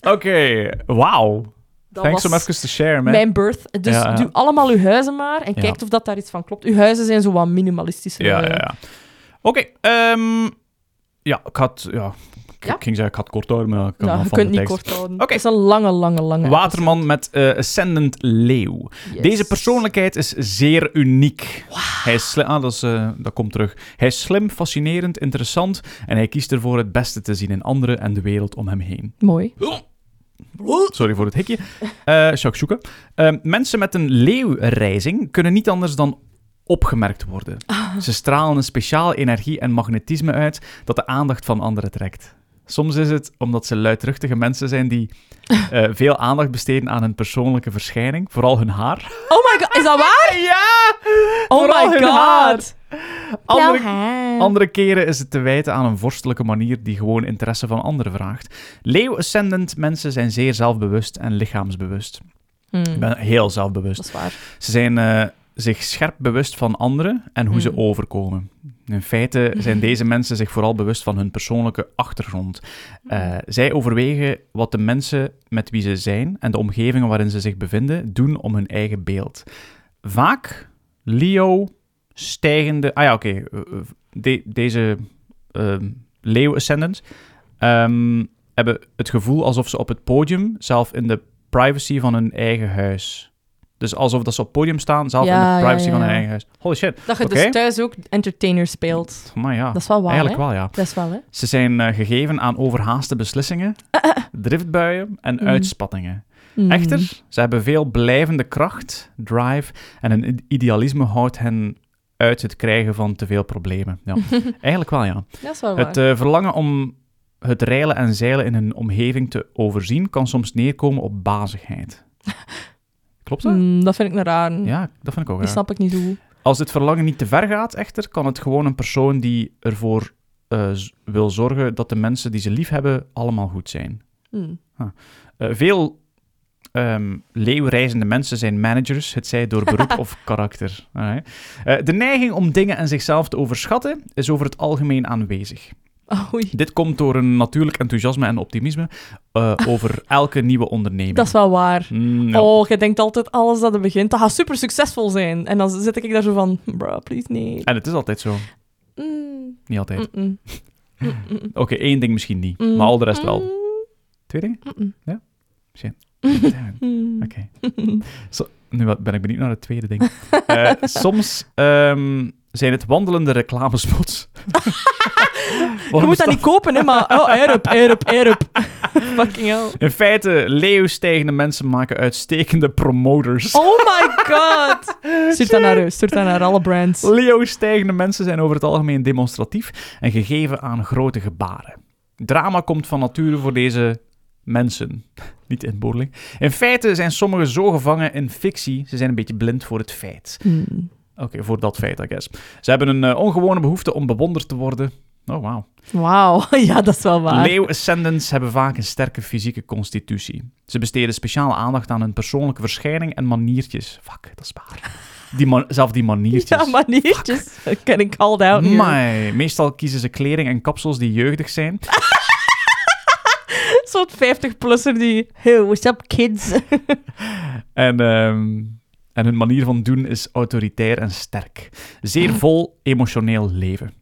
S1: Oké, wauw.
S2: Dat
S1: Thanks om
S2: was
S1: even te share, man.
S2: mijn birth. Dus
S1: Ja, ja.
S2: doe allemaal uw huizen maar en
S1: Ja.
S2: kijkt of dat daar iets van klopt. Uw huizen zijn zo wat minimalistischer.
S1: Ja,
S2: eh,
S1: ja, ja. Oké, ehm, ja, ik had... Ja, ik,
S2: Ja?
S1: ik ging zeggen, ik had kort houden, maar ik kan
S2: ja,
S1: ja,
S2: je
S1: van de
S2: kunt niet
S1: tekst.
S2: kort houden.
S1: Oké.
S2: Het is een lange, lange, lange...
S1: Waterman met eh, Ascendant Leeuw.
S2: Yes.
S1: Deze persoonlijkheid is zeer uniek. Hij is slim, ah, dat, is, eh, dat komt terug. Hij is slim, fascinerend, interessant en hij kiest ervoor het beste te zien in anderen en de wereld om hem heen.
S2: Mooi.
S1: Sorry voor het hikje. Eh shakshuka. Eh, mensen met een leeuwreizing kunnen niet anders dan opgemerkt worden. Ze stralen een speciaal energie en magnetisme uit dat de aandacht van anderen trekt. Soms is het omdat ze luidruchtige mensen zijn die eh, veel aandacht besteden aan hun persoonlijke verschijning, vooral hun haar.
S2: Oh my god, is dat waar?
S1: Ja!
S2: Oh
S1: Vooral
S2: my
S1: hun haar.
S2: god.
S1: Andere,
S3: haar.
S1: andere keren is het te wijten aan een vorstelijke manier die gewoon interesse van anderen vraagt. Leeuw-ascendant mensen zijn zeer zelfbewust en lichaamsbewust.
S2: Hmm,
S1: Ik ben heel zelfbewust.
S2: Dat is waar.
S1: Ze zijn eh, zich scherp bewust van anderen en hoe ze
S2: Mm.
S1: overkomen. In feite zijn deze mensen zich vooral bewust van hun persoonlijke achtergrond. Eh, zij overwegen wat de mensen met wie ze zijn en de omgevingen waarin ze zich bevinden doen om hun eigen beeld. Vaak Leo stijgende. Ah ja, oké. eh, eh, de- deze ehm Leo Ascendant ehm, hebben het gevoel alsof ze op het podium zelf in de privacy van hun eigen huis. Dus alsof dat ze op het podium staan, zelf
S2: Ja,
S1: in de
S2: ja,
S1: privacy van
S2: ja.
S1: hun eigen huis. Holy shit.
S2: Dat je
S1: Oké.
S2: dus thuis ook entertainer speelt.
S1: Maar ja,
S2: Dat is wel waar,
S1: eigenlijk
S2: hè?
S1: wel, ja.
S2: Dat is wel, hè?
S1: Ze zijn eh, gegeven aan overhaaste beslissingen, driftbuien en
S2: Mm.
S1: uitspattingen.
S2: Hmm.
S1: Echter, ze hebben veel blijvende kracht, drive en een i- idealisme houdt hen uit het krijgen van te veel problemen.
S2: Mm.
S1: Ja, eigenlijk wel, ja.
S2: Dat is wel waar.
S1: Het eh, verlangen om het reilen en zeilen in hun omgeving te overzien kan soms neerkomen op bazigheid. Klopt dat?
S2: Hmm, dat vind ik een raar.
S1: eh, Ja, dat vind ik ook
S2: Die
S1: raar.
S2: snap ik niet hoe.
S1: Als dit verlangen niet te ver gaat, echter, kan het gewoon een persoon die ervoor eh, z- wil zorgen dat de mensen die ze lief hebben allemaal goed zijn.
S2: Hmm.
S1: Eh, veel ehm, leeuwreizende mensen zijn managers, het zij door beroep of karakter. Alright. Eh, de neiging om dingen en zichzelf te overschatten is over het algemeen aanwezig.
S2: Oh, oei.
S1: Dit komt door een natuurlijk enthousiasme en optimisme eh, over elke nieuwe onderneming.
S2: Dat is wel waar.
S1: Mm, ja.
S2: Oh, je denkt altijd alles dat het begint. Dat gaat super succesvol zijn. En dan zit ik daar zo van, "Hm, bro, please nee.
S1: En het is altijd zo.
S2: Mm,
S1: Niet altijd.
S2: mm-mm. Mm-mm.
S1: Oké, één ding misschien niet,
S2: Mm.
S1: maar al de rest wel.
S2: Mm,
S1: Twee dingen?
S2: mm-mm.
S1: Ja? Shit.
S2: Mm.
S1: Oké. Zo, nu wat- ben ik benieuwd naar het tweede ding. Eh, soms ehm, zijn het wandelende reclamespots.
S2: Je moet dat niet kopen, hè, maar... Oh, Arab, Arab, Arab. Fucking hell.
S1: In feite, leeuwstijgende mensen maken uitstekende promoters.
S2: Oh my god. Stuur dat naar, u, stuur dat naar alle brands.
S1: Leo-stijgende mensen zijn over het algemeen demonstratief en gegeven aan grote gebaren. Drama komt van nature voor deze mensen. Niet inboorling. In feite zijn sommigen zo gevangen in fictie, ze zijn een beetje blind voor het feit.
S2: Hmm.
S1: Oké, voor dat feit, I guess. Ze hebben een eh, ongewone behoefte om bewonderd te worden. Oh, wauw.
S2: Wauw, ja, dat is wel waar.
S1: Leeuw Ascendants hebben vaak een sterke fysieke constitutie. Ze besteden speciale aandacht aan hun persoonlijke verschijning en maniertjes. Fuck, dat is waar. Die man- zelf die maniertjes.
S2: ja, maniertjes. Ken ik called out here.
S1: Amai. Meestal kiezen ze kleding en kapsels die jeugdig zijn.
S2: Zo'n 50-plusser die... Hey, what's up, kids?
S1: En, ehm, en hun manier van doen is autoritair en sterk. Zeer vol emotioneel leven.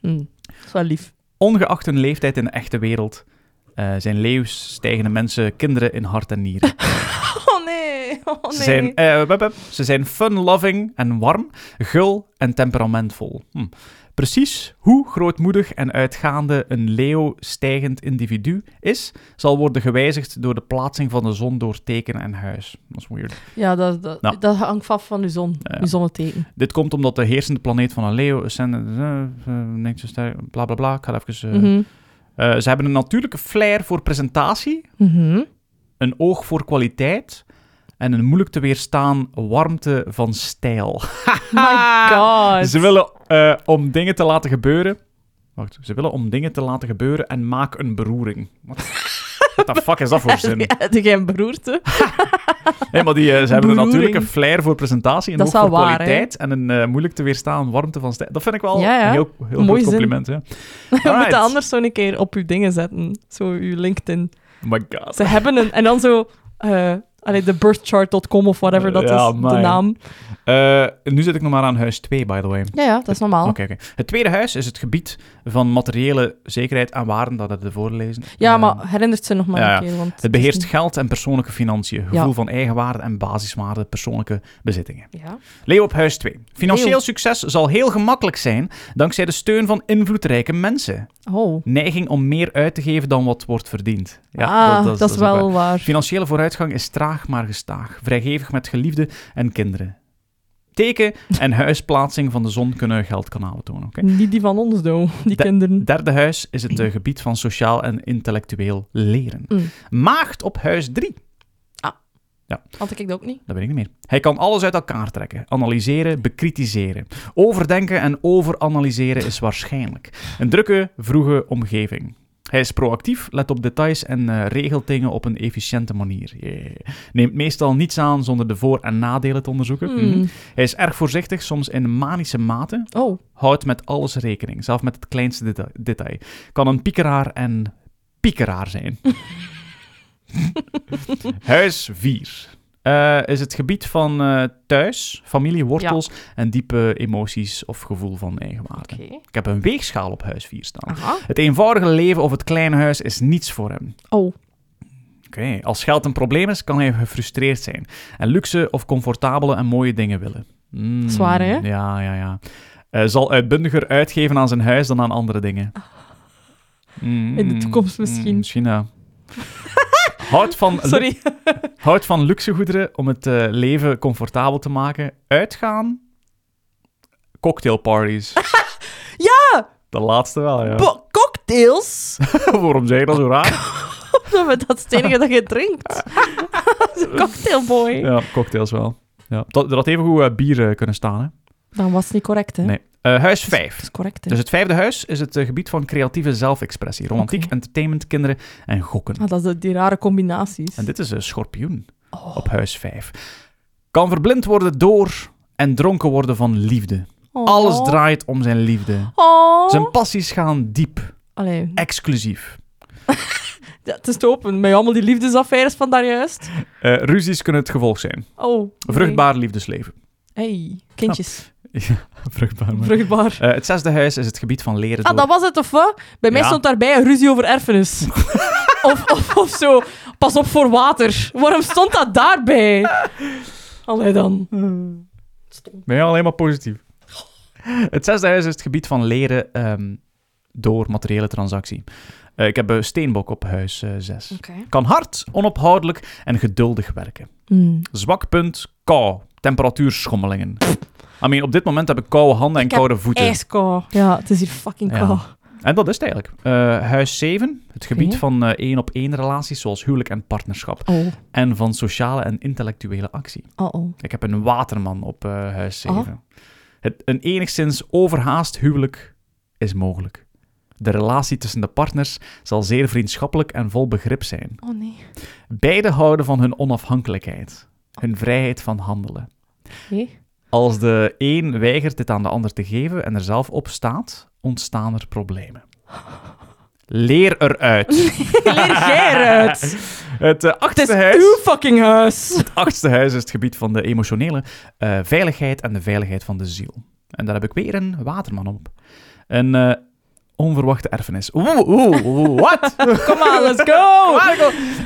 S2: Hmm, Dat is wel lief.
S1: Ongeacht hun leeftijd in de echte wereld eh, zijn leeuws, stijgende mensen, kinderen in hart en nieren.
S2: Oh nee, oh nee.
S1: Ze zijn, eh, wup, wup. ze zijn fun-loving en warm, gul en temperamentvol. Hm. Precies hoe grootmoedig en uitgaande een leeuw stijgend individu is, zal worden gewijzigd door de plaatsing van de zon door teken en huis. Dat is weird.
S2: Ja, dat, dat,
S1: Nou.
S2: dat hangt af van uw zon,
S1: Ja, ja.
S2: uw zonneteken.
S1: Dit komt omdat de heersende planeet van een leeuw, Ascendant, eh, eh, niks zo sterk, bla bla bla, ik ga even... eh,
S2: Mhm.
S1: eh, ze hebben een natuurlijke flair voor presentatie,
S2: Mhm.
S1: een oog voor kwaliteit en een moeilijk te weerstaan warmte van stijl.
S2: My god.
S1: Ze willen eh, om dingen te laten gebeuren. Wacht, ze willen om dingen te laten gebeuren en maak een beroering. What the fuck is dat voor zin? Nee,
S2: Heb je geen beroerte?
S1: maar die, eh, ze hebben een
S2: Beroering.
S1: natuurlijke flair voor presentatie, een
S2: Dat
S1: hoog
S2: is
S1: voor
S2: wel waar,
S1: kwaliteit en een eh, moeilijk te weerstaan warmte van stijl. Dat vind ik wel
S2: Ja, ja.
S1: een heel, heel
S2: Mooi
S1: goed
S2: zin.
S1: compliment. Hè?
S2: We
S1: Alright.
S2: moeten anders zo een keer op uw dingen zetten. Zo uw LinkedIn.
S1: Oh my god.
S2: Ze hebben een... En dan zo... eh allee, de birthchart.com of whatever dat
S1: Ja,
S2: is, de
S1: amai.
S2: naam.
S1: Eh, nu zit ik nog maar aan huis 2, by the way.
S2: Ja, ja, dat is normaal.
S1: Oké, oké. Het tweede huis is het gebied van materiële zekerheid en waarden. Dat hadden we voorlezen.
S2: Ja,
S1: Eh,
S2: maar herinnert ze nog maar
S1: ja, ja.
S2: een keer. Want
S1: Het beheerst geld en persoonlijke financiën, gevoel
S2: Ja.
S1: van eigenwaarde en basiswaarde, persoonlijke bezittingen.
S2: Ja.
S1: Leeuw op huis 2. Financieel
S2: Leeuw.
S1: succes zal heel gemakkelijk zijn dankzij de steun van invloedrijke mensen.
S2: Oh.
S1: Neiging om meer uit te geven dan wat wordt verdiend.
S2: ah, dat, is
S1: ook
S2: wel
S1: waar.
S2: waar.
S1: Financiële vooruitgang is traag maar gestaag, vrijgevig met geliefden en kinderen. Teken en huisplaatsing van de zon kunnen geldkanalen tonen. oké?
S2: Niet die van ons, though. Die
S1: De-
S2: kinderen.
S1: Derde huis is het eh, gebied van sociaal en intellectueel leren.
S2: Mm.
S1: Maagd op huis 3.
S2: Had ik dat ook niet.
S1: Dat weet ik niet meer. Hij kan alles uit elkaar trekken, analyseren, bekritiseren. Overdenken en overanalyseren is waarschijnlijk. Een drukke, vroege omgeving. Hij is proactief, let op details en eh, regelt dingen op een efficiënte manier. Yeah. Neemt meestal niets aan zonder de voor- en nadelen te onderzoeken. Mhm.
S2: Hmm.
S1: Hij is erg voorzichtig, soms in manische mate.
S2: Oh.
S1: Houdt met alles rekening, zelfs met het kleinste deta- detail. Kan een piekeraar en piekeraar zijn. Huis 4 eh, is het gebied van eh, thuis, familie, wortels en diepe emoties of gevoel van eigenwaarde.
S2: Oké.
S1: Ik heb een weegschaal op huis 4 staan.
S2: Aha.
S1: Het eenvoudige leven of het kleine huis is niets voor hem.
S2: Oh.
S1: Oké, als geld een probleem is, kan hij gefrustreerd zijn. En luxe of comfortabele en mooie dingen willen. Mm,
S2: Zwaar, hè?
S1: Ja, ja, ja. Eh, zal uitbundiger uitgeven aan zijn huis dan aan andere dingen. Mm,
S2: Ah. In de toekomst
S1: mm,
S2: misschien.
S1: misschien, ja. Houdt van, lu-
S2: Sorry.
S1: houdt van luxegoederen om het eh, leven comfortabel te maken. Uitgaan. Cocktailparties. ja! De laatste wel, ja.
S2: Bo- cocktails?
S1: Waarom zeg je dat zo raar?
S2: dat is het enige dat je drinkt. Dat is een cocktailboy.
S1: Ja, cocktails wel. Ja. Dat, er had even goed bier eh, kunnen staan. Hè?
S2: Dan was het niet correct, hè?
S1: Nee. Eh, huis
S2: Dat
S1: 5.
S2: is correct, hè?
S1: Dus het vijfde huis is het eh, gebied van creatieve zelfexpressie. Romantiek,
S2: Oké.
S1: entertainment, kinderen en gokken.
S2: Ah, dat zijn die rare combinaties.
S1: En dit is een schorpioen
S2: Oh.
S1: op huis 5. Kan verblind worden door en dronken worden van liefde.
S2: Oh.
S1: Alles draait om zijn liefde.
S2: Oh.
S1: Zijn passies gaan diep,
S2: Allee.
S1: exclusief.
S2: Ja, het is te open. Met allemaal die liefdesaffaires van daarjuist.
S1: Eh, ruzies kunnen het gevolg zijn.
S2: Oh. nee.
S1: Vruchtbaar liefdesleven.
S2: Hey, kindjes.
S1: Ja, vruchtbaar. maar.
S2: Vruchtbaar.
S1: Eh, het zesde huis is het gebied van leren
S2: Ah,
S1: door
S2: dat was het, of wat? Bij mij
S1: Ja.
S2: stond daarbij een ruzie over erfenis. of, of, of zo. Pas op voor water. Waarom stond dat daarbij? Allee dan.
S1: Ben je alleen maar positief? Het zesde huis is het gebied van leren ehm, door materiële transactie. Eh, ik heb een steenbok op huis 6.
S2: Oké.
S1: Kan hard, onophoudelijk en geduldig werken.
S2: Hmm.
S1: Zwak punt, kou. Temperatuurschommelingen. I mean, op dit moment heb ik koude handen en
S2: Ik heb
S1: koude voeten.
S2: Ijskou. Ja, het is hier fucking
S1: Ja.
S2: kou.
S1: En dat is het eigenlijk. Eh, huis 7, het gebied
S2: Oké.
S1: van eh, één-op-één relaties zoals huwelijk en partnerschap.
S2: Oh,
S1: En van sociale en intellectuele actie.
S2: oh, oh.
S1: Ik heb een waterman op eh, huis 7. Het, een enigszins overhaast huwelijk is mogelijk. De relatie tussen de partners zal zeer vriendschappelijk en vol begrip zijn.
S2: Oh nee.
S1: Beiden houden van hun onafhankelijkheid, hun vrijheid van handelen.
S2: Hé.
S1: Als de een weigert dit aan de ander te geven en er zelf op staat, ontstaan er problemen. Leer eruit.
S2: Leer jij eruit.
S1: Het eh,
S2: Het is
S1: achtste
S2: uw
S1: huis.
S2: fucking huis.
S1: Het achtste huis is het gebied van de emotionele eh, veiligheid en de veiligheid van de ziel. En daar heb ik weer een waterman op. Een eh, onverwachte erfenis. Oeh, oeh, oeh, wat?
S2: Kom aan, let's go.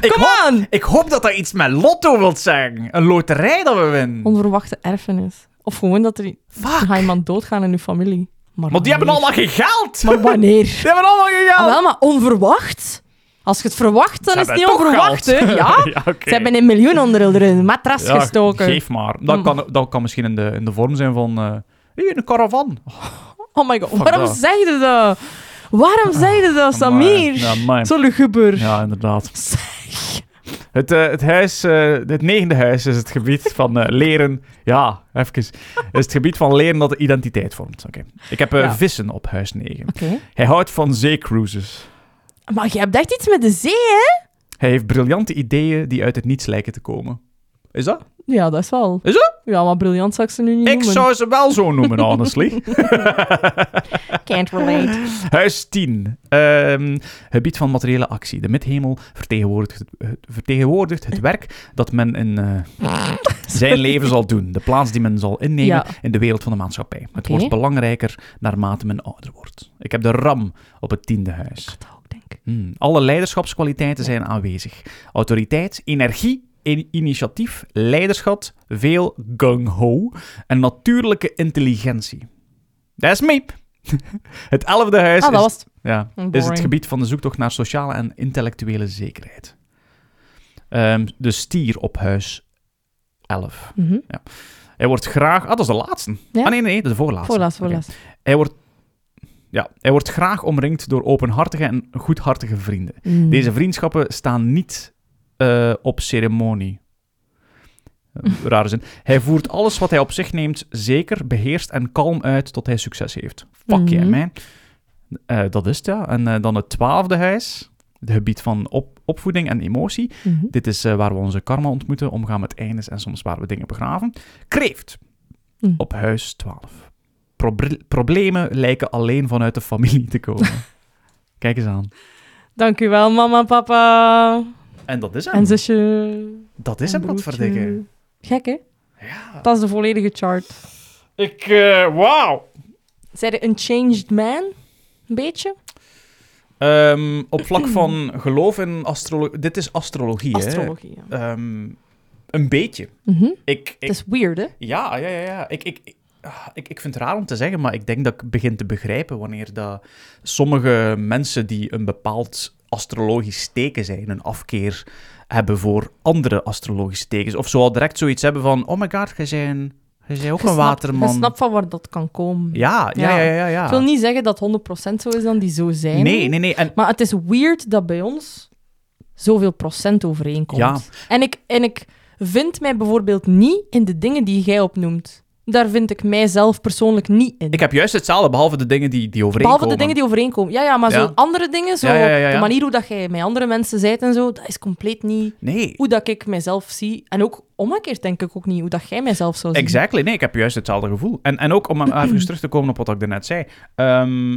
S1: Ik
S2: Kom
S1: hoop,
S2: aan.
S1: ik hoop dat dat iets met lotto wilt zeggen. Een loterij dat we winnen.
S2: Onverwachte erfenis. Of gewoon dat er
S1: Fuck.
S2: ga iemand doodgaan in uw familie. Maar
S1: Want die hebben
S2: wanneer?
S1: allemaal geen geld.
S2: Maar wanneer?
S1: Die hebben allemaal geen geld.
S2: Ah, wel, maar onverwacht? Als je het verwacht, dan
S1: Ze
S2: is het
S1: hebben
S2: niet
S1: toch
S2: onverwacht, hè?
S1: geld.
S2: Ja?
S1: ja, oké.
S2: Ze hebben een miljoen onder hun matras
S1: Ja,
S2: gestoken.
S1: Geef maar. Dat
S2: Mm.
S1: kan, dat kan misschien in de, in de vorm zijn van. eh hier, een caravan.
S2: Oh my god,
S1: Fuck
S2: waarom
S1: dat.
S2: zeg je dat? Waarom zeg je dat, Samir?
S1: Ja, amai.
S2: Zo luguber.
S1: ja, inderdaad.
S2: Zeg.
S1: Het, eh, het, huis, eh, het negende huis is het gebied van eh, leren. Ja, even. Is het gebied van leren dat de identiteit vormt. Oké. Ik heb eh,
S2: Ja.
S1: vissen op huis 9.
S2: Oké.
S1: Hij houdt van zeecruises.
S2: Maar je hebt echt iets met de zee, hè?
S1: Hij heeft briljante ideeën die uit het niets lijken te komen. Is dat?
S2: Ja, dat is wel.
S1: Is dat?
S2: Ja, maar briljant zou ik ze nu niet
S1: Ik
S2: noemen.
S1: zou ze wel zo noemen, honestly.
S2: Can't relate.
S1: Huis 10. Ehm, gebied van materiële actie. De midhemel vertegenwoordigt het, het- vertegenwoordigt het werk dat men in eh, zijn leven zal doen. De plaats die men zal innemen
S2: Ja.
S1: in de wereld van de maatschappij. Het
S2: Oké.
S1: wordt belangrijker naarmate men ouder wordt. Ik heb de ram op het tiende huis.
S2: Dat ook, denk ik.
S1: Hmm, Alle leiderschapskwaliteiten zijn aanwezig. Autoriteit, energie, in- initiatief, leiderschap, veel gung-ho en natuurlijke intelligentie. Dat is me. Het elfde huis
S2: Ah, dat
S1: is
S2: was het.
S1: ja,
S2: Mm,
S1: is het
S2: boring.
S1: gebied van de zoektocht naar sociale en intellectuele zekerheid. Ehm, de stier op huis 11.
S2: Mhm.
S1: Hij wordt graag... Ah, dat is de laatste.
S2: Ja.
S1: Ah, nee, nee, dat is de voorlaatste.
S2: Voorlaat,
S1: Oké.
S2: voorlaat.
S1: Hij wordt... Ja, hij wordt graag omringd door openhartige en goedhartige vrienden.
S2: Mm.
S1: Deze vriendschappen staan niet eh, op ceremonie. Eh, Rare zin. Hij voert alles wat hij op zich neemt zeker, beheerst en kalm uit tot hij succes heeft. Fuck
S2: Mhm.
S1: yeah, man. Eh, dat is het, ja. En eh, dan het twaalfde huis, het gebied van op opvoeding en emotie.
S2: Mhm.
S1: Dit is eh, waar we onze karma ontmoeten, omgaan met eindes en soms waar we dingen begraven. Kreeft,
S2: Mm.
S1: op huis 12. Proble- problemen lijken alleen vanuit de familie te komen. Kijk eens aan.
S2: Dank u wel, mama, papa.
S1: En dat is hem.
S2: En zusje.
S1: Dat is
S2: en
S1: hem wat
S2: broertje.
S1: verdikken.
S2: Gek, hè?
S1: Ja.
S2: Dat is de volledige chart.
S1: Ik, eh, wauw.
S2: Zij de een changed man? Een beetje?
S1: Ehm, op vlak van geloof in astrologie. Dit is astrologie,
S2: Astrologie, ja.
S1: hè? Ehm, een beetje.
S2: Mhm.
S1: Ik, ik-
S2: Het is weird, hè?
S1: ja, ja, ja. ja. Ik, ik, ik, ah, ik, ik vind het raar om te zeggen, maar ik denk dat ik begin te begrijpen wanneer dat sommige mensen die een bepaald astrologisch teken zijn, een afkeer hebben voor andere astrologische tekens. Of zo al direct zoiets hebben van, oh my god, jij bent, jij bent ook
S2: Je
S1: een
S2: snapt-
S1: waterman.
S2: Je snapt van waar dat kan komen.
S1: Ja, ja, ja,
S2: Ja.
S1: ja. ja, ja.
S2: Ik wil niet zeggen dat 100% zo is dan die zo zijn.
S1: Nee, nee, nee. En
S2: Maar het is weird dat bij ons zoveel procent overeenkomt.
S1: Ja.
S2: En, ik, en ik vind mij bijvoorbeeld niet in de dingen die jij opnoemt. Daar vind ik mijzelf persoonlijk niet in.
S1: ik heb juist hetzelfde, behalve de dingen die, die overeenkomen.
S2: Behalve de dingen die overeenkomen. Ja, ja maar
S1: Ja.
S2: zo andere dingen, zo
S1: Ja, ja, ja, ja.
S2: de manier hoe dat jij met andere mensen zijt en zo, dat is compleet niet
S1: Nee,
S2: hoe dat ik mijzelf zie. En ook omgekeerd denk ik ook niet hoe dat jij mijzelf zou zien.
S1: exactly. Nee, ik heb juist hetzelfde gevoel. En, en ook om even terug te komen op wat ik daarnet zei. Ehm eh,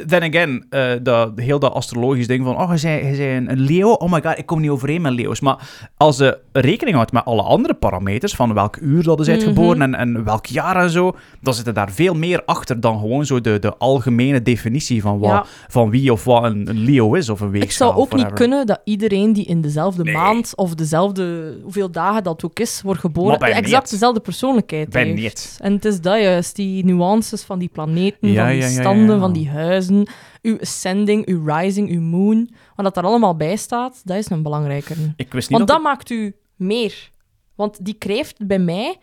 S1: eh, then again, eh, dat, heel dat astrologisch ding van... Oh, hij zei, hij zei een, een leeuw. Oh my god, ik kom niet overeen met leeuws. Maar als ze rekening houdt met alle andere parameters... van welk uur dat is
S2: Mhm.
S1: uitgeboren en, en welk jaar en zo... dan zit er daar veel meer achter dan gewoon zo de, de algemene definitie... Van, wat,
S2: Ja.
S1: van wie of wat een, een leeuw is of een
S2: Ik
S1: weegschaal.
S2: zou
S1: of
S2: ook niet
S1: whatever.
S2: kunnen dat iedereen die in dezelfde
S1: Nee.
S2: maand of dezelfde hoeveel dagen dat ook is, wordt
S1: Maar
S2: geboren,
S1: bij
S2: exact
S1: niet.
S2: dezelfde persoonlijkheid
S1: Bij
S2: heeft.
S1: niet.
S2: En het is dat juist, die nuances van die planeten,
S1: Ja,
S2: van die
S1: ja, ja, ja,
S2: standen,
S1: ja.
S2: van die huizen, uw ascending, uw rising, uw moon, wat dat daar allemaal bij staat, dat is een belangrijke.
S1: Ik wist niet
S2: Want
S1: dat
S2: dat maakt u meer. Want die kreeft bij mij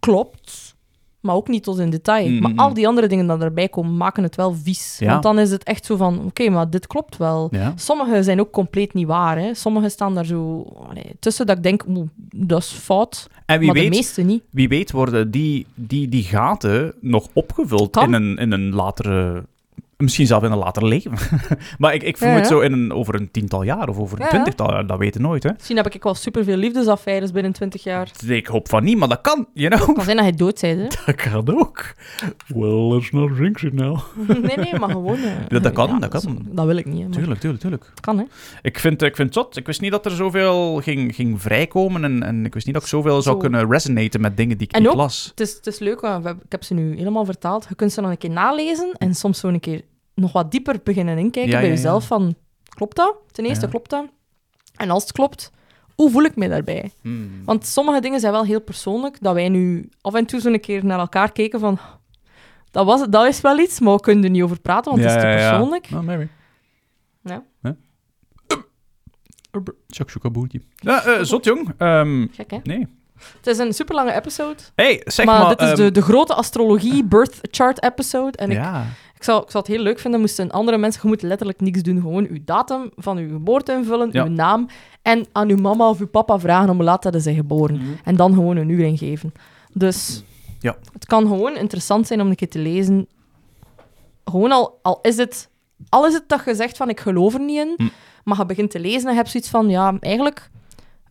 S2: klopt, maar ook niet tot in detail.
S1: Mm, mm,
S2: Maar al
S1: mm.
S2: die andere dingen die erbij komen, maken het wel vies.
S1: Ja.
S2: Want dan is het echt zo van, oké, maar dit klopt wel.
S1: Ja.
S2: Sommige zijn ook compleet niet waar. Hè. Sommige staan daar zo allee, tussen dat ik denk, oeh, dat is fout.
S1: En wie
S2: maar de
S1: weet,
S2: meeste niet.
S1: wie weet worden die, die, die gaten nog opgevuld
S2: Kan.
S1: in een, in een latere... Misschien zelf in een later leven. maar ik, ik voel
S2: Ja,
S1: het
S2: ja.
S1: zo in een, over een tiental jaar of over een
S2: Ja, ja.
S1: twintigtal jaar. Dat weten nooit, hè. Dus
S2: Misschien heb ik wel superveel liefdesaffaires binnen 20 jaar.
S1: Ik hoop van niet, maar dat kan, you know.
S2: Het kan zijn dat hij dood bent, hè.
S1: Dat kan ook. Well, let's not drink it now.
S2: Nee, nee, maar gewoon... eh,
S1: Ja, dat kan, dat
S2: is-
S1: kan.
S2: Dat wil ik niet, hè, maar
S1: Tuurlijk, tuurlijk, tuurlijk.
S2: het kan, hè.
S1: Ik vind, ik vind het zot. Ik wist niet dat er zoveel ging, ging vrijkomen en, en ik wist niet dat ik zoveel zou
S2: Zo.
S1: kunnen resonaten met dingen die ik
S2: En
S1: niet
S2: ook-
S1: las.
S2: Het is, het is leuk, want we hebben- ik heb ze nu helemaal vertaald. Je kunt ze nog een keer nalezen en soms zo een keer nog wat dieper beginnen inkijken
S1: Ja,
S2: bij
S1: ja, ja.
S2: jezelf. Van, klopt dat? Ten eerste,
S1: Ja.
S2: klopt dat? En als het klopt, hoe voel ik me daarbij?
S1: Hmm.
S2: Want sommige dingen zijn wel heel persoonlijk, dat wij nu af en toe zo een keer naar elkaar kijken van... Dat, was, dat is wel iets, maar we kunnen er niet over praten, want het is
S1: Ja,
S2: te
S1: ja, ja.
S2: persoonlijk.
S1: Nou, maybe.
S2: Ja.
S1: Ja. Shakshukaboertje. Ja, eh, zot, jong. Ehm,
S2: Gek, hè?
S1: nee.
S2: Het is een superlange episode,
S1: hey, zeg maar...
S2: maar, dit is
S1: ehm,
S2: de, de grote astrologie birth chart episode. En ik
S1: ja.
S2: Ik zou, ik zou het heel leuk vinden moesten andere mensen... Je moet letterlijk niks doen. Gewoon uw datum van uw geboorte invullen,
S1: Ja.
S2: uw naam. En aan uw mama of uw papa vragen om hoe laat dat ze zijn geboren. En dan gewoon een uur ingeven. Dus
S1: Ja.
S2: het kan gewoon interessant zijn om een keer te lezen. Gewoon al, al is het... Al is het dat je zegt van ik geloof er niet in,
S1: Hm.
S2: maar je begint te lezen en heb zoiets van ja, eigenlijk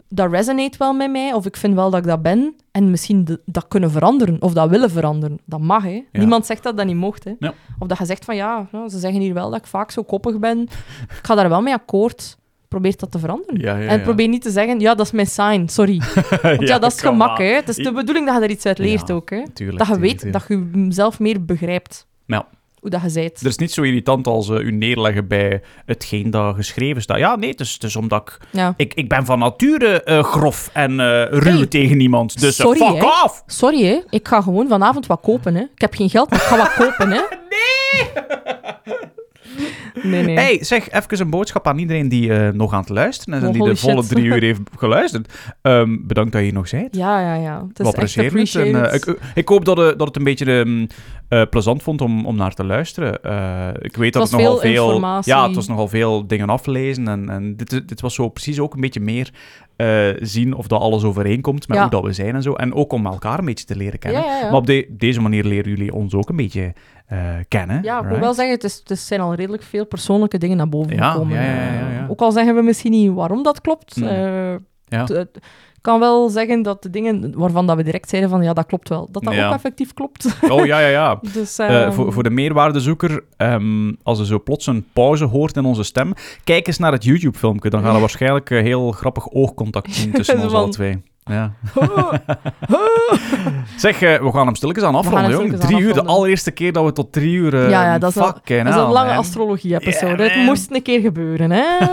S2: dat resonate wel met mij of ik vind wel dat ik dat ben en misschien de- dat kunnen veranderen of dat willen veranderen. Dat mag hè. Niemand zegt dat dat niet mocht hè.
S1: Ja.
S2: Of dat je zegt van ja, nou, ze zeggen hier wel dat ik vaak zo koppig ben. Ik ga daar wel mee akkoord. Probeer dat te veranderen.
S1: Ja, ja,
S2: En
S1: ja.
S2: probeer niet te zeggen, ja, dat is mijn sign, sorry. Want ja, dat is het
S1: kom
S2: gemak,
S1: maar.
S2: hè. Het is de
S1: Ik-
S2: bedoeling dat je er iets uit leert
S1: Ja.
S2: ook, hè.
S1: Tuurlijk,
S2: Dat je
S1: tuurlijk,
S2: weet,
S1: tuurlijk.
S2: dat je zelf meer begrijpt
S1: Ja.
S2: hoe dat je zijt.
S1: Er is niet zo irritant als eh, u neerleggen bij hetgeen dat geschreven staat. Ja, nee, het is, het is omdat ik,
S2: Ja.
S1: ik... Ik ben van nature eh, grof en eh, ruw
S2: Hey,
S1: tegen iemand. Dus eh,
S2: sorry,
S1: fuck
S2: hè.
S1: off!
S2: Sorry, hè. Ik ga gewoon vanavond wat kopen, hè. Ik heb geen geld, maar ik ga wat kopen, hè. Nee! Nee, nee.
S1: Hey, zeg even een boodschap aan iedereen die eh, nog aan het luisteren is en
S2: Oh,
S1: die de
S2: holy
S1: volle
S2: shit.
S1: drie uur heeft geluisterd. Ehm, bedankt dat je hier nog bent.
S2: Ja, ja, ja. Het is
S1: We
S2: echt
S1: appreciëren het. En, eh,
S2: appreciated.
S1: ik, ik hoop dat, eh, dat het een beetje ehm, eh, plezant vond om, om naar te luisteren. Eh, ik weet dat
S2: was
S1: het nogal
S2: veel
S1: veel...
S2: informatie.
S1: Ja, het was nogal veel dingen aflezen. En, en dit, is- dit was zo precies ook een beetje meer eh, zien of dat alles overeenkomt met
S2: Ja.
S1: hoe dat we zijn en zo. En ook om elkaar een beetje te leren kennen.
S2: Ja, ja, ja.
S1: Maar op de- deze manier leren jullie ons ook een beetje eh, kennen.
S2: Ja, ik wil
S1: right?
S2: wel zeggen, het, is, het zijn al redelijk veel persoonlijke dingen naar boven
S1: Ja,
S2: gekomen.
S1: ja, ja, ja,
S2: Eh,
S1: ja.
S2: Ook al zeggen we misschien niet waarom dat klopt.
S1: Hmm.
S2: eh,
S1: Ja.
S2: t- het- Ik kan wel zeggen dat de dingen waarvan dat we direct zeiden van ja, dat klopt wel. Dat dat
S1: Ja.
S2: ook effectief klopt.
S1: Oh, ja, ja, ja.
S2: Dus,
S1: Eh,
S2: ehm,
S1: voor, voor de meerwaardezoeker, ehm, als er zo plots een pauze hoort in onze stem, kijk eens naar het YouTube-filmpje. Dan gaan we waarschijnlijk eh, heel grappig oogcontact zien tussen
S2: Zo
S1: ons
S2: van-
S1: alle twee. Ja.
S2: Oh,
S1: Zeg, eh, we gaan hem stilletjes aan afronden,
S2: hem
S1: jong. Drie
S2: stilletjes
S1: uur,
S2: aan
S1: de
S2: afronden.
S1: allereerste keer dat we tot drie uur... eh,
S2: Ja, ja, dat is wel-
S1: fucking
S2: dat is een
S1: hell,
S2: lange
S1: man.
S2: astrologie-episode.
S1: Yeah, man.
S2: het moest een keer gebeuren. Hè?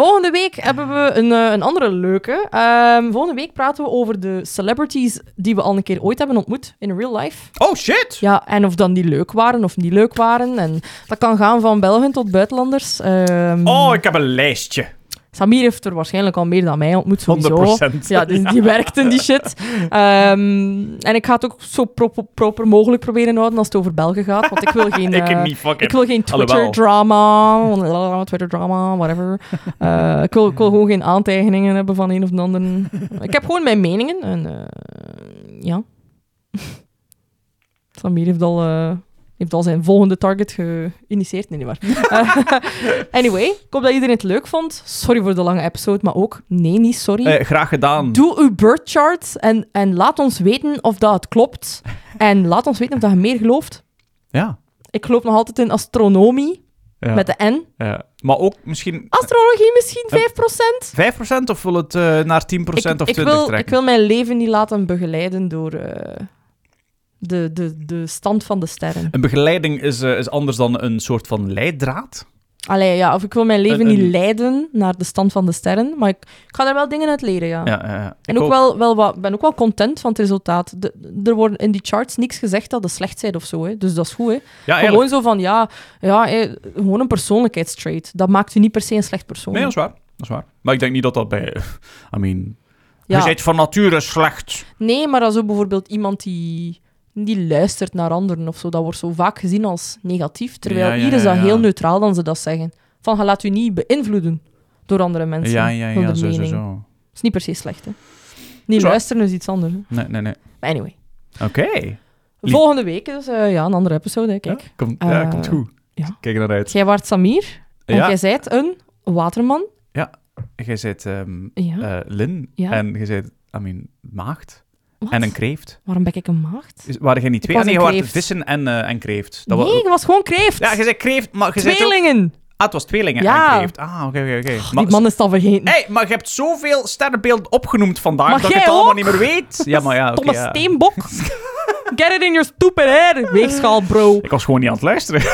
S2: volgende week hebben we een, eh, een andere leuke. Ehm, volgende week praten we over de celebrities die we al een keer ooit hebben ontmoet in real life.
S1: Oh, shit!
S2: Ja, en of dan die leuk waren of niet leuk waren. En dat kan gaan van Belgen tot buitenlanders. Ehm,
S1: Oh, ik heb een lijstje. 100%.
S2: Samir heeft er waarschijnlijk al meer dan mij ontmoet, sowieso. Ja, dus die werkt in die shit. Ehm, en ik ga het ook zo pro- proper mogelijk proberen houden als het over Belgen gaat. Want ik wil geen,
S1: ik
S2: eh,
S1: heb niet fucking...
S2: ik wil geen
S1: Alhoewel.
S2: Twitter-drama. Twitter-drama, whatever. Eh, ik, wil, ik wil gewoon geen aantijgingen hebben van een of de ander. Ik heb gewoon mijn meningen. En, eh, ja. Samir heeft al, eh, heeft al zijn volgende target geïnitieerd. Nee, niet waar. Eh, anyway, ik hoop dat iedereen het leuk vond. Sorry voor de lange episode, maar ook nee, niet sorry.
S1: Eh, graag gedaan.
S2: Doe uw birth chart en, en laat ons weten of dat het klopt. En laat ons weten of dat je meer gelooft.
S1: Ja.
S2: Ik geloof nog altijd in astronomie.
S1: ja.
S2: Met de N.
S1: ja. Maar ook misschien...
S2: Astrologie misschien 5%.
S1: Eh, 5% of wil het eh, naar 10% of 20%
S2: ik, ik,
S1: trekken?
S2: wil, ik wil mijn leven niet laten begeleiden door eh, de, de, de stand van de sterren.
S1: Een begeleiding is, eh, is anders dan een soort van leidraad.
S2: Allee, ja, of ik wil mijn leven
S1: Een- een-
S2: niet leiden naar de stand van de sterren, maar ik, ik ga daar wel dingen uit leren, ja.
S1: Ja, ja, ja.
S2: En
S1: Ik
S2: ook, Wel, wel wat, ben ook wel content van het resultaat. De- er wordt in die charts niks gezegd dat je slecht zijn of zo, hè. dus dat is goed. Hè.
S1: Ja, eigenlijk.
S2: Gewoon zo van, ja, ja eh, gewoon een persoonlijkheidstrait. Dat maakt u niet per se een slecht persoon.
S1: Nee, dat is waar. Dat is waar. Maar ik denk niet dat dat bij... I mean...
S2: Ja.
S1: Je bent van nature slecht.
S2: Nee, maar als ook bijvoorbeeld iemand die niet luistert naar anderen of zo. Dat wordt zo vaak gezien als negatief. Terwijl
S1: Ja, ja,
S2: hier is
S1: ja,
S2: dat
S1: ja.
S2: heel neutraal dan ze dat zeggen. Van, je laat u niet beïnvloeden door andere mensen.
S1: Ja, ja,
S2: door
S1: ja,
S2: de
S1: zo, zo,
S2: mening.
S1: zo.
S2: Dat is niet per se slecht, hè. Niet
S1: Zo.
S2: luisteren is iets anders. hè.
S1: Nee, nee, nee.
S2: Maar anyway.
S1: Oké. Lief.
S2: Volgende week, dus eh, ja, een andere episode, hè, kijk.
S1: Ja, komt, ja,
S2: Eh,
S1: komt goed.
S2: ja.
S1: Kijk er naar uit.
S2: Jij waart Samir en
S1: Ja,
S2: jij zijt een waterman.
S1: jij zit ehm,
S2: Ja.
S1: eh, Lin
S2: Ja.
S1: en jij zit, I mean, maagd
S2: Wat?
S1: en een kreeft.
S2: Waarom ben ik een maagd?
S1: Is- Waren jij niet twee? ah,
S2: was
S1: nee,
S2: een
S1: je waren
S2: kreeft.
S1: vissen en, eh, en kreeft.
S2: nee,
S1: wa-
S2: ik was gewoon kreeft.
S1: Ja, je zei kreeft, maar je zei ook...
S2: Tweelingen.
S1: Ah, het was tweelingen
S2: Ja. Oh,
S1: en kreeft. Ah, oké, oké, oké.
S2: Die man is het al vergeten.
S1: Hey, maar je hebt zoveel sterrenbeelden opgenoemd vandaag
S2: Maar
S1: dat ik
S2: jij
S1: het allemaal
S2: ook?
S1: niet meer weet. Ja, maar ja, oké,
S2: Thomas
S1: ja.
S2: Steenbok. Get it in your stupid head. Weegschaal, bro.
S1: Ik was gewoon niet aan het luisteren.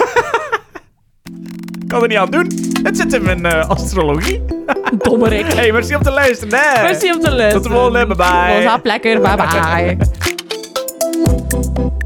S1: ik kan er niet aan doen. Het zit in mijn eh, astrologie.
S2: Dommerik.
S1: Hey, merci om te luisteren. Hè.
S2: Merci om te luisteren.
S1: Tot de volgende, bye-bye.
S2: Ons hap lekker. Bye bye.